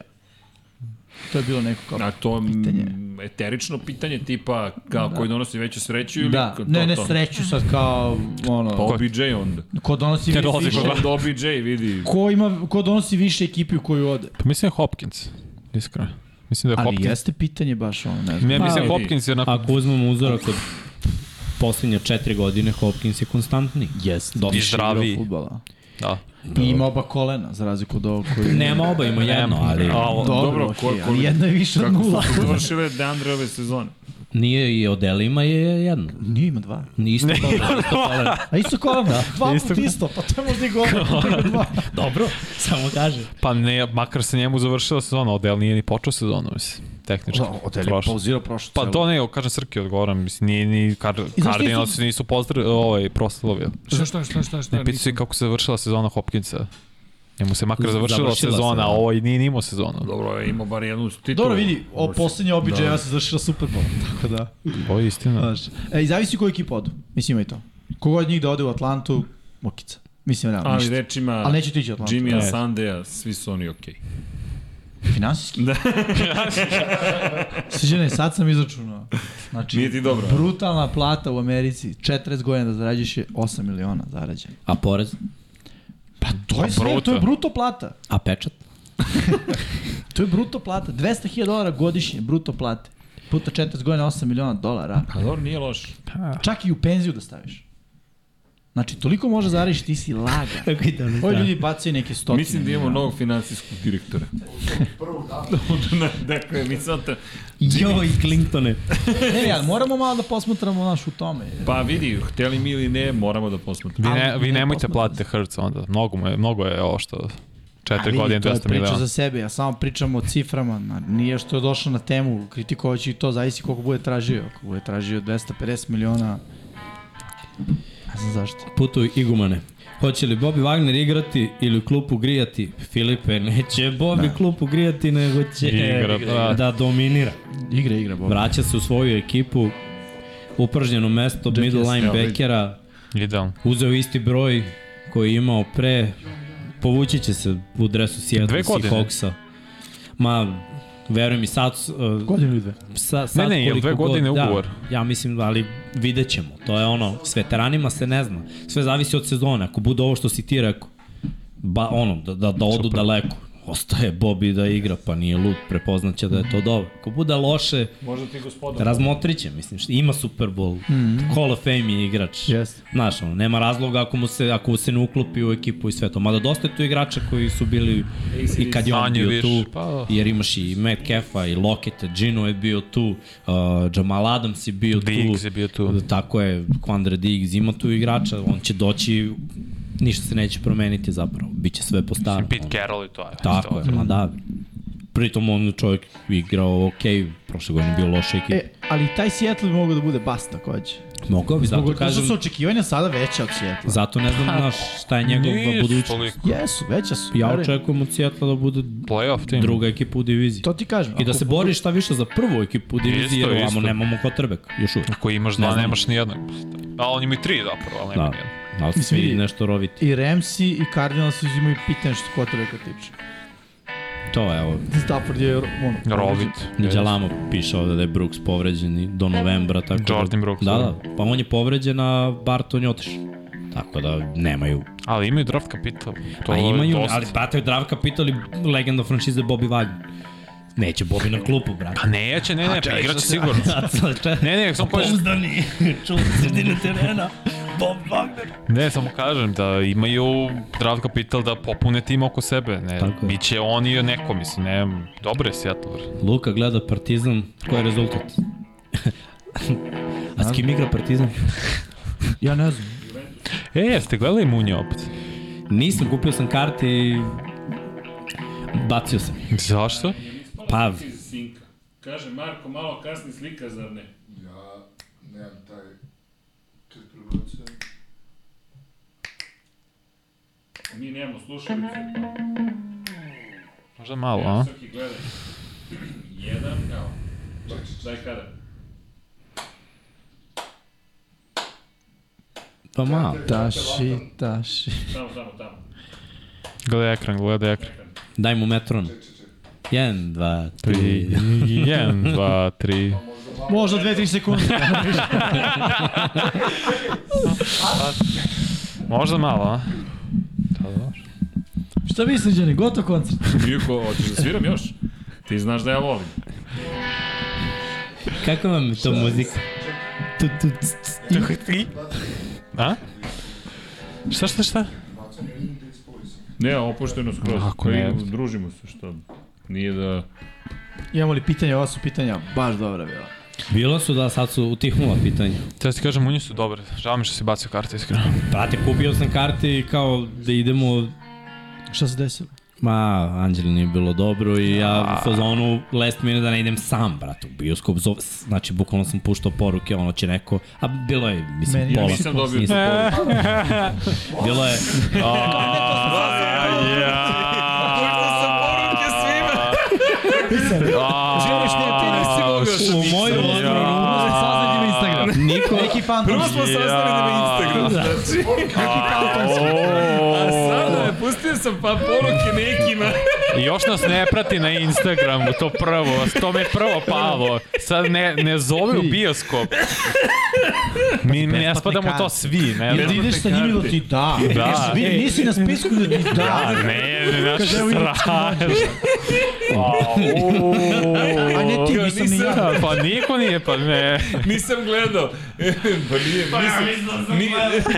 [SPEAKER 3] To je bilo neko kao...
[SPEAKER 1] A to je
[SPEAKER 3] Pitanje.
[SPEAKER 1] eterično pitanje tipa kao da. koji donosi veću sreću ili
[SPEAKER 3] Da,
[SPEAKER 1] ko- to,
[SPEAKER 3] ne, ne Da.
[SPEAKER 1] to.
[SPEAKER 3] sreću sad kao ono...
[SPEAKER 1] Pa OBJ onda.
[SPEAKER 3] Ko donosi
[SPEAKER 5] Ne dolazi
[SPEAKER 3] više,
[SPEAKER 5] kod
[SPEAKER 1] Onda OBJ vidi.
[SPEAKER 3] ko, ima, ko donosi više ekipi u koju ode.
[SPEAKER 5] Pa mislim je Hopkins, iskreno. Mislim da je
[SPEAKER 3] Ali
[SPEAKER 5] Hopkins.
[SPEAKER 3] jeste pitanje baš ono, ne znam.
[SPEAKER 5] Ne, mislim
[SPEAKER 1] Pa,
[SPEAKER 5] Hopkins je onako
[SPEAKER 2] Ako uzmemo uzorak od poslednje četiri godine, Hopkins je konstantni.
[SPEAKER 3] Jeste.
[SPEAKER 5] i
[SPEAKER 2] Dosta.
[SPEAKER 5] zdraviji.
[SPEAKER 3] Futbala.
[SPEAKER 5] Da.
[SPEAKER 3] I ima oba kolena, za razliku od ovog koji...
[SPEAKER 2] Nema oba, ima jedno, ali
[SPEAKER 5] Alo.
[SPEAKER 3] Dobro,
[SPEAKER 1] Dobro,
[SPEAKER 3] Dobro
[SPEAKER 1] ko- ko-
[SPEAKER 3] okay, ali jedno je više od
[SPEAKER 1] Kako
[SPEAKER 3] nula.
[SPEAKER 1] su završile Deandre ove sezone?
[SPEAKER 2] nije i o delima je jedno.
[SPEAKER 3] Nije ima dva.
[SPEAKER 2] Isto koleno, isto koleno.
[SPEAKER 3] A isto koleno, da. dva put isto, pa to je možda i govor. dva.
[SPEAKER 2] Dobro, samo kaže.
[SPEAKER 5] Pa ne, makar se njemu završila sezona, Odel nije ni počeo sezonu, mislim, tehnički.
[SPEAKER 3] Odeli
[SPEAKER 5] Prošlo.
[SPEAKER 3] pauzirao prošlo
[SPEAKER 5] Pa to ne, kažem Srki odgovoram, mislim, nije ni kar,
[SPEAKER 3] nisu-
[SPEAKER 5] Cardinals nisu pozdrav, ovaj, proslavio.
[SPEAKER 1] Šta, šta, šta, šta, šta?
[SPEAKER 5] Ne, pitu se kako se završila sezona Hopkinsa. Njemu se makar završila,
[SPEAKER 2] Završila se,
[SPEAKER 5] sezona,
[SPEAKER 2] da.
[SPEAKER 5] a ovo i nije ni imao sezonu.
[SPEAKER 1] Dobro, je imao bar jednu titulu.
[SPEAKER 3] Dobro vidi, o poslednje obiđe da. se završila Super Bowl, tako da,
[SPEAKER 5] Ovo je istina.
[SPEAKER 3] znaš. E, i zavisi koju ekipu odu, mislim ima i to. Kogod njih da ode u Atlantu, Mokica. Mislim, nema
[SPEAKER 1] Ali
[SPEAKER 3] ništa.
[SPEAKER 1] rečima
[SPEAKER 3] Ali E. neću tići u Atlantu. Jimmy.
[SPEAKER 1] Jimmy-a,
[SPEAKER 5] Ne.
[SPEAKER 1] Sandeja, svi su oni okej. Okay.
[SPEAKER 3] Finansijski. Da. Sviđane, sad sam izračunao. Znači,
[SPEAKER 1] Nije ti dobro.
[SPEAKER 3] brutalna plata u Americi, 40 godina da zarađuješ je 8 miliona zarađen.
[SPEAKER 2] A porez?
[SPEAKER 3] Pa to je sve,
[SPEAKER 5] bruto.
[SPEAKER 3] to je bruto plata.
[SPEAKER 2] A pečat?
[SPEAKER 3] To je bruto plata, 200.000 dolara godišnje bruto plate. Puta 40 godina 8 miliona dolara.
[SPEAKER 1] A dobro, nije loš.
[SPEAKER 3] Čak i u penziju da staviš. Znači, toliko može zaradiš, ti si laga.
[SPEAKER 2] Tako i da ne
[SPEAKER 3] Ovi ljudi bacaju neke stotine.
[SPEAKER 1] Mislim da imamo novog finansijskog direktora. Prvog dana. dakle, mi sad... te-
[SPEAKER 2] Jo i Clintone.
[SPEAKER 3] Ne, ne, ali moramo malo da posmatramo naš u tome.
[SPEAKER 1] Pa vidi, hteli mi ili ne, moramo da posmatramo.
[SPEAKER 5] Vi, ne,
[SPEAKER 3] ali-
[SPEAKER 5] vi
[SPEAKER 3] ne,
[SPEAKER 5] nemojte
[SPEAKER 3] posmatramo
[SPEAKER 5] platiti Hertz onda. Mnogo, mu je, mnogo je ovo što... Četiri godine,
[SPEAKER 3] to je
[SPEAKER 5] 200
[SPEAKER 3] priča
[SPEAKER 5] miliona.
[SPEAKER 3] za sebe, ja samo pričam o ciframa, na, nije što je došlo na temu, kritikovaći i to, zavisi koliko bude tražio. Ako bude tražio 250 miliona, ne znam zašto.
[SPEAKER 2] Putuj igumane. Hoće li Bobby Wagner igrati ili u klupu grijati? Filipe, neće Bobby ne. klupu grijati, nego će
[SPEAKER 5] Da. Igra, da.
[SPEAKER 2] da dominira.
[SPEAKER 3] Igra, igra, Bob.
[SPEAKER 2] Vraća se u svoju ekipu, upražnjeno mesto middle
[SPEAKER 3] Jesse,
[SPEAKER 2] linebackera,
[SPEAKER 5] Idealno.
[SPEAKER 2] uzeo isti broj koji je imao pre, povući će se u dresu Seattle
[SPEAKER 5] Dve godine.
[SPEAKER 2] Seahawksa. Ma, verujem i sad, uh,
[SPEAKER 3] Godinu ili dve.
[SPEAKER 2] sa, sad
[SPEAKER 5] ne, jel
[SPEAKER 2] koliko
[SPEAKER 5] dve
[SPEAKER 2] god-
[SPEAKER 5] godine ugovor?
[SPEAKER 2] Da, ja mislim, ali vidjet ćemo. To je ono, s veteranima se ne zna. Sve zavisi od sezone. Ako bude ovo što si ti rekao, ba, ono, da, da, da odu
[SPEAKER 5] Super.
[SPEAKER 2] daleko. Ostaje Bobby da igra, pa nije lud, prepoznaće da je to dobro. Ako bude loše,
[SPEAKER 1] Možda ti gospodin.
[SPEAKER 2] razmotriće, mislim, što ima Super Bowl, mm -hmm. Hall of Fame je igrač.
[SPEAKER 3] Jeste.
[SPEAKER 2] Znaš, ono, nema razloga ako mu se, ako se ne uklopi u ekipu i sve to. Mada dosta je tu igrača koji su bili i kad je on
[SPEAKER 5] Manje,
[SPEAKER 2] bio
[SPEAKER 5] više,
[SPEAKER 2] tu,
[SPEAKER 5] pa da.
[SPEAKER 2] jer imaš i Metcalfa i Locketa, Gino je bio tu, uh, Jamal Adams je bio
[SPEAKER 5] Diggs
[SPEAKER 2] tu.
[SPEAKER 5] je bio tu.
[SPEAKER 2] Tako je, Quandre Diggs ima tu igrača, on će doći, ništa se neće promeniti zapravo, biće sve po starom.
[SPEAKER 5] Pete
[SPEAKER 2] ono.
[SPEAKER 5] Carroll i to je.
[SPEAKER 2] Tako je, ma da. Pritom on čovjek igrao ok, prošle godine bio loša ekipa.
[SPEAKER 3] E, ali i taj Seattle bi mogao da bude bas takođe.
[SPEAKER 2] Mogao bi, zato
[SPEAKER 3] Mogu, Da, kažem...
[SPEAKER 2] kažem,
[SPEAKER 3] su Pa, očekivanja sada veća od Seattle.
[SPEAKER 2] zato ne znam naš, šta je njegova
[SPEAKER 5] Nije
[SPEAKER 2] budućnost.
[SPEAKER 5] toliko.
[SPEAKER 3] Jesu, veća su.
[SPEAKER 2] Ja
[SPEAKER 3] verujem.
[SPEAKER 2] očekujem od Seattle da bude
[SPEAKER 5] Playoff tim.
[SPEAKER 2] druga ekipa u diviziji.
[SPEAKER 3] To ti kažem.
[SPEAKER 2] I da
[SPEAKER 3] ako
[SPEAKER 2] se
[SPEAKER 3] budu-
[SPEAKER 2] bori šta više za prvu ekipu u diviziji, jer
[SPEAKER 5] Isto,
[SPEAKER 2] ovamo
[SPEAKER 5] isto.
[SPEAKER 2] nemamo kotrbek, još uvijek.
[SPEAKER 5] Ako imaš dva,
[SPEAKER 2] Ne znam.
[SPEAKER 5] nemaš ni jednog. A on ima i tri zapravo, ali nema
[SPEAKER 2] Da,
[SPEAKER 5] ni jednog.
[SPEAKER 2] ali se
[SPEAKER 3] Mislim,
[SPEAKER 2] vidi
[SPEAKER 3] i-
[SPEAKER 2] nešto roviti.
[SPEAKER 3] I Ramsey i Cardinals uzimaju pitanje što kotrbeka tiče. Da
[SPEAKER 2] To je, evo,
[SPEAKER 3] Stafford je ono...
[SPEAKER 5] Rovit.
[SPEAKER 2] Đalamo piše ovde da je Brooks povređen i do novembra, tako da...
[SPEAKER 5] Jordan Brooks,
[SPEAKER 2] Da,
[SPEAKER 5] da.
[SPEAKER 2] da, pa on je povređen, a Barton je otišao. Tako da nemaju.
[SPEAKER 5] Ali imaju draft kapital. To
[SPEAKER 2] To a imaju,
[SPEAKER 5] je dosta.
[SPEAKER 2] ali prataju Drav Kapital i legenda franšize Bobby Wagner. Neće Bobby na klupu, brate.
[SPEAKER 5] Pa neće, ne, ne, pa igraće sigurno. Ne, pa- ne, samo kažem,
[SPEAKER 2] Pouzdani, čuo sredine terena, Bob Wagner.
[SPEAKER 5] ne, samo kažem da imaju draft kapital da popune tim oko sebe. Ne,
[SPEAKER 2] Tako je.
[SPEAKER 5] biće oni neko, mislim, ne, dobro je Seattle. bre.
[SPEAKER 2] Luka gleda Partizan, koji je rezultat? A s kim igra Partizan?
[SPEAKER 3] Ja ne znam.
[SPEAKER 5] E, jeste gledali Munja opet?
[SPEAKER 2] Nisam, kupio sam karte i bacio sam.
[SPEAKER 5] Zašto?
[SPEAKER 2] Pa,
[SPEAKER 1] Kaže Marko, malo kasni slika, zar ne?
[SPEAKER 4] Ja nemam taj... Kad prebacujem...
[SPEAKER 1] Mi nemamo slušalice,
[SPEAKER 5] Možda malo,
[SPEAKER 1] pa
[SPEAKER 5] a?
[SPEAKER 1] visoki gledaj. Jedan, kao. Daj kada.
[SPEAKER 2] pa malo.
[SPEAKER 3] Taši, taši.
[SPEAKER 1] Tamo, tamo, tamo.
[SPEAKER 5] Gledaj ekran, gledaj ekran.
[SPEAKER 2] Daj mu metron. Jedan, dva, tri.
[SPEAKER 5] Jedan, dva, tri.
[SPEAKER 3] Možda 2-3 sekunde.
[SPEAKER 5] Možda malo, a? Da, da.
[SPEAKER 3] Šta misliš, Đani, gotov koncert?
[SPEAKER 1] Mjuko, hoćeš da sviram još? Ti znaš da ja volim.
[SPEAKER 2] Kako vam je to muzika? Tu, tu, c, c.
[SPEAKER 5] A? Šta, šta, šta?
[SPEAKER 1] Ne, opušteno skroz.
[SPEAKER 5] Ako
[SPEAKER 1] Pa i
[SPEAKER 5] ne.
[SPEAKER 1] Družimo se, što? Nije da...
[SPEAKER 3] Imamo li pitanja? Ova su pitanja baš dobra bila.
[SPEAKER 2] Bilo su da, sad su utihnula pitanja.
[SPEAKER 5] Treba ti kažem, Munja su dobre. Žao mi što si bacio karte, iskreno.
[SPEAKER 2] Brate, kupio sam karte i kao da idemo
[SPEAKER 3] Šta se desilo?
[SPEAKER 2] Ma, Anđeli nije bilo dobro i ja u fazonu last minute da ne idem sam, brate, u bioskop. Zove, znači, bukvalno sam puštao poruke, ono će neko, a bilo je, mislim,
[SPEAKER 3] Meni-
[SPEAKER 2] pola.
[SPEAKER 1] Nisam dobio tu
[SPEAKER 2] Nisam-
[SPEAKER 1] poruku.
[SPEAKER 2] Bilo je,
[SPEAKER 5] E, е
[SPEAKER 3] da
[SPEAKER 5] Želiš
[SPEAKER 2] u moju odbranu,
[SPEAKER 3] Možda saznat ima Instagram.
[SPEAKER 2] niko,
[SPEAKER 3] Neki fantom.
[SPEAKER 5] saznali da ima Instagram.
[SPEAKER 1] A sada je, pustio sam pa poruke nekima.
[SPEAKER 5] Još nas ne prati na Instagramu, to prvo, to me prvo palo. Sad ne, ne zove u bioskop. Mi ne spadamo u to svi, ne
[SPEAKER 3] Ili da
[SPEAKER 5] znam.
[SPEAKER 3] ideš sa njim ili da ti da.
[SPEAKER 5] Da.
[SPEAKER 3] Jesi vidi, nisi na spisku ili da ti da.
[SPEAKER 5] Ne, ne, ne,
[SPEAKER 3] Kaže, evo, idem
[SPEAKER 5] strašno. A
[SPEAKER 3] ne ti, nisam ni ja.
[SPEAKER 5] Pa niko nije, pa ne.
[SPEAKER 1] Nisam gledao. pa nije, pa nisam, nije,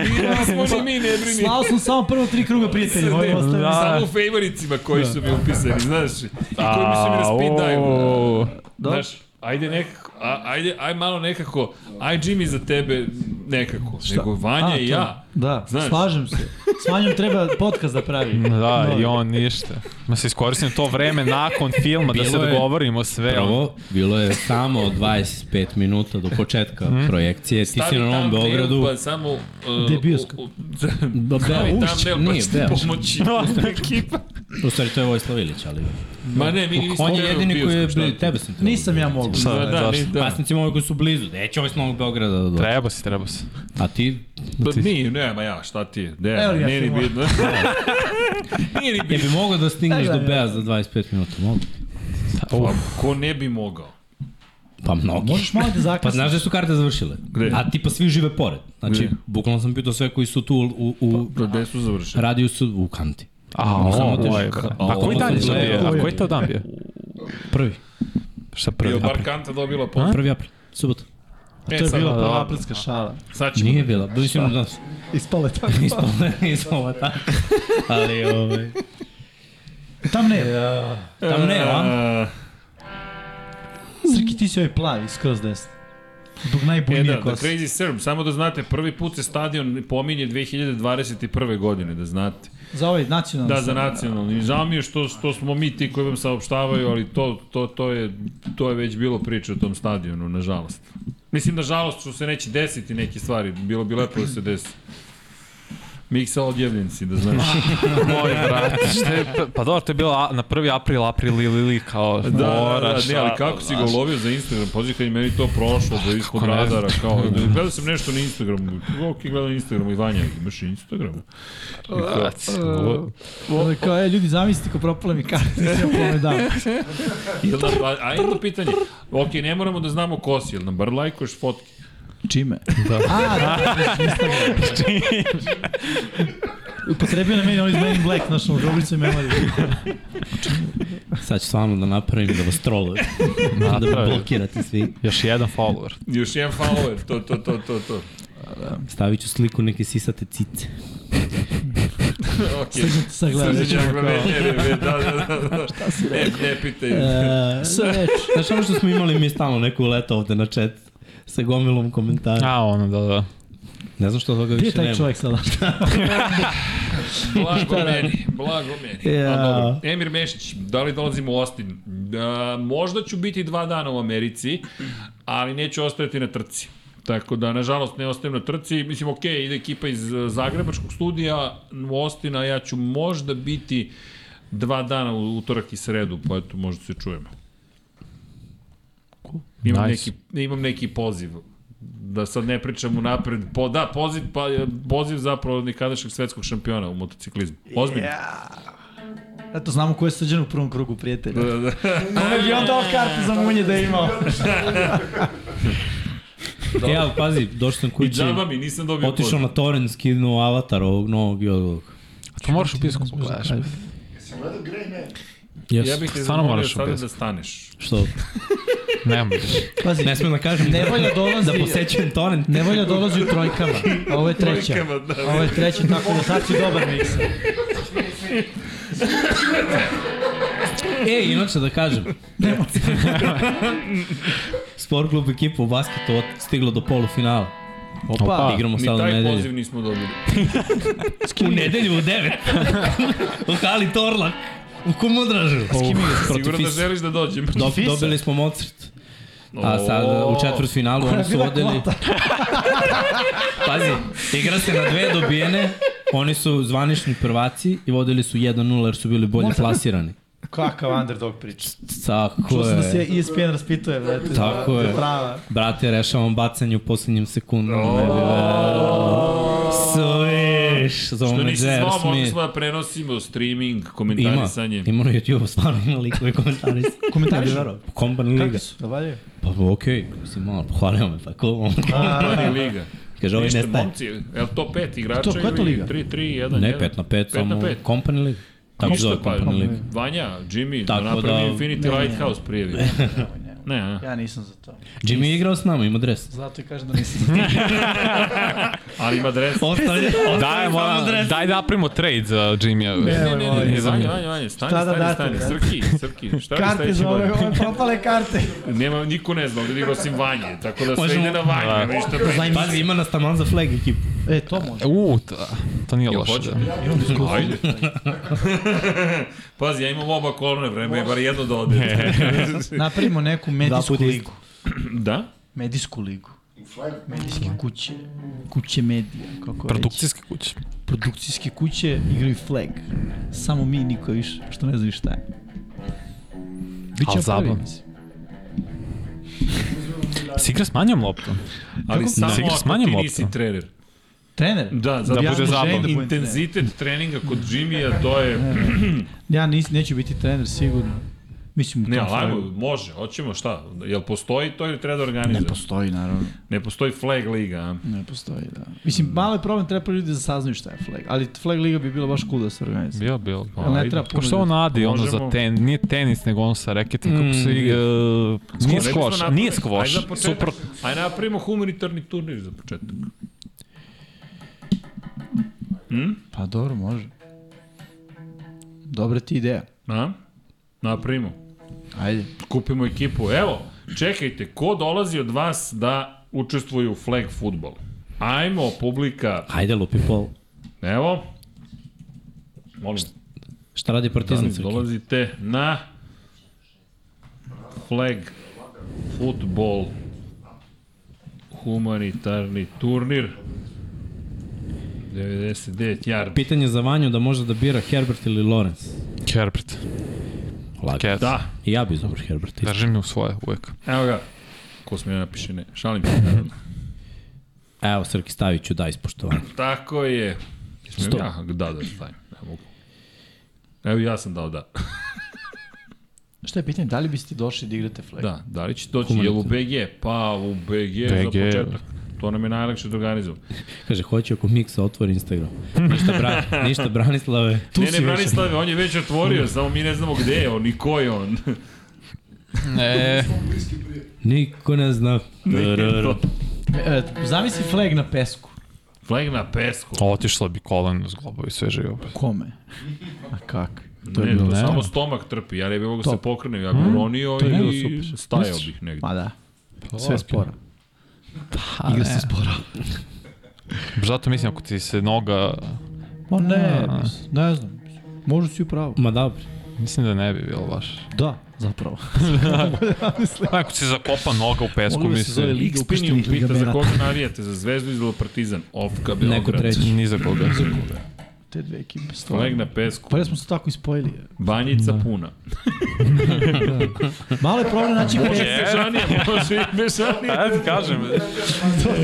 [SPEAKER 1] nije, nismo ni mi, ne brini.
[SPEAKER 3] Slao sam samo prvo tri kruga prijatelja. Moji ostavi.
[SPEAKER 5] Da.
[SPEAKER 1] Samo u favoricima koji su mi upisani, znaš, i koji mi da su mi na speed dial. Znaš, ajde nekako, a, ajde, aj malo nekako, aj Jimmy za tebe nekako, nego Vanja
[SPEAKER 3] A,
[SPEAKER 1] i
[SPEAKER 3] to.
[SPEAKER 1] ja.
[SPEAKER 3] Da,
[SPEAKER 1] Znaš.
[SPEAKER 3] slažem se. S Vanjom treba podcast da pravi.
[SPEAKER 5] Da, i on ništa. Ma se iskoristim to vreme nakon filma da se
[SPEAKER 2] Bilo je-
[SPEAKER 5] dogovorimo sve.
[SPEAKER 2] prvo, bilo je samo 25 minuta do početka projekcije, ti si na Novom
[SPEAKER 1] Mhm. Stavi thumbnail,
[SPEAKER 2] Beogradu,
[SPEAKER 1] Pa samo... Uh,
[SPEAKER 3] Gde je bioskop?
[SPEAKER 1] u- u-
[SPEAKER 2] Da,
[SPEAKER 1] Stavi
[SPEAKER 2] ušće,
[SPEAKER 1] thumbnail, pa
[SPEAKER 2] nije,
[SPEAKER 1] će ti
[SPEAKER 2] da.
[SPEAKER 1] pomoći. ekipa.
[SPEAKER 2] u stvari to je Vojislav Ilić, ali
[SPEAKER 1] Ma ne, mi nismo
[SPEAKER 2] on je
[SPEAKER 1] gledali
[SPEAKER 2] jedini koji je,
[SPEAKER 1] bioskop, šta
[SPEAKER 2] bli-
[SPEAKER 1] ti?
[SPEAKER 2] tebe sam te
[SPEAKER 3] Nisam ja mogu.
[SPEAKER 5] Šta,
[SPEAKER 1] Da, da,
[SPEAKER 5] zašto?
[SPEAKER 1] ni- da.
[SPEAKER 2] Da. Asnicima ovi koji su blizu, neće ovaj s Novog Beograda da dođe.
[SPEAKER 5] Treba si, treba si.
[SPEAKER 2] A ti,
[SPEAKER 1] Pa mi, nema ja, šta ti je? Ne,
[SPEAKER 3] Evo ga,
[SPEAKER 1] nije ni
[SPEAKER 3] filmo.
[SPEAKER 1] bitno. Nije ni
[SPEAKER 2] je
[SPEAKER 1] bitno.
[SPEAKER 2] bi mogao da stigneš
[SPEAKER 3] Da,
[SPEAKER 2] do
[SPEAKER 3] da,
[SPEAKER 2] Bea za 25 minuta, mogu?
[SPEAKER 1] Pa, Ko ne bi mogao?
[SPEAKER 2] Pa mnogi.
[SPEAKER 3] Možeš malo da
[SPEAKER 2] Pa
[SPEAKER 3] zakasniš.
[SPEAKER 2] znaš da su karte završile?
[SPEAKER 1] Gde?
[SPEAKER 2] A tipa svi žive pored. Znači,
[SPEAKER 1] Gde?
[SPEAKER 2] bukvalno sam pitao sve koji su tu u, u, u
[SPEAKER 1] Pa gde su završeni?
[SPEAKER 2] radiju su u kanti.
[SPEAKER 5] A,
[SPEAKER 2] Možda
[SPEAKER 5] o,
[SPEAKER 2] otišao.
[SPEAKER 5] ovaj, a koji dan je sad bio? A koji je to dan bio?
[SPEAKER 2] Prvi.
[SPEAKER 5] Šta
[SPEAKER 1] Bio
[SPEAKER 5] prvi?
[SPEAKER 1] bar kanta dobila po...
[SPEAKER 5] A?
[SPEAKER 2] Prvi april. Subota.
[SPEAKER 1] E,
[SPEAKER 3] To je
[SPEAKER 1] sad,
[SPEAKER 3] bila
[SPEAKER 5] da.
[SPEAKER 3] prva aprilska šala.
[SPEAKER 1] sad ćemo...
[SPEAKER 2] Nije bila, bili smo danas.
[SPEAKER 3] Ispala je tako.
[SPEAKER 2] Ispala, ispala tako. Ali, ovaj...
[SPEAKER 3] Tam ne,
[SPEAKER 2] Tam ne, a?
[SPEAKER 1] a?
[SPEAKER 3] Srki ti si ovaj plavi, skroz desno. Zbog
[SPEAKER 1] E
[SPEAKER 3] najboljnije
[SPEAKER 1] da,
[SPEAKER 3] da,
[SPEAKER 1] The
[SPEAKER 3] kose.
[SPEAKER 1] Crazy Serb, samo da znate, prvi put se stadion pominje 2021. godine, da znate.
[SPEAKER 3] Za ovaj nacionalni.
[SPEAKER 1] Da, za
[SPEAKER 3] sam.
[SPEAKER 1] nacionalni. Žao mi je što, što smo mi ti koji vam saopštavaju, ali to, to, to, je, to je već bilo priča o tom stadionu, nažalost. Mislim, nažalost, što se neće desiti neke stvari. Bilo bi lepo da se desi. Miksa odjevljen si, da znaš.
[SPEAKER 5] Moj brat, šta je, pa dobro, to je bilo a- na 1. april, april ili ili kao da,
[SPEAKER 1] Da, da,
[SPEAKER 5] mora,
[SPEAKER 1] da, ne, ali kako si ga ulovio za Instagram? Pazi kad je meni to prošlo, da je ispod radara, kao, da, gledao sam nešto na Instagramu, ok, gledao na Instagramu, i Vanja, imaš Instagram?
[SPEAKER 5] Brat,
[SPEAKER 3] Ovo je kao, e, ljudi, zamislite ko propala mi karta, sve pome dan.
[SPEAKER 1] Jel da, a, a jedno pitanje, ok, ne moramo da znamo ko si, jel nam bar lajkuješ fotke?
[SPEAKER 3] Čime? Da. A, da, Čime? Upotrebio na meni on iz Men in Black, znaš, u grobicu i memoriju.
[SPEAKER 2] Sad ću stvarno da napravim da vas trolujem. da me
[SPEAKER 5] Napravi.
[SPEAKER 2] blokirate svi.
[SPEAKER 5] još jedan follower.
[SPEAKER 1] Još jedan follower, to, to, to, to, to.
[SPEAKER 2] Stavit ću sliku neke sisate cice.
[SPEAKER 1] Ok.
[SPEAKER 3] Srđan ti sad gleda,
[SPEAKER 1] Srđan
[SPEAKER 3] nećemo
[SPEAKER 1] Đakla, ne,
[SPEAKER 3] kao...
[SPEAKER 1] ne, ne, da, da, da, da. Šta si rekao? Ne, ne pitaj.
[SPEAKER 3] E, Sve reč.
[SPEAKER 2] Znaš ono što smo imali mi stalno neko leto ovde na chat sa gomilom komentara.
[SPEAKER 5] A, ono, da, da.
[SPEAKER 2] Ne znam što toga
[SPEAKER 3] Gdje je
[SPEAKER 2] više
[SPEAKER 3] taj
[SPEAKER 2] nema.
[SPEAKER 3] čovjek sada?
[SPEAKER 1] Blago meni, blago meni.
[SPEAKER 2] Ja.
[SPEAKER 1] A dobro, Emir Mešić, da li dolazim u Austin? Da, možda ću biti dva dana u Americi, ali neću ostajati na trci. Tako da, nažalost, ne ostajem na trci. Mislim, ok, ide ekipa iz eh, Zagrebačkog studija u Austin, a ja ću možda biti dva dana u utorak i sredu, pa eto, možda se čujemo. Imam,
[SPEAKER 5] Nice.
[SPEAKER 1] neki, imam neki poziv da sad ne pričam unapred. Po, da, poziv, pa, poziv zapravo nekadašnjeg svetskog šampiona u motociklizmu. Ozbiljno.
[SPEAKER 3] Eto, znamo ko je srđan u prvom krugu, prijatelja.
[SPEAKER 1] Da, da.
[SPEAKER 3] Kome bi on dao kartu za munje da je imao?
[SPEAKER 2] E, ali pazi, došao sam
[SPEAKER 1] I
[SPEAKER 2] kući,
[SPEAKER 1] džaba mi, nisam dobio
[SPEAKER 2] otišao na torrent, skinuo avatar ovog novog i ovog.
[SPEAKER 5] A to moraš u da pisku pogledaš.
[SPEAKER 4] Jesi gledao Grey Man?
[SPEAKER 2] Yes.
[SPEAKER 1] Ja bih te
[SPEAKER 5] Stvarno
[SPEAKER 1] zamolio
[SPEAKER 5] moraš
[SPEAKER 1] sada
[SPEAKER 5] objasniti.
[SPEAKER 1] da staneš.
[SPEAKER 2] Što?
[SPEAKER 5] Nemam više.
[SPEAKER 3] Pazi,
[SPEAKER 2] Ne smem da kažem
[SPEAKER 3] Nevolja dolazi-
[SPEAKER 2] da posećujem torrent.
[SPEAKER 3] Nevolja dolazi u trojkama. a Ovo je treća.
[SPEAKER 1] Trojkama, da.
[SPEAKER 3] Ovo je treća, tako da sad si dobar miks.
[SPEAKER 2] E, inače da kažem. Sport klub ekipa u basketu ot- stigla do polufinala.
[SPEAKER 3] Opa,
[SPEAKER 5] Opa.
[SPEAKER 2] Igramo
[SPEAKER 1] Ni
[SPEAKER 2] sada u
[SPEAKER 1] taj
[SPEAKER 2] nedelju.
[SPEAKER 1] poziv nismo dobili.
[SPEAKER 2] U nedelju u 9. u hali Torlak. U Kumodražu.
[SPEAKER 1] Sigurno da želiš da dođem.
[SPEAKER 2] Dob, dobili smo Mozart. A sad u četvrtfinalu oni su vodili... Pazi, igra se na dve dobijene. Oni su zvanični prvaci i vodili su 1-0 jer su bili bolje plasirani.
[SPEAKER 3] Kakav underdog priča. Čuo
[SPEAKER 2] Tako
[SPEAKER 3] sam da se
[SPEAKER 2] je.
[SPEAKER 3] ESPN raspituje, brate.
[SPEAKER 2] Tako je.
[SPEAKER 3] Prava.
[SPEAKER 2] Brate, rešavam bacanje u posljednjim sekundama. Sviš, zove
[SPEAKER 1] Što
[SPEAKER 2] me
[SPEAKER 1] Da nisi
[SPEAKER 2] Jer
[SPEAKER 1] zvao, mogli
[SPEAKER 2] Smith.
[SPEAKER 1] smo da prenosimo streaming,
[SPEAKER 2] Ima,
[SPEAKER 1] komentarisanje.
[SPEAKER 2] ima na YouTube, stvarno ima likove komentaris.
[SPEAKER 3] Komentariš?
[SPEAKER 2] Kompan Liga.
[SPEAKER 3] Kako su? Da valjaju?
[SPEAKER 2] Pa okej, okay, mislim malo, pohvalio me, pa ko?
[SPEAKER 1] Mladi liga.
[SPEAKER 2] Kaže, ovaj
[SPEAKER 1] Ništa,
[SPEAKER 2] ne staje.
[SPEAKER 1] momci, je li to pet igrača
[SPEAKER 3] To, koja je to
[SPEAKER 1] ili
[SPEAKER 3] liga?
[SPEAKER 1] 3, 3, 1,
[SPEAKER 2] Ne, 5 na 5, samo
[SPEAKER 1] pet.
[SPEAKER 2] Company Liga. Tako zove Company Liga.
[SPEAKER 1] pa Vanja, Jimmy,
[SPEAKER 2] Tako
[SPEAKER 1] da napravi
[SPEAKER 2] da-
[SPEAKER 1] Infinity
[SPEAKER 3] Ne, ne, ne.
[SPEAKER 1] Lighthouse prijevi. Ne, a?
[SPEAKER 3] Ja nisam za to.
[SPEAKER 2] Jimmy je igrao s nama, ima dres.
[SPEAKER 3] Zato i kažem da nisam za to.
[SPEAKER 1] ali ima dres.
[SPEAKER 2] Ostavlja,
[SPEAKER 5] Daj, moram, daj da napravimo trade za Jimmy. Ne,
[SPEAKER 1] Ne, ne, ne, Vanja, Vanja, Vanja, stani,
[SPEAKER 3] Šta da
[SPEAKER 1] stani,
[SPEAKER 3] date,
[SPEAKER 1] stani,
[SPEAKER 3] brate?
[SPEAKER 1] Srki, Srki, šta da
[SPEAKER 3] Karte
[SPEAKER 1] staviš
[SPEAKER 3] za ove,
[SPEAKER 1] gore?
[SPEAKER 3] ove propale karte.
[SPEAKER 1] Nema, niko ne zna ovde nego osim Vanje, tako da sve
[SPEAKER 2] Možemo-
[SPEAKER 1] ide na Vanja, ništa pre.
[SPEAKER 2] Pazi, ima nas taman za flag ekipu.
[SPEAKER 3] E, to može.
[SPEAKER 5] U, to, to nije loše.
[SPEAKER 1] hoće?
[SPEAKER 5] Da.
[SPEAKER 1] Ajde. Pazi, ja imam oba kolone vreme, je bar jedno da ode.
[SPEAKER 3] Napravimo neku medijsku
[SPEAKER 2] puta isto.
[SPEAKER 3] ligu.
[SPEAKER 1] da?
[SPEAKER 3] Medijsku ligu. Medijske kuće. Kuće medija, kako reći.
[SPEAKER 5] Produkcijske kuće.
[SPEAKER 3] Produkcijske kuće igraju flag. Samo mi, niko više, što ne znam šta je.
[SPEAKER 5] Ali
[SPEAKER 3] prvi,
[SPEAKER 5] zabavno.
[SPEAKER 3] mislim.
[SPEAKER 5] Si igra s manjom loptom?
[SPEAKER 1] Ali samo
[SPEAKER 5] Da. Igra s
[SPEAKER 1] ako
[SPEAKER 5] manjom
[SPEAKER 1] ti
[SPEAKER 5] loptom.
[SPEAKER 1] nisi trener.
[SPEAKER 3] Trener?
[SPEAKER 1] Da, zato
[SPEAKER 5] Da
[SPEAKER 1] ja
[SPEAKER 5] bude
[SPEAKER 1] želim
[SPEAKER 5] zabavno.
[SPEAKER 1] da budem Intenzitet treninga kod Jimmy-a, to je...
[SPEAKER 3] Ja nis, neću biti trener sigurno. Mislim, u
[SPEAKER 1] Ne,
[SPEAKER 3] tom
[SPEAKER 1] ali ajmo,
[SPEAKER 3] sloju-
[SPEAKER 1] može, hoćemo šta? Jel postoji to ili treba da
[SPEAKER 3] Ne
[SPEAKER 1] organizujemo?
[SPEAKER 3] postoji, naravno.
[SPEAKER 1] Ne postoji flag liga, a?
[SPEAKER 3] Ne postoji, da. Mislim,
[SPEAKER 1] Mm.
[SPEAKER 3] malo je problem, treba ljudi da saznaju šta je flag. Ali flag liga bi bila baš cool da se organizuje.
[SPEAKER 5] Bio, bio.
[SPEAKER 3] Jel ne
[SPEAKER 1] ajde.
[SPEAKER 3] treba
[SPEAKER 5] Kao
[SPEAKER 3] puno
[SPEAKER 5] što on
[SPEAKER 3] ljudi?
[SPEAKER 5] nadi, ono
[SPEAKER 1] Možemo-
[SPEAKER 5] za ten, nije tenis, nego ono sa reketom, kako se
[SPEAKER 2] Mm.
[SPEAKER 5] igra, uh, nije
[SPEAKER 1] Rekli smo
[SPEAKER 5] skvoš,
[SPEAKER 1] napravili-
[SPEAKER 5] nije skvoš,
[SPEAKER 1] Ajde, za početak-
[SPEAKER 5] super,
[SPEAKER 1] Ajde napravimo humanitarni turnir za početak.
[SPEAKER 3] Pa dobro, može. Dobre ti ideja.
[SPEAKER 1] A? Napravimo.
[SPEAKER 3] Ajde.
[SPEAKER 1] Kupimo ekipu. Evo, čekajte, ko dolazi od vas da učestvuje u flag futbolu? Ajmo, publika.
[SPEAKER 2] Ajde, lupi pol.
[SPEAKER 1] Evo. Molim,
[SPEAKER 2] Šta radi Partizan
[SPEAKER 1] dani,
[SPEAKER 2] Srki?
[SPEAKER 1] dolazite na flag futbol humanitarni turnir 99 yard.
[SPEAKER 2] Pitanje za Vanju da može da bira Herbert ili Lorenz.
[SPEAKER 5] Herbert,
[SPEAKER 2] Lagat.
[SPEAKER 5] Cat,
[SPEAKER 1] Da,
[SPEAKER 2] I ja bi izabrao Herbert. isto.
[SPEAKER 5] držim u svoje uvek.
[SPEAKER 1] evo ga. Ko smo ja napiše ne, šalim se naravno.
[SPEAKER 2] Evo, Srki Staviću da ispoštovanje.
[SPEAKER 1] Tako je. Jesmo
[SPEAKER 2] Sto.
[SPEAKER 1] Ja, da, da, stavim. Ne mogu. Evo ja sam dao da.
[SPEAKER 3] Šta je pitanje, da li biste došli da igrate flag?
[SPEAKER 1] Da, da li će doći?
[SPEAKER 2] Humanitarno.
[SPEAKER 1] Jel u BG? Pa u BG, za
[SPEAKER 5] BG.
[SPEAKER 1] početak. To nam je najlakše da organizujemo.
[SPEAKER 2] Kaže, hoće ako Miksa otvori Instagram. Ništa, bra, ništa Branislave. Tu
[SPEAKER 1] ne, ne,
[SPEAKER 2] si već.
[SPEAKER 1] Branislave, on je već otvorio, samo mi ne znamo gde je on i ko je on.
[SPEAKER 5] E,
[SPEAKER 2] Niko ne zna.
[SPEAKER 3] E, zamisli flag na pesku.
[SPEAKER 1] Flag na pesku.
[SPEAKER 5] otišla bi kolen zglobovi sve živo.
[SPEAKER 3] Kome? A kak?
[SPEAKER 1] To ne, to
[SPEAKER 5] ne.
[SPEAKER 1] samo stomak trpi, ja ne bih mogu da se
[SPEAKER 3] To-
[SPEAKER 1] pokrenem, ja bih ronio
[SPEAKER 3] je bilo
[SPEAKER 1] i
[SPEAKER 3] super.
[SPEAKER 1] stajao
[SPEAKER 3] Misliš?
[SPEAKER 1] bih negde.
[SPEAKER 3] Ma da.
[SPEAKER 1] pa.
[SPEAKER 3] Sve spora.
[SPEAKER 5] Pa, Igra se spora. Zato mislim, ako ti se noga,
[SPEAKER 3] Ma ne,
[SPEAKER 1] Da.
[SPEAKER 3] mislim, ne znam. Možda si upravo.
[SPEAKER 2] Ma dobro.
[SPEAKER 5] mislim da ne bi bilo baš.
[SPEAKER 3] Da, zapravo.
[SPEAKER 5] Ako ti se zakopa noga u pesku,
[SPEAKER 3] Moglo bi se zove
[SPEAKER 5] mislim,
[SPEAKER 3] Liga
[SPEAKER 1] Xpinium
[SPEAKER 3] ukrštenih
[SPEAKER 1] pita za
[SPEAKER 3] ligamenata.
[SPEAKER 1] koga navijate, za Zvezdu ili za Partizan, Ofka Beograd.
[SPEAKER 2] Neko treći.
[SPEAKER 5] ni za koga.
[SPEAKER 3] Te dve ekipe, stvarno.
[SPEAKER 1] Flag na pesku,
[SPEAKER 3] Pa ja smo se tako ispojili.
[SPEAKER 1] banjica puna.
[SPEAKER 3] Malo je problem naći
[SPEAKER 1] Može
[SPEAKER 3] pesku.
[SPEAKER 1] i E? bežanija, može i bežanija.
[SPEAKER 5] Ja ti kažem,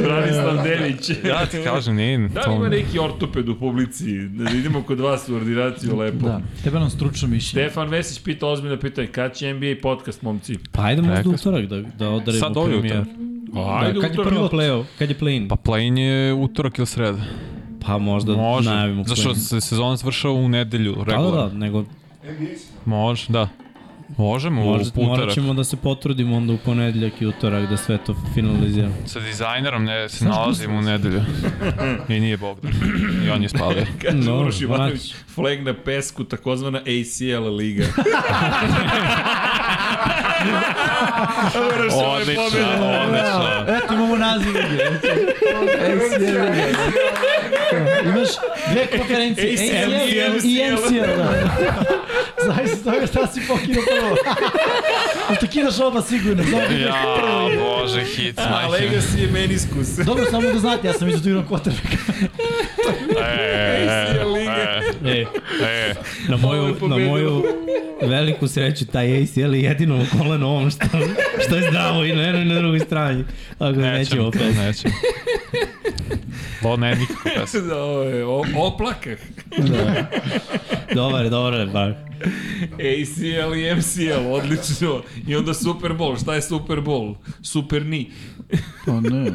[SPEAKER 1] Branislav Delić.
[SPEAKER 5] ja ti kažem, nije
[SPEAKER 1] E? Da li
[SPEAKER 5] to...
[SPEAKER 1] ima neki ortoped u publici? Da idemo kod vas u ordinaciju lepo.
[SPEAKER 3] Da, treba nam stručno mišljenje.
[SPEAKER 1] Stefan Vesić pita ozbiljno pitanje, kad će NBA podcast, momci?
[SPEAKER 2] Pa ajde možda
[SPEAKER 5] Rekao
[SPEAKER 2] u utorak da, da odarimo
[SPEAKER 5] Sad ovaj
[SPEAKER 2] prvi
[SPEAKER 5] utorak.
[SPEAKER 2] utorak.
[SPEAKER 1] Ajde,
[SPEAKER 2] Da, kad je
[SPEAKER 1] utorak.
[SPEAKER 2] prvo play-off? Kad je play-in?
[SPEAKER 5] Pa
[SPEAKER 2] Pa,
[SPEAKER 5] play-in je utorak ili sreda.
[SPEAKER 2] možda
[SPEAKER 5] Može.
[SPEAKER 2] Da, najavimo
[SPEAKER 5] Zašto
[SPEAKER 2] play-in.
[SPEAKER 5] se sezona završava u nedelju,
[SPEAKER 2] Da, da,
[SPEAKER 5] regularno.
[SPEAKER 2] da, nego
[SPEAKER 5] Može, da. Možemo
[SPEAKER 2] možda,
[SPEAKER 5] u
[SPEAKER 2] morat
[SPEAKER 5] utorak.
[SPEAKER 2] ćemo da se potrudimo onda u ponedljak i utorak da sve to finaliziramo.
[SPEAKER 5] Sa dizajnerom ne, se nalazimo u nedelju. I nije Bogdan. I on je spavio.
[SPEAKER 1] Kaže
[SPEAKER 2] No,
[SPEAKER 1] Uroš Ivanović,
[SPEAKER 2] znači.
[SPEAKER 1] flag na pesku, takozvana ACL liga. Uroš, ovo je
[SPEAKER 5] Odlično,
[SPEAKER 1] pobjeda.
[SPEAKER 5] odlično.
[SPEAKER 2] Da.
[SPEAKER 3] Eto imamo naziv lige. ACL lige. Imaš dve konferencije,
[SPEAKER 1] ACL,
[SPEAKER 3] ACL i MCL. Da. Zavisno toga šta si pokino prvo. Ali ti kidaš oba sigurno. da Dobro,
[SPEAKER 5] Ja, bože, hit,
[SPEAKER 1] A
[SPEAKER 2] Da,
[SPEAKER 5] majke.
[SPEAKER 1] Legacy je meniskus.
[SPEAKER 3] Dobro, samo da znate, ja sam izotirao kvotrbeka.
[SPEAKER 1] ACL liga.
[SPEAKER 2] E,
[SPEAKER 5] E,
[SPEAKER 2] na
[SPEAKER 1] Ovo
[SPEAKER 2] moju,
[SPEAKER 1] je
[SPEAKER 2] na
[SPEAKER 1] pobedilo.
[SPEAKER 2] moju veliku sreću taj ACL je jedino u koleno ovom što, što je zdravo i na jednoj i na drugoj strani. Tako da nećemo
[SPEAKER 5] nećemo,
[SPEAKER 2] opet.
[SPEAKER 5] nećemo. Lo, ne, nikako pesma.
[SPEAKER 1] Da, ovo je o- oplakah.
[SPEAKER 3] Da.
[SPEAKER 2] Dobar, je, dobar, je, bar.
[SPEAKER 1] ACL i MCL, odlično. I onda Super Bowl. Šta je Super Bowl? Super ni.
[SPEAKER 3] Pa ne,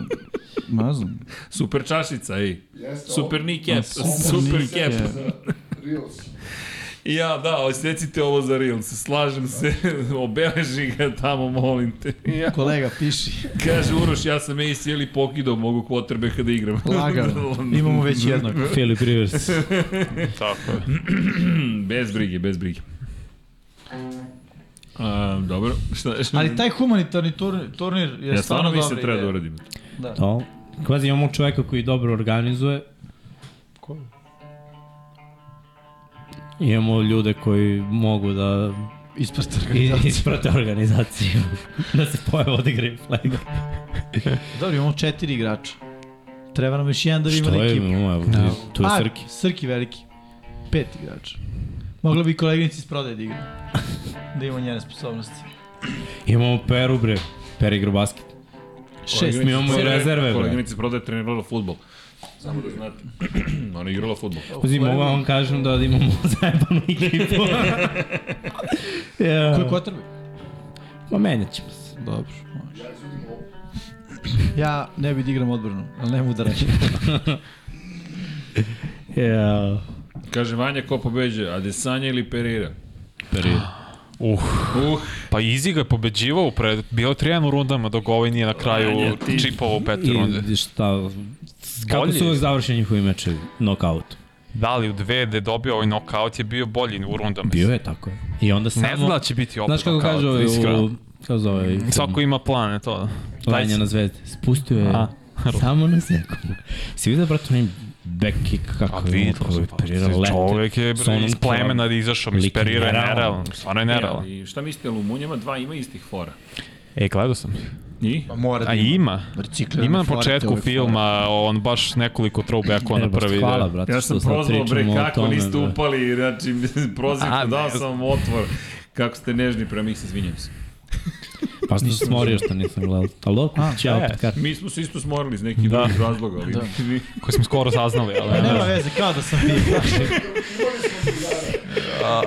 [SPEAKER 3] mazam.
[SPEAKER 1] Super čašica, ej.
[SPEAKER 4] Jeste,
[SPEAKER 1] Super ni cap.
[SPEAKER 3] Super
[SPEAKER 1] Super
[SPEAKER 3] knee
[SPEAKER 1] cap.
[SPEAKER 3] cap.
[SPEAKER 4] Reels.
[SPEAKER 1] Ja, da, osjecite ovo za Reels. Slažem se, obeleži ga tamo, molim te. Ja.
[SPEAKER 3] Kolega, piši.
[SPEAKER 1] Kaže Uroš, ja sam ACL i pokidao, mogu quarterbacka da igram.
[SPEAKER 3] Lagano. Imamo već jednog.
[SPEAKER 2] Philip Rivers.
[SPEAKER 5] Tako je.
[SPEAKER 1] bez brige, bez brige. A, dobro, šta, šta?
[SPEAKER 3] Ali taj humanitarni turnir, turnir je
[SPEAKER 1] ja
[SPEAKER 3] stvarno
[SPEAKER 1] stvarno
[SPEAKER 3] dobra
[SPEAKER 1] mislim da treba da
[SPEAKER 3] ideja.
[SPEAKER 1] uradim.
[SPEAKER 2] To. Kvazi imamo čoveka koji dobro organizuje. Ko? Imamo ljude koji mogu da
[SPEAKER 3] Ispred
[SPEAKER 2] i-
[SPEAKER 3] organizacije.
[SPEAKER 2] isprate organizaciju, da se pojave odigraju flag.
[SPEAKER 3] Dobro, imamo četiri igrača. Treba nam još jedan da vidimo
[SPEAKER 2] Što
[SPEAKER 3] na
[SPEAKER 2] je,
[SPEAKER 3] ekipu.
[SPEAKER 2] imamo, evo, tu je- tu je
[SPEAKER 3] Pa,
[SPEAKER 2] Srki.
[SPEAKER 3] Srki veliki. Pet igrača. Mogla bi koleginici iz prodaje da igra. Da ima njene sposobnosti.
[SPEAKER 2] Imamo Peru, bre. Pera igra basket.
[SPEAKER 3] Šest.
[SPEAKER 2] mi imamo i rezerve, bre.
[SPEAKER 1] Koleginici prodaje trenirala futbol. Samo da znate. Ona je igrala futbol.
[SPEAKER 2] Pazi, mogu vam kažem da imamo zajebanu ekipu.
[SPEAKER 3] Ko
[SPEAKER 2] ja,
[SPEAKER 3] je kotrbi?
[SPEAKER 2] ma menjat ćemo se.
[SPEAKER 3] Dobro, može. Ja ne bih da igram odbranu, ali ne mogu da račim.
[SPEAKER 2] Ja.
[SPEAKER 1] Kaže Vanja ko pobeđuje, Adesanya ili Pereira?
[SPEAKER 5] Uh,
[SPEAKER 1] Uh,
[SPEAKER 5] pa Izzy ga je pobeđivao, pred, bio je 3 u rundama, dok ovaj nije na kraju
[SPEAKER 1] Vanja, ti-
[SPEAKER 5] čipovao u petoj runde.
[SPEAKER 2] I šta, kako
[SPEAKER 5] Bolje.
[SPEAKER 2] su uvek završeni njihovi mečevi? Knockout.
[SPEAKER 5] Da li u dve gde je dobio ovaj nokaut je bio bolji u rundama.
[SPEAKER 2] Bio je tako. je. I onda samo...
[SPEAKER 5] Ne zna da će biti opet
[SPEAKER 2] Znaš kako
[SPEAKER 5] knockout,
[SPEAKER 2] kaže ovaj,
[SPEAKER 5] iskreno.
[SPEAKER 2] u, kako zove,
[SPEAKER 5] Svako ima plane, to. da. Taj
[SPEAKER 2] Lanja na zvezde. Spustio je
[SPEAKER 5] A.
[SPEAKER 2] samo na sekundu. Si vidio, brate, onaj back kick kako
[SPEAKER 5] A
[SPEAKER 2] je
[SPEAKER 5] vidio
[SPEAKER 2] upravo
[SPEAKER 5] sam,
[SPEAKER 2] operirao
[SPEAKER 5] pa,
[SPEAKER 2] lete.
[SPEAKER 5] čovjek je
[SPEAKER 2] sa onom
[SPEAKER 5] bre, iz plemena da izašao, mi
[SPEAKER 2] lik
[SPEAKER 5] isperirao je
[SPEAKER 2] nerealan.
[SPEAKER 5] nerealno, stvarno je nerealno.
[SPEAKER 1] E, I šta mislite, Lumunjama dva ima istih fora.
[SPEAKER 5] E, gledao sam.
[SPEAKER 1] I?
[SPEAKER 2] Pa,
[SPEAKER 3] Mora
[SPEAKER 5] A ima.
[SPEAKER 3] Reciklirane
[SPEAKER 5] Ima na
[SPEAKER 3] fore,
[SPEAKER 5] početku
[SPEAKER 3] teorije fore.
[SPEAKER 5] filma, on baš nekoliko throwbackova na
[SPEAKER 2] Evo,
[SPEAKER 5] prvi. da.
[SPEAKER 2] Hvala, brate,
[SPEAKER 1] Ja
[SPEAKER 2] što
[SPEAKER 1] sam
[SPEAKER 2] sad
[SPEAKER 1] prozvao bre
[SPEAKER 2] pričamo o
[SPEAKER 1] kako
[SPEAKER 2] tome,
[SPEAKER 1] niste
[SPEAKER 2] bre.
[SPEAKER 1] upali, znači prozivku
[SPEAKER 5] A,
[SPEAKER 1] dao
[SPEAKER 5] ne.
[SPEAKER 1] sam vam otvor. Kako ste nežni prema njih, se izvinjam se.
[SPEAKER 2] Pa što sam smorio što nisam gledao. Ali dobro, ćao,
[SPEAKER 5] e.
[SPEAKER 2] opet kar.
[SPEAKER 1] Mi smo se isto smorili iz nekih
[SPEAKER 5] Da.
[SPEAKER 1] drugih razloga, ali vi-
[SPEAKER 5] Koji smo skoro saznali, ali... ne
[SPEAKER 3] Nema
[SPEAKER 5] znam.
[SPEAKER 3] veze, kao da sam ti.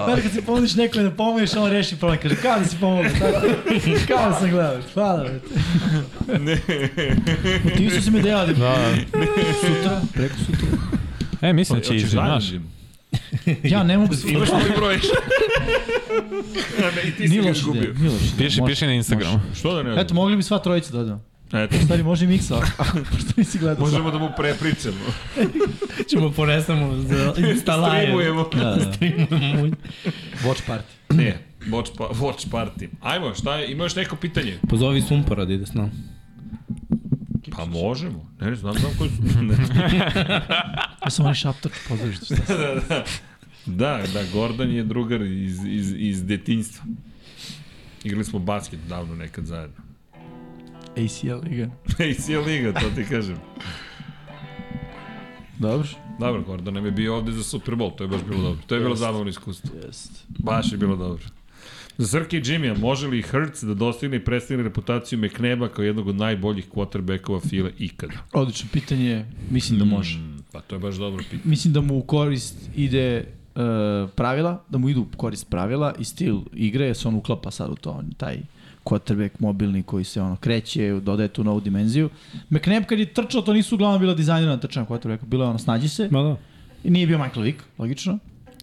[SPEAKER 3] Znaš, kad si pomogliš nekome da pomogliš, on reši problem. Kaže, kao da si pomogao, tako. Kao da sam gledao. Hvala, brate. Ne. Ti su si mi dejali.
[SPEAKER 5] Da.
[SPEAKER 3] Sutra, preko sutra.
[SPEAKER 5] E, mislim da će
[SPEAKER 1] Hoćeš
[SPEAKER 5] izi,
[SPEAKER 1] zajedno
[SPEAKER 5] znaš.
[SPEAKER 1] da
[SPEAKER 3] Ja ne mogu sutra.
[SPEAKER 1] Imaš li broj? A ne, i ti si
[SPEAKER 3] Nije
[SPEAKER 1] ga
[SPEAKER 3] loš ideja,
[SPEAKER 1] izgubio.
[SPEAKER 3] nije loš ideja.
[SPEAKER 5] Piši,
[SPEAKER 3] Može,
[SPEAKER 5] piši na Instagramu.
[SPEAKER 1] Što da ne?
[SPEAKER 3] može. Eto, mogli bi sva trojica da odemo.
[SPEAKER 1] Eto,
[SPEAKER 3] Stari, može i miksa, pošto nisi gledao.
[SPEAKER 1] možemo da mu prepričamo.
[SPEAKER 2] Ćemo ponesamo za Instalaje.
[SPEAKER 1] Streamujemo.
[SPEAKER 2] Da, da. Streamujemo. mulj.
[SPEAKER 3] Watch party.
[SPEAKER 1] Ne, watch, pa, watch party. Ajmo, šta je, ima još neko pitanje?
[SPEAKER 2] Pozovi Sumpora da ide s nama.
[SPEAKER 1] Pa možemo. Ne, ne znam, znam koji su.
[SPEAKER 3] Ja sam onaj šaptor, pozdraviš ti.
[SPEAKER 1] da, da. Da, da, Gordon je drugar iz, iz, iz detinjstva. Igrali smo basket davno nekad zajedno.
[SPEAKER 3] ACL liga.
[SPEAKER 1] ACL liga, to ti kažem.
[SPEAKER 3] Dobro.
[SPEAKER 1] Dobro, Gordon nam je bio ovde za Super Bowl, to je baš bilo dobro. To je bilo zabavno iskustvo.
[SPEAKER 3] Jest.
[SPEAKER 1] Baš je bilo dobro. Za Srke i Jimmy, može li Hertz da dostigne i prestigne reputaciju McNeba kao jednog od najboljih quarterbackova file ikada?
[SPEAKER 3] Odlično pitanje, mislim da može.
[SPEAKER 1] Mm, pa to je baš dobro pitanje.
[SPEAKER 3] Mislim da mu u korist ide uh, pravila, da mu idu u korist pravila i stil igre, jer se on uklapa sad u to, on, je taj quarterback mobilni koji se ono kreće, dodaje tu novu dimenziju. McNabb kad je trčao, to nisu uglavnom bila dizajnirana trčanja quarterbacka, bilo je ono snađi se
[SPEAKER 2] Ma da.
[SPEAKER 3] i nije bio Michael Vick, logično.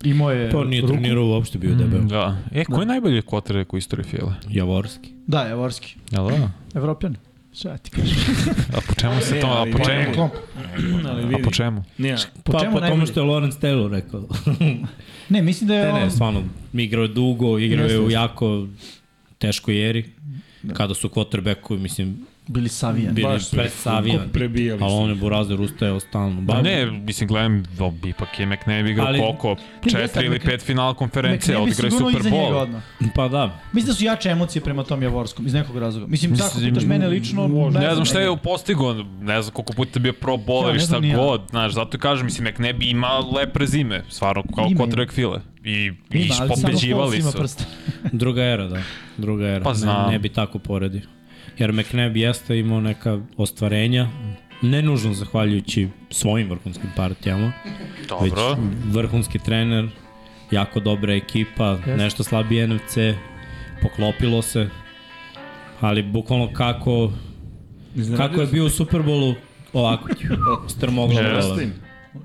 [SPEAKER 3] Imao je
[SPEAKER 2] Pa on nije
[SPEAKER 3] ruku.
[SPEAKER 2] trenirao uopšte bio debel.
[SPEAKER 5] Da. E, ko je najbolji kotrek u istoriji Fila?
[SPEAKER 2] Javorski.
[SPEAKER 3] Da, Javorski,
[SPEAKER 5] Jel da?
[SPEAKER 3] Evropljan. Šta ja ti kažem?
[SPEAKER 5] A po čemu se to, a
[SPEAKER 1] ali
[SPEAKER 5] po
[SPEAKER 1] ne,
[SPEAKER 5] čemu?
[SPEAKER 3] Klomp.
[SPEAKER 1] Da.
[SPEAKER 5] A po čemu?
[SPEAKER 1] Ne,
[SPEAKER 3] Po
[SPEAKER 2] pa,
[SPEAKER 3] čemu
[SPEAKER 2] po tome
[SPEAKER 3] najbolji?
[SPEAKER 2] što je Lawrence Taylor rekao.
[SPEAKER 3] Ne, mislim da je
[SPEAKER 2] ne,
[SPEAKER 3] on...
[SPEAKER 2] ne, stvarno, igrao je dugo, igrao je
[SPEAKER 3] Jeste,
[SPEAKER 2] u
[SPEAKER 3] jeste.
[SPEAKER 2] jako teškoj eri. Kada su quarterbacku, mislim,
[SPEAKER 3] Bili savijan.
[SPEAKER 2] bili
[SPEAKER 1] Baš su
[SPEAKER 2] pred Savijan.
[SPEAKER 1] prebijali
[SPEAKER 2] Ali
[SPEAKER 1] su.
[SPEAKER 2] on je Burazer ustajao stalno.
[SPEAKER 5] Pa
[SPEAKER 2] Ba,
[SPEAKER 5] ne, mislim, gledam, do, ipak je McNabb igrao
[SPEAKER 2] Ali-
[SPEAKER 5] koliko, četiri
[SPEAKER 3] jeste,
[SPEAKER 5] ili
[SPEAKER 3] Mc-
[SPEAKER 5] pet final konferencije,
[SPEAKER 3] McNabb je
[SPEAKER 5] odigrao je
[SPEAKER 3] sigurno
[SPEAKER 5] Super
[SPEAKER 3] iza njega
[SPEAKER 5] Bowl.
[SPEAKER 3] odmah.
[SPEAKER 2] Pa da,
[SPEAKER 3] Mislim da su jače emocije prema tom Javorskom, iz nekog razloga. Mislim, tako pitaš mene lično, da
[SPEAKER 5] Ne znam šta je postigo, ne znam koliko puta je bio pro
[SPEAKER 3] Ja,
[SPEAKER 5] bowler
[SPEAKER 3] ne
[SPEAKER 5] i šta
[SPEAKER 3] znam ni ja.
[SPEAKER 5] god, znaš, zato kažem, mislim, McNabb ima lepe rezime, stvarno, kao
[SPEAKER 3] Ima,
[SPEAKER 5] kotrek file. I, i pobeđivali
[SPEAKER 3] Ima
[SPEAKER 5] su.
[SPEAKER 3] prste.
[SPEAKER 2] druga era, da. Druga era.
[SPEAKER 5] Pa znam.
[SPEAKER 2] Ne, ne bi tako poredio. Jer McNabb jeste imao neka ostvarenja, ne nužno zahvaljujući svojim vrhunskim partijama,
[SPEAKER 5] Dobro.
[SPEAKER 2] već vrhunski trener, jako dobra ekipa, yes. nešto slabije NFC, poklopilo se, ali bukvalno kako, kako je bio u Superbolu, ovako, strmoglavu.
[SPEAKER 5] Jeste.
[SPEAKER 2] Yes.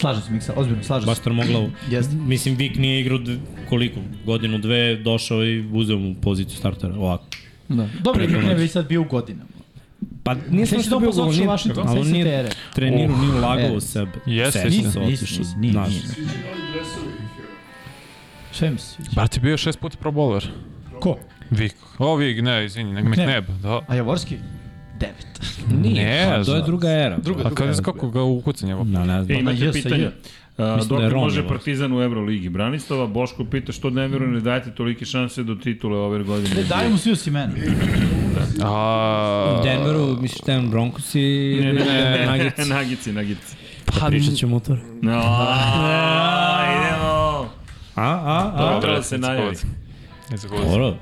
[SPEAKER 3] Slažem se, Miksa, ozbiljno, slažem
[SPEAKER 2] Baš
[SPEAKER 3] se.
[SPEAKER 2] strmoglavu.
[SPEAKER 3] Jeste.
[SPEAKER 2] Mislim, Vik nije igrao dv, koliko, godinu, dve, došao i uzeo mu poziciju startera, ovako.
[SPEAKER 3] Da. Dobro,
[SPEAKER 2] Preko
[SPEAKER 3] je ne
[SPEAKER 2] noći.
[SPEAKER 3] već sad bio u godinama. da
[SPEAKER 2] Pa nije
[SPEAKER 3] Sve
[SPEAKER 2] sam
[SPEAKER 3] što
[SPEAKER 2] što bio
[SPEAKER 3] dobro završio
[SPEAKER 2] govornik,
[SPEAKER 3] Washington,
[SPEAKER 2] ali
[SPEAKER 3] sve
[SPEAKER 2] on
[SPEAKER 3] se
[SPEAKER 2] nije
[SPEAKER 3] tere.
[SPEAKER 2] trenirao, nije ulagao
[SPEAKER 3] e.
[SPEAKER 2] u sebe.
[SPEAKER 5] Jeste,
[SPEAKER 2] Seća
[SPEAKER 5] jeste.
[SPEAKER 2] se
[SPEAKER 3] Nisi,
[SPEAKER 2] otišao,
[SPEAKER 3] nisi, nije,
[SPEAKER 2] znaš.
[SPEAKER 3] nije. Sve mi se sviđa.
[SPEAKER 5] Brat je bio šest puta pro bowler.
[SPEAKER 3] Ko?
[SPEAKER 5] Vik. O, Vik, ne, izvini, nego McNabb, da.
[SPEAKER 3] A Javorski? Devet.
[SPEAKER 5] Ne,
[SPEAKER 2] Pa, to je
[SPEAKER 5] znam.
[SPEAKER 2] druga Mm. era.
[SPEAKER 5] A kada je kako ga ukucan je ovo?
[SPEAKER 2] Na, ne znam.
[SPEAKER 1] E, imate
[SPEAKER 3] J sa
[SPEAKER 1] pitanje.
[SPEAKER 3] J.
[SPEAKER 1] A,
[SPEAKER 2] da, Mislim
[SPEAKER 1] dok
[SPEAKER 2] da je Ron
[SPEAKER 1] može
[SPEAKER 2] je vlasnik.
[SPEAKER 1] Partizan u Euroligi Branislava, Boško pita što Denveru ne dajete tolike šanse do titule ove godine.
[SPEAKER 3] Ne, daj mu svi osim mene.
[SPEAKER 5] A,
[SPEAKER 2] Denveru, misliš Denver Broncos i
[SPEAKER 1] Ne, ne, ne,
[SPEAKER 2] Nuggets.
[SPEAKER 1] nagici, nagici.
[SPEAKER 2] Pa pričat ćemo o tome.
[SPEAKER 1] No, idemo.
[SPEAKER 2] A, a, a.
[SPEAKER 1] Dobro da se najavi.
[SPEAKER 5] Izgovor.
[SPEAKER 2] Dobro,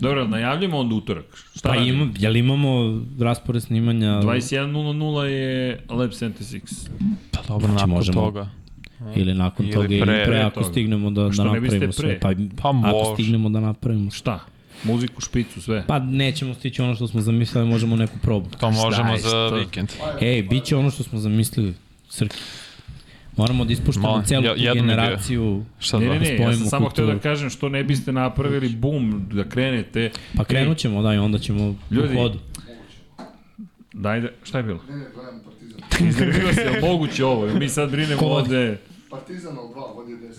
[SPEAKER 1] Dobro, najavljamo onda utorak. Šta
[SPEAKER 2] Pa
[SPEAKER 1] radimo?
[SPEAKER 2] ima, jel imamo raspored snimanja?
[SPEAKER 1] 21.00 je Lab 76.
[SPEAKER 5] Pa dobro,
[SPEAKER 2] Znači,
[SPEAKER 5] nakon
[SPEAKER 2] možemo.
[SPEAKER 5] toga.
[SPEAKER 2] Ili nakon
[SPEAKER 5] Ili
[SPEAKER 2] toga, ili pre,
[SPEAKER 5] pre- pre
[SPEAKER 2] ako
[SPEAKER 1] toga.
[SPEAKER 2] stignemo da, da
[SPEAKER 1] Što ne biste
[SPEAKER 2] napravimo sve.
[SPEAKER 1] pre?
[SPEAKER 2] Pa,
[SPEAKER 5] Pa
[SPEAKER 2] ako
[SPEAKER 5] može.
[SPEAKER 2] stignemo da napravimo sve.
[SPEAKER 1] Šta? Muziku, špicu, sve.
[SPEAKER 2] Pa nećemo stići ono što smo zamislili, možemo neku probu.
[SPEAKER 5] To možemo
[SPEAKER 1] je
[SPEAKER 5] za
[SPEAKER 1] što?
[SPEAKER 5] vikend.
[SPEAKER 2] Ej, bit će ono što smo zamislili, Srki. Moramo da ispuštamo
[SPEAKER 5] Ma,
[SPEAKER 2] celu
[SPEAKER 5] ja-
[SPEAKER 2] tu
[SPEAKER 5] jednom je bio.
[SPEAKER 2] generaciju.
[SPEAKER 5] Šta
[SPEAKER 1] Ne,
[SPEAKER 5] da?
[SPEAKER 1] ne, ne, ja sam
[SPEAKER 2] spojimo
[SPEAKER 1] samo htio da
[SPEAKER 2] kulturu.
[SPEAKER 1] kažem što ne biste napravili bum, da krenete.
[SPEAKER 2] Pa krenut ćemo, da, i onda ćemo
[SPEAKER 1] Ljudi,
[SPEAKER 2] u hodu.
[SPEAKER 1] Daj da, šta je bilo? Ne, ne, gledam Partizan. Iznervio se, jel moguće ovo? Mi sad brinemo
[SPEAKER 2] Ko vodi?
[SPEAKER 1] ovde.
[SPEAKER 4] Partizan al 2, vodi je 10.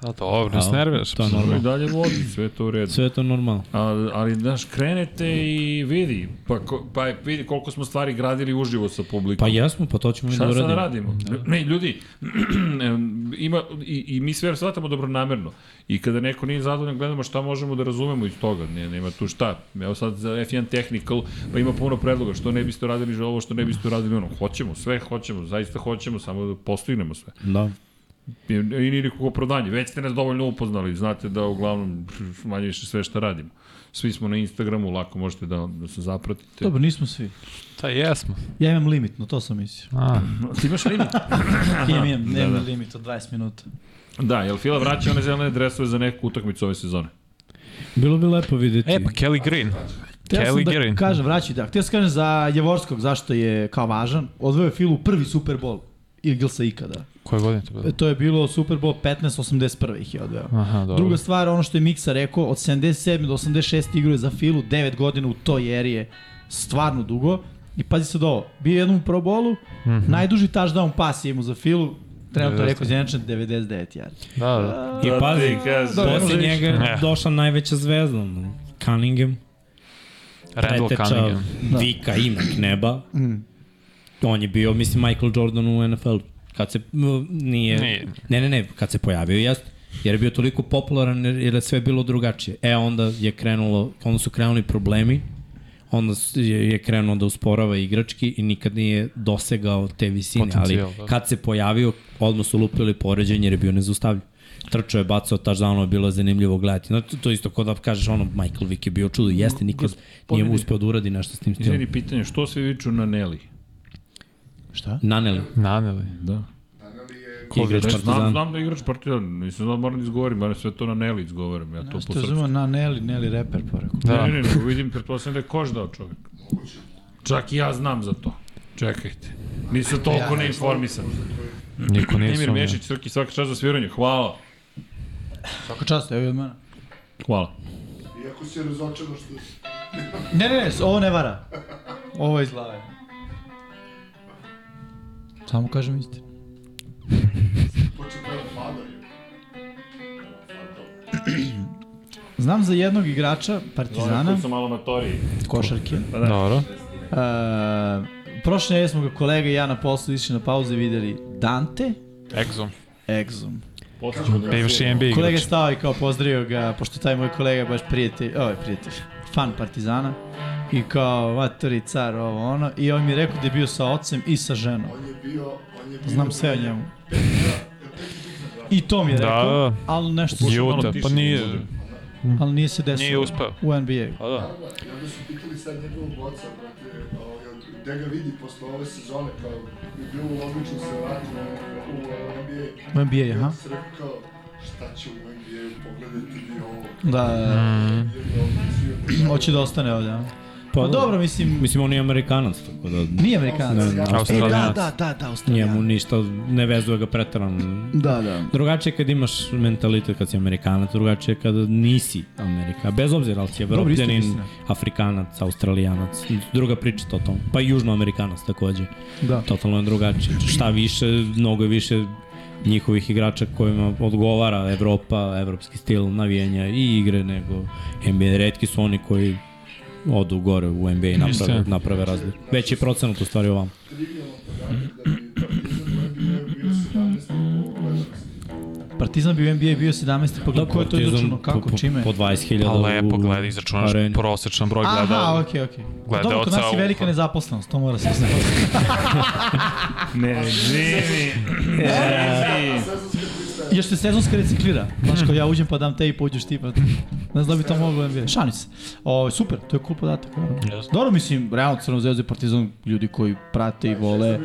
[SPEAKER 5] A dobro, ne
[SPEAKER 2] A,
[SPEAKER 5] snerviraš.
[SPEAKER 2] to je normalno.
[SPEAKER 1] I dalje vodi, sve je to u redu.
[SPEAKER 2] Sve je to normalno.
[SPEAKER 1] Ali, ali znaš, krenete i vidi, pa, ko, pa vidi koliko smo stvari gradili uživo sa publikom.
[SPEAKER 2] Pa jesmo, pa to ćemo i da
[SPEAKER 1] Šta
[SPEAKER 2] uradimo. Da.
[SPEAKER 1] sad radimo? Ne, ljudi, em, ima, i, i mi sve shvatamo dobronamerno. I kada neko nije zadovoljan, gledamo šta možemo da razumemo iz toga. Ne, nema tu šta. Evo sad za F1 Technical, pa ima puno predloga. Što ne biste radili ovo, što ne biste radili ono. Hoćemo, sve hoćemo, zaista hoćemo, samo da postignemo sve.
[SPEAKER 2] Da.
[SPEAKER 1] I, i nije nikako prodanje. Već ste nas dovoljno upoznali. Znate da uglavnom pff, manje više sve šta radimo. Svi smo na Instagramu, lako možete da, da se zapratite.
[SPEAKER 3] Dobro, nismo svi.
[SPEAKER 5] Ta jesmo.
[SPEAKER 3] Ja imam limit, no to sam mislio.
[SPEAKER 5] A,
[SPEAKER 1] Ti imaš limit?
[SPEAKER 3] Ja imam, da, da. limit od 20 minuta.
[SPEAKER 1] da, jel Fila vraća one zelene dresove za neku utakmicu ove sezone?
[SPEAKER 2] Bilo bi lepo videti.
[SPEAKER 5] e, pa Kelly Green.
[SPEAKER 3] Htio sam
[SPEAKER 5] Kelly
[SPEAKER 3] da
[SPEAKER 5] Green.
[SPEAKER 3] kažem, vraćaj da. Htio sam kažem za Javorskog, zašto je kao važan. Odveo je Filu prvi Super Bowl Eaglesa ikada.
[SPEAKER 5] Koje godine to bilo?
[SPEAKER 3] E, To je bilo Super Bowl 15-81 ih je odveo.
[SPEAKER 5] Aha, dobro.
[SPEAKER 3] Druga stvar, ono što je Miksa rekao, od 77 do 86 igrao je za Filu, 9 godina u toj eri je stvarno dugo. I pazi sad ovo, bio je jednom u Pro Bowlu, mm -hmm. najduži touchdown pas je imao za Filu, trenutno
[SPEAKER 5] 90.
[SPEAKER 3] rekao izjednačen 99 jari.
[SPEAKER 5] Da, da.
[SPEAKER 2] I
[SPEAKER 1] E,
[SPEAKER 2] pazi,
[SPEAKER 1] ti kažem.
[SPEAKER 2] posle
[SPEAKER 1] Dobro.
[SPEAKER 2] njega je
[SPEAKER 5] Eh.
[SPEAKER 2] došla najveća zvezda. ono, Cunningham,
[SPEAKER 5] Randall
[SPEAKER 2] preteča
[SPEAKER 5] Cunningham.
[SPEAKER 2] Vika inak neba. On je bio, mislim, Michael Jordan u NFL. Kad se, m, nije,
[SPEAKER 5] Nije.
[SPEAKER 2] ne, ne, ne, kad se pojavio, jeste. Jer je bio toliko popularan, jer jer je sve bilo drugačije. E, onda je krenulo, onda su krenuli problemi, onda s- je, je krenuo da usporava igrački i nikad nije dosegao te visine.
[SPEAKER 5] Potencijal,
[SPEAKER 2] ali
[SPEAKER 5] da.
[SPEAKER 2] kad se pojavio, odmah su lupili poređenje jer je bio nezaustavljiv. Trčao je, bacao touchdown, bilo je zanimljivo gledati. No, to, to isto kod da kažeš ono, Michael Vick je bio čudo, jeste, nikad nije uspeo da uradi nešto s tim stilom.
[SPEAKER 1] Izvini pitanje, što svi viču na Neli?
[SPEAKER 3] Šta?
[SPEAKER 2] Naneli,
[SPEAKER 5] Naneli.
[SPEAKER 1] Da.
[SPEAKER 2] igrač
[SPEAKER 1] Ne, znam,
[SPEAKER 2] Partizana.
[SPEAKER 1] znam da je igrač Partizan, nisam znao da moram da izgovorim, ali sve to na Neli izgovaram, ja to po
[SPEAKER 3] Što je
[SPEAKER 1] srcu.
[SPEAKER 3] zumeo na Nelly, Nelly reper, pa rekao.
[SPEAKER 1] Ne,
[SPEAKER 5] Da.
[SPEAKER 1] ne, ne, nego vidim, pretpostavljam da je koš dao čovjek. Čak i ja znam za to. Čekajte. Nisam toliko neinformisan.
[SPEAKER 5] Niko nije
[SPEAKER 1] Nemir
[SPEAKER 5] sumnio.
[SPEAKER 1] Mešić, Srki, svaka čast za sviranje. Hvala.
[SPEAKER 3] Svaka čast, Pa evo je od mene.
[SPEAKER 1] Hvala.
[SPEAKER 4] Iako si razočaran što
[SPEAKER 3] Ne, ne, ne, ovo ne vara. Ovo je iz glave. Samo kažem istinu.
[SPEAKER 4] počeo da pada.
[SPEAKER 3] Znam za jednog igrača Partizana,
[SPEAKER 1] Koji su malo na Toriji.
[SPEAKER 3] košarke.
[SPEAKER 5] Dobro.
[SPEAKER 3] Uh, prošle nedelje smo ga kolega i ja na poslu išli na pauzu i videli Dante
[SPEAKER 5] Exum.
[SPEAKER 3] Exum.
[SPEAKER 1] Podsjećamo da
[SPEAKER 5] Bivši NBA igrač.
[SPEAKER 3] Kolega je stao i kao pozdravio ga, pošto taj moj kolega je baš prijatelj, ovo je prijatelj, fan Partizana. I kao, vaturi car, ovo ono. I on mi je rekao da je bio sa ocem i sa ženom.
[SPEAKER 4] On je bio, on je bio...
[SPEAKER 3] Znam sve o njemu. I to mi je
[SPEAKER 5] Da,
[SPEAKER 3] rekao,
[SPEAKER 5] da.
[SPEAKER 3] ali nešto se,
[SPEAKER 5] Juta, pa nije,
[SPEAKER 3] ali nije se desilo.
[SPEAKER 5] nije uspeo.
[SPEAKER 3] U NBA.
[SPEAKER 5] Pa da.
[SPEAKER 4] I onda su pitali sad njegovog oca, brate, ovaj, od- gde ga vidi posle ove sezone, kao je bilo logično se vrati na u NBA.
[SPEAKER 3] U NBA,
[SPEAKER 4] I
[SPEAKER 3] aha.
[SPEAKER 4] onda se rekao, šta će u NBA, pogledajte mi ovo.
[SPEAKER 3] Da, da, da.
[SPEAKER 4] Mm.
[SPEAKER 3] hoće da ostane ovdje. a? Pa dobro, mislim,
[SPEAKER 2] Mislim, on je Amerikanac, tako da
[SPEAKER 3] nije Amerikanac.
[SPEAKER 2] Ne, ne,
[SPEAKER 3] E, da,
[SPEAKER 5] Australijanac.
[SPEAKER 3] da, da, da, Australijanac.
[SPEAKER 2] njemu ništa ne vezuje ga pretarano.
[SPEAKER 3] Da, da.
[SPEAKER 2] Drugačije je kad imaš mentalitet kad si Amerikanac, drugačije je kada nisi Amerika. Bez obzira ali si
[SPEAKER 3] Dobro, isto da.
[SPEAKER 2] Evropljanin,
[SPEAKER 3] istina.
[SPEAKER 2] Afrikanac, Australijanac, druga priča totalno. Pa i Južnoamerikanac takođe.
[SPEAKER 3] Da.
[SPEAKER 2] Totalno je drugačije. Šta više, mnogo je više njihovih igrača kojima odgovara Evropa, evropski stil navijanja i igre nego NBA. Redki su oni koji odu gore u NBA i naprave,
[SPEAKER 5] Istina.
[SPEAKER 2] naprave razliku. Veći je procenat u stvari ovam.
[SPEAKER 4] da
[SPEAKER 3] Partizan bi u NBA bio 17. Pa gledaj, ko je to
[SPEAKER 2] Partizan
[SPEAKER 3] izračuno,
[SPEAKER 2] po-
[SPEAKER 3] kako,
[SPEAKER 2] po-
[SPEAKER 3] čime?
[SPEAKER 2] Po 20.000
[SPEAKER 5] Pa lepo,
[SPEAKER 2] u
[SPEAKER 5] gledaj, izračunaš
[SPEAKER 2] areni.
[SPEAKER 5] prosečan broj
[SPEAKER 3] Aha,
[SPEAKER 5] gleda.
[SPEAKER 3] okej, okej. Okay.
[SPEAKER 5] gledaoca
[SPEAKER 3] Dobro, kod nas
[SPEAKER 5] u-
[SPEAKER 3] je velika nezaposlenost, to mora se znati.
[SPEAKER 1] Ne, živi.
[SPEAKER 4] Sezonska pristaje.
[SPEAKER 3] Još se sezonska reciklira. Znaš, kao ja uđem pa dam te i pođeš ti. Pa... Ne znam da bi to moglo NBA. Šalim se. O, super, to je cool podatak. naravno.
[SPEAKER 5] Jasno.
[SPEAKER 3] Dobro, mislim, realno Crno zvezda i Partizan, ljudi koji prate i vole,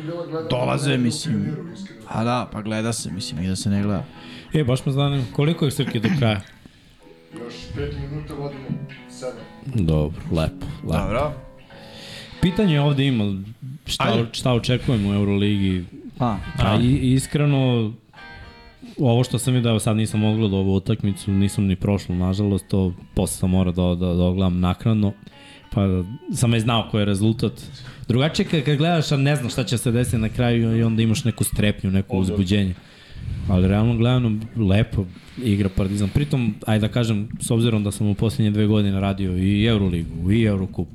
[SPEAKER 3] dolaze, mislim. A da, pa gleda se, mislim, negde se ne gleda.
[SPEAKER 2] E, baš me zanima, koliko je Srki do kraja?
[SPEAKER 4] Još 5 minuta vodimo 7.
[SPEAKER 2] Dobro, lepo, lepo.
[SPEAKER 1] Dobro.
[SPEAKER 2] Pitanje ovde ima, šta, šta očekujemo u Euroligi?
[SPEAKER 3] A,
[SPEAKER 2] A i, i iskreno, ovo što sam video, sad nisam ogledao ovu utakmicu, nisam ni prošlo, nažalost, to posle sam morao da, da, da ogledam naknadno, pa sam je znao koji je rezultat. Drugačije kad, kad gledaš, a ne znam šta će se desiti na kraju i onda imaš neku strepnju, neko uzbuđenje. Ali realno gledano, lepo igra Partizan. Pritom, ajde da kažem, s obzirom da sam u posljednje dve godine radio i Euroligu, i Eurocup,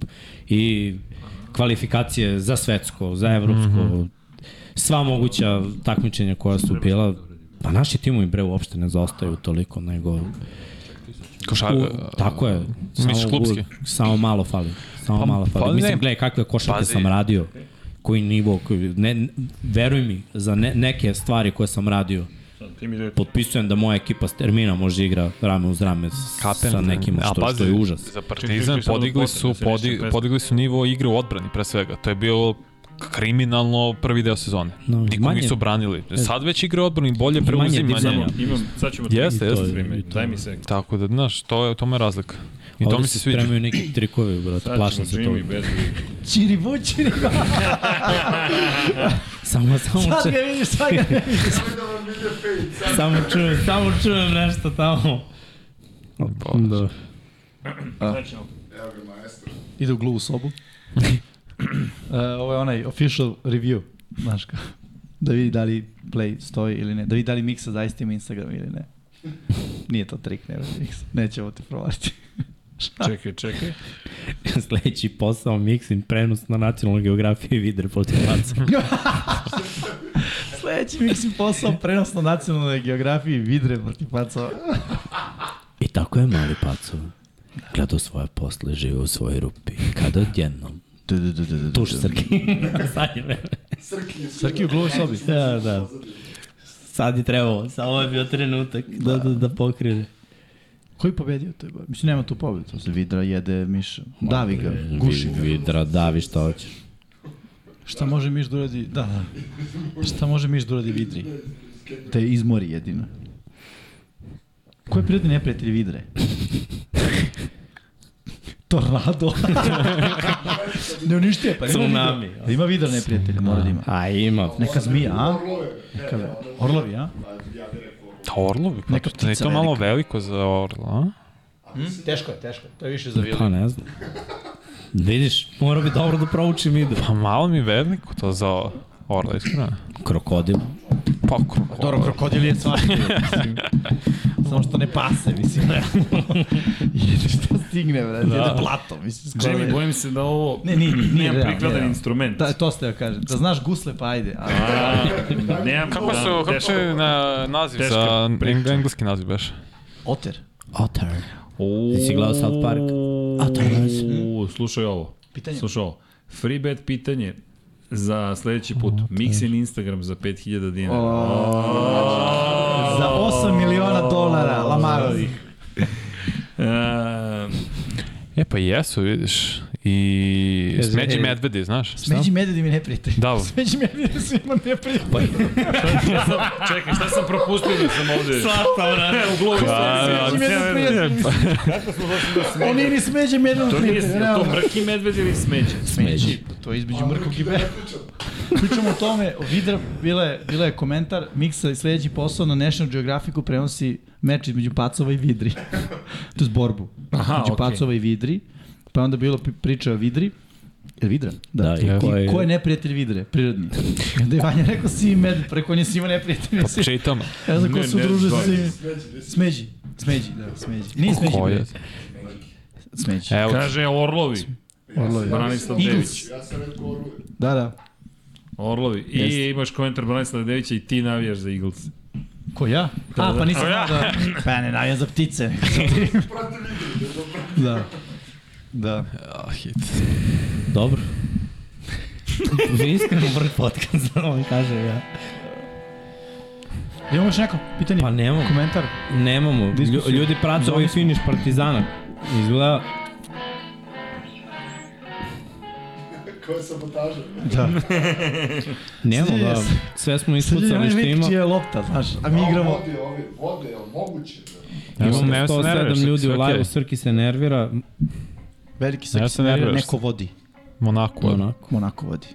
[SPEAKER 2] i kvalifikacije za svetsko, za evropsko, mm -hmm sva moguća takmičenja koja su bila,
[SPEAKER 1] da
[SPEAKER 2] pa naši timovi bre uopšte ne zaostaju toliko, nego...
[SPEAKER 5] Košar,
[SPEAKER 2] U, tako je. Samo,
[SPEAKER 5] Pa, misliš klubski?
[SPEAKER 2] u- samo malo fali. Samo
[SPEAKER 5] Pa-
[SPEAKER 2] malo fali.
[SPEAKER 5] pa
[SPEAKER 2] Mislim,
[SPEAKER 5] ne.
[SPEAKER 2] gledaj kakve košarke
[SPEAKER 5] Pazi.
[SPEAKER 2] sam radio, koji nivo, koji, ne, ne- veruj mi, za ne, neke stvari koje sam radio, potpisujem da moja ekipa s termina može da igra rame uz rame s,
[SPEAKER 5] Kapen,
[SPEAKER 2] sa nekim,
[SPEAKER 5] a
[SPEAKER 2] što,
[SPEAKER 5] pazi,
[SPEAKER 2] što je užas.
[SPEAKER 5] Za
[SPEAKER 1] Čekaj, čekaj,
[SPEAKER 5] Partizan
[SPEAKER 1] samo
[SPEAKER 5] podigli
[SPEAKER 1] posle,
[SPEAKER 5] su,
[SPEAKER 1] da se
[SPEAKER 5] podi,
[SPEAKER 1] rešim pesma.
[SPEAKER 5] podigli su nivo igre u odbrani, pre svega. To je bilo kriminalno prvi deo sezone.
[SPEAKER 2] No,
[SPEAKER 5] No, Nikog
[SPEAKER 2] manje- E-
[SPEAKER 5] nisu branili. Sad već igre u odbrani, bolje preuzimanje.
[SPEAKER 2] dizanja.
[SPEAKER 1] Imam, sad ćemo...
[SPEAKER 5] Jeste,
[SPEAKER 1] I to
[SPEAKER 5] jeste.
[SPEAKER 1] je, i to je. Daj mi se.
[SPEAKER 5] Tako da, znaš, to je, to me razlika. I
[SPEAKER 2] Ovde
[SPEAKER 5] to mi se sviđa.
[SPEAKER 2] Spremaju neki trikovi, brate,
[SPEAKER 1] Sad
[SPEAKER 2] plašim
[SPEAKER 1] ćemo
[SPEAKER 2] se toga.
[SPEAKER 1] Jimmy bez...
[SPEAKER 3] čiribu, čiribu.
[SPEAKER 2] Samo, samo,
[SPEAKER 3] Sad
[SPEAKER 2] če,
[SPEAKER 3] ga vidiš, sad ga ne vidiš.
[SPEAKER 4] Ajde da vam ide fade, sad.
[SPEAKER 2] samo čujem, samo čujem nešto tamo. Da.
[SPEAKER 4] Evo ga maestro.
[SPEAKER 3] Ide u gluvu sobu. uh, ovo je onaj official review, znaš kao. Da vidi da li play stoji ili ne. Da vidi da li Miksa zaista ima Instagram ili ne. Nije to trik, ne vrati Miksa. Neće ovo te provaliti.
[SPEAKER 1] Čekaj, čekaj.
[SPEAKER 2] Sledeći posao, miksim, prenos na nacionalnoj geografiji Vider Potivaca.
[SPEAKER 3] Sledeći Miksin posao, prenos na nacionalnoj geografiji, vidre protiv pacova.
[SPEAKER 2] I tako je mali paco. Gledao svoje posle, žive u svojoj rupi. Kada odjednom.
[SPEAKER 3] Da.
[SPEAKER 2] Tuš Srki. Sad je vreme.
[SPEAKER 4] Srki je
[SPEAKER 3] Srki u gluvu sobi.
[SPEAKER 2] Da, da. Sad je trebao. Samo je bio trenutak da, da, da pokrene.
[SPEAKER 3] Ko je pobedio to je? bar- Mislim, nema tu pobedu. To se vidra jede miša. Davi ga, guši ga.
[SPEAKER 2] Vidra, davi šta hoćeš.
[SPEAKER 3] Šta može miš da uradi? Da, da. Šta može miš da uradi vidri? Te izmori jedino. Ko je prirodni neprijatelj vidre? Tornado. ne uništio, pa ima
[SPEAKER 2] Tsunami.
[SPEAKER 3] vidra. Da ima vidra neprijatelja, mora da ima.
[SPEAKER 2] A ima.
[SPEAKER 3] Neka zmija, a?
[SPEAKER 4] Orlove.
[SPEAKER 3] Neka ve- Orlovi, a?
[SPEAKER 5] Ta Orlovi, pa
[SPEAKER 3] Neka
[SPEAKER 5] to je
[SPEAKER 3] ptica
[SPEAKER 5] to malo veliko za Orla, a?
[SPEAKER 3] Teško je, teško. To je više za
[SPEAKER 2] Pa ne znam. Vidiš, mora bi dobro da proučim idu.
[SPEAKER 5] Pa malo mi veliko to za Orla, iskreno.
[SPEAKER 2] Krokodil.
[SPEAKER 5] Pa kroko.
[SPEAKER 3] Dobro, krokodil je svašta. mislim. Samo što ne pase, mislim. Jede što stigne, brad. Da. Jede plato, mislim. skoro je.
[SPEAKER 1] Jimmy, bojim se da ovo...
[SPEAKER 3] Ne, nije, nije, nije
[SPEAKER 1] Nemam
[SPEAKER 3] realno.
[SPEAKER 1] prikladan
[SPEAKER 3] nije.
[SPEAKER 1] instrument.
[SPEAKER 3] Da, to ste joj kažem. Da znaš gusle, pa ajde. Ali,
[SPEAKER 1] A, nemam...
[SPEAKER 5] Kako
[SPEAKER 1] da,
[SPEAKER 5] su, kako
[SPEAKER 1] teško.
[SPEAKER 5] su na naziv
[SPEAKER 1] Teška
[SPEAKER 5] za
[SPEAKER 1] priča.
[SPEAKER 5] eng- engleski naziv beš?
[SPEAKER 3] oter.
[SPEAKER 2] Otter. Jesi gledao South Park? A to je nice.
[SPEAKER 1] U, slušaj ovo.
[SPEAKER 3] Pitanje.
[SPEAKER 1] Slušaj ovo. Free bet pitanje za sledeći put. Mixin Instagram za 5000 dinara.
[SPEAKER 3] Za 8 miliona dolara, Lamarovi.
[SPEAKER 1] E,
[SPEAKER 5] E pa jesu, vidiš. I smeđi medvedi, znaš?
[SPEAKER 3] Smeđi medvedi mi ne prijatelj.
[SPEAKER 5] Da.
[SPEAKER 3] Smeđi medvedi svima ne prijatelj. Pa,
[SPEAKER 1] šta sam, čekaj, šta sam propustio da sam ovde? Svašta, vrati. U glavi
[SPEAKER 5] da,
[SPEAKER 1] sam.
[SPEAKER 3] smeđi medvedi prijatelj. mislim. Oni ni smeđi medvedi
[SPEAKER 1] pa, To nije,
[SPEAKER 3] prijatelj.
[SPEAKER 1] je to mrki medved ili smeđe?
[SPEAKER 3] Smeđi. To je između mrkog i be. Pričamo o tome, o Vidra, bila je, bila je komentar, Miksa i sledeći posao na National Geographicu prenosi meč između Pacova i Vidri. to je borbu.
[SPEAKER 1] Aha,
[SPEAKER 3] između
[SPEAKER 1] okej.
[SPEAKER 3] Pacova i Vidri. Pa je onda bilo pi- priča o Vidri. Je li Vidra?
[SPEAKER 2] Da, i ko je-
[SPEAKER 3] I ko je neprijatelj Vidre, prirodni? I onda je Vanja rekao si med, preko nje si imao neprijatelj.
[SPEAKER 5] Pa čitam.
[SPEAKER 3] Ja znam ko
[SPEAKER 1] Ne,
[SPEAKER 3] se
[SPEAKER 1] ne,
[SPEAKER 3] udružuje sa
[SPEAKER 1] da.
[SPEAKER 3] svim. Smeđi. Smeđi, da, smeđi. Nije smeđi.
[SPEAKER 5] Ko je? E,
[SPEAKER 3] bre. Smeđi.
[SPEAKER 5] Evo,
[SPEAKER 1] Kaže Orlovi.
[SPEAKER 3] Orlovi.
[SPEAKER 1] Branislav Dević.
[SPEAKER 3] Eagles.
[SPEAKER 4] Ja sam rekao Orlove.
[SPEAKER 3] Da, da.
[SPEAKER 1] Orlovi. I imaš komentar Branislava Devića i ti navijaš za Eagles.
[SPEAKER 3] Ko ja? A, pa nisam znao da... Pa ja ne navijam za ptice. da. Da.
[SPEAKER 5] a, hit.
[SPEAKER 2] Dobro. Vi iskreno prvi podcast, da vam kaže ja.
[SPEAKER 3] Imamo još neko pitanje?
[SPEAKER 2] Pa nemamo.
[SPEAKER 3] Komentar?
[SPEAKER 2] Nemamo. Lju,
[SPEAKER 3] Diskusiju.
[SPEAKER 2] ljudi prate
[SPEAKER 3] Zoni
[SPEAKER 2] ovaj
[SPEAKER 3] smo.
[SPEAKER 2] finiš Partizana. Izgleda
[SPEAKER 4] Koja je sabotaža?
[SPEAKER 3] Da.
[SPEAKER 2] Nemamo
[SPEAKER 3] Srđan,
[SPEAKER 2] da,
[SPEAKER 3] jes-
[SPEAKER 2] sve smo
[SPEAKER 3] Srđan,
[SPEAKER 2] ispucali
[SPEAKER 3] onaj
[SPEAKER 2] što
[SPEAKER 3] lik
[SPEAKER 2] ima.
[SPEAKER 3] čija je lopta, znaš, a mi
[SPEAKER 4] A
[SPEAKER 3] igramo...
[SPEAKER 4] Vode, ove, vode, je li moguće? Da?
[SPEAKER 5] se-
[SPEAKER 2] Imamo
[SPEAKER 5] ne, ja se nerviram,
[SPEAKER 2] 107 ljudi u
[SPEAKER 5] sve okej.
[SPEAKER 2] live, Srki se nervira,
[SPEAKER 3] Veliki
[SPEAKER 5] Ja
[SPEAKER 3] srki
[SPEAKER 5] se nerviram što-
[SPEAKER 3] neko vodi.
[SPEAKER 5] Monako. Monako.
[SPEAKER 2] onako.
[SPEAKER 3] Monako vodi.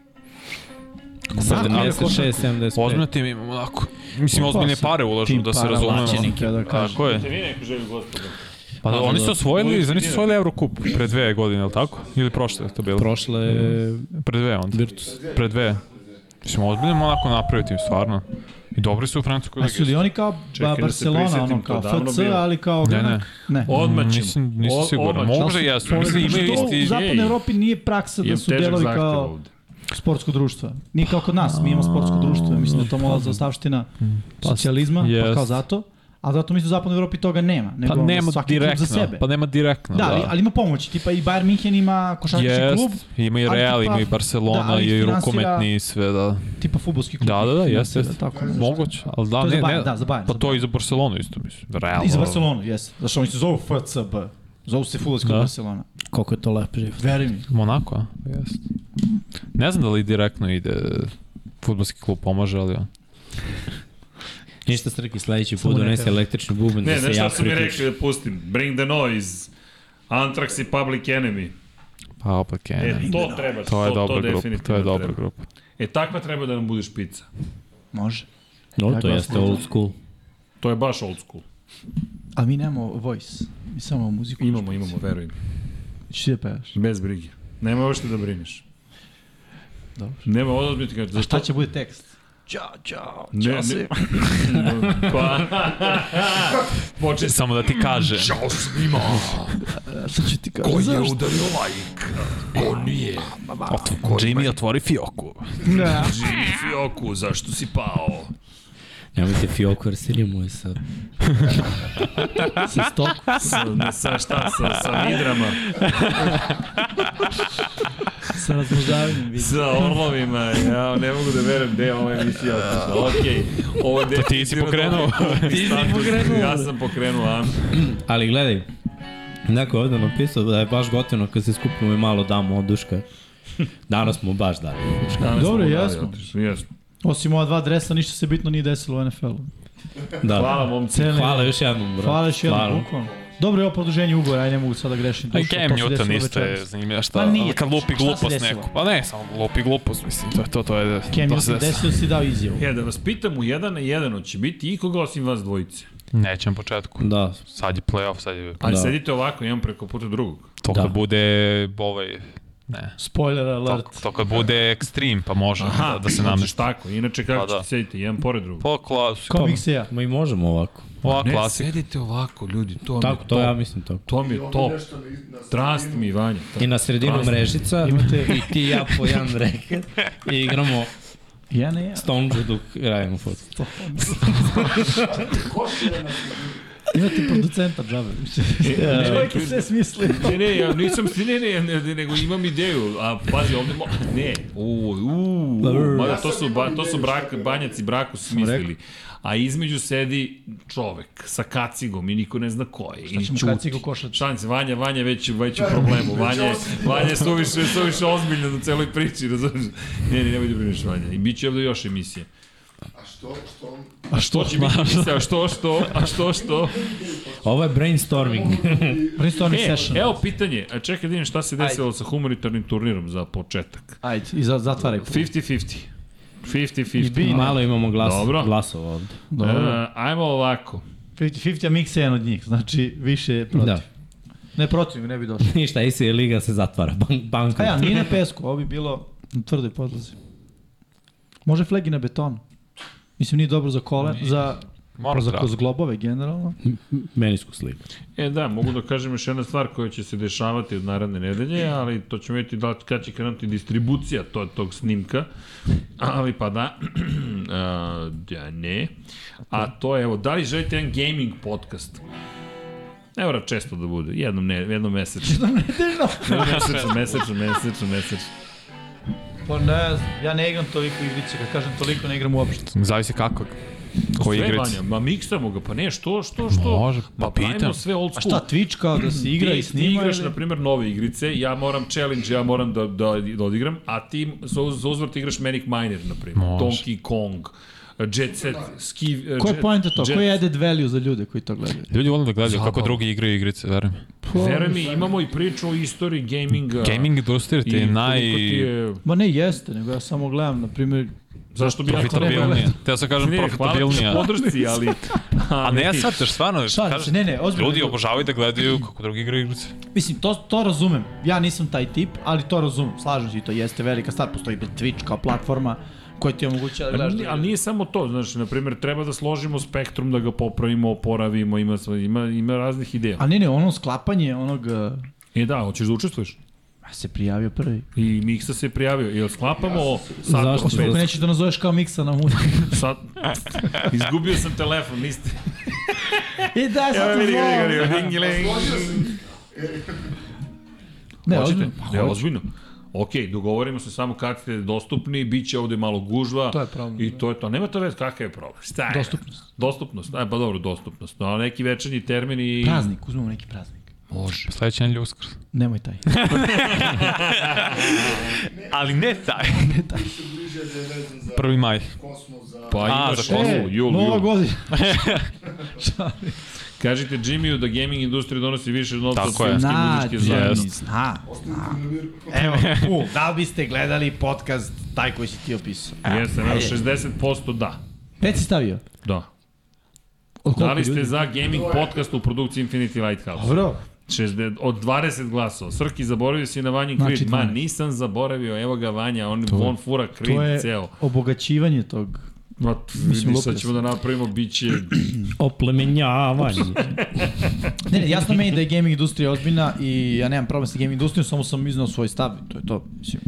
[SPEAKER 3] Kako
[SPEAKER 2] 76, 75.
[SPEAKER 5] Ozbiljno tim ima Monako. Mislim,
[SPEAKER 3] Pa,
[SPEAKER 5] ozbiljne
[SPEAKER 3] sam-
[SPEAKER 5] pare ulažu,
[SPEAKER 3] tim
[SPEAKER 5] da se
[SPEAKER 3] para
[SPEAKER 5] razumemo.
[SPEAKER 3] mlađeni, kada kažem.
[SPEAKER 5] Tako je. da
[SPEAKER 1] Te vi neku želju gospoda.
[SPEAKER 5] Pa da, oni su osvojili,
[SPEAKER 1] Uvijek
[SPEAKER 5] zar nisu
[SPEAKER 1] dinara.
[SPEAKER 5] osvojili Eurocup pre dve godine, je li tako? Ili prošle je to bilo?
[SPEAKER 2] Prošle je
[SPEAKER 5] Pre dve onda.
[SPEAKER 2] Virtus.
[SPEAKER 5] Pre dve. Mislim, ozbiljno Monako napravio tim, stvarno. I dobri su u Francuskoj
[SPEAKER 3] A Pa su
[SPEAKER 5] ligi.
[SPEAKER 3] li oni kao
[SPEAKER 1] Čekaj
[SPEAKER 3] ba,
[SPEAKER 1] da se
[SPEAKER 3] Barcelona,
[SPEAKER 1] prisetim,
[SPEAKER 3] ono
[SPEAKER 1] to
[SPEAKER 3] kao
[SPEAKER 1] davno
[SPEAKER 3] FC,
[SPEAKER 1] bilo.
[SPEAKER 3] ali kao...
[SPEAKER 5] da, Ne, ne.
[SPEAKER 3] ne.
[SPEAKER 1] Odmah ćemo.
[SPEAKER 5] Nisam, nisam
[SPEAKER 1] O-
[SPEAKER 5] siguran.
[SPEAKER 1] odmah ćemo.
[SPEAKER 5] Možda jesu. Mislim, imaju
[SPEAKER 3] Što
[SPEAKER 5] isti...
[SPEAKER 3] u zapadnoj
[SPEAKER 1] ej.
[SPEAKER 3] Evropi nije praksa da
[SPEAKER 1] Imam
[SPEAKER 3] su
[SPEAKER 1] težak
[SPEAKER 3] delovi
[SPEAKER 1] zahtev
[SPEAKER 3] kao
[SPEAKER 1] ovde.
[SPEAKER 3] sportsko društvo. Nije kao kod nas, mi imamo sportsko društvo, ja mislim da je to
[SPEAKER 5] pa
[SPEAKER 3] mola za ostavština socijalizma, pa
[SPEAKER 5] Mm, jest.
[SPEAKER 3] kao zato. A zato mislim da u zapadnoj Evropi toga nema, nego
[SPEAKER 5] Pa nema
[SPEAKER 3] svaki klub
[SPEAKER 5] direktno.
[SPEAKER 3] za sebe.
[SPEAKER 5] Pa nema direktno,
[SPEAKER 3] Da, ali,
[SPEAKER 5] da.
[SPEAKER 3] ali ima pomoći, tipa i Bayern München ima košarkaški
[SPEAKER 5] Jest,
[SPEAKER 3] klub,
[SPEAKER 5] ima i
[SPEAKER 3] ali
[SPEAKER 5] Real,
[SPEAKER 3] tipa-
[SPEAKER 5] ima i Barcelona,
[SPEAKER 3] da, ali
[SPEAKER 5] i
[SPEAKER 3] finansira-
[SPEAKER 5] rukometni i sve, da.
[SPEAKER 3] tipa fudbalski klub.
[SPEAKER 5] Da, da, da, jeste,
[SPEAKER 3] Finansira,
[SPEAKER 5] jeste.
[SPEAKER 3] Tako, nešto.
[SPEAKER 5] Moguće, ali da,
[SPEAKER 3] To je
[SPEAKER 5] ne,
[SPEAKER 3] za Bayern,
[SPEAKER 5] ne.
[SPEAKER 3] da, za Bayern,
[SPEAKER 5] Pa
[SPEAKER 3] za
[SPEAKER 5] to i za Barcelonu isto, mislim. Realno.
[SPEAKER 3] I za Barcelonu, jeste. Zašto oni se zovu FCB. Zovu se fudbalski klub
[SPEAKER 5] Da.
[SPEAKER 3] Barcelona.
[SPEAKER 2] Koliko je to lep život.
[SPEAKER 3] Veruj mi.
[SPEAKER 5] Monako, um, a? Jest. Ne znam da li direktno ide futbolski klub pomaže, ali ja.
[SPEAKER 2] Ništa Srki, sledeći
[SPEAKER 3] Samo
[SPEAKER 2] put
[SPEAKER 3] ne
[SPEAKER 2] donese
[SPEAKER 3] kažem.
[SPEAKER 2] električni buben
[SPEAKER 1] Ne,
[SPEAKER 2] da se
[SPEAKER 1] znaš šta
[SPEAKER 2] ja
[SPEAKER 1] su mi
[SPEAKER 2] priključim.
[SPEAKER 1] rekli da pustim? Bring the noise. Anthrax i Public Enemy.
[SPEAKER 5] Pa opak je.
[SPEAKER 1] E,
[SPEAKER 5] ne.
[SPEAKER 1] to treba,
[SPEAKER 5] To je dobra grupa, to
[SPEAKER 1] definitivno
[SPEAKER 5] je dobra
[SPEAKER 1] treba.
[SPEAKER 5] grupa.
[SPEAKER 1] E, takva treba da nam bude špica.
[SPEAKER 3] Može.
[SPEAKER 2] No, to
[SPEAKER 3] Tako
[SPEAKER 2] jeste
[SPEAKER 3] smo.
[SPEAKER 2] old school.
[SPEAKER 1] To je baš old school.
[SPEAKER 3] A mi nemamo voice. Mi samo muziku.
[SPEAKER 1] Imamo, imamo, veruj mi.
[SPEAKER 3] Ču ti da pevaš?
[SPEAKER 1] Bez brige. Nema uopšte da brineš.
[SPEAKER 3] Dobro.
[SPEAKER 1] Nema odobiti kaže.
[SPEAKER 3] A šta će bude tekst? Ćao, ćao,
[SPEAKER 1] Ne,
[SPEAKER 3] ćao
[SPEAKER 1] ne.
[SPEAKER 3] svima.
[SPEAKER 1] Pa... Poče sa...
[SPEAKER 5] Samo da ti kaže.
[SPEAKER 3] Sad ću ti kažem. Ko je udario
[SPEAKER 5] Jimmy, otvori fioku.
[SPEAKER 3] Da.
[SPEAKER 1] Živi Fioku, zašto si pao?
[SPEAKER 2] Nemojte Fioku, jer Sirija mu je sa...
[SPEAKER 3] Sa stoku.
[SPEAKER 1] Sa, sa šta? Sa, sa vidrama?
[SPEAKER 3] Sa razmnožavanjem vidi.
[SPEAKER 1] Sa orlovima? Ja ne mogu da verujem gde je ova emisija otišla. Okej. Ovo je
[SPEAKER 5] ti si
[SPEAKER 1] definitivno
[SPEAKER 5] pokrenuo.
[SPEAKER 1] dobar
[SPEAKER 2] Ti si
[SPEAKER 1] status.
[SPEAKER 2] pokrenuo.
[SPEAKER 1] Ja sam pokrenuo. a?
[SPEAKER 2] Ali gledaj, neko je ovde napisao da je baš gotivno kad se skupimo i malo damo od duška. Danas smo baš dali.
[SPEAKER 1] Danas
[SPEAKER 3] Dobro,
[SPEAKER 1] smo dali
[SPEAKER 3] jesmo.
[SPEAKER 1] otišli, Jesmo.
[SPEAKER 3] Osim ova dva dresa, ništa se bitno nije desilo u NFL-u.
[SPEAKER 2] Da.
[SPEAKER 1] Hvala momci.
[SPEAKER 3] Cene-
[SPEAKER 2] Hvala još jednom, brate.
[SPEAKER 3] Hvala još jednom,
[SPEAKER 2] Stvarno.
[SPEAKER 3] bukvalno. Dobro je ovo produženje ugovora, aj ne mogu sad da grešim
[SPEAKER 5] A i
[SPEAKER 3] dušu.
[SPEAKER 5] Cam
[SPEAKER 3] to se
[SPEAKER 5] Newton
[SPEAKER 3] desilo
[SPEAKER 5] isto je
[SPEAKER 3] večeras.
[SPEAKER 5] zanimljivo šta,
[SPEAKER 3] Pa nije.
[SPEAKER 5] kad lupi
[SPEAKER 3] Šta se
[SPEAKER 5] glupost
[SPEAKER 3] desilo?
[SPEAKER 5] neku. Pa ne, samo lupi glupost, mislim, to je to, to je...
[SPEAKER 3] Cam
[SPEAKER 5] to se
[SPEAKER 3] Newton
[SPEAKER 5] desi.
[SPEAKER 3] desio si dao izjavu.
[SPEAKER 1] Ja, da vas pitam u jedan na jedan, hoće biti ikoga osim vas dvojice.
[SPEAKER 5] Neće na početku.
[SPEAKER 2] Da,
[SPEAKER 5] Sad je playoff, sad je...
[SPEAKER 1] Ali
[SPEAKER 2] Da.
[SPEAKER 1] sedite ovako, imam preko puta drugog.
[SPEAKER 5] To
[SPEAKER 2] Da.
[SPEAKER 5] kad bude ovaj... Ne.
[SPEAKER 3] Spoiler
[SPEAKER 5] To,
[SPEAKER 3] alert.
[SPEAKER 5] to kad bude ekstrim, pa može
[SPEAKER 1] Aha, Znači
[SPEAKER 5] da, da se
[SPEAKER 1] hoćeš
[SPEAKER 5] namesti.
[SPEAKER 1] tako, inače kako
[SPEAKER 5] Pa da.
[SPEAKER 1] ćete sedite, jedan pored drugog.
[SPEAKER 5] Pa klas,
[SPEAKER 3] Kao bih se ja.
[SPEAKER 2] ma i možemo ovako.
[SPEAKER 5] ova
[SPEAKER 1] Ne,
[SPEAKER 5] klasika.
[SPEAKER 1] sedite ovako, ljudi, to mi
[SPEAKER 2] Tako,
[SPEAKER 1] je
[SPEAKER 2] to ja
[SPEAKER 1] top.
[SPEAKER 2] mislim to.
[SPEAKER 1] To mi je top.
[SPEAKER 4] da
[SPEAKER 1] Strast mi, Vanja.
[SPEAKER 2] I na sredinu
[SPEAKER 1] Krasno.
[SPEAKER 2] mrežica
[SPEAKER 3] Imate-
[SPEAKER 2] i ti i ja po jedan reket i igramo
[SPEAKER 3] Ja ne ja.
[SPEAKER 2] Stonju dok radimo futbol.
[SPEAKER 3] Imate producenta džabe.
[SPEAKER 1] Da,
[SPEAKER 3] Čovjek je sve smisli.
[SPEAKER 1] Ne, ne, ja nisam, ne, ne, ne, ne, nego imam ideju, a pazi, ovde, mo, ne, u, u, mada to su, ba, to su brak, banjaci braku smislili, a između sedi čovek sa kacigom i niko ne zna ko je, ili
[SPEAKER 3] ćemo
[SPEAKER 1] ćuti.
[SPEAKER 3] kacigu košač?
[SPEAKER 1] Šalim se, Vanja, Vanja je već, već u problemu, Vanja, je- Vanja je suviše, suviše ozbiljna na celoj priči, razumiješ? Ne, ne, nemoj da brineš Vanja, i bit će ovde još emisije.
[SPEAKER 4] A što, što on...
[SPEAKER 1] A što će biti emisija, a što, što, a što, što?
[SPEAKER 2] Ovo je brainstorming.
[SPEAKER 3] Brainstorming
[SPEAKER 1] E,
[SPEAKER 3] session.
[SPEAKER 1] evo pitanje, a čekaj da vidim šta se desilo sa humanitarnim turnirom za početak.
[SPEAKER 3] Ajde, i za, zatvaraj.
[SPEAKER 1] 50-50.
[SPEAKER 3] I bi-
[SPEAKER 1] 50-50.
[SPEAKER 2] Malo imamo glas,
[SPEAKER 1] Dobro.
[SPEAKER 2] glasova ovde.
[SPEAKER 1] Uh,
[SPEAKER 5] E,
[SPEAKER 3] Dobro.
[SPEAKER 1] ajmo ovako.
[SPEAKER 3] 50-50, a Miksa je jedan od njih, znači više je protiv.
[SPEAKER 2] Da.
[SPEAKER 3] Da. Ne protiv, ne bi došao.
[SPEAKER 2] Ništa, ACL liga se zatvara. Bank, banka.
[SPEAKER 3] A ja, nije na pesku, ovo bi bilo na tvrdoj podlazi. Može flegi na beton. Mislim, nije dobro za kole, za,
[SPEAKER 5] Mora
[SPEAKER 3] pa za
[SPEAKER 5] treba.
[SPEAKER 3] kroz globove generalno.
[SPEAKER 2] Meniskus liga.
[SPEAKER 1] E da, mogu da kažem još jedna stvar koja će se dešavati od naredne nedelje, ali to ćemo vidjeti da, kad će krenuti distribucija to, tog snimka. Ali pa da, a, da ne. A to je, evo, da li želite jedan gaming podcast? Ne mora često da bude, jednom, ne, jednom mesečno.
[SPEAKER 3] Nedeljno.
[SPEAKER 1] Jednom mesečno, mesečno, mesečno, mesečno.
[SPEAKER 3] Pa ne, znam, ja ne igram toliko igrice, kad kažem toliko ne igram uopšte.
[SPEAKER 5] Zavisi kako. Koji
[SPEAKER 1] sve
[SPEAKER 5] igrac?
[SPEAKER 1] Vanja, ma miksamo ga, pa ne, što, što, što?
[SPEAKER 5] Može,
[SPEAKER 1] pa
[SPEAKER 5] pa
[SPEAKER 1] pravimo
[SPEAKER 5] pitam.
[SPEAKER 1] sve old
[SPEAKER 3] A
[SPEAKER 1] school.
[SPEAKER 3] šta, Twitch kao da se igra
[SPEAKER 1] ti,
[SPEAKER 3] i snima?
[SPEAKER 1] Ti igraš,
[SPEAKER 3] ili?
[SPEAKER 1] na primjer, nove igrice, ja moram challenge, ja moram da, da, da odigram, a ti za, uz- za uzvrat igraš Manic Miner, na primjer,
[SPEAKER 5] Može.
[SPEAKER 1] Donkey Kong, Jet Set, Ski...
[SPEAKER 3] Ko je
[SPEAKER 1] Jet-
[SPEAKER 3] poenta to?
[SPEAKER 1] Jet
[SPEAKER 3] Koji je added value za ljude koji to gledaju?
[SPEAKER 5] Ljudi volim da gledaju kako
[SPEAKER 1] Zabavno.
[SPEAKER 5] drugi igraju igrice, verujem.
[SPEAKER 1] Veruj mi, imamo i priču o istoriji gaminga.
[SPEAKER 5] Gaming industrija ti je
[SPEAKER 1] Da. koliko
[SPEAKER 5] naj...
[SPEAKER 1] ti je-
[SPEAKER 3] Ma ne, jeste, nego ja samo gledam, na primjer,
[SPEAKER 1] Zašto bi ja to ne
[SPEAKER 5] Profitabilnija. Teo sam kažem
[SPEAKER 1] Ne, hvala ti na
[SPEAKER 5] profitabilnija.
[SPEAKER 1] podršci, ali...
[SPEAKER 5] A ne, ja sad, teš stvarno,
[SPEAKER 3] Šalim se, znači,
[SPEAKER 5] kažem,
[SPEAKER 3] ne, ne, ozbiljno.
[SPEAKER 5] ljudi obožavaju da gledaju kako drugi igraju igrice.
[SPEAKER 3] Mislim, to, to razumem. Ja nisam taj tip, ali to razumem. Slažem se i to jeste velika stvar. Postoji Twitch kao platforma koja ti omogućava da
[SPEAKER 1] Ali
[SPEAKER 3] gledaš.
[SPEAKER 1] nije- Ali nije samo to, znaš, na primjer, treba da složimo spektrum, da ga popravimo, oporavimo, ima, sva- ima, ima raznih ideja.
[SPEAKER 3] A ne, ne, ono sklapanje onog... eh,
[SPEAKER 1] E da, hoćeš da učestvuješ?
[SPEAKER 3] Ja se prijavio prvi.
[SPEAKER 1] I Miksa se prijavio. Jel sklapamo sad
[SPEAKER 2] Zašto?
[SPEAKER 1] od
[SPEAKER 3] Kako
[SPEAKER 1] pet?
[SPEAKER 3] nećeš da nazoveš kao miksa na muziku?
[SPEAKER 1] Sad... Izgubio sam telefon, niste...
[SPEAKER 3] I da, sam te zvao.
[SPEAKER 4] Složio sam.
[SPEAKER 3] Ne,
[SPEAKER 1] Hoćete?
[SPEAKER 3] ozbiljno.
[SPEAKER 1] Ne, ozbiljno. Ok, dogovorimo se samo kad ste dostupni, bit će ovde malo gužva.
[SPEAKER 3] To je problem,
[SPEAKER 1] I to je to. Nema to vez, kakav je problem? Šta je?
[SPEAKER 3] Dostupnost.
[SPEAKER 1] Dostupnost, aj, pa dobro, dostupnost. No, neki večernji termin i...
[SPEAKER 3] Praznik, uzmemo neki praznik.
[SPEAKER 1] Može.
[SPEAKER 5] Sledeći nedelj uskrs.
[SPEAKER 3] Nemoj taj.
[SPEAKER 5] Ali ne taj.
[SPEAKER 4] Mislim bliže da je vezan za
[SPEAKER 5] Prvi maj.
[SPEAKER 4] kosmos, za...
[SPEAKER 1] Pa
[SPEAKER 5] A,
[SPEAKER 1] imaš
[SPEAKER 5] za
[SPEAKER 1] jul,
[SPEAKER 5] kosmu,
[SPEAKER 1] jul, jul.
[SPEAKER 3] E, Nova godina.
[SPEAKER 1] Kažite Jimmyu da gaming industrija donosi više novca od
[SPEAKER 5] Tako je.
[SPEAKER 1] filmske muzičke
[SPEAKER 3] Nađeni,
[SPEAKER 1] zajednice.
[SPEAKER 3] na. Znači, Evo, u, da li biste gledali podcast taj koji si ti opisao?
[SPEAKER 1] Jeste, na 60% da.
[SPEAKER 3] Pet si stavio?
[SPEAKER 1] Da.
[SPEAKER 3] Od
[SPEAKER 1] Da
[SPEAKER 3] koliko
[SPEAKER 1] li ste
[SPEAKER 3] ljudi?
[SPEAKER 1] za gaming podcast u produkciji Infinity Lighthouse?
[SPEAKER 3] Dobro.
[SPEAKER 1] 60, od 20 glasova. Srki, zaboravio si na Vanji Creed.
[SPEAKER 3] Znači
[SPEAKER 1] Ma,
[SPEAKER 3] 12.
[SPEAKER 1] nisam zaboravio. Evo ga Vanja, on, on fura Creed
[SPEAKER 3] To je
[SPEAKER 1] ceo.
[SPEAKER 3] obogaćivanje tog.
[SPEAKER 1] Ma, vidi,
[SPEAKER 3] lupio
[SPEAKER 1] sad ćemo da napravimo biće...
[SPEAKER 2] Oplemenjavanje.
[SPEAKER 3] Ne, ne, jasno meni da je gaming industrija ozbiljna i ja nemam problem sa gaming industrijom, samo sam iznao svoj stav i to je to. Mislim,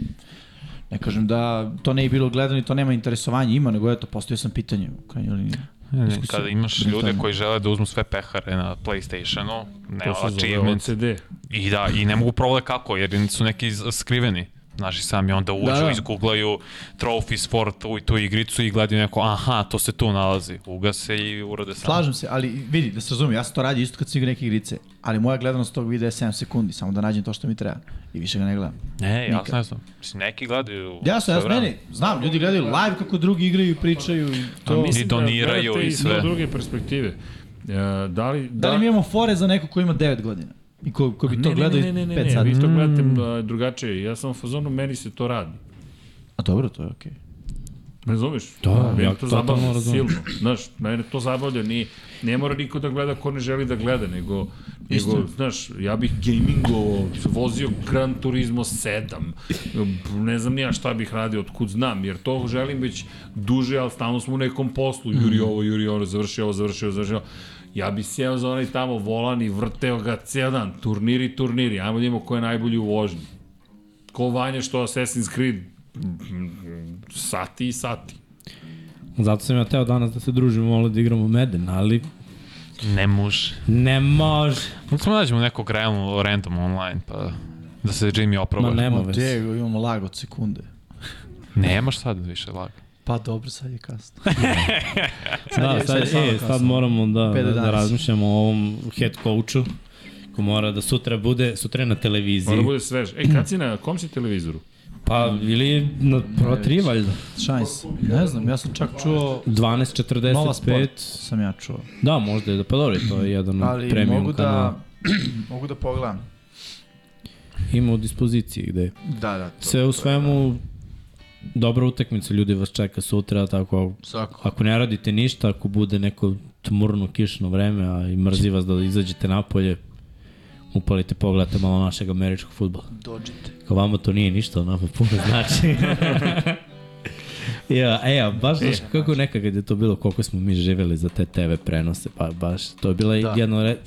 [SPEAKER 3] ne kažem da to ne je bilo gledano i to nema interesovanja, ima, nego eto, postavio sam pitanje u krajnjoj liniji. Iskusio.
[SPEAKER 5] Kada imaš ljude
[SPEAKER 3] Jednostavno.
[SPEAKER 5] koji žele da uzmu sve pehare na PlayStationu,
[SPEAKER 1] To
[SPEAKER 5] nema
[SPEAKER 1] se zove
[SPEAKER 5] achievements,
[SPEAKER 1] OCD.
[SPEAKER 5] I da, i ne mogu provode kako, jer su neki iz- skriveni. Naši sami onda uđu,
[SPEAKER 3] Da,
[SPEAKER 5] da,
[SPEAKER 3] da.
[SPEAKER 5] da. izgooglaju trophies for tu i tu igricu i gledaju neko, aha, to se tu nalazi. Ugase i urade sam.
[SPEAKER 3] Slažem se, ali vidi, da se razumijem, ja sam to radio isto kad sam igra neke igrice, ali moja gledanost tog videa je 7 sekundi, samo da nađem to što mi treba i više ga ne gledam.
[SPEAKER 5] Ne,
[SPEAKER 3] Nikad.
[SPEAKER 5] jasno, jasno. Mislim, neki gledaju...
[SPEAKER 3] Jasno, jasno, ne,
[SPEAKER 5] sve
[SPEAKER 3] ne, znam, ljudi gledaju live kako drugi igraju i pričaju i
[SPEAKER 1] A
[SPEAKER 3] to...
[SPEAKER 5] mi-
[SPEAKER 1] mislim da
[SPEAKER 5] doniraju
[SPEAKER 1] gledate
[SPEAKER 5] i
[SPEAKER 1] iz
[SPEAKER 5] sve.
[SPEAKER 1] malo druge perspektive. E, da li,
[SPEAKER 3] Da li mi imamo fore za neko ko ima 9 godina? I ko, ko bi to gledao i 5
[SPEAKER 1] Ne, vi
[SPEAKER 3] sati? Mm.
[SPEAKER 1] to gledate a, drugačije. Ja sam u fazonu, meni se to radi.
[SPEAKER 3] A dobro, to je okej.
[SPEAKER 1] Ne Razumeš?
[SPEAKER 2] Da,
[SPEAKER 1] mene
[SPEAKER 2] ja
[SPEAKER 1] to
[SPEAKER 2] totalno
[SPEAKER 1] zabavlja
[SPEAKER 2] razumem.
[SPEAKER 1] silno. Znaš, mene to zabavlja, ni ne mora niko da gleda ko ne želi da gleda, nego,
[SPEAKER 3] Isto.
[SPEAKER 1] nego znaš, ja bih gamingovao, vozio Gran Turismo 7, ne znam ni ja šta bih radio, otkud znam, jer to želim već duže, ali stalno smo u nekom poslu,
[SPEAKER 2] Mhm.
[SPEAKER 1] juri ovo, juri ono, završi ovo, završi ovo, završi ovo. Ja bi sjeo za onaj tamo volan i vrteo ga ceo dan, turniri, turniri, ajmo da imamo ko je najbolji u vožnji. Ko vanja što Assassin's Creed, sati i sati.
[SPEAKER 2] Zato sam ja teo danas da se družimo, malo da igramo Meden, ali
[SPEAKER 5] Ne može.
[SPEAKER 2] ne može.
[SPEAKER 5] Mogu smo nađemo da nekog realno, random online, pa da se Jimmy
[SPEAKER 2] Ma
[SPEAKER 5] oproba. Ne.
[SPEAKER 2] nema
[SPEAKER 3] Okay.
[SPEAKER 2] veze.
[SPEAKER 3] Diego, imamo lag od sekunde.
[SPEAKER 5] Nemaš sad više lag.
[SPEAKER 3] Pa dobro, sad je kasno.
[SPEAKER 2] Da, sad, e, sad moramo da,
[SPEAKER 3] Pet do
[SPEAKER 2] da, da
[SPEAKER 3] danas.
[SPEAKER 2] razmišljamo o ovom head coachu ko mora da sutra bude, sutra je na televiziji.
[SPEAKER 1] Mora da bude svež. Ej, kad si na kom si televizoru?
[SPEAKER 2] Pa, ili na prva tri valjda.
[SPEAKER 3] Šans. Ne znam, ja sam čak čuo... Nova sport
[SPEAKER 2] 12.45.
[SPEAKER 3] sam ja čuo.
[SPEAKER 2] Da, možda je da, pa dobro, to je jedan
[SPEAKER 3] Ali
[SPEAKER 2] od premium
[SPEAKER 3] mogu
[SPEAKER 2] kanala.
[SPEAKER 3] da... mogu da pogledam.
[SPEAKER 2] Ima u dispoziciji gde je.
[SPEAKER 3] Da, da. To.
[SPEAKER 2] Sve u svemu, dobra utakmica ljudi vas čeka sutra, tako
[SPEAKER 3] Svako.
[SPEAKER 2] ako ne radite ništa, ako bude neko tmurno kišno vreme, a i mrzi vas da izađete napolje, upalite, pogledate malo našeg američkog futbola.
[SPEAKER 3] Dođite.
[SPEAKER 2] Kao vama to nije ništa, onako puno znači. Ja, e, a baš znaš kako nekad kad je to bilo, koliko smo mi živeli za te TV prenose, pa baš, to je bila da. jedna red,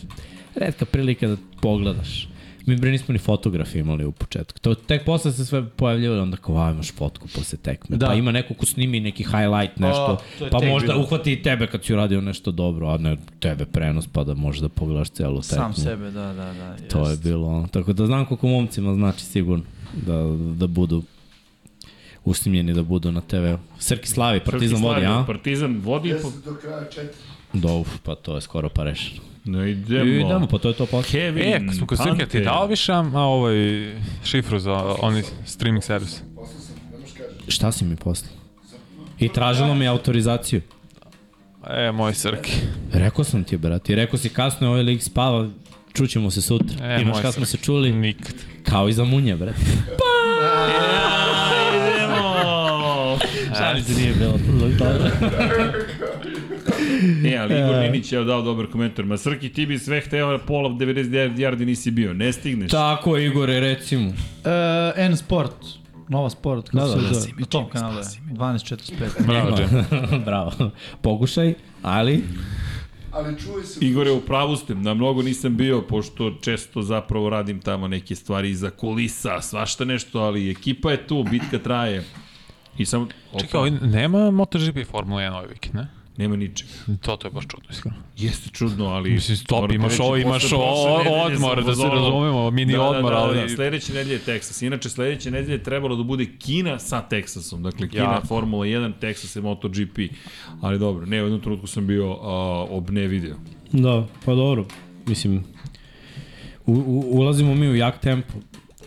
[SPEAKER 2] redka prilika da pogledaš. Mi bre nismo ni fotografi imali u početku. To tek posle se sve pojavljivalo, onda kao, a imaš fotku posle tekme.
[SPEAKER 3] Da.
[SPEAKER 2] Da. Pa ima neko ko snimi neki highlight, nešto,
[SPEAKER 3] to je
[SPEAKER 2] pa
[SPEAKER 3] tek
[SPEAKER 2] možda
[SPEAKER 3] bilo.
[SPEAKER 2] uhvati i tebe kad si uradio nešto dobro, a ne tebe prenos, pa da možeš da pogledaš celu tekmu.
[SPEAKER 3] Sam sebe, da, da, da. Jest.
[SPEAKER 2] To je bilo ono. Tako da znam koliko momcima znači sigurno da, da budu usimljeni da budu na TV-u. Srki Slavi, Partizan vodi, a?
[SPEAKER 1] Partizan vodi. Po...
[SPEAKER 4] Jeste do kraja četiri.
[SPEAKER 2] Dov, pa to je skoro pa rešeno.
[SPEAKER 1] No idemo.
[SPEAKER 2] I idemo, pa to je to posle.
[SPEAKER 1] Kevin,
[SPEAKER 5] E, kad smo kod Srke, ti
[SPEAKER 1] Panter.
[SPEAKER 5] dao više a, ovaj, šifru za onaj streaming servis?
[SPEAKER 4] Poslao sam, ne možeš kažeš.
[SPEAKER 2] Šta si mi poslao? I tražilo mi je autorizaciju.
[SPEAKER 5] E, moj Srki.
[SPEAKER 2] Rekao sam ti, brate. I rekao si kasno je ovaj lik spava, čućemo se sutra.
[SPEAKER 5] E,
[SPEAKER 2] E, Imaš
[SPEAKER 5] moj
[SPEAKER 2] kad smo se
[SPEAKER 5] Srki.
[SPEAKER 2] čuli,
[SPEAKER 5] Nikad.
[SPEAKER 2] kao i za munje, brate.
[SPEAKER 1] Idemo!
[SPEAKER 2] Šalice nije bilo dobro.
[SPEAKER 1] E, ali Igor Ninić je dao dobar komentar. Ma Srki, ti bi sve hteo pola 99 yardi nisi bio. Ne stigneš.
[SPEAKER 5] Da.
[SPEAKER 2] Tako, Igore, recimo.
[SPEAKER 3] Uh, N Sport, Nova Sport, kako
[SPEAKER 2] Da, da,
[SPEAKER 3] da, se
[SPEAKER 2] da.
[SPEAKER 3] zove, na tom kanalu je, 12.45.
[SPEAKER 5] Bravo, Džem.
[SPEAKER 2] Pa, Bravo. Pokušaj, ali
[SPEAKER 4] Ali čuje se...
[SPEAKER 1] Igore, u pravu ste, na mnogo nisam bio, pošto često zapravo radim tamo neke stvari iza kulisa, svašta nešto, ali ekipa je tu, bitka traje. I samo,
[SPEAKER 5] Čekaj, ovaj, nema MotoGP Formula 1 ovaj vikend, ne?
[SPEAKER 1] nema ničega.
[SPEAKER 5] To, to je baš čudno, iskreno.
[SPEAKER 1] Jeste čudno, ali...
[SPEAKER 5] Mislim, stop,
[SPEAKER 1] moram ti
[SPEAKER 5] imaš
[SPEAKER 1] reći,
[SPEAKER 5] ovo, imaš
[SPEAKER 1] posle
[SPEAKER 5] o,
[SPEAKER 1] prošle nedelje
[SPEAKER 5] odmor,
[SPEAKER 1] sam
[SPEAKER 5] da se
[SPEAKER 1] pozoran.
[SPEAKER 5] razumemo, mini
[SPEAKER 1] da,
[SPEAKER 5] odmor,
[SPEAKER 1] da, da,
[SPEAKER 5] ali...
[SPEAKER 1] Da, sledeće nedelje je Texas. Inače, sledeće nedelje je trebalo da bude Kina sa Texasom. Dakle, Kina,
[SPEAKER 5] Jako.
[SPEAKER 1] Formula 1, Texas i MotoGP. Ali dobro, ne, u jednom trenutku sam bio a, ob ne video.
[SPEAKER 2] Da, pa dobro. Mislim, u, u, ulazimo mi u jak tempo.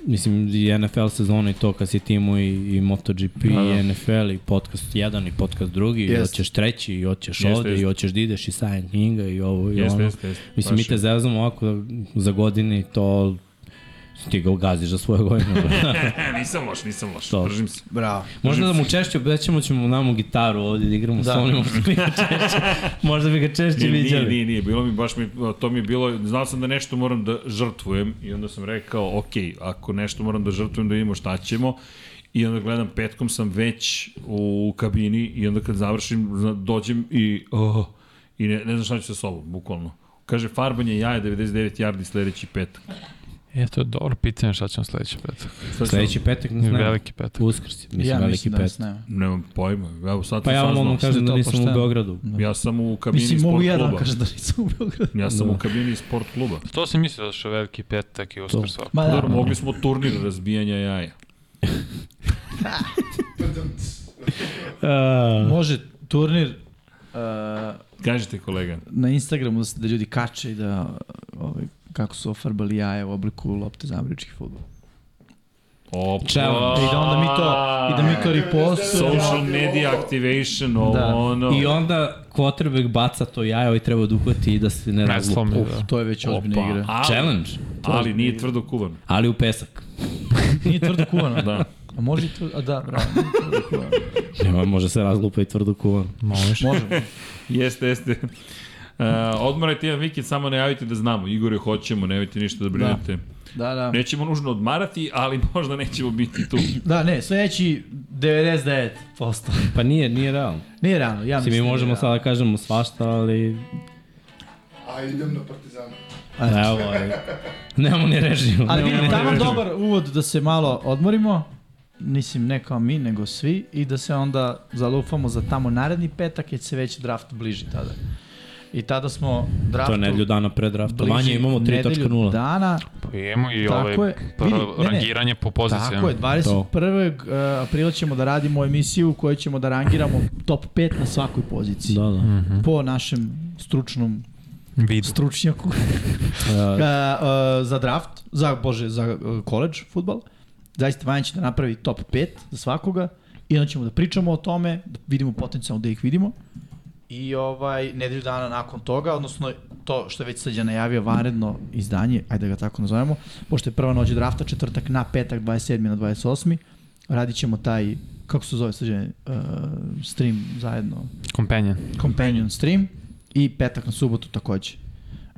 [SPEAKER 2] Mislim, i NFL sezona i to kad si timu i, i MotoGP da. i NFL i podcast 1 i podcast 2 i
[SPEAKER 3] Jeste.
[SPEAKER 2] hoćeš treći i hoćeš
[SPEAKER 1] Jeste,
[SPEAKER 2] ovde
[SPEAKER 1] jeste.
[SPEAKER 2] i hoćeš da ideš i Silent Kinga i ovo i
[SPEAKER 1] Jeste,
[SPEAKER 2] ono.
[SPEAKER 1] jeste, jeste.
[SPEAKER 2] Mislim,
[SPEAKER 1] Baš
[SPEAKER 2] mi te
[SPEAKER 1] je.
[SPEAKER 2] zezamo ovako za godine i to ti ga ugaziš za svoje godine.
[SPEAKER 1] E, nisam loš, nisam loš,
[SPEAKER 2] Dobro.
[SPEAKER 1] držim se.
[SPEAKER 3] Bravo.
[SPEAKER 2] Možda da mu češće obećamo ćemo namo gitaru ovde da igramo da. sa onim, možda bi ga češće, možda bi ga češće
[SPEAKER 1] Nije,
[SPEAKER 2] viđali.
[SPEAKER 1] nije, nije, nije, bilo mi baš, mi, to mi je bilo, znao sam da nešto moram da žrtvujem i onda sam rekao, ok, ako nešto moram da žrtvujem da vidimo šta ćemo i onda gledam, petkom sam već u kabini i onda kad završim, zna- dođem i, oh, i ne, ne znam šta ću sa sobom, bukvalno. Kaže, farbanje jaja 99 yardi sledeći petak.
[SPEAKER 5] E, to je dobro pitanje šta ćemo sledeći petak.
[SPEAKER 1] Sad
[SPEAKER 2] Sledeći
[SPEAKER 1] sam-
[SPEAKER 2] petak nas nema.
[SPEAKER 5] Veliki petak.
[SPEAKER 2] Uskrs, mislim,
[SPEAKER 3] Ja
[SPEAKER 2] veliki
[SPEAKER 3] mislim da nas
[SPEAKER 2] petak.
[SPEAKER 3] nema.
[SPEAKER 1] Nemam pojma, evo sad
[SPEAKER 2] Pa ja vam ono
[SPEAKER 1] saznao.
[SPEAKER 2] kažem da
[SPEAKER 3] to
[SPEAKER 2] nisam u
[SPEAKER 3] pošteno.
[SPEAKER 2] Beogradu.
[SPEAKER 1] Ja sam u kabini
[SPEAKER 3] Mislim,
[SPEAKER 1] sport
[SPEAKER 3] mogu ja da vam
[SPEAKER 1] kluba.
[SPEAKER 3] kažem da nisam u Beogradu.
[SPEAKER 1] Ja sam u kabini sport kluba.
[SPEAKER 5] To sam mislio da što je veliki petak i uskrs svako.
[SPEAKER 3] Ma da,
[SPEAKER 1] Dobro, mogli smo turnir razbijanja jaja.
[SPEAKER 3] Da.
[SPEAKER 2] E,
[SPEAKER 3] može turnir uh,
[SPEAKER 1] Kažite kolega.
[SPEAKER 3] na Instagramu da, se, da ljudi kače i da ovaj, kako su ofarbali jaje u obliku lopte za američki futbol.
[SPEAKER 1] Opa.
[SPEAKER 2] Čao.
[SPEAKER 3] I da onda mi to, i da mi to ripostujemo.
[SPEAKER 1] Social media activation, ovo da.
[SPEAKER 3] Da.
[SPEAKER 1] ono.
[SPEAKER 2] I onda quarterback baca to jajo i treba da uhvati i da se ne
[SPEAKER 5] Ne
[SPEAKER 2] razlupa.
[SPEAKER 5] slomi,
[SPEAKER 3] Uf,
[SPEAKER 5] da.
[SPEAKER 3] to je već ozbiljna
[SPEAKER 1] Opa,
[SPEAKER 3] igra.
[SPEAKER 1] ali,
[SPEAKER 2] Challenge,
[SPEAKER 1] ali nije tvrdo kuvan.
[SPEAKER 2] ali u pesak.
[SPEAKER 3] Nije tvrdo kuvano.
[SPEAKER 1] Da.
[SPEAKER 3] A može i tvrdo, a da, bravo, nije tvrdo kuvano.
[SPEAKER 2] Nema, može se razlupa i tvrdo kuvan.
[SPEAKER 3] Može.
[SPEAKER 1] Jeste, jeste. Uh, odmarajte jedan vikend, samo ne javite da znamo. Igore, hoćemo, nemojte ništa da brinete. Da.
[SPEAKER 3] Da, da.
[SPEAKER 1] Nećemo nužno odmarati, ali možda nećemo biti tu.
[SPEAKER 3] Da, ne, sledeći 99%.
[SPEAKER 2] Pa nije, nije realno.
[SPEAKER 3] Nije rano, ja
[SPEAKER 2] Mislim,
[SPEAKER 3] mislim.
[SPEAKER 2] mi
[SPEAKER 3] nije
[SPEAKER 2] možemo
[SPEAKER 3] rano.
[SPEAKER 2] sada da kažemo svašta, ali
[SPEAKER 4] A idem na Partizana.
[SPEAKER 2] evo je. Nemamo ni režim.
[SPEAKER 3] Ali
[SPEAKER 2] Nemamo
[SPEAKER 3] vidim,
[SPEAKER 2] ni
[SPEAKER 3] tamo
[SPEAKER 2] režim.
[SPEAKER 3] dobar uvod da se malo odmorimo, mislim ne kao mi, nego svi, i da se onda zalufamo za tamo naredni petak, jer se već draft bliži tada. I tada smo draftu
[SPEAKER 2] To je nedelju dana pre drafta.
[SPEAKER 3] bliži
[SPEAKER 2] Manje imamo
[SPEAKER 3] nedelju
[SPEAKER 2] 3.0.
[SPEAKER 3] dana,
[SPEAKER 5] Pa imamo i
[SPEAKER 3] Tako
[SPEAKER 5] ovaj
[SPEAKER 3] je.
[SPEAKER 5] pr-
[SPEAKER 3] Vidi, ne, ne.
[SPEAKER 5] rangiranje po pozicijama.
[SPEAKER 3] Tako je, 21. e, aprila ćemo da radimo emisiju u kojoj ćemo da rangiramo top 5 na svakoj poziciji.
[SPEAKER 2] Da, da.
[SPEAKER 3] Po našem stručnom
[SPEAKER 5] Vidu.
[SPEAKER 3] stručnjaku
[SPEAKER 2] Da.
[SPEAKER 3] e, e, za draft, za, bože, za e, koleđ futbal. Zaista Vanja će da napravi top 5 za svakoga i onda ćemo da pričamo o tome, da vidimo potencijalno gde ih vidimo. I ovaj, nedelju dana nakon toga, odnosno to što je već Srđan najavio vanredno izdanje, ajde da ga tako nazovemo, pošto je prva noć drafta, četvrtak na petak, 27. na 28. Radit ćemo taj, kako se zove Srđan, uh, stream zajedno,
[SPEAKER 5] Companion.
[SPEAKER 3] companion stream i petak na subotu takođe.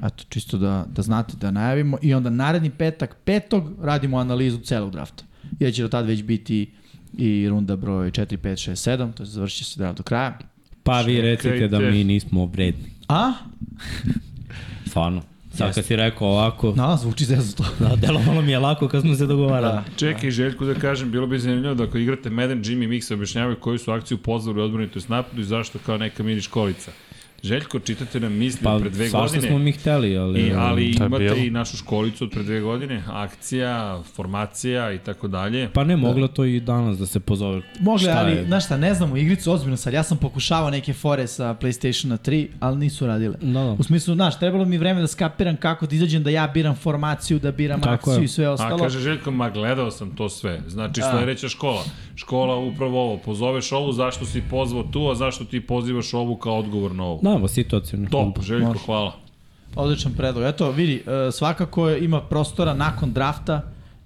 [SPEAKER 3] Eto, čisto da, da znate da najavimo. I onda naredni petak, petog, radimo analizu celog drafta. Jer će do tad već biti i runda broj 4, 5, 6, 7, to je završit će se draft do kraja.
[SPEAKER 2] Pa vi recite da
[SPEAKER 1] Čekajte.
[SPEAKER 2] mi nismo vredni.
[SPEAKER 3] A?
[SPEAKER 2] Stvarno. Sad kad si rekao ovako,
[SPEAKER 3] No, zvuči zezno to.
[SPEAKER 2] da, delovalo mi je lako kad smo se dogovarali.
[SPEAKER 3] Da.
[SPEAKER 1] Čekaj, Željko, da kažem, bilo bi zanimljivo da ako igrate Madden, Jimmy i Mix objašnjavaju koju su akciju pozvali u odbrani, to je napadu i zašto kao neka mini školica. Željko, čitate nam misli
[SPEAKER 2] Pa,
[SPEAKER 1] od pre dve
[SPEAKER 2] svašta
[SPEAKER 1] godine.
[SPEAKER 2] smo mi hteli, ali...
[SPEAKER 1] I, ali
[SPEAKER 5] To je bilo.
[SPEAKER 1] imate i našu školicu od pre dve godine, akcija, formacija i tako dalje.
[SPEAKER 2] Pa ne, moglo to i danas da se pozove.
[SPEAKER 3] Mogle,
[SPEAKER 2] Šta
[SPEAKER 3] ali,
[SPEAKER 2] je?
[SPEAKER 3] znaš šta, ne znam u igricu, ozbiljno sad, ja sam pokušavao neke fore sa PlayStationa 3, ali nisu radile.
[SPEAKER 2] Da, da.
[SPEAKER 3] U smislu, znaš, trebalo mi vreme da skapiram kako da izađem, da ja biram formaciju, da biram
[SPEAKER 2] Tako
[SPEAKER 3] akciju
[SPEAKER 2] je.
[SPEAKER 3] i sve
[SPEAKER 1] A
[SPEAKER 3] ostalo. Da.
[SPEAKER 1] kaže Željko, ma gledao sam to sve. Znači sledeća škola. Škola upravo ovo. Pozoveš ovu, zašto si pozvao tu, a zašto ti pozivaš ovu kao odgovor na ovu.
[SPEAKER 2] Da, ovo situacijno.
[SPEAKER 1] Top, Željko, hvala.
[SPEAKER 3] Odličan predlog. Eto, vidi, e, svakako je- ima prostora nakon drafta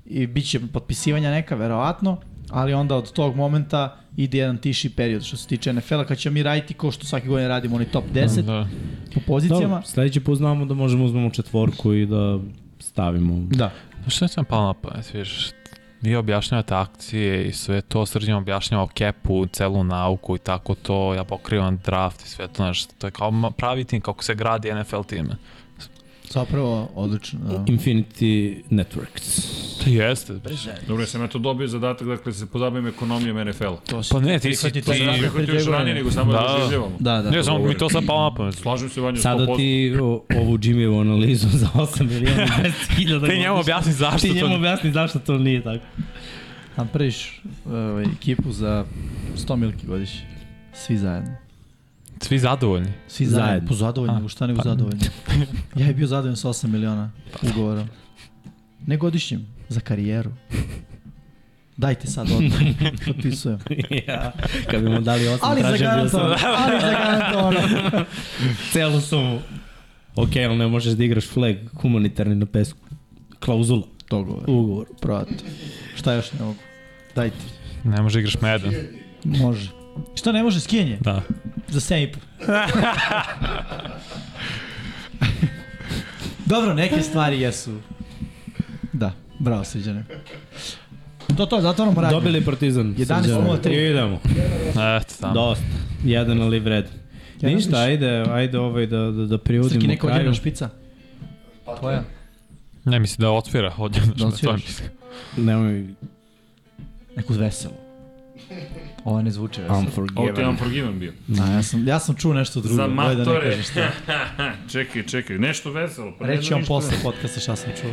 [SPEAKER 3] i bit će potpisivanja neka, verovatno, ali onda od tog momenta ide jedan tiši period što se tiče NFL-a, kad ćemo mi raditi ko što svake godine radimo, oni top 10
[SPEAKER 5] Da.
[SPEAKER 3] po pozicijama.
[SPEAKER 2] Dobro, sledeći put znamo da možemo uzmemo četvorku i da stavimo.
[SPEAKER 3] Da.
[SPEAKER 5] Šta Pa sam palo na pamet, vidiš? Vi objašnjavate akcije i sve to, srđan objašnjava o kepu, celu nauku i tako to, ja pokrivam draft i sve to, znaš, to je kao ma- pravi tim, kako se gradi NFL time.
[SPEAKER 3] Zapravo, odlično. Da.
[SPEAKER 2] Infinity Networks.
[SPEAKER 5] To jeste, brže.
[SPEAKER 1] Dobro, ja sam ja to dobio zadatak, dakle, da se pozabavim ekonomijom NFL-a.
[SPEAKER 3] To si
[SPEAKER 5] Pa ne, ti si
[SPEAKER 3] prihvati
[SPEAKER 5] ti...
[SPEAKER 3] to
[SPEAKER 1] Znam
[SPEAKER 3] pre
[SPEAKER 1] kako
[SPEAKER 3] dve
[SPEAKER 1] još ranije,
[SPEAKER 3] godine.
[SPEAKER 1] nego samo da,
[SPEAKER 5] Da.
[SPEAKER 1] da življavamo.
[SPEAKER 3] Da, da.
[SPEAKER 5] Ne, samo mi to sad palo na pamet.
[SPEAKER 1] Slažem se, Vanja, 100%.
[SPEAKER 2] Sada ti o, ovu Jimmyevu analizu za 8 miliona i 200 hiljada.
[SPEAKER 5] Ti njemu
[SPEAKER 2] godišnje.
[SPEAKER 5] objasni zašto
[SPEAKER 2] Ti njemu
[SPEAKER 5] to...
[SPEAKER 2] objasni zašto to nije tako.
[SPEAKER 3] Napraviš ovaj, ekipu za 100 milki godišnje. Svi zajedno.
[SPEAKER 5] Svi zadovoljni.
[SPEAKER 3] Svi
[SPEAKER 2] Zajedno.
[SPEAKER 3] zajedno. Po zadovoljni,
[SPEAKER 5] A,
[SPEAKER 3] nego šta nego
[SPEAKER 5] pa-
[SPEAKER 3] zadovoljni. Ja je bio zadovoljan sa 8 miliona ugovora. Ne godišnjim, za karijeru. Dajte sad odmah, potpisujem.
[SPEAKER 2] ja, kad bi mu dali 8,
[SPEAKER 3] Ali za
[SPEAKER 2] tražio bi da sam
[SPEAKER 3] garantovano, ali za garantovano.
[SPEAKER 2] celu sumu. Ok, ali ne možeš da igraš flag humanitarni na pesku. Klauzula
[SPEAKER 3] Dogovor,
[SPEAKER 2] u ugovoru.
[SPEAKER 3] proto. Šta još ne mogu? Dajte,
[SPEAKER 5] Ne može igraš medan.
[SPEAKER 3] može. Šta ne može, skijenje?
[SPEAKER 5] Da.
[SPEAKER 3] Za 7,5. Dobro, neke stvari jesu. Da, bravo srđane. To to, zatvaramo radio.
[SPEAKER 2] Dobili Partizan.
[SPEAKER 3] 11:03.
[SPEAKER 2] Idemo.
[SPEAKER 5] Eto, tamo.
[SPEAKER 2] Dosta. Jedan ali vred.
[SPEAKER 3] Jedan
[SPEAKER 2] Ništa,
[SPEAKER 3] više.
[SPEAKER 2] ajde, ajde ovaj da, da, da
[SPEAKER 3] Srki,
[SPEAKER 2] privodimo
[SPEAKER 3] neka odjevna
[SPEAKER 2] kraju.
[SPEAKER 3] špica. Tvoja.
[SPEAKER 5] Ne, misli da otvira odjel,
[SPEAKER 3] Da
[SPEAKER 5] znaš, to je
[SPEAKER 3] odsviraš.
[SPEAKER 5] misli.
[SPEAKER 2] Nemoj
[SPEAKER 3] Neku veselu. Ovo ne zvuče veselo.
[SPEAKER 1] Ovo ti je
[SPEAKER 2] unforgiven.
[SPEAKER 1] Unforgiven bio.
[SPEAKER 3] A, ja, sam, ja sam čuo nešto drugo.
[SPEAKER 1] Za
[SPEAKER 3] gledaj da ne
[SPEAKER 1] matore.
[SPEAKER 3] kažeš šta.
[SPEAKER 1] čekaj, čekaj, nešto veselo. Pa
[SPEAKER 3] Reći
[SPEAKER 1] ne
[SPEAKER 3] ću
[SPEAKER 1] znam
[SPEAKER 3] vam
[SPEAKER 1] ništa.
[SPEAKER 3] posle podcasta šta sam čuo.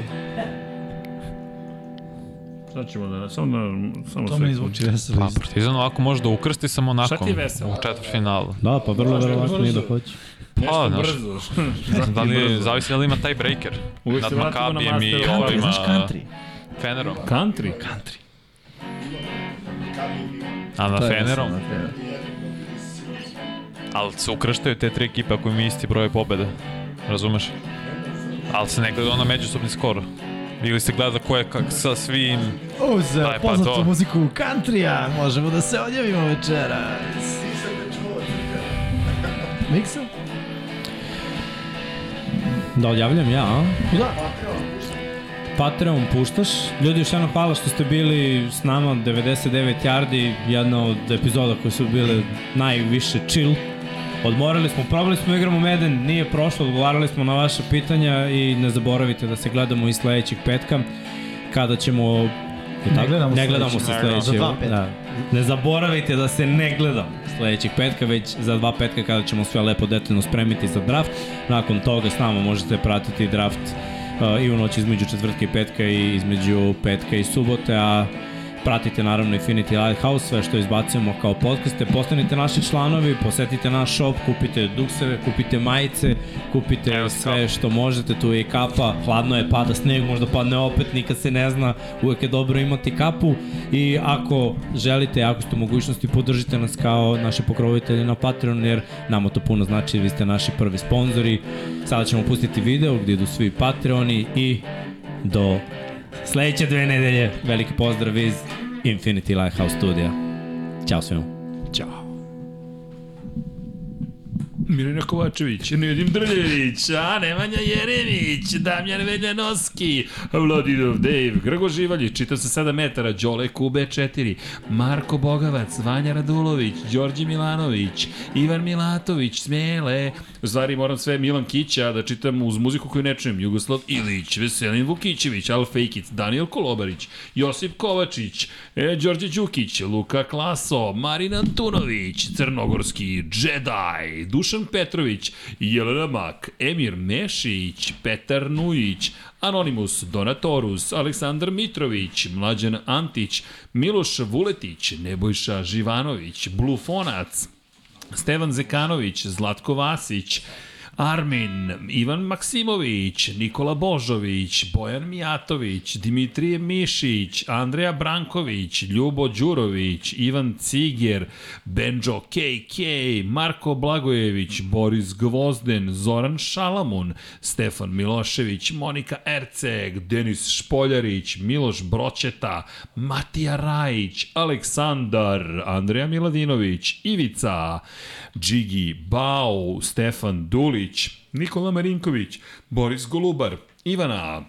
[SPEAKER 1] Šta ćemo da, samo da, samo
[SPEAKER 3] To mi ne
[SPEAKER 1] sekund.
[SPEAKER 3] zvuči veselo.
[SPEAKER 5] Pa, Partizan ovako može da ukrsti samo nakon.
[SPEAKER 1] ti je veselo?
[SPEAKER 5] U četvrtfinalu.
[SPEAKER 2] Da, pa vrlo
[SPEAKER 1] Možda je
[SPEAKER 2] verovatno i da
[SPEAKER 1] brzo.
[SPEAKER 2] hoće.
[SPEAKER 5] Pa,
[SPEAKER 1] Nešto
[SPEAKER 5] znaš,
[SPEAKER 1] brzo.
[SPEAKER 5] da li, zavisi da li ima taj breaker.
[SPEAKER 1] Uvijek
[SPEAKER 5] Nad
[SPEAKER 1] se vratimo na
[SPEAKER 5] Makabijem i
[SPEAKER 1] Master.
[SPEAKER 3] Country,
[SPEAKER 5] ovima...
[SPEAKER 3] znaš country?
[SPEAKER 5] Fenerom.
[SPEAKER 1] Country? Country.
[SPEAKER 5] A na
[SPEAKER 3] To je
[SPEAKER 5] Fenerom.
[SPEAKER 3] veselo, na Fenerom.
[SPEAKER 5] Ali se ukrštaju te tri ekipe ako im je isti broj pobjede. Razumeš? Ali se ne gleda ono međusobni skor. Ili se gleda ko je kak sa svim...
[SPEAKER 3] Uz eh,
[SPEAKER 5] Aj, pa
[SPEAKER 3] poznatu
[SPEAKER 5] to.
[SPEAKER 3] muziku country-a možemo da se odjavimo večera. Miksa?
[SPEAKER 2] Da odjavljam ja, a?
[SPEAKER 3] Da.
[SPEAKER 2] Patreon puštaš. Ljudi, još jednom hvala što ste bili s nama 99 yardi, jedna od epizoda koje su bile najviše chill. Odmorali smo, probali smo da igramo Meden, nije prošlo, odgovarali smo na vaše pitanja i ne zaboravite da se gledamo i sledećeg petka kada ćemo
[SPEAKER 3] Ne
[SPEAKER 2] ne
[SPEAKER 3] gledamo sledećeg.
[SPEAKER 2] gledamo se
[SPEAKER 3] Za
[SPEAKER 2] sledećeg.
[SPEAKER 3] dva petka.
[SPEAKER 2] Da. Ne zaboravite da se ne gledamo sledećeg petka, već za dva petka kada ćemo sve lepo detaljno spremiti za draft. Nakon toga s nama možete pratiti draft uh, i u noći između četvrtka i petka i između petka i subote, a pratite naravno Infinity Lighthouse, sve što izbacujemo kao podcaste, postanite naši članovi, posetite naš shop, kupite dukseve, kupite majice, kupite
[SPEAKER 5] Evo,
[SPEAKER 2] sve što možete, tu je i kapa, hladno je, pada sneg, možda padne opet, nikad se ne zna, uvek je dobro imati kapu i ako želite, ako ste u mogućnosti, podržite nas kao naše pokrovitelje na Patreon, jer nama to puno znači, vi ste naši prvi sponzori. Sada ćemo pustiti video gde idu svi Patreoni i do sledeće dve nedelje. Veliki pozdrav iz Infinity Lighthouse studija. Ćao svima. Ćao.
[SPEAKER 1] Mirjana Kovačević, Nedim Drljević, a Nemanja Jeremić, Damjan Veljanoski, Vladidov Dave, Grgo Živaljić, čitao se 7 metara, Đole Kube 4, Marko Bogavac, Vanja Radulović, Đorđe Milanović, Ivan Milatović, Smele, u stvari moram sve Milan Kića da čitam uz muziku koju ne čujem, Jugoslav Ilić, Veselin Vukićević, Al Fejkic, Daniel Kolobarić, Josip Kovačić, e, Đorđe Đukić, Luka Klaso, Marin Antunović, Crnogorski, Jedi, Dušan Dušan Petrović, Jelena Mak, Emir Mešić, Petar Nujić, Anonimus, Donatorus, Aleksandar Mitrović, Mlađan Antić, Miloš Vuletić, Nebojša Živanović, Blufonac, Stevan Zekanović, Zlatko Vasić, Armin, Ivan Maksimović, Nikola Božović, Bojan Mijatović, Dimitrije Mišić, Andreja Branković, Ljubo Đurović, Ivan Ciger, Benjo KK, Marko Blagojević, Boris Gvozden, Zoran Šalamun, Stefan Milošević, Monika Erceg, Denis Špoljarić, Miloš Bročeta, Matija Rajić, Aleksandar, Andreja Miladinović, Ivica, Džigi Bau, Stefan Dulić, Nikola Marinković, Boris Golubar, Ivana,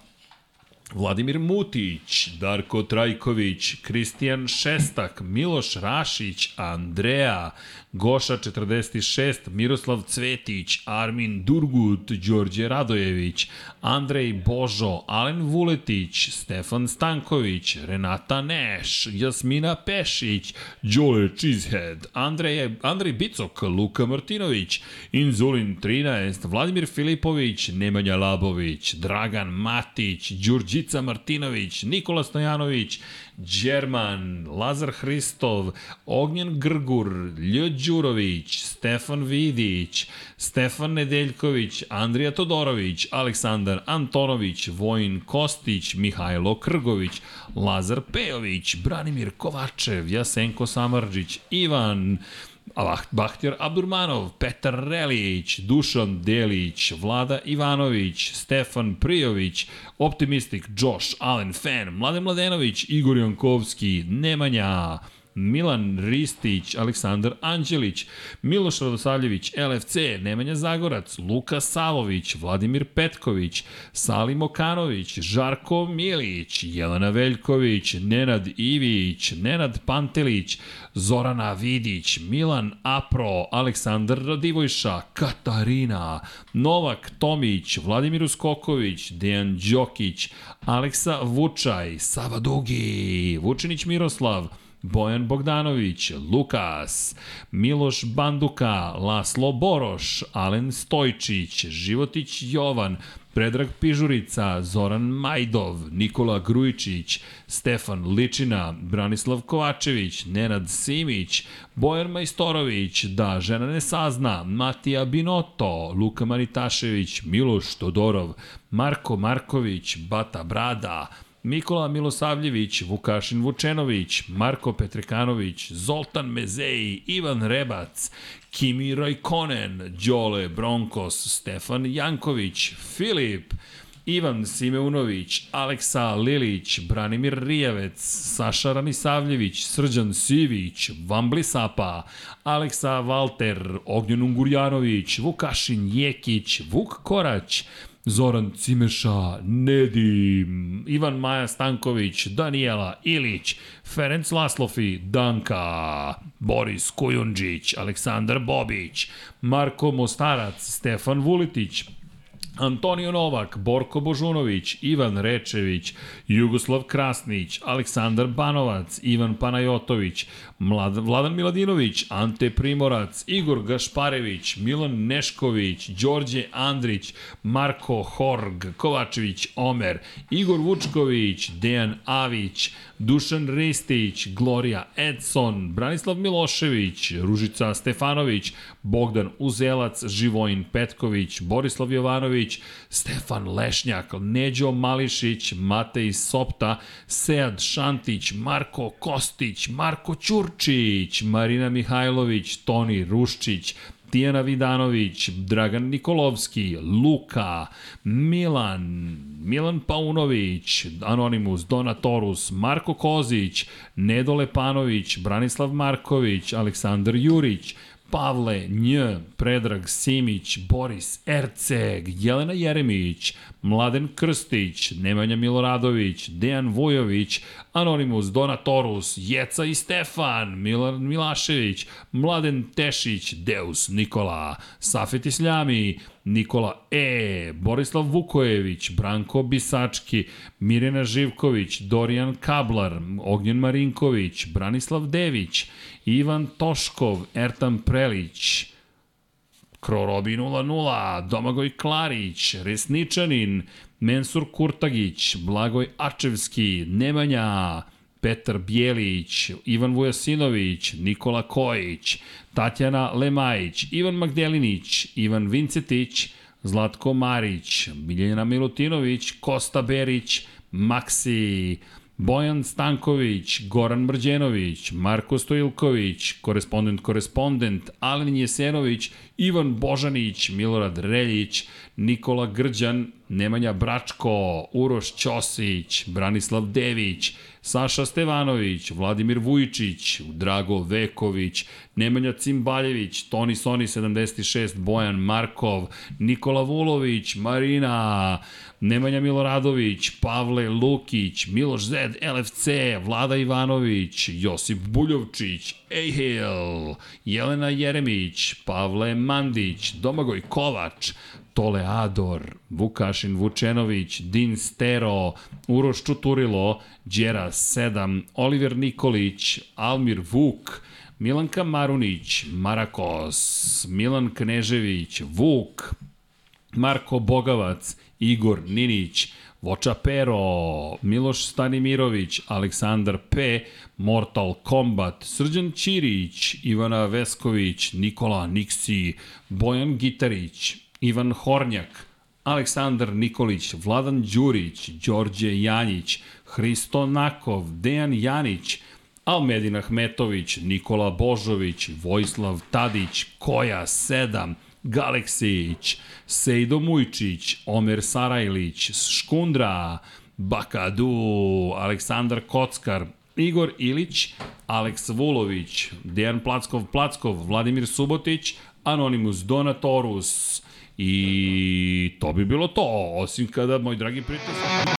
[SPEAKER 1] Vladimir Mutić, Darko Trajković, Kristijan Šestak, Miloš Rašić, Andreja, Goša 46, Miroslav Cvetić, Armin Durgut, Đorđe Radojević, Andrej Božo, Alen Vuletić, Stefan Stanković, Renata Neš, Jasmina Pešić, Đole Cheesehead, Andrej, Andrej Bicok, Luka Martinović, Inzulin 13, Vladimir Filipović, Nemanja Labović, Dragan Matić, Đurđica Martinović, Nikola Stojanović, Đerman, Lazar Hristov, Ognjen Grgur, Lj. Đurović, Stefan Vidić, Stefan Nedeljković, Andrija Todorović, Aleksandar Antonović, Vojin Kostić, Mihajlo Krgović, Lazar Pejović, Branimir Kovačev, Jasenko Samarđić, Ivan Abaht- Bahtjar Abdurmanov, Petar Relijić, Dušan Delić, Vlada Ivanović, Stefan Prijović, Optimistik Josh, Alen Fan, Mladen Mladenović, Igor Jankovski, Nemanja, Milan Ristić, Aleksandar Anđelić, Miloš Radosavljević, LFC, Nemanja Zagorac, Luka Savović, Vladimir Petković, Salim Okanović, Žarko Milić, Jelena Veljković, Nenad Ivić, Nenad Pantelić, Zorana Vidić, Milan Apro, Aleksandar Radivojša, Katarina, Novak Tomić, Vladimir Uskoković, Dejan Đokić, Aleksa Vučaj, Sava Dugi, Vučinić Miroslav, Bojan Bogdanović, Lukas, Miloš Banduka, Laslo Boroš, Alen Stojčić, Životić Jovan, Predrag Pižurica, Zoran Majdov, Nikola Grujičić, Stefan Ličina, Branislav Kovačević, Nenad Simić, Bojan Majstorović, Da žena ne sazna, Matija Binoto, Luka Maritašević, Miloš Todorov, Marko Marković, Bata Brada, Nikola Milosavljević, Vukašin Vučenović, Marko Petrekanović, Zoltan Mezeji, Ivan Rebac, Kimi Rajkonen, Đole Bronkos, Stefan Janković, Filip, Ivan Simeunović, Aleksa Lilić, Branimir Rijavec, Saša Ranisavljević, Srđan Sivić, Vambli Sapa, Aleksa Valter, Ognjen Ungurjanović, Vukašin Jekić, Vuk Korać, Zoran Cimeša, Nedim, Ivan Maja Stanković, Danijela Ilić, Ferenc Laslofi, Danka, Boris Kujundžić, Aleksandar Bobić, Marko Mostarac, Stefan Vulitić, Antonio Novak, Borko Božunović, Ivan Rečević, Jugoslav Krasnić, Aleksandar Banovac, Ivan Panajotović, Mlad, Vladan Miladinović, Ante Primorac, Igor Gašparević, Milan Nešković, Đorđe Andrić, Marko Horg, Kovačević Omer, Igor Vučković, Dejan Avić, Dušan Ristić, Gloria Edson, Branislav Milošević, Ružica Stefanović, Bogdan Uzelac, Živojin Petković, Borislav Jovanović, Stefan Lešnjak, Neđo Mališić, Matej Sopta, Sead Šantić, Marko Kostić, Marko Ćurčić, Marina Mihajlović, Toni Ruščić, Tijana Vidanović, Dragan Nikolovski, Luka, Milan, Milan Paunović, Anonimus, Donatorus, Marko Kozić, Nedo Lepanović, Branislav Marković, Aleksandar Jurić, Pavle Nj, Predrag Simić, Boris Erceg, Jelena Jeremić, Mladen Krstić, Nemanja Miloradović, Dejan Vujović, Anonimus, Donatorus, Jeca i Stefan, Milan Milašević, Mladen Tešić, Deus Nikola, Safet Isljami, Nikola E, Borislav Vukojević, Branko Bisački, Mirjana Živković, Dorijan Kablar, Ognjen Marinković, Branislav Dević, Ivan Toškov, Ertan Prelić, Kro Robi 0-0, Domagoj Klarić, Resničanin, Mensur Kurtagić, Blagoj Ačevski, Nemanja, Petar Bjelić, Ivan Vujasinović, Nikola Kojić, Tatjana Lemajić, Ivan Magdelinić, Ivan Vincetić, Zlatko Marić, Miljana Milutinović, Kosta Berić, Maksi, Bojan Stanković, Goran Mrđenović, Marko Stojilković, korespondent korespondent, Alen Jesenović, Ivan Božanić, Milorad Reljić, Nikola Grđan, Nemanja Bračko, Uroš Ćosić, Branislav Dević, Saša Stevanović, Vladimir Vujičić, Drago Veković, Nemanja Cimbaljević, Toni Soni 76, Bojan Markov, Nikola Vulović, Marina, Nemanja Miloradović, Pavle Lukić, Miloš Zed, LFC, Vlada Ivanović, Josip Buljovčić, Ejhil, Jelena Jeremić, Pavle Mandić, Domagoj Kovač, Toleador, Vukašin Vučenović, Din Stero, Uroš Čuturilo, Đera 7, Oliver Nikolić, Almir Vuk, Milanka Marunić, Marakos, Milan Knežević, Vuk, Marko Bogavac, Igor Ninić, Voča Pero, Miloš Stanimirović, Aleksandar P, Mortal Kombat, Srđan Ćirić, Ivana Vesković, Nikola Niksi, Bojan Gitarić, Ivan Hornjak, Aleksandar Nikolić, Vladan Đurić, Đorđe Janjić, Hristo Nakov, Dejan Janić, Almedin Ahmetović, Nikola Božović, Vojislav Tadić, Koja 7, Galeksić, Sejdo Mujčić, Omer Sarajlić, Škundra, Bakadu, Aleksandar Kockar, Igor Ilić, Aleks Vulović, Dejan Plackov-Plackov, Vladimir Subotić, Anonymous Donatorus i to bi bilo to, osim kada, moj dragi prijatelj...